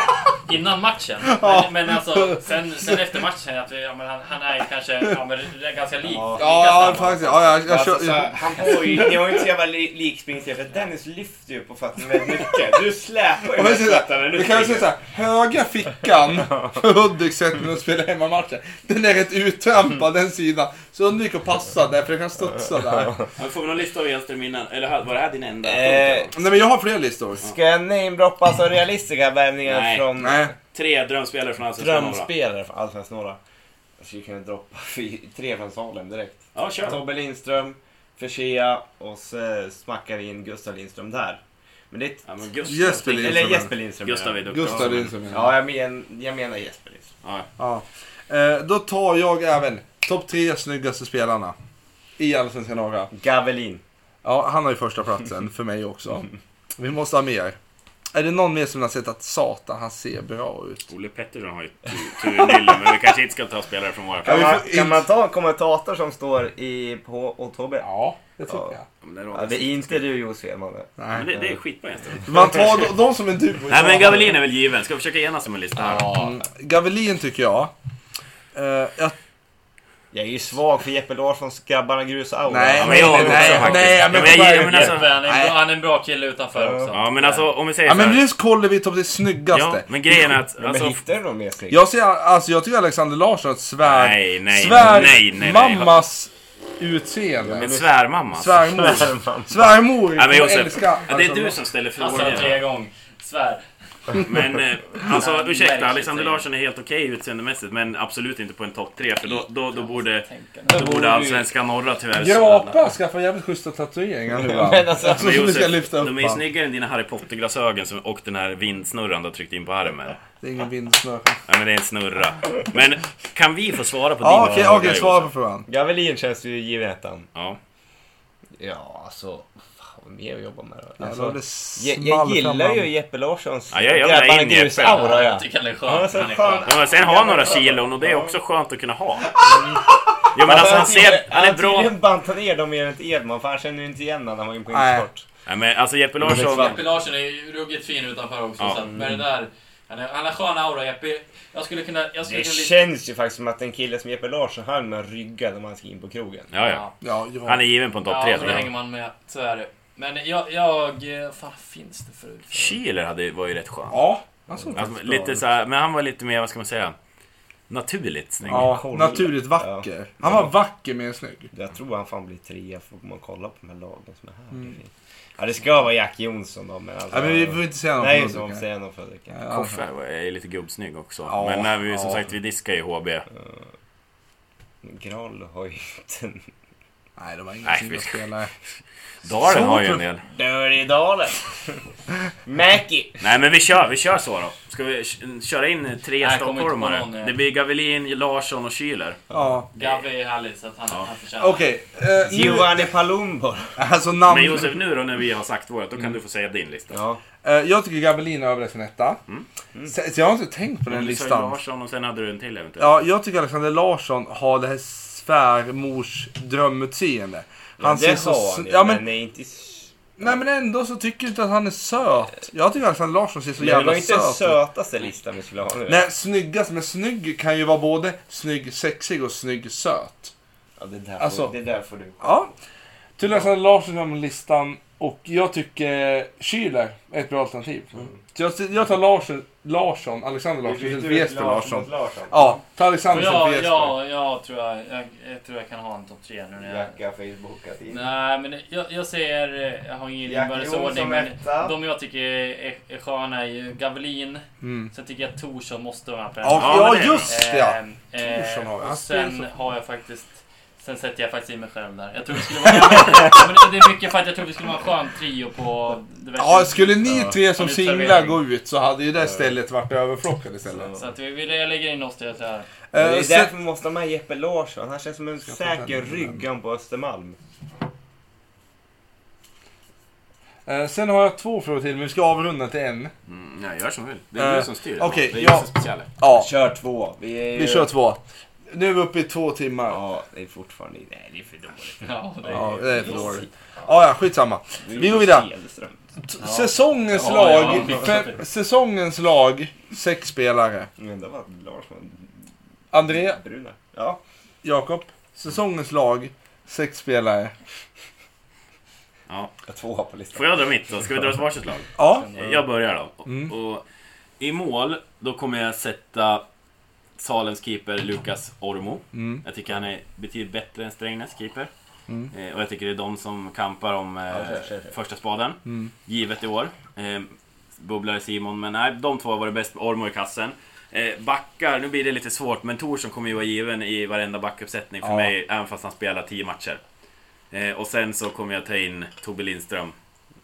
Speaker 7: Innan matchen. Men, men alltså, sen, sen efter matchen kände jag att vi, ja, men han, han är ju kanske ja, men, det är ganska lik. lika
Speaker 3: Ja,
Speaker 7: snabb.
Speaker 3: faktiskt. Ja, jag, jag, kör-
Speaker 4: Alltså, så här, han har ju, ni har ju inte så jävla li- lik springstil, för Dennis lyfter ju på fötterna väldigt mycket. Du släpar ju
Speaker 3: Om
Speaker 4: med
Speaker 3: jag säger så
Speaker 4: fötterna
Speaker 3: här,
Speaker 4: när
Speaker 3: vi
Speaker 4: du
Speaker 3: kan väl säga
Speaker 4: springer.
Speaker 3: såhär, höga fickan för Hudiks sätt när de spelar hemmamatcher. Den är rätt uttrampad den sidan. Så undvik att passa där för den kan studsa där.
Speaker 1: Men får vi någon lista av Enström innan? Eller var det här din enda?
Speaker 4: Eh,
Speaker 3: Nej men jag har fler listor.
Speaker 4: Ska jag namedroppa alltså realistiska värvningar
Speaker 1: Nej.
Speaker 4: från
Speaker 3: Nej.
Speaker 1: Tre drömspelare från Allsvenskan norra.
Speaker 4: drömspelare för Allsvenskan norra? Jag skulle kunna droppa fy- tre från Salem direkt.
Speaker 1: Ja, kör.
Speaker 4: Tobbe Lindström, Fersea och så smackar vi in Gustav Lindström där. Men det är ett,
Speaker 1: Ja, men Gustav.
Speaker 3: Jesper
Speaker 4: eller
Speaker 3: Lindström.
Speaker 4: Jesper Lindström.
Speaker 1: Gustav är
Speaker 4: ja.
Speaker 1: duktig.
Speaker 3: Gustav Lindström.
Speaker 4: ja, jag, men, jag menar Jesper Lindström.
Speaker 1: Ja.
Speaker 3: Ja. Eh, Då tar jag även topp tre snyggaste spelarna. I Allsvenskan norra.
Speaker 4: Gavelin.
Speaker 3: Ja, han har ju första platsen för mig också. Vi måste ha mer. Är det någon mer som har sett att satan, han ser bra ut?
Speaker 1: Olle Pettersson har ju tur- tur i nyllen, men vi kanske inte ska ta spelare från våra
Speaker 3: Ja,
Speaker 4: Kan,
Speaker 3: vi
Speaker 1: platser.
Speaker 3: får
Speaker 4: man,
Speaker 3: inte-
Speaker 4: kan man ta en kommentator som står i, på och Tobbe? Ja.
Speaker 3: Ja, det tycker
Speaker 4: Ja.
Speaker 3: jag.
Speaker 1: Men det,
Speaker 4: det är inte du Josef Mannen.
Speaker 1: men
Speaker 3: Nej.
Speaker 1: det, det är skitbra Enström.
Speaker 3: Man tar de- de som en duo.
Speaker 1: Nej men Gavelin är väl given. Ska vi försöka enas om en lista här?
Speaker 3: Mm. Gavelin tycker jag. Eh, jag
Speaker 4: Jag är ju svag för Jeppe Larssons Grabbarna Grus aura.
Speaker 3: Nej,
Speaker 1: men jag också faktiskt.
Speaker 3: nej,
Speaker 1: Ja,
Speaker 3: men,
Speaker 1: men jag
Speaker 3: jag,
Speaker 1: gillar- men alltså-
Speaker 7: Jeppe, han, är en
Speaker 3: Nej.
Speaker 7: bra, han är en bra kille utanför också.
Speaker 1: Ja men alltså om vi säger
Speaker 3: ja, men
Speaker 1: såhär.
Speaker 3: nu kollar vi topp det
Speaker 1: Ja,
Speaker 3: snyggaste.
Speaker 1: men grejen är att...
Speaker 4: Men
Speaker 1: Alltså,
Speaker 4: hittar du någon mer snygg?
Speaker 3: Jag ser, alltså jag tycker Alexander Larsson är ett svär...
Speaker 1: Nej, nej,
Speaker 3: svär
Speaker 1: nej, nej, nej.
Speaker 3: mammas utseende.
Speaker 1: men svärmamma. alltså.
Speaker 3: Svärmor. Svärmor
Speaker 1: Nej men
Speaker 3: kommer
Speaker 1: Josef,
Speaker 3: älska
Speaker 1: ja, det är
Speaker 3: Alexander
Speaker 1: du
Speaker 3: Larsson.
Speaker 1: som ställer
Speaker 7: Alltså
Speaker 1: frågor.
Speaker 7: tre gånger. Svär.
Speaker 1: Men eh, alltså
Speaker 7: Nej,
Speaker 1: ursäkta,
Speaker 7: verkligen.
Speaker 1: Alexander Larsson är helt okej utseendemässigt men absolut inte på en topp tre för då, då, då borde,
Speaker 7: Tänka.
Speaker 1: då borde allsvenska norra tyvärr
Speaker 3: Grapa skaffar jävligt schyssta tatueringar nu va?
Speaker 2: Men alltså,
Speaker 3: Som vi ska lyfta upp
Speaker 1: de är ju
Speaker 3: va?
Speaker 1: snyggare än dina Harry Potter-glasögon som- och den här vindsnurran du har tryckt in på armen.
Speaker 3: Det är ingen vindsnö.
Speaker 1: Nej men det är en snurra. Men kan vi få svara på
Speaker 3: Ja,
Speaker 1: din
Speaker 3: okej,
Speaker 1: fråga,
Speaker 3: okej,
Speaker 1: Josef?
Speaker 3: svara på frågan.
Speaker 4: Javelin känns ju given ettan.
Speaker 1: Ja.
Speaker 4: Ja, alltså. Fan, vad mer att jobba med då?
Speaker 3: Jävlar,
Speaker 4: Alltså,
Speaker 3: det
Speaker 4: jag,
Speaker 3: small
Speaker 4: jag gillar
Speaker 3: fram.
Speaker 4: ju Jeppe Larssons
Speaker 1: Ja, jag jävlar in i Jeppe.
Speaker 4: aura ja.
Speaker 7: Jag tycker han är skön.
Speaker 4: Han är så skön.
Speaker 1: Ja, men sen har han några kilon och det är också skönt att kunna ha.
Speaker 3: Mm.
Speaker 1: Jo men alltså han ser, han är
Speaker 4: Han har
Speaker 1: bra.
Speaker 3: alltså,
Speaker 4: tydligen bantat ner dem mer än till Edman för han känner ju inte igen när han var in på
Speaker 3: Nej.
Speaker 4: Intersport.
Speaker 1: Nej men alltså Jeppe Larsson.
Speaker 7: Jeppe Larsson är ju ruggigt fin utanför också.
Speaker 1: Ja.
Speaker 7: Så att med det där, han, är, han har skön aura, Jeppe. Jag skulle kunna... Jag skulle
Speaker 4: Alltså, Det
Speaker 7: kunna
Speaker 4: känns ju faktiskt som att en kille som Jeppe Larsson, han har ryggat om han ska in på krogen.
Speaker 1: Ja, ja.
Speaker 3: Ja, ja.
Speaker 1: Han är given på en topp
Speaker 7: Ja,
Speaker 1: tre.
Speaker 7: då
Speaker 1: tror jag.
Speaker 7: hänger man med. Så är det. Men jag... jag eh, fan, finns det för...
Speaker 1: Schiller hade, var ju rätt skön.
Speaker 3: Ja, han såg
Speaker 1: Alltså,
Speaker 3: faktiskt bra
Speaker 1: lite
Speaker 3: ut.
Speaker 1: så här, men han var lite mer, vad ska man säga, naturligt snygg.
Speaker 3: Ja, naturligt vacker. Han var vacker men snygg.
Speaker 4: Jag tror han fan blir trea får man kolla på de här lagen som är här. Ja, det ska vara Jack Jonsson då, men alltså...
Speaker 3: Nej, men vi får inte säga något.
Speaker 4: Nej,
Speaker 3: om
Speaker 4: som
Speaker 3: det.
Speaker 4: man säger någon Fredrik.
Speaker 3: Ja.
Speaker 1: Koffe var- är ju lite gubbsnygg också.
Speaker 3: alltså. Ja,
Speaker 1: men när vi, som
Speaker 3: ja.
Speaker 1: sagt, vi diskar ju HB.
Speaker 4: Graal har ju inte en...
Speaker 3: Nej, det var ingen
Speaker 1: Nej,
Speaker 3: snygga
Speaker 1: vi-
Speaker 3: spelare.
Speaker 1: Dalen
Speaker 3: Så
Speaker 1: har ju en
Speaker 3: pro-
Speaker 1: del.
Speaker 4: Dirty Dalen! Mäki!
Speaker 1: Nej men vi kör, vi kör så då. Ska vi k- köra in tre
Speaker 7: Nej, jag kommer inte på
Speaker 1: stockholmare?
Speaker 7: någon, eh.
Speaker 1: Det blir Gavelin, Larsson och Schüler.
Speaker 3: Ja,
Speaker 7: Gavi är härlig, så att han, han förtjänar...
Speaker 3: okej. eh, nu-
Speaker 4: Giovanni Palumbo!
Speaker 3: Alltså namn...
Speaker 1: Men Josef, nu då när vi har sagt vårt, då
Speaker 3: Mm.
Speaker 1: kan du få säga din lista.
Speaker 4: Ja.
Speaker 3: Eh, jag tycker Gabellin är överlägsen etta. Så, så jag har inte tänkt på den
Speaker 1: Mm. Du sa ju
Speaker 3: listan.
Speaker 1: Larsson och sen hade du en till eventuellt.
Speaker 3: Ja, jag tycker Alexander Larsson har det här svärmors drömutseende. Han
Speaker 4: det har
Speaker 3: så...
Speaker 4: han ju,
Speaker 3: ja, men,
Speaker 4: men det är inte...
Speaker 3: Nej men ändå så tycker jag inte att han är söt. Jag tycker Alexander Larsson ser så
Speaker 4: Men det var
Speaker 3: jävla
Speaker 4: ju inte den
Speaker 3: söt ut.
Speaker 4: sötaste listan vi skulle ha nu.
Speaker 3: Nej, snyggast, men snygg kan ju vara både snygg, sexig och snygg, söt.
Speaker 4: Ja, det, där
Speaker 3: Alltså-
Speaker 4: får, det där får du.
Speaker 3: Ja. Till Alexander Larsson har man listan och jag tycker Schüler är ett bra alternativ.
Speaker 4: Mm.
Speaker 3: Så jag, jag tar Larsson, Larsson Alexander Larsson istället för Jesper Larsson.
Speaker 4: Larsson.
Speaker 3: Ja, ta
Speaker 7: Och
Speaker 3: Alexander istället för
Speaker 7: jag,
Speaker 3: Jesper.
Speaker 7: jag, jag, tror jag, jag, jag tror jag kan ha en topp tre nu när jag...
Speaker 4: Jacka Facebookat in.
Speaker 7: Nej, men jag, jag säger... eh, Jag har ingen
Speaker 4: Jack
Speaker 7: inbördes
Speaker 4: Jonsson
Speaker 7: ordning, men
Speaker 4: etta.
Speaker 7: de jag tycker är, är sköna är ju Gavelin. Sen tycker jag Torsson måste vara med på den.
Speaker 3: Ja,
Speaker 1: Ja,
Speaker 3: Mm.
Speaker 1: men det
Speaker 3: ja,
Speaker 1: är
Speaker 3: just det ja.
Speaker 7: Eh, eh,
Speaker 3: Torsson har vi. Han
Speaker 7: och
Speaker 3: spelar
Speaker 7: sen
Speaker 3: så-
Speaker 7: har jag faktiskt... Sen sätter jag faktiskt in mig själv där. Jag tror det skulle vara... ja, men det är mycket för att jag tror det skulle vara en skön trio på... det verkar-
Speaker 3: Ja, skulle ni tre som
Speaker 7: Ja,
Speaker 3: singlar
Speaker 7: servering.
Speaker 3: gå ut så hade ju det stället varit överflockat istället.
Speaker 7: Så att vi, vi, jag lägger in oss till det här.
Speaker 4: Men det
Speaker 3: Eh,
Speaker 4: är
Speaker 3: sen,
Speaker 4: därför vi måste ha med Jeppe Larsson. Han känns som en
Speaker 3: jag ta
Speaker 4: säker
Speaker 3: den?
Speaker 4: ryggan på Östermalm.
Speaker 3: eh, sen har jag två frågor till, men vi ska avrunda till en.
Speaker 1: Mm, jag gör som du vill. Det är
Speaker 3: Eh,
Speaker 1: du som styr.
Speaker 3: okej,
Speaker 1: det är
Speaker 3: ja.
Speaker 1: jag som speciell.
Speaker 3: Ja,
Speaker 4: Kör två. Vi, är ju...
Speaker 3: vi kör två. Nu är vi uppe i två timmar.
Speaker 4: Ja, det är fortfarande... Nej, det är för dåligt.
Speaker 7: Ja, det
Speaker 3: Ja, det är för dåligt. Ja, ja, skitsamma.
Speaker 4: Det är
Speaker 3: Vi
Speaker 4: ju
Speaker 3: går vidare.
Speaker 4: Källström.
Speaker 3: T- Säsongens
Speaker 7: Ja,
Speaker 3: lag.
Speaker 7: ja.
Speaker 3: Fe- säsongens lag, sex spelare.
Speaker 4: Men det var Larsson.
Speaker 3: André,
Speaker 4: Bruna. Ja.
Speaker 3: Jakob. Säsongens lag, sex spelare.
Speaker 4: Jag tvåa på listan.
Speaker 1: Får jag dra mitt då? Ska vi dra ett varsitt lag?
Speaker 3: Ja,
Speaker 1: Eh, Jag börjar då.
Speaker 3: Mm.
Speaker 1: Och I mål, då kommer jag sätta Salens keeper Lukas Ormo.
Speaker 3: Mm.
Speaker 1: Jag tycker han är betydligt bättre än Strängnäs keeper. Eh, och jag tycker det är de som kampar om eh,
Speaker 4: kör, kör, kör.
Speaker 1: första spaden.
Speaker 3: Mm.
Speaker 1: Givet i år. Eh, bubblare Simon, men nej, de två har varit bäst. Ormo i kassen. Eh, backar, nu blir det lite svårt, men Torsson kommer ju vara given i varenda backuppsättning för
Speaker 3: Ja.
Speaker 1: mig, även fast han spelar 10 matcher. Eh, och sen så kommer jag ta in Tobbe Lindström.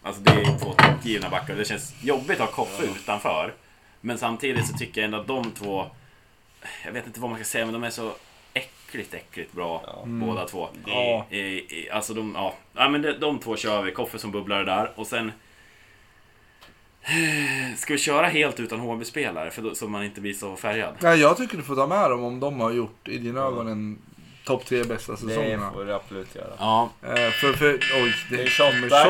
Speaker 1: Alltså det är två toppgivna backar. Det känns jobbigt att ha Koffe utanför. Men samtidigt så tycker jag ändå att de två... Jag vet inte vad man ska säga, men de är så äckligt, äckligt bra båda två.
Speaker 3: Ja.
Speaker 1: Eh, eh, Alltså de, ja. ja men de, de två kör vi. Koffe som bubblar där och sen... eh, Ska vi köra helt utan HB-spelare för då, så man inte blir så färgad?
Speaker 3: Nej, jag tycker du får ta med dem om de har gjort, i dina ögon, en topp tre bästa
Speaker 4: Det
Speaker 3: säsongerna.
Speaker 4: får du absolut göra.
Speaker 1: Ja,
Speaker 3: Eh, för, för, oj, det
Speaker 4: Det
Speaker 3: är
Speaker 4: är
Speaker 3: shotdags.
Speaker 4: shotdags.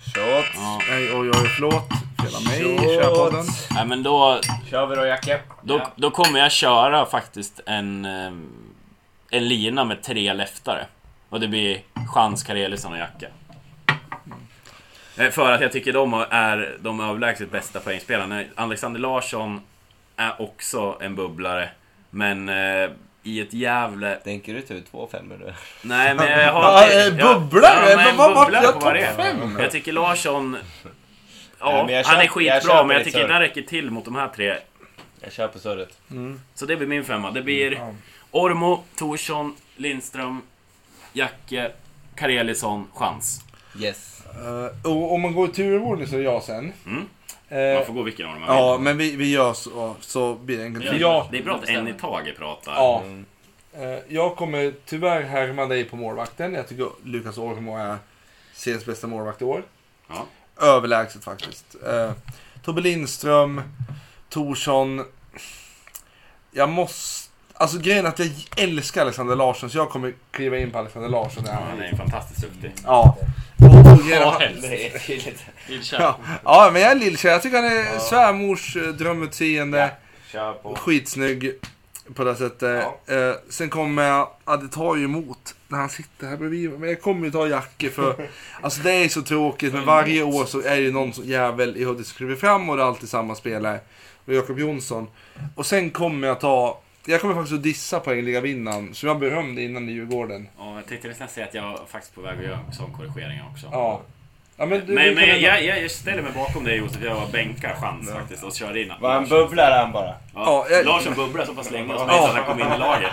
Speaker 3: Shots.
Speaker 4: Shot.
Speaker 1: ja.
Speaker 3: Nej, oj, oj, förlåt. Fela mig,
Speaker 4: Shot.
Speaker 3: kör podden.
Speaker 1: Nej, men då,
Speaker 4: Kör vi då Jacke.
Speaker 1: Då, då kommer jag köra faktiskt en, ehm, en lina med tre leftare. Och det blir Chans, Karelisson och Jacka. Eh, För att jag tycker de har- är de överlägset bästa poängspelarna. Alexander Larsson är också en bubblare. Men eh, i ett jävla...
Speaker 4: Tänker du ta
Speaker 3: typ
Speaker 4: ut två femmor nu?
Speaker 1: Nej men jag har...
Speaker 3: Ja, eh, bubblare?
Speaker 1: men
Speaker 3: Vad- vad-
Speaker 1: bubblare
Speaker 3: jag
Speaker 1: på
Speaker 3: topp
Speaker 1: varje.
Speaker 3: fem?
Speaker 1: Jag tycker Larsson... Ja,
Speaker 4: men jag
Speaker 1: han är
Speaker 4: köper- jag
Speaker 1: skitbra,
Speaker 4: köper
Speaker 1: men jag
Speaker 4: det,
Speaker 1: tycker
Speaker 4: Sören.
Speaker 1: inte han räcker till mot de här tre.
Speaker 2: Jag köper surret.
Speaker 1: Så det blir min femma. Det blir
Speaker 3: Mm, Ja.
Speaker 1: Ormo, Torsson, Lindström, Jacke, Karelisson, Chans.
Speaker 4: Yes.
Speaker 3: Eh, och om man går i turordning så är det jag sen.
Speaker 1: Mm.
Speaker 3: Eh,
Speaker 1: Man får gå vilken av dem man
Speaker 3: ja,
Speaker 1: vill.
Speaker 3: men vi, vi gör så, så blir det en gång
Speaker 1: Det är-
Speaker 3: till. Jag,
Speaker 1: Det är bra att en i taget pratar.
Speaker 3: ja, Eh, jag kommer tyvärr härma dig på målvakten. Jag tycker Lukas Ormo är seriens bästa målvakt i år.
Speaker 1: Ja.
Speaker 3: Överlägset faktiskt. Eh, Tobbe Lindström, Torsson. Jag måste... Alltså grejen är att jag älskar Alexander Larsson så jag kommer kliva in på Alexander Larsson. när
Speaker 1: Ja,
Speaker 3: han-
Speaker 1: Han är ju fantastiskt duktig.
Speaker 3: Ja. Och, och grejen är-
Speaker 4: Det är tydligt.
Speaker 3: Ja. ja, men jag är lilltjej. Jag tycker han är svärmors eh, drömutseende.
Speaker 4: Kör på.
Speaker 3: Skitsnygg på det sättet. Eh, sen kommer jag... Ja, det tar ju emot när han sitter här bredvid mig. Men jag kommer ju ta Jacke för... alltså det är så tråkigt, men varje år så är det ju någon som- jävel i Hudik som kliver fram och det är alltid samma spelare. Och Jakob Jonsson. Och sen kommer jag ta... Jag kommer faktiskt att dissa poängligavinnaren som jag berömde innan i Djurgården.
Speaker 1: Ja, jag tänkte nästan säga att jag var faktiskt på väg att göra en sån korrigering också.
Speaker 3: Ja. ja men du,
Speaker 1: Men,
Speaker 3: du kan
Speaker 1: men
Speaker 3: ändå-
Speaker 1: jag, jag, jag ställer mig bakom dig Josef, jag bänkar chans faktiskt och kör in
Speaker 4: Var han
Speaker 1: Larsson.
Speaker 4: bubblar han bara?
Speaker 1: Ja,
Speaker 3: Ja, jag-
Speaker 1: Larsson bubblar så pass länge och så mig så att han kom in i laget.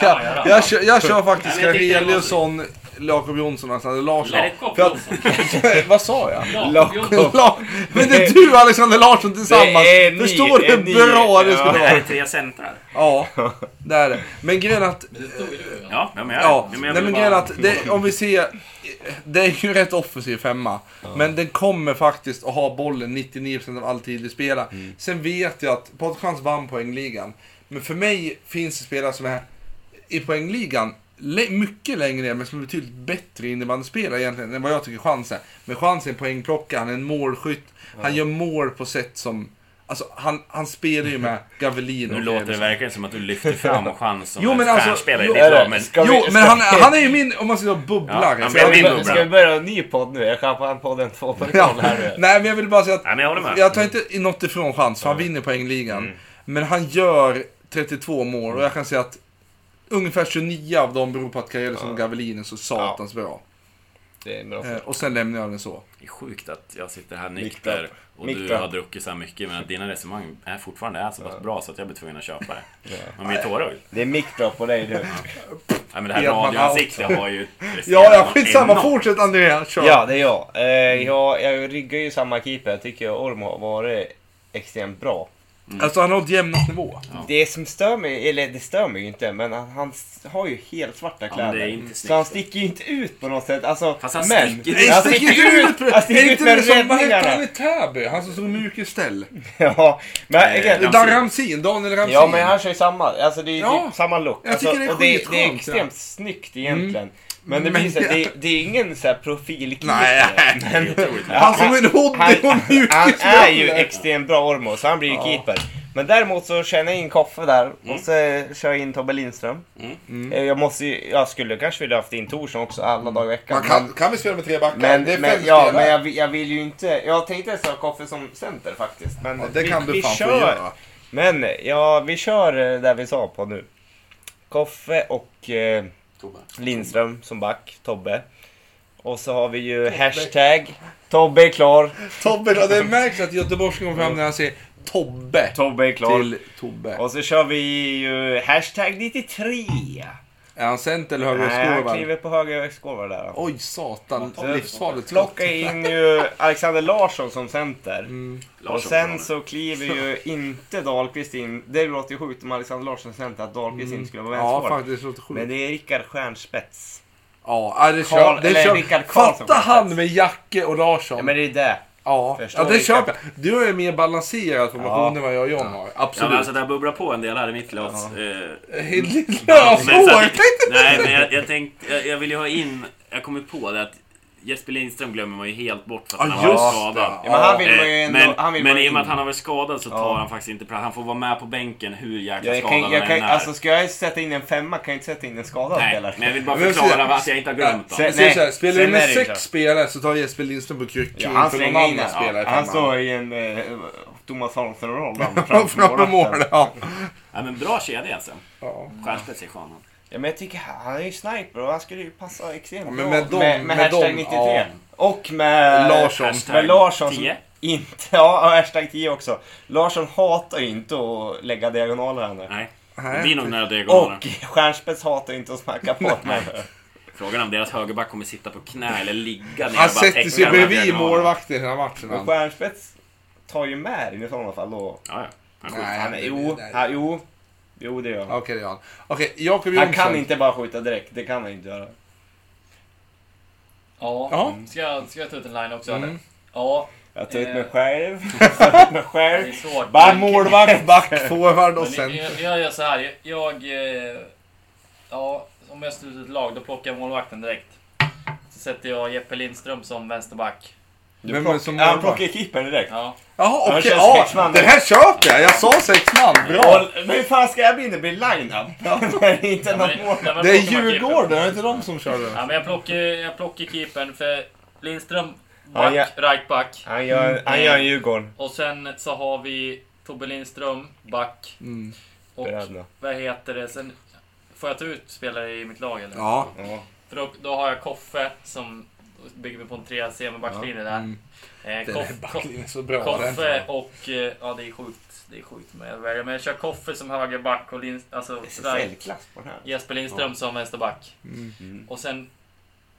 Speaker 3: Ja, jag, kör, jag kör faktiskt
Speaker 1: Nej, men jag tyckte det var
Speaker 3: Kareliusson, Jakob Jonsson och Alexander Larsson.
Speaker 1: Jakob
Speaker 3: För att-
Speaker 1: Jonsson.
Speaker 3: Vad sa jag?
Speaker 7: Jakob
Speaker 3: Larsson. Men det är du och Alexander Larsson tillsammans.
Speaker 4: Det är ni,
Speaker 3: Förstår du
Speaker 4: det är
Speaker 3: hur
Speaker 4: ni.
Speaker 3: bra det skulle
Speaker 1: Det här är
Speaker 3: vara?
Speaker 1: tre centrar.
Speaker 3: Ja, det är det. Men grejen är att...
Speaker 1: Ja, men jag,
Speaker 3: Ja,
Speaker 1: ja, men
Speaker 3: nej
Speaker 1: jag
Speaker 3: men
Speaker 1: vill
Speaker 3: grejen är
Speaker 1: bara...
Speaker 3: att det, om vi ser... Det är ju rätt offensiv femma. Men den kommer faktiskt att ha bollen 99% av all tid vi spelar.
Speaker 1: Mm.
Speaker 3: Sen vet jag att Patrik Schantz vann poängligan. Men för mig finns det spelare som är i poängligan le- mycket längre ner men som är betydligt bättre innebandyspelare egentligen än vad jag tycker Chans är. Men Chans är en poängplockare, han är en målskytt. Han gör mål på sätt som... Alltså han, han spelar ju med Gavelin
Speaker 1: Nu
Speaker 3: och
Speaker 1: låter det
Speaker 3: Elfsson.
Speaker 1: verkligen som att du lyfter fram chans som
Speaker 3: Jo,
Speaker 1: en
Speaker 3: men alltså-
Speaker 1: stjärnspelare
Speaker 3: jo,
Speaker 1: i ditt lag. Men
Speaker 4: Ska vi-
Speaker 3: Jo, men
Speaker 4: ska
Speaker 3: han,
Speaker 4: vi-
Speaker 3: han är ju min, om man säger bubblare.
Speaker 1: Ja, han
Speaker 3: Så
Speaker 1: blir
Speaker 3: jag-
Speaker 1: min
Speaker 4: Ska vi-
Speaker 1: bubbla.
Speaker 4: Ska vi börja en ny podd nu? Jag på en podden 2.0
Speaker 3: Ja.
Speaker 4: här nu. Äh,
Speaker 3: Nej, men jag vill bara säga att
Speaker 1: Nej, men jag håller med.
Speaker 3: jag tar inte i något ifrån chans, för han vinner poängligan.
Speaker 4: Mm.
Speaker 3: Men han gör 32 mål och jag kan säga att ungefär 29 av dem beror på att Karelsson och Gavelin är så satans bra.
Speaker 4: Det är en bra
Speaker 3: Eh, och sen lämnar jag den så.
Speaker 1: Det är sjukt att jag sitter här nykter och
Speaker 4: Mikta.
Speaker 1: du har druckit så här mycket men att dina resonemang är fortfarande är så pass bra så att jag blir tvungen att köpa det. Men min tårögd?
Speaker 4: Det är mikro på dig nu.
Speaker 1: Nej men det här
Speaker 3: Edman
Speaker 1: radioansiktet har ju...
Speaker 3: alltså- Ja, ja, skitsamma. Fortsätt Andrea, kör.
Speaker 4: Ja, det är jag. Eh, jag. Jag ryggar ju samma keeper. Jag tycker Orm har varit extremt bra.
Speaker 3: Alltså han har inte jämnat nivå.
Speaker 4: Det som stör mig, eller det stör mig ju inte, men han, han s- har ju helt svarta
Speaker 1: Ja, men
Speaker 4: kläder.
Speaker 1: det är inte
Speaker 4: så han
Speaker 1: snyggt.
Speaker 4: sticker ju inte ut på något sätt. Alltså,
Speaker 1: Fast han
Speaker 4: men,
Speaker 1: sticker
Speaker 3: Nej,
Speaker 4: han
Speaker 3: stick
Speaker 4: sticker
Speaker 3: inte ut!
Speaker 4: ut! Han sticker
Speaker 3: Är det
Speaker 4: ut
Speaker 3: inte det
Speaker 4: med
Speaker 3: som, vad hette han
Speaker 4: räddningarna!
Speaker 3: i Täby? Han som stod mycket ställ.
Speaker 4: Ja, men,
Speaker 1: Nej,
Speaker 4: igen,
Speaker 1: Ramsin.
Speaker 3: Där Ramsin, Daniel Ramsin.
Speaker 4: ja, men han kör ju samma, alltså det är ju
Speaker 3: Ja.
Speaker 4: typ samma look.
Speaker 3: Jag
Speaker 4: Alltså,
Speaker 3: tycker det är
Speaker 4: och det, det är
Speaker 3: skitskönt,
Speaker 4: extremt
Speaker 3: ja. Mm.
Speaker 4: snyggt egentligen. Men det
Speaker 3: Men-
Speaker 4: visar, det, det är ingen så här profilkeeper.
Speaker 3: Nej.
Speaker 4: Men,
Speaker 3: Han som en
Speaker 4: han,
Speaker 3: hoodie och
Speaker 4: han
Speaker 3: mjukis.
Speaker 4: är ju extremt bra Ormo, så han blir ju keeper. Men däremot så tjänar jag in Koffe där och så
Speaker 3: Mm.
Speaker 4: kör jag in Tobbe Lindström. Eh, Jag, måste, ju- jag skulle kanske vilja haft in Torsson också alla dagar i veckan.
Speaker 3: Mm. Man kan, kan vi spela med tre backar?
Speaker 4: men,
Speaker 3: det är
Speaker 4: men,
Speaker 3: fem
Speaker 4: men, ja,
Speaker 3: spelare.
Speaker 4: men jag, vill- jag vill ju inte... Jag tänkte ens ha Koffe som center faktiskt. Men
Speaker 3: Ja, det kan du fan få göra.
Speaker 4: Men ja, vi kör eh, där vi sa på nu. Koffe och eh, Lindström som back, Tobbe. Och så har vi ju hashtag Tobbe är klar.
Speaker 3: Tobbe, då, det märks att göteborgskan kommer fram när han säger Tobbe
Speaker 4: Tobbe är klar.
Speaker 3: till Tobbe.
Speaker 4: Och så kör vi ju hashtag 93.
Speaker 3: Är han center eller
Speaker 4: Nej, han
Speaker 3: högerskåvad?
Speaker 4: kliver på höger skåvar där.
Speaker 3: Oj satan,
Speaker 4: Så
Speaker 3: livsfarligt skott.
Speaker 4: Plocka in ju Alexander Larsson som center. Och
Speaker 1: Larsson
Speaker 4: sen
Speaker 1: får
Speaker 4: så kliver ju inte Dahlqvist in. Det låter ju sjukt om Alexander Larsson center att Dahlqvist inte skulle vara
Speaker 3: Mm. Ja,
Speaker 4: vänsterforward.
Speaker 3: faktiskt låter
Speaker 4: Men
Speaker 3: sjukt.
Speaker 4: det är Rickard Stjärnspets.
Speaker 3: Ja, ja, det
Speaker 4: Karl-
Speaker 3: kör, det
Speaker 4: eller
Speaker 3: kör.
Speaker 4: Rickard Karlsson
Speaker 3: Fatta
Speaker 4: kanske.
Speaker 3: han med Jacke och
Speaker 4: Ja
Speaker 3: Larsson.
Speaker 4: men det är det.
Speaker 3: Ja,
Speaker 4: Förstår
Speaker 3: ja det
Speaker 4: Rickard.
Speaker 3: köper jag. Du är mer balanserad formation
Speaker 4: Ja.
Speaker 3: än vad jag och John har.
Speaker 1: Ja, men
Speaker 3: Absolut.
Speaker 1: alltså det här bubblar på en del här i mitt glas. Eh,
Speaker 4: Mm.
Speaker 3: Lilla
Speaker 1: Men så att,
Speaker 3: fåret!
Speaker 1: nej, men jag, jag tänkte, jag, jag vill ju ha in, jag kommer på det att Jesper Lindström glömmer man ju helt bort för att
Speaker 3: Ja,
Speaker 1: han har varit
Speaker 3: just
Speaker 1: skadad.
Speaker 3: det.
Speaker 4: Ja, men han vill man ju
Speaker 1: Eh,
Speaker 4: ändå...
Speaker 1: Men,
Speaker 4: han vill
Speaker 1: men
Speaker 4: man ju
Speaker 1: i och med att
Speaker 4: in.
Speaker 1: han har varit skadad så tar
Speaker 4: Ja.
Speaker 1: han faktiskt inte plats. Han får vara med på bänken hur jäkla
Speaker 4: jag
Speaker 1: skadad
Speaker 4: kan, jag
Speaker 1: han
Speaker 4: kan,
Speaker 1: än är.
Speaker 4: alltså ska jag sätta in en femma kan jag inte sätta in en skadad
Speaker 1: Nej,
Speaker 4: spelare.
Speaker 1: men jag vill bara
Speaker 3: Men jag
Speaker 1: förklara
Speaker 3: ser-
Speaker 1: att jag inte har glömt
Speaker 4: Ja,
Speaker 1: dem.
Speaker 3: Jag säger
Speaker 4: Nej,
Speaker 3: så här, spelar
Speaker 4: sen
Speaker 3: du med
Speaker 4: är det ju
Speaker 3: sex
Speaker 4: klart.
Speaker 3: spelare så tar Jesper Lindström på kryckor
Speaker 4: Ja, han
Speaker 3: för någon
Speaker 4: slänger in
Speaker 3: annan
Speaker 4: den.
Speaker 3: spelare. i
Speaker 4: han
Speaker 3: femman.
Speaker 4: står i en eh, Thomas Hansson-roll.
Speaker 3: Framme mål, ja.
Speaker 1: Ja, men bra kedja alltså.
Speaker 3: Ja.
Speaker 1: Stjärnspets är skön.
Speaker 4: Ja, men jag tycker han han är ju sniper och han skulle ju passa extremt
Speaker 3: men
Speaker 4: bra
Speaker 3: med dem-
Speaker 4: med, med,
Speaker 3: med
Speaker 4: hashtag
Speaker 3: dem,
Speaker 4: 93.
Speaker 3: ja.
Speaker 4: Och med
Speaker 3: Larsson.
Speaker 4: Med Larsson som
Speaker 1: 10.
Speaker 4: inte, ja, hashtag 10 också. Larsson hatar ju inte att lägga diagonaler här
Speaker 1: Nej, det blir nog några diagonaler.
Speaker 4: Och Stjernspets hatar inte att smacka på heller.
Speaker 1: Frågan är om deras högerback kommer sitta på knä eller ligga ner och
Speaker 3: Han
Speaker 1: bara
Speaker 3: sätter
Speaker 1: täcka
Speaker 3: sig
Speaker 1: de här
Speaker 3: bredvid
Speaker 1: diagonalerna.
Speaker 3: målvakten hela matchen.
Speaker 4: Men
Speaker 3: Han.
Speaker 4: Stjernspets tar ju med den i sådana fall då.
Speaker 1: Ja, ja. Han skjuter.
Speaker 3: Nej,
Speaker 4: Han,
Speaker 3: det-
Speaker 4: jo,
Speaker 3: det-
Speaker 4: han, jo, jo det gör han.
Speaker 3: Okej, det gör han. Okej, Jakob Jonsson.
Speaker 4: Han kan inte bara skjuta direkt, det kan han inte göra.
Speaker 7: Ja,
Speaker 3: Ja.
Speaker 7: ska jag, ska jag ta ut en line också?
Speaker 3: Mm.
Speaker 7: eller? Ja,
Speaker 4: Jag tar ut
Speaker 7: Eh.
Speaker 4: mig själv, jag tar ut mig
Speaker 7: det
Speaker 4: själv.
Speaker 7: är svårt.
Speaker 4: Back.
Speaker 3: Målvakt, back, forward och
Speaker 7: Men
Speaker 3: sen...
Speaker 7: jag, jag gör så här. Jag... eh, Ja, om jag slutar ett lag, då plockar jag målvakten direkt. Så sätter jag Jeppe Lindström som vänsterback.
Speaker 4: Du
Speaker 3: Vem är
Speaker 4: plock-
Speaker 3: det som
Speaker 4: Ja, han
Speaker 3: målvakt?
Speaker 4: plockar keepern direkt.
Speaker 7: Ja.
Speaker 3: Jaha,
Speaker 4: Han
Speaker 3: okej.
Speaker 4: kör
Speaker 3: Ja,
Speaker 4: sex man.
Speaker 3: den här köper jag. Jag sa sex man. Bra.
Speaker 4: Och, men hur fan ska jag bli det blir line-up? Det är inte
Speaker 7: men-
Speaker 4: något
Speaker 7: ja,
Speaker 4: mål.
Speaker 7: men jag
Speaker 3: Det är
Speaker 7: plockar bara keepern.
Speaker 3: Djurgården, är det inte de som kör
Speaker 7: Ja,
Speaker 3: den?
Speaker 7: men jag plockar, jag plockar keepern för Lindström,
Speaker 4: Ja,
Speaker 7: back,
Speaker 4: ja.
Speaker 7: right back.
Speaker 4: Han gör, han gör en Djurgården.
Speaker 7: Och sen så har vi Tobbe Lindström, back.
Speaker 3: Mm.
Speaker 7: Och
Speaker 4: Bröderna.
Speaker 7: vad heter det? Sen får jag ta ut spelare i mitt lag eller?
Speaker 3: Ja.
Speaker 4: Ja.
Speaker 7: För då, då har jag Koffe som då bygger vi på en trea C med backlinje där.
Speaker 3: Mm.
Speaker 7: Eh,
Speaker 3: Den här
Speaker 7: Koff, Koff,
Speaker 3: backlinjen är så bra.
Speaker 7: Koffe
Speaker 3: den.
Speaker 7: och... eh, Ja, det är sjukt. Det är sjukt med att välja. Men jag kör Koffe som högerback och Lind, alltså, right,
Speaker 4: SSL-klass på den här.
Speaker 7: Jesper Lindström som vänsterback.
Speaker 3: Mm.
Speaker 7: Och sen...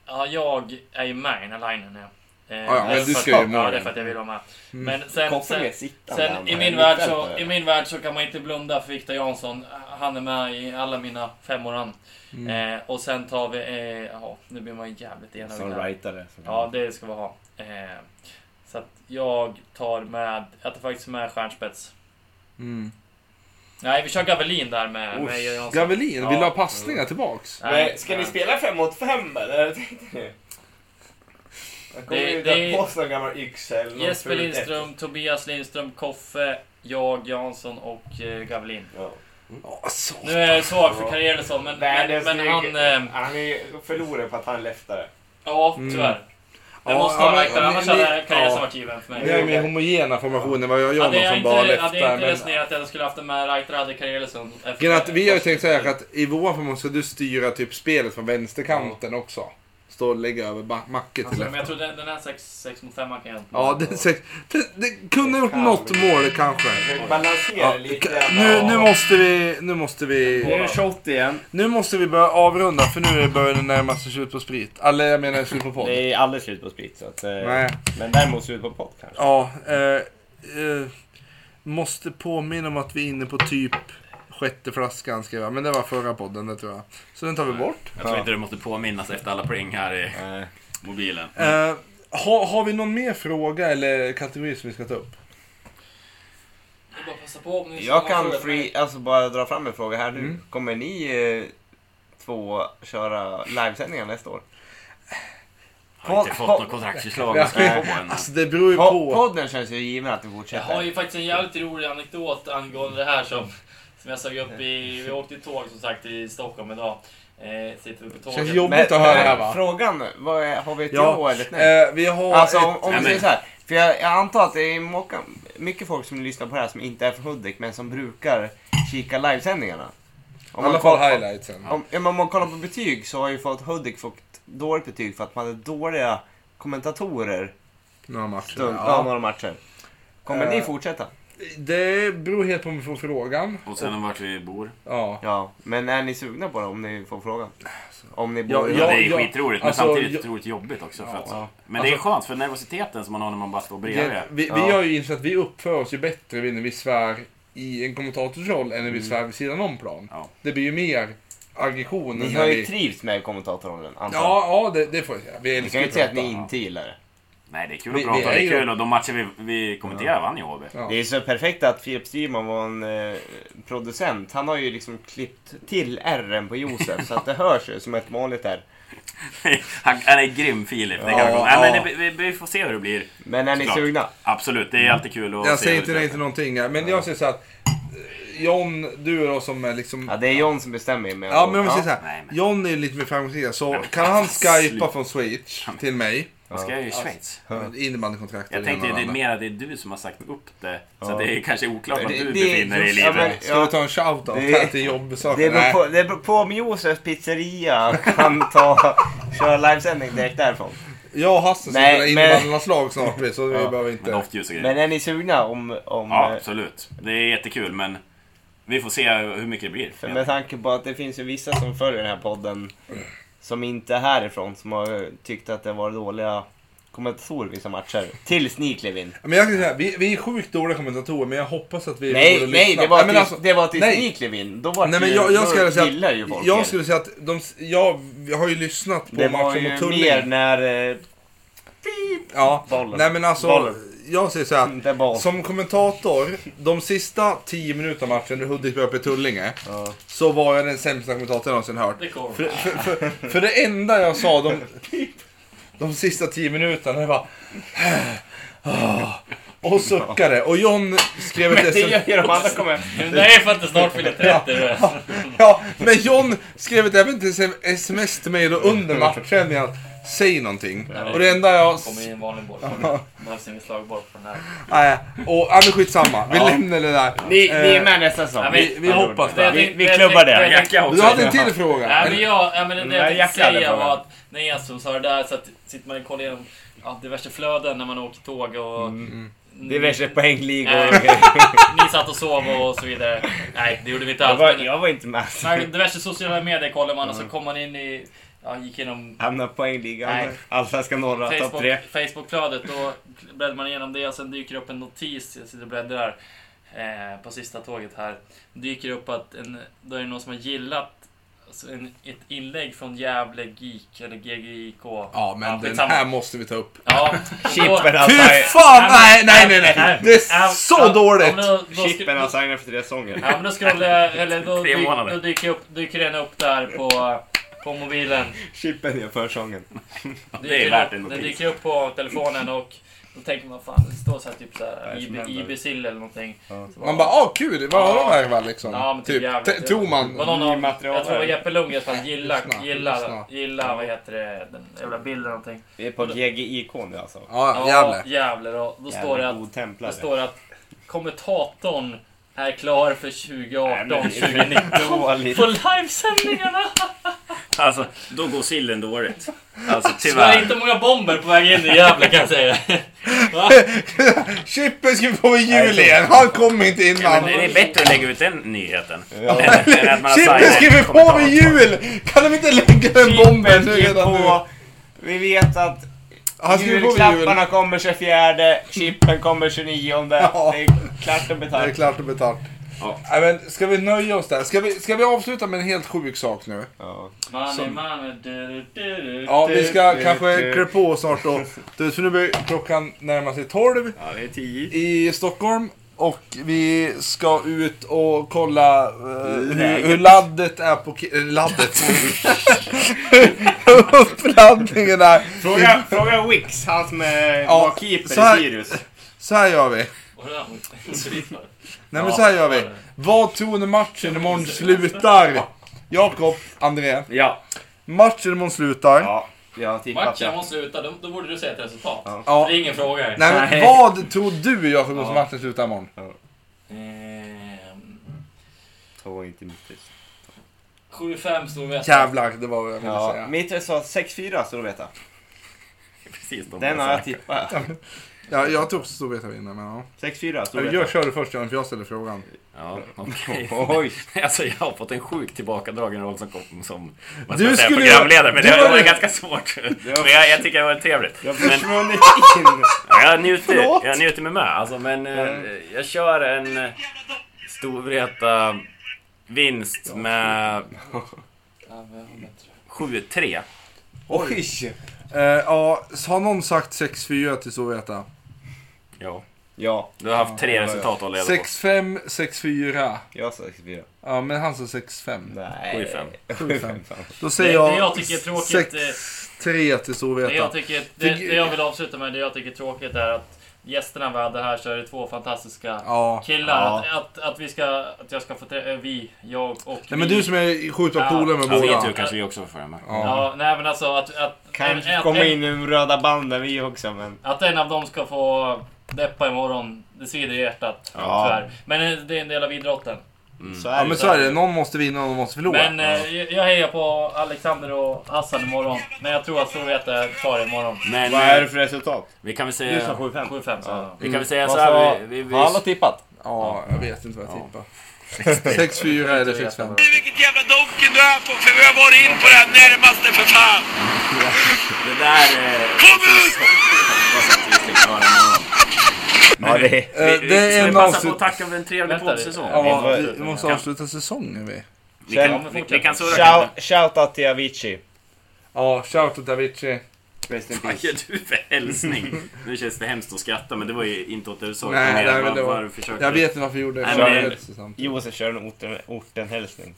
Speaker 7: Ja, jag är ju med i den här linen. Ja. Eh,
Speaker 3: Ja, ja, men
Speaker 7: det är
Speaker 3: du
Speaker 7: för
Speaker 3: ska
Speaker 7: att-
Speaker 3: ju mål,
Speaker 7: Ja, det är
Speaker 3: ja.
Speaker 7: för att jag vill vara med.
Speaker 3: Mm.
Speaker 7: Men sen...
Speaker 4: Koppar
Speaker 7: sen
Speaker 4: ner sittande.
Speaker 7: Sen i min, värld så, i min värld så kan man inte blunda för Viktor Jansson. Han är med i alla mina femmor han.
Speaker 3: Mm.
Speaker 7: Eh, och sen tar vi... Eh, ja, nu blir man ju jävligt enögd
Speaker 4: Som
Speaker 7: här.
Speaker 4: rightare. så kan
Speaker 7: Ja,
Speaker 4: man-
Speaker 7: det ska vi ha. Eh, så att jag tar med... Jag tar faktiskt med stjärnspets.
Speaker 3: Mm.
Speaker 7: Nej, vi kör Gavelin där med, med
Speaker 3: Oj,
Speaker 7: Jansson.
Speaker 3: Gavelin, vill du
Speaker 7: Ja.
Speaker 3: ha passningar tillbaks?
Speaker 7: Nej,
Speaker 4: Men ska ni
Speaker 7: nej.
Speaker 4: spela fem mot fem eller? Vad tänkte ni? Jag kommer
Speaker 7: Det-
Speaker 4: ju
Speaker 7: det-
Speaker 4: dra på sig en gammal yxa eller något
Speaker 7: Jesper
Speaker 4: fult
Speaker 7: Lindström, Tobias Lindström, Koffe, jag, Jansson och eh, Gavelin.
Speaker 4: efter. Ja.
Speaker 3: Ja, så.
Speaker 7: Mm. Nu är jag svag för karriären så, men,
Speaker 4: Nej, det
Speaker 7: men,
Speaker 4: är
Speaker 7: men
Speaker 4: snygg.
Speaker 7: han... Eh,
Speaker 4: Han är förlorare på att han är leftare.
Speaker 7: ja,
Speaker 3: Mm.
Speaker 7: tyvärr. Det
Speaker 3: Ja,
Speaker 7: måste
Speaker 3: ja,
Speaker 7: vara
Speaker 3: men-
Speaker 7: läktare, annars
Speaker 3: ni-
Speaker 7: hade karriären
Speaker 3: ja.
Speaker 7: varit given för mig.
Speaker 3: Det är min homogena formationen vad jag gör
Speaker 7: Hade
Speaker 3: någon
Speaker 7: jag
Speaker 3: som
Speaker 7: inte,
Speaker 3: bara
Speaker 7: hade jag
Speaker 3: läftar.
Speaker 7: inte
Speaker 3: Men...
Speaker 7: resonerat att jag skulle haft den med Reiter hade liksom Karelison
Speaker 3: Grejen är att vi har ju tänkt så här att i vår formation ska du styra typ spelet från vänsterkanten också. Stå och lägga över ba- Macke till
Speaker 7: Alltså, men
Speaker 3: vänster.
Speaker 7: jag tror den, den här 6 mot 5 kan jag inte.
Speaker 3: Ja, det, det, det, det kunde ha gjort något mål kanske.
Speaker 4: Försöker balansera
Speaker 3: Ja,
Speaker 4: lite.
Speaker 3: k- nu, nu måste vi... Nu måste
Speaker 4: Nu är
Speaker 3: vi...
Speaker 4: det shot igen.
Speaker 3: Nu måste vi börja avrunda för nu börjar det närma sig slut på sprit. Eller jag menar slut på podd.
Speaker 4: Det är aldrig slut på sprit så att, eh,
Speaker 3: Nej.
Speaker 4: Men däremot slut på podd kanske.
Speaker 3: Ja, eh, eh, måste påminna om att vi är inne på typ sjätte flaskan skrev jag. Men det var förra podden det tror jag. Så den tar vi bort.
Speaker 1: Jag tror inte du måste påminnas efter alla poäng här i
Speaker 4: Nej.
Speaker 1: mobilen.
Speaker 3: Eh, har, har vi någon mer fråga eller kategori som vi ska ta upp?
Speaker 4: Mm.
Speaker 7: Det är bara att passa på om ni
Speaker 4: Jag
Speaker 7: har
Speaker 4: kan
Speaker 7: frågor.
Speaker 4: free, alltså bara dra fram en fråga här nu.
Speaker 3: Mm.
Speaker 4: Kommer ni eh, två köra livesändningar nästa år?
Speaker 1: Har inte
Speaker 4: Pod-
Speaker 1: fått
Speaker 4: pod-
Speaker 1: något kontraktförslag att skriva på än.
Speaker 3: Alltså det beror ju
Speaker 4: Po-
Speaker 3: på.
Speaker 4: podden känns ju given att vi
Speaker 7: Jag har ju
Speaker 4: fortsätter.
Speaker 7: faktiskt en jävligt rolig anekdot angående det här som, som jag såg upp i... Vi åkte i tåg som sagt i Stockholm idag. Eh, sitter vi på tåget.
Speaker 3: Känns jobbigt att höra det här va?
Speaker 4: frågan, vad är, har vi ett ja,
Speaker 3: Ja,
Speaker 4: eller ett nej?
Speaker 3: eh, vi har
Speaker 4: Alltså om,
Speaker 3: ett...
Speaker 4: om
Speaker 1: Nej,
Speaker 4: vi säger
Speaker 1: men-
Speaker 4: så här. För jag, jag antar att det är många, mycket folk som lyssnar på det här som inte är från Hudik men som brukar kika livesändningarna.
Speaker 3: I
Speaker 4: Om
Speaker 3: alla
Speaker 4: man
Speaker 3: fall
Speaker 4: kollar-
Speaker 3: highlightsen.
Speaker 4: Om, ja, men om man kollar på betyg så har ju fått Hudik fått dåligt betyg för att man hade dåliga kommentatorer
Speaker 3: Några matcher.
Speaker 4: stund, ja.
Speaker 3: Ja.
Speaker 4: några matcher. Kommer
Speaker 3: Eh.
Speaker 4: ni fortsätta?
Speaker 3: Det beror helt på om vi får frågan.
Speaker 1: Och sen om vart vi bor.
Speaker 3: Ja.
Speaker 4: Ja, men är ni sugna på det om ni får frågan? Om ni
Speaker 3: Alltså. Ja,
Speaker 4: bor i
Speaker 1: Ja,
Speaker 3: ja.
Speaker 1: det är skitroligt men
Speaker 3: alltså,
Speaker 1: samtidigt
Speaker 3: jag-
Speaker 1: otroligt jobbigt också. För att,
Speaker 3: Ja. Alltså-
Speaker 1: Men det är skönt för nervositeten som man har när man bara står bredvid.
Speaker 3: Det, vi, vi
Speaker 4: Ja.
Speaker 3: har ju insett att vi uppför oss ju bättre när vi svär i en kommentatorsroll än när
Speaker 4: Mm.
Speaker 3: vi svär vid sidan om plan.
Speaker 1: Ja.
Speaker 3: Det blir ju mer aggression.
Speaker 4: Ni
Speaker 3: när
Speaker 4: har ju
Speaker 3: vi...
Speaker 4: trivts med kommentatorrollen antar jag.
Speaker 3: Ja, ja det, det får jag säga. Vi
Speaker 4: Ni
Speaker 3: älskar
Speaker 4: kan ju inte säga att
Speaker 3: prata.
Speaker 4: ni inte gillar det.
Speaker 1: Nej, det är kul
Speaker 3: Vi-
Speaker 1: att
Speaker 3: vi
Speaker 1: prata.
Speaker 3: är
Speaker 1: Det är
Speaker 3: ju-
Speaker 1: kul och de matcher vi, vi kommenterar vann ju HV.
Speaker 3: Ja.
Speaker 4: Det är så perfekt att Filip Styrman var en eh, producent. Han har ju liksom klippt till R'n på Josef så att det hörs ju som ett vanligt R.
Speaker 1: Han, han är grym Filip. Det kan
Speaker 3: Ja,
Speaker 1: jag komma- Nej,
Speaker 3: ja.
Speaker 1: men det, vi, vi får se hur det blir.
Speaker 4: Men är ni
Speaker 1: Såklart.
Speaker 4: sugna?
Speaker 1: Absolut, det är alltid kul att
Speaker 3: Jag
Speaker 1: se hur
Speaker 3: säger
Speaker 1: det
Speaker 3: inte nej
Speaker 1: blir.
Speaker 3: till någonting här, men jag säger så här att eh, John, du och jag som är liksom...
Speaker 4: Ja, det är John som bestämmer ju.
Speaker 3: Ja, men om vi säger så här.
Speaker 1: nej, men-
Speaker 3: John är ju lite mer framgångsrik, så
Speaker 1: men-
Speaker 3: kan han skypa
Speaker 1: Slut.
Speaker 3: från Switch till mig?
Speaker 1: Vad ska jag göra i Schweiz?
Speaker 3: Innebandykontrakt
Speaker 1: Jag
Speaker 3: eller
Speaker 1: tänkte
Speaker 3: någon
Speaker 1: det är
Speaker 3: annan.
Speaker 1: mer att det är du som har sagt upp det. Så att det är kanske oklart
Speaker 4: Det-
Speaker 1: vad du
Speaker 4: det-
Speaker 1: befinner dig i
Speaker 4: ja, men-
Speaker 1: livet.
Speaker 3: Ska vi ta en shout-out
Speaker 4: Det-
Speaker 3: här till jobbsaker?
Speaker 4: Det beror,
Speaker 3: Nej.
Speaker 4: på, det beror på om Josefs pizzeria kan ta, köra livesändning direkt därifrån.
Speaker 3: Jag och Hasse ska
Speaker 4: Nej,
Speaker 3: spela
Speaker 4: men-
Speaker 3: innebandylandslag snart vi, så vi
Speaker 4: Ja.
Speaker 3: behöver
Speaker 1: Med
Speaker 3: inte...
Speaker 1: doftljus och grejer.
Speaker 4: Men är ni sugna om... om
Speaker 1: Ja,
Speaker 4: eh,
Speaker 1: absolut. Det är jättekul, men vi får se hur mycket det blir.
Speaker 4: För med tanke på att det finns ju vissa som följer den här podden som inte är härifrån som har eh, tyckt att det var dåliga kommentatorer vissa matcher. Tills ni klev in.
Speaker 3: Men jag kan säga, vi, vi är sjukt dåliga kommentatorer men jag hoppas att vi... går
Speaker 4: Nej,
Speaker 3: och
Speaker 4: nej,
Speaker 3: lyssnar.
Speaker 4: det var
Speaker 3: men
Speaker 4: tills,
Speaker 3: alltså,
Speaker 4: det var tills
Speaker 3: nej.
Speaker 4: ni klev in. Då var
Speaker 3: Nej
Speaker 4: det
Speaker 3: men jag,
Speaker 4: då
Speaker 3: jag skulle säga
Speaker 4: gillar
Speaker 3: att,
Speaker 4: ju folk er.
Speaker 3: jag skulle säga att de, jag, jag har ju lyssnat på
Speaker 4: Det var
Speaker 3: matchen mot
Speaker 4: ju
Speaker 3: Tullinge.
Speaker 4: mer när... Eh,
Speaker 3: Ja,
Speaker 4: Bollen.
Speaker 3: nej men alltså.
Speaker 4: Bollen.
Speaker 3: Jag säger så här.
Speaker 4: det var...
Speaker 3: Som kommentator, de sista 10 minuterna av matchen när Hudik var uppe i Tullinge.
Speaker 4: Ja.
Speaker 3: Så var jag den sämsta kommentatorn jag någonsin hört.
Speaker 7: Det kommer.
Speaker 3: För, för, för, för det enda jag sa de, de sista 10 minuterna, det var... "Ah", Och suckade. Och John skrev ett sms.
Speaker 4: gör de andra kommer.
Speaker 7: Nej, för att det snart fyller 30. du vet.
Speaker 3: Ja, men John skrev ett även till sms till mig då under matchen. Med att, Säg någonting. Och det enda jag...
Speaker 7: Kommer i en vanlig boll. Det behövs ingen slagboll på den här.
Speaker 3: Nej, och ja, men skitsamma. Vi lämnar det där.
Speaker 4: Ni, ni
Speaker 3: Eh,
Speaker 4: är med nästa säsong.
Speaker 7: Ja, vi- vi
Speaker 3: hoppas
Speaker 7: det.
Speaker 4: Vi, vi klubbar det.
Speaker 6: Jacka
Speaker 3: Du
Speaker 6: också.
Speaker 3: hade en till fråga.
Speaker 7: Nej, men jag, ja, men det, det
Speaker 4: Nej,
Speaker 7: jag tänkte
Speaker 4: jackan är
Speaker 7: säga
Speaker 4: frågan.
Speaker 7: var att när Enström sa det där så att, sitter man och kollar igenom ja, diverse flöden när man åker tåg och...
Speaker 4: Mm, Diverse poängligor.
Speaker 7: Nej. Ni satt och sov och så vidare. Nej, det gjorde vi inte
Speaker 4: Jag
Speaker 7: alls.
Speaker 4: var,
Speaker 7: Men,
Speaker 4: jag Mm. var inte med.
Speaker 7: men diverse sociala medier kollar man och så kom man in i... Ja, gick igenom
Speaker 4: Hamnar poängligan.
Speaker 7: Nej.
Speaker 4: Allsvenskan norra, topp
Speaker 7: Facebook,
Speaker 4: tre.
Speaker 7: Facebookflödet. Då bläddrar man igenom det och sen dyker upp en notis. Jag sitter och bläddrar eh, på sista tåget här. Dyker upp att en, då är det någon som har gillat alltså en, ett inlägg från Gävle GIK eller GGIK.
Speaker 3: Ja, men den
Speaker 7: skitsamma.
Speaker 3: här måste vi ta upp.
Speaker 7: Ja, då-
Speaker 4: Chippen har
Speaker 3: Fy
Speaker 4: sign-
Speaker 3: fan! Nej, nej, nej, nej. Det är
Speaker 7: Ja,
Speaker 3: så
Speaker 7: ja,
Speaker 3: dåligt!
Speaker 7: ja, men då- då
Speaker 4: Chippen
Speaker 7: sk-
Speaker 4: har signat för tre säsonger.
Speaker 7: Ja men då scrollar eller då,
Speaker 1: Tre
Speaker 7: dy,
Speaker 1: månader.
Speaker 7: då dyker, upp, dyker den upp där på, på mobilen.
Speaker 4: Chippen gör försången.
Speaker 1: Det är värt en
Speaker 7: upp, den
Speaker 1: notis.
Speaker 7: dyker upp på telefonen och då tänker man fan, det står så här typ så här,
Speaker 4: Vad är det som
Speaker 7: IB,
Speaker 4: händer?
Speaker 7: IB Sill eller någonting. Så
Speaker 3: Man bara, ah kul, vad har de här väl liksom?
Speaker 7: Ja, men typ
Speaker 3: typ,
Speaker 7: jävligt.
Speaker 3: T- tog
Speaker 7: Var
Speaker 3: man.
Speaker 7: någon av, jag
Speaker 4: material
Speaker 7: tror det var
Speaker 4: här.
Speaker 7: Jeppe Lundgren som gilla,
Speaker 3: Lyssna, lyssna.
Speaker 7: gilla, gilla, vad heter det, den jävla bilden någonting.
Speaker 4: Vi är på GGIK nu alltså.
Speaker 3: Ja, jävlar.
Speaker 7: jävlar. Och då står det att, då
Speaker 4: Godtemplare.
Speaker 7: står det att kommentatorn är klar för 2018,
Speaker 4: Nej, men det är
Speaker 7: 2019.
Speaker 4: Dåligt.
Speaker 7: På livesändningarna!
Speaker 1: Alltså, då går sillen dåligt. Alltså,
Speaker 7: Det är
Speaker 1: tyvärr.
Speaker 7: inte många bomber på väg in i Gävle kan jag säga.
Speaker 3: Chippen ska få i jul igen, han kommer inte
Speaker 1: Ja,
Speaker 3: innan.
Speaker 1: men det är bättre att lägga ut den nyheten.
Speaker 4: Ja.
Speaker 1: Än att man har
Speaker 3: Chippen
Speaker 1: signat
Speaker 3: skriver på
Speaker 1: kommentar.
Speaker 3: med jul! Kan de inte lägga en bomb
Speaker 4: Chippen
Speaker 3: nu
Speaker 4: är
Speaker 3: redan nu?
Speaker 4: på. Vi vet att
Speaker 3: Han skriver på med jul.
Speaker 4: julklapparna kommer 24, chippen kommer 29.
Speaker 3: Ja.
Speaker 4: Det är klart och
Speaker 3: Det är
Speaker 4: betalt.
Speaker 3: klart och betalt.
Speaker 1: Ja.
Speaker 3: Nej, men ska vi nöja oss där? Ska vi, ska vi avsluta med en helt sjuk sak nu?
Speaker 4: Ja.
Speaker 7: Money,
Speaker 3: Som-
Speaker 7: money, du, du, du, du.
Speaker 3: Ja, vi ska
Speaker 4: Du-
Speaker 3: kanske
Speaker 4: du-
Speaker 3: klä på snart då. Du, för nu börjar klockan närma sig 12
Speaker 1: Ja, det är tio.
Speaker 3: i Stockholm. Och vi ska ut och kolla eh, hur, hur laddet är på... ki- eh, laddet? Hur Uppladdningen är.
Speaker 4: Fråga, fråga Wix, han som är
Speaker 3: Ja,
Speaker 4: var keeper
Speaker 3: så här-
Speaker 4: i Sirius.
Speaker 3: Så här gör vi.
Speaker 7: Och det där var-
Speaker 3: Nej men så här gör vi. Vad tror ni matchen imorgon slutar? Jakob, André.
Speaker 4: Ja.
Speaker 3: Matchen imorgon slutar.
Speaker 4: ja, jag tippar
Speaker 7: Matchen
Speaker 4: på
Speaker 7: måste sluta, då, då borde du säga ett resultat.
Speaker 4: Ja.
Speaker 3: Ja.
Speaker 7: Det är ingen fråga.
Speaker 3: Nej, men
Speaker 4: Nej.
Speaker 3: vad tror du Jakob
Speaker 4: Ja.
Speaker 3: att matchen slutar imorgon?
Speaker 7: Ehm,
Speaker 4: två inte mitt
Speaker 7: 7-5 stod vi
Speaker 3: Jävlar, det var vad jag ville
Speaker 4: Ja,
Speaker 3: säga.
Speaker 4: mitt sa 6-4 så du vet jag.
Speaker 1: Precis de
Speaker 4: Den
Speaker 1: jag
Speaker 4: har
Speaker 1: sa.
Speaker 4: jag tippat.
Speaker 3: Ja, jag tror också Storvreta vinner, men ja.
Speaker 4: 6-4 så
Speaker 3: Eller
Speaker 4: vet
Speaker 3: gör,
Speaker 4: jag.
Speaker 3: kör du först Göran, för jag ställer frågan.
Speaker 1: Ja, okej.
Speaker 4: Oj.
Speaker 1: Alltså jag har fått en sjukt tillbakadragen roll som, kom- som vad
Speaker 3: Du
Speaker 1: ska jag säga,
Speaker 3: skulle-
Speaker 1: programledare. Men
Speaker 3: du
Speaker 1: det var,
Speaker 3: var-
Speaker 1: ganska svårt. Men jag, jag tycker det var trevligt.
Speaker 4: Jag har
Speaker 1: Men
Speaker 4: försvunnit in.
Speaker 1: jag njuter,
Speaker 3: Förlåt.
Speaker 1: jag njuter med mig. Alltså, men eh, jag kör en eh, Storvreta vinst med 7-3.
Speaker 4: Oj.
Speaker 3: Eh, ja, har någon sagt 6-4 till Storvreta?
Speaker 1: Ja.
Speaker 4: Ja,
Speaker 1: Du har haft tre resultat att leda på.
Speaker 3: 6-5, 6-4.
Speaker 4: jag sa 6-4.
Speaker 3: Ja, men han sa 6-5.
Speaker 4: Nej.
Speaker 1: 7-5.
Speaker 4: 7-5.
Speaker 3: Då
Speaker 7: Det, det
Speaker 3: säger jag
Speaker 7: jag tycker är tråkigt, eh,
Speaker 3: 6-3 till
Speaker 7: det jag,
Speaker 3: Storvreta.
Speaker 7: tycker, det, det jag vill avsluta med, det jag tycker är tråkigt är att gästerna vi hade här så är det två fantastiska
Speaker 3: Ja.
Speaker 7: killar.
Speaker 4: Ja.
Speaker 7: Att, att, att vi ska, att jag ska få trä- eh, vi, jag och
Speaker 3: Nej,
Speaker 7: vi.
Speaker 3: men du som är sjukt bra
Speaker 7: Ja.
Speaker 3: polare med
Speaker 1: Ja, vi
Speaker 3: båda.
Speaker 1: tur kanske vi också får följa med.
Speaker 7: Ja, nej men alltså att... att
Speaker 4: Kan
Speaker 7: en-
Speaker 4: komma
Speaker 7: en-
Speaker 4: in i de röda banden vi också men...
Speaker 7: Att en av dem ska få deppa imorgon, det svider i hjärtat.
Speaker 4: Ja.
Speaker 7: eh,
Speaker 4: Mm.
Speaker 7: Tyvärr. Men det är en del av idrotten.
Speaker 4: Så är
Speaker 3: Ja
Speaker 4: det,
Speaker 3: men så är det, någon måste vinna och någon måste förlora.
Speaker 7: Men eh, jag- jag hejar på Alexander och Hassan imorgon. Men jag tror att Storvreta tar det imorgon.
Speaker 1: Men eh,
Speaker 4: Vad är det för resultat?
Speaker 1: vi kan väl
Speaker 4: Du sa
Speaker 1: säga...
Speaker 4: 7-5.
Speaker 7: 7-5 sa jag.
Speaker 1: Vi kan väl säga
Speaker 4: Mm. Alltså,
Speaker 2: Vad
Speaker 1: så
Speaker 2: sa-
Speaker 1: här, vi, vi, vi,
Speaker 2: Har alla tippat?
Speaker 3: Ja, jag vet inte vad jag tippar. 6-4 eller Eh, 6-5.
Speaker 13: Vilket jävla donken du är på för vi har varit in på det här närmaste för fan.
Speaker 1: det där... Eh,
Speaker 13: Kom ut!
Speaker 1: vad satt vi fick höra imorgon.
Speaker 4: Ja, det är...
Speaker 3: Eh,
Speaker 1: Vi- vi-
Speaker 3: Det
Speaker 1: ska
Speaker 3: är
Speaker 1: vi passa
Speaker 3: en
Speaker 1: på
Speaker 3: avslut...
Speaker 1: att tacka för en trevlig
Speaker 7: Vänta, det-
Speaker 1: poddsäsong?
Speaker 3: Ja, vi vi måste avsluta säsongen vi.
Speaker 1: Vi kan, vi, vi kan surra kanske.
Speaker 4: Shout, shout out till Avicii.
Speaker 3: Ja, shoutout Avicii.
Speaker 4: Rest in
Speaker 1: Vad
Speaker 4: peace.
Speaker 1: gör du för hälsning? Nu känns det hemskt att skratta, men det var ju inte åt ursök. Mer
Speaker 3: Nej, nej, men
Speaker 1: vad-
Speaker 3: det var-
Speaker 1: vad du försökte-
Speaker 3: Jag vet inte varför jag gjorde det.
Speaker 1: Nej,
Speaker 3: för
Speaker 1: men-
Speaker 3: jag vet inte samtidigt.
Speaker 4: Josef kör en orten, ortenhälsning.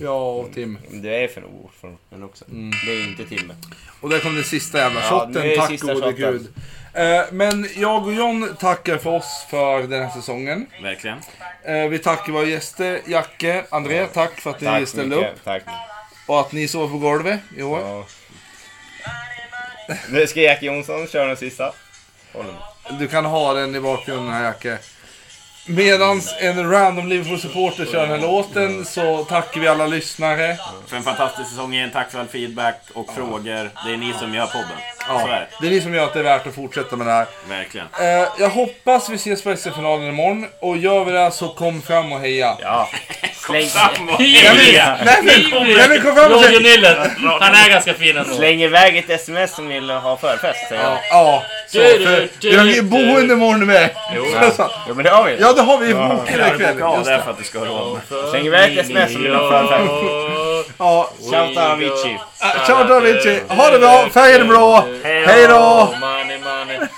Speaker 3: Ja, och Tim.
Speaker 4: Du är från ort från orten också. Det är inte Timme.
Speaker 3: Och där kom den sista jävla
Speaker 4: Ja,
Speaker 3: shotten,
Speaker 4: nu är det
Speaker 3: tack
Speaker 4: sista
Speaker 3: gode
Speaker 4: shotten.
Speaker 3: gud. Eh, Men jag och John tackar för oss för den här säsongen.
Speaker 1: Verkligen.
Speaker 3: Eh, Vi tackar våra gäster, Jacke, André, tack för att ni
Speaker 4: Tack så
Speaker 3: ställde
Speaker 4: mycket.
Speaker 3: upp.
Speaker 4: Tack.
Speaker 3: Och att ni sov på golvet i år.
Speaker 4: Ja. Nu ska Jack Jonsson köra den sista. Håll den.
Speaker 3: Du kan ha den i bakgrunden här Jacke. Medans en random Liverpool-supporter kör den här låten så tackar vi alla lyssnare.
Speaker 1: För en fantastisk säsong igen. Tack för all feedback och frågor. Det är ni som gör podden. Så är
Speaker 3: Ja,
Speaker 1: det.
Speaker 3: det är ni som gör att det är värt att fortsätta med det här.
Speaker 1: Verkligen.
Speaker 3: Eh, jag hoppas vi ses på SM-finalen imorgon. Och gör vi det så kom fram och heja.
Speaker 1: Kom framåt!
Speaker 3: Nej, men, nej, men, nej, men kom fram och
Speaker 7: Roger
Speaker 3: säg...
Speaker 7: Nillen, han är ganska fin ändå.
Speaker 4: Släng iväg ett sms som vill ha förfest säger jag.
Speaker 3: Ja, ja. Så, för vi har ju boende imorgon med.
Speaker 4: Ja men det har vi.
Speaker 3: Ja, det har vi. Bokade ikväll.
Speaker 1: Boka av
Speaker 3: Just det.
Speaker 1: det för att du ska ha råd.
Speaker 4: Släng iväg ett sms som vill ha förfest.
Speaker 3: Ja.
Speaker 4: Shout out Avicii.
Speaker 3: Ah, Ciao Davici. Ha det bra. Färgen är bra. Hej då.
Speaker 7: Money, money.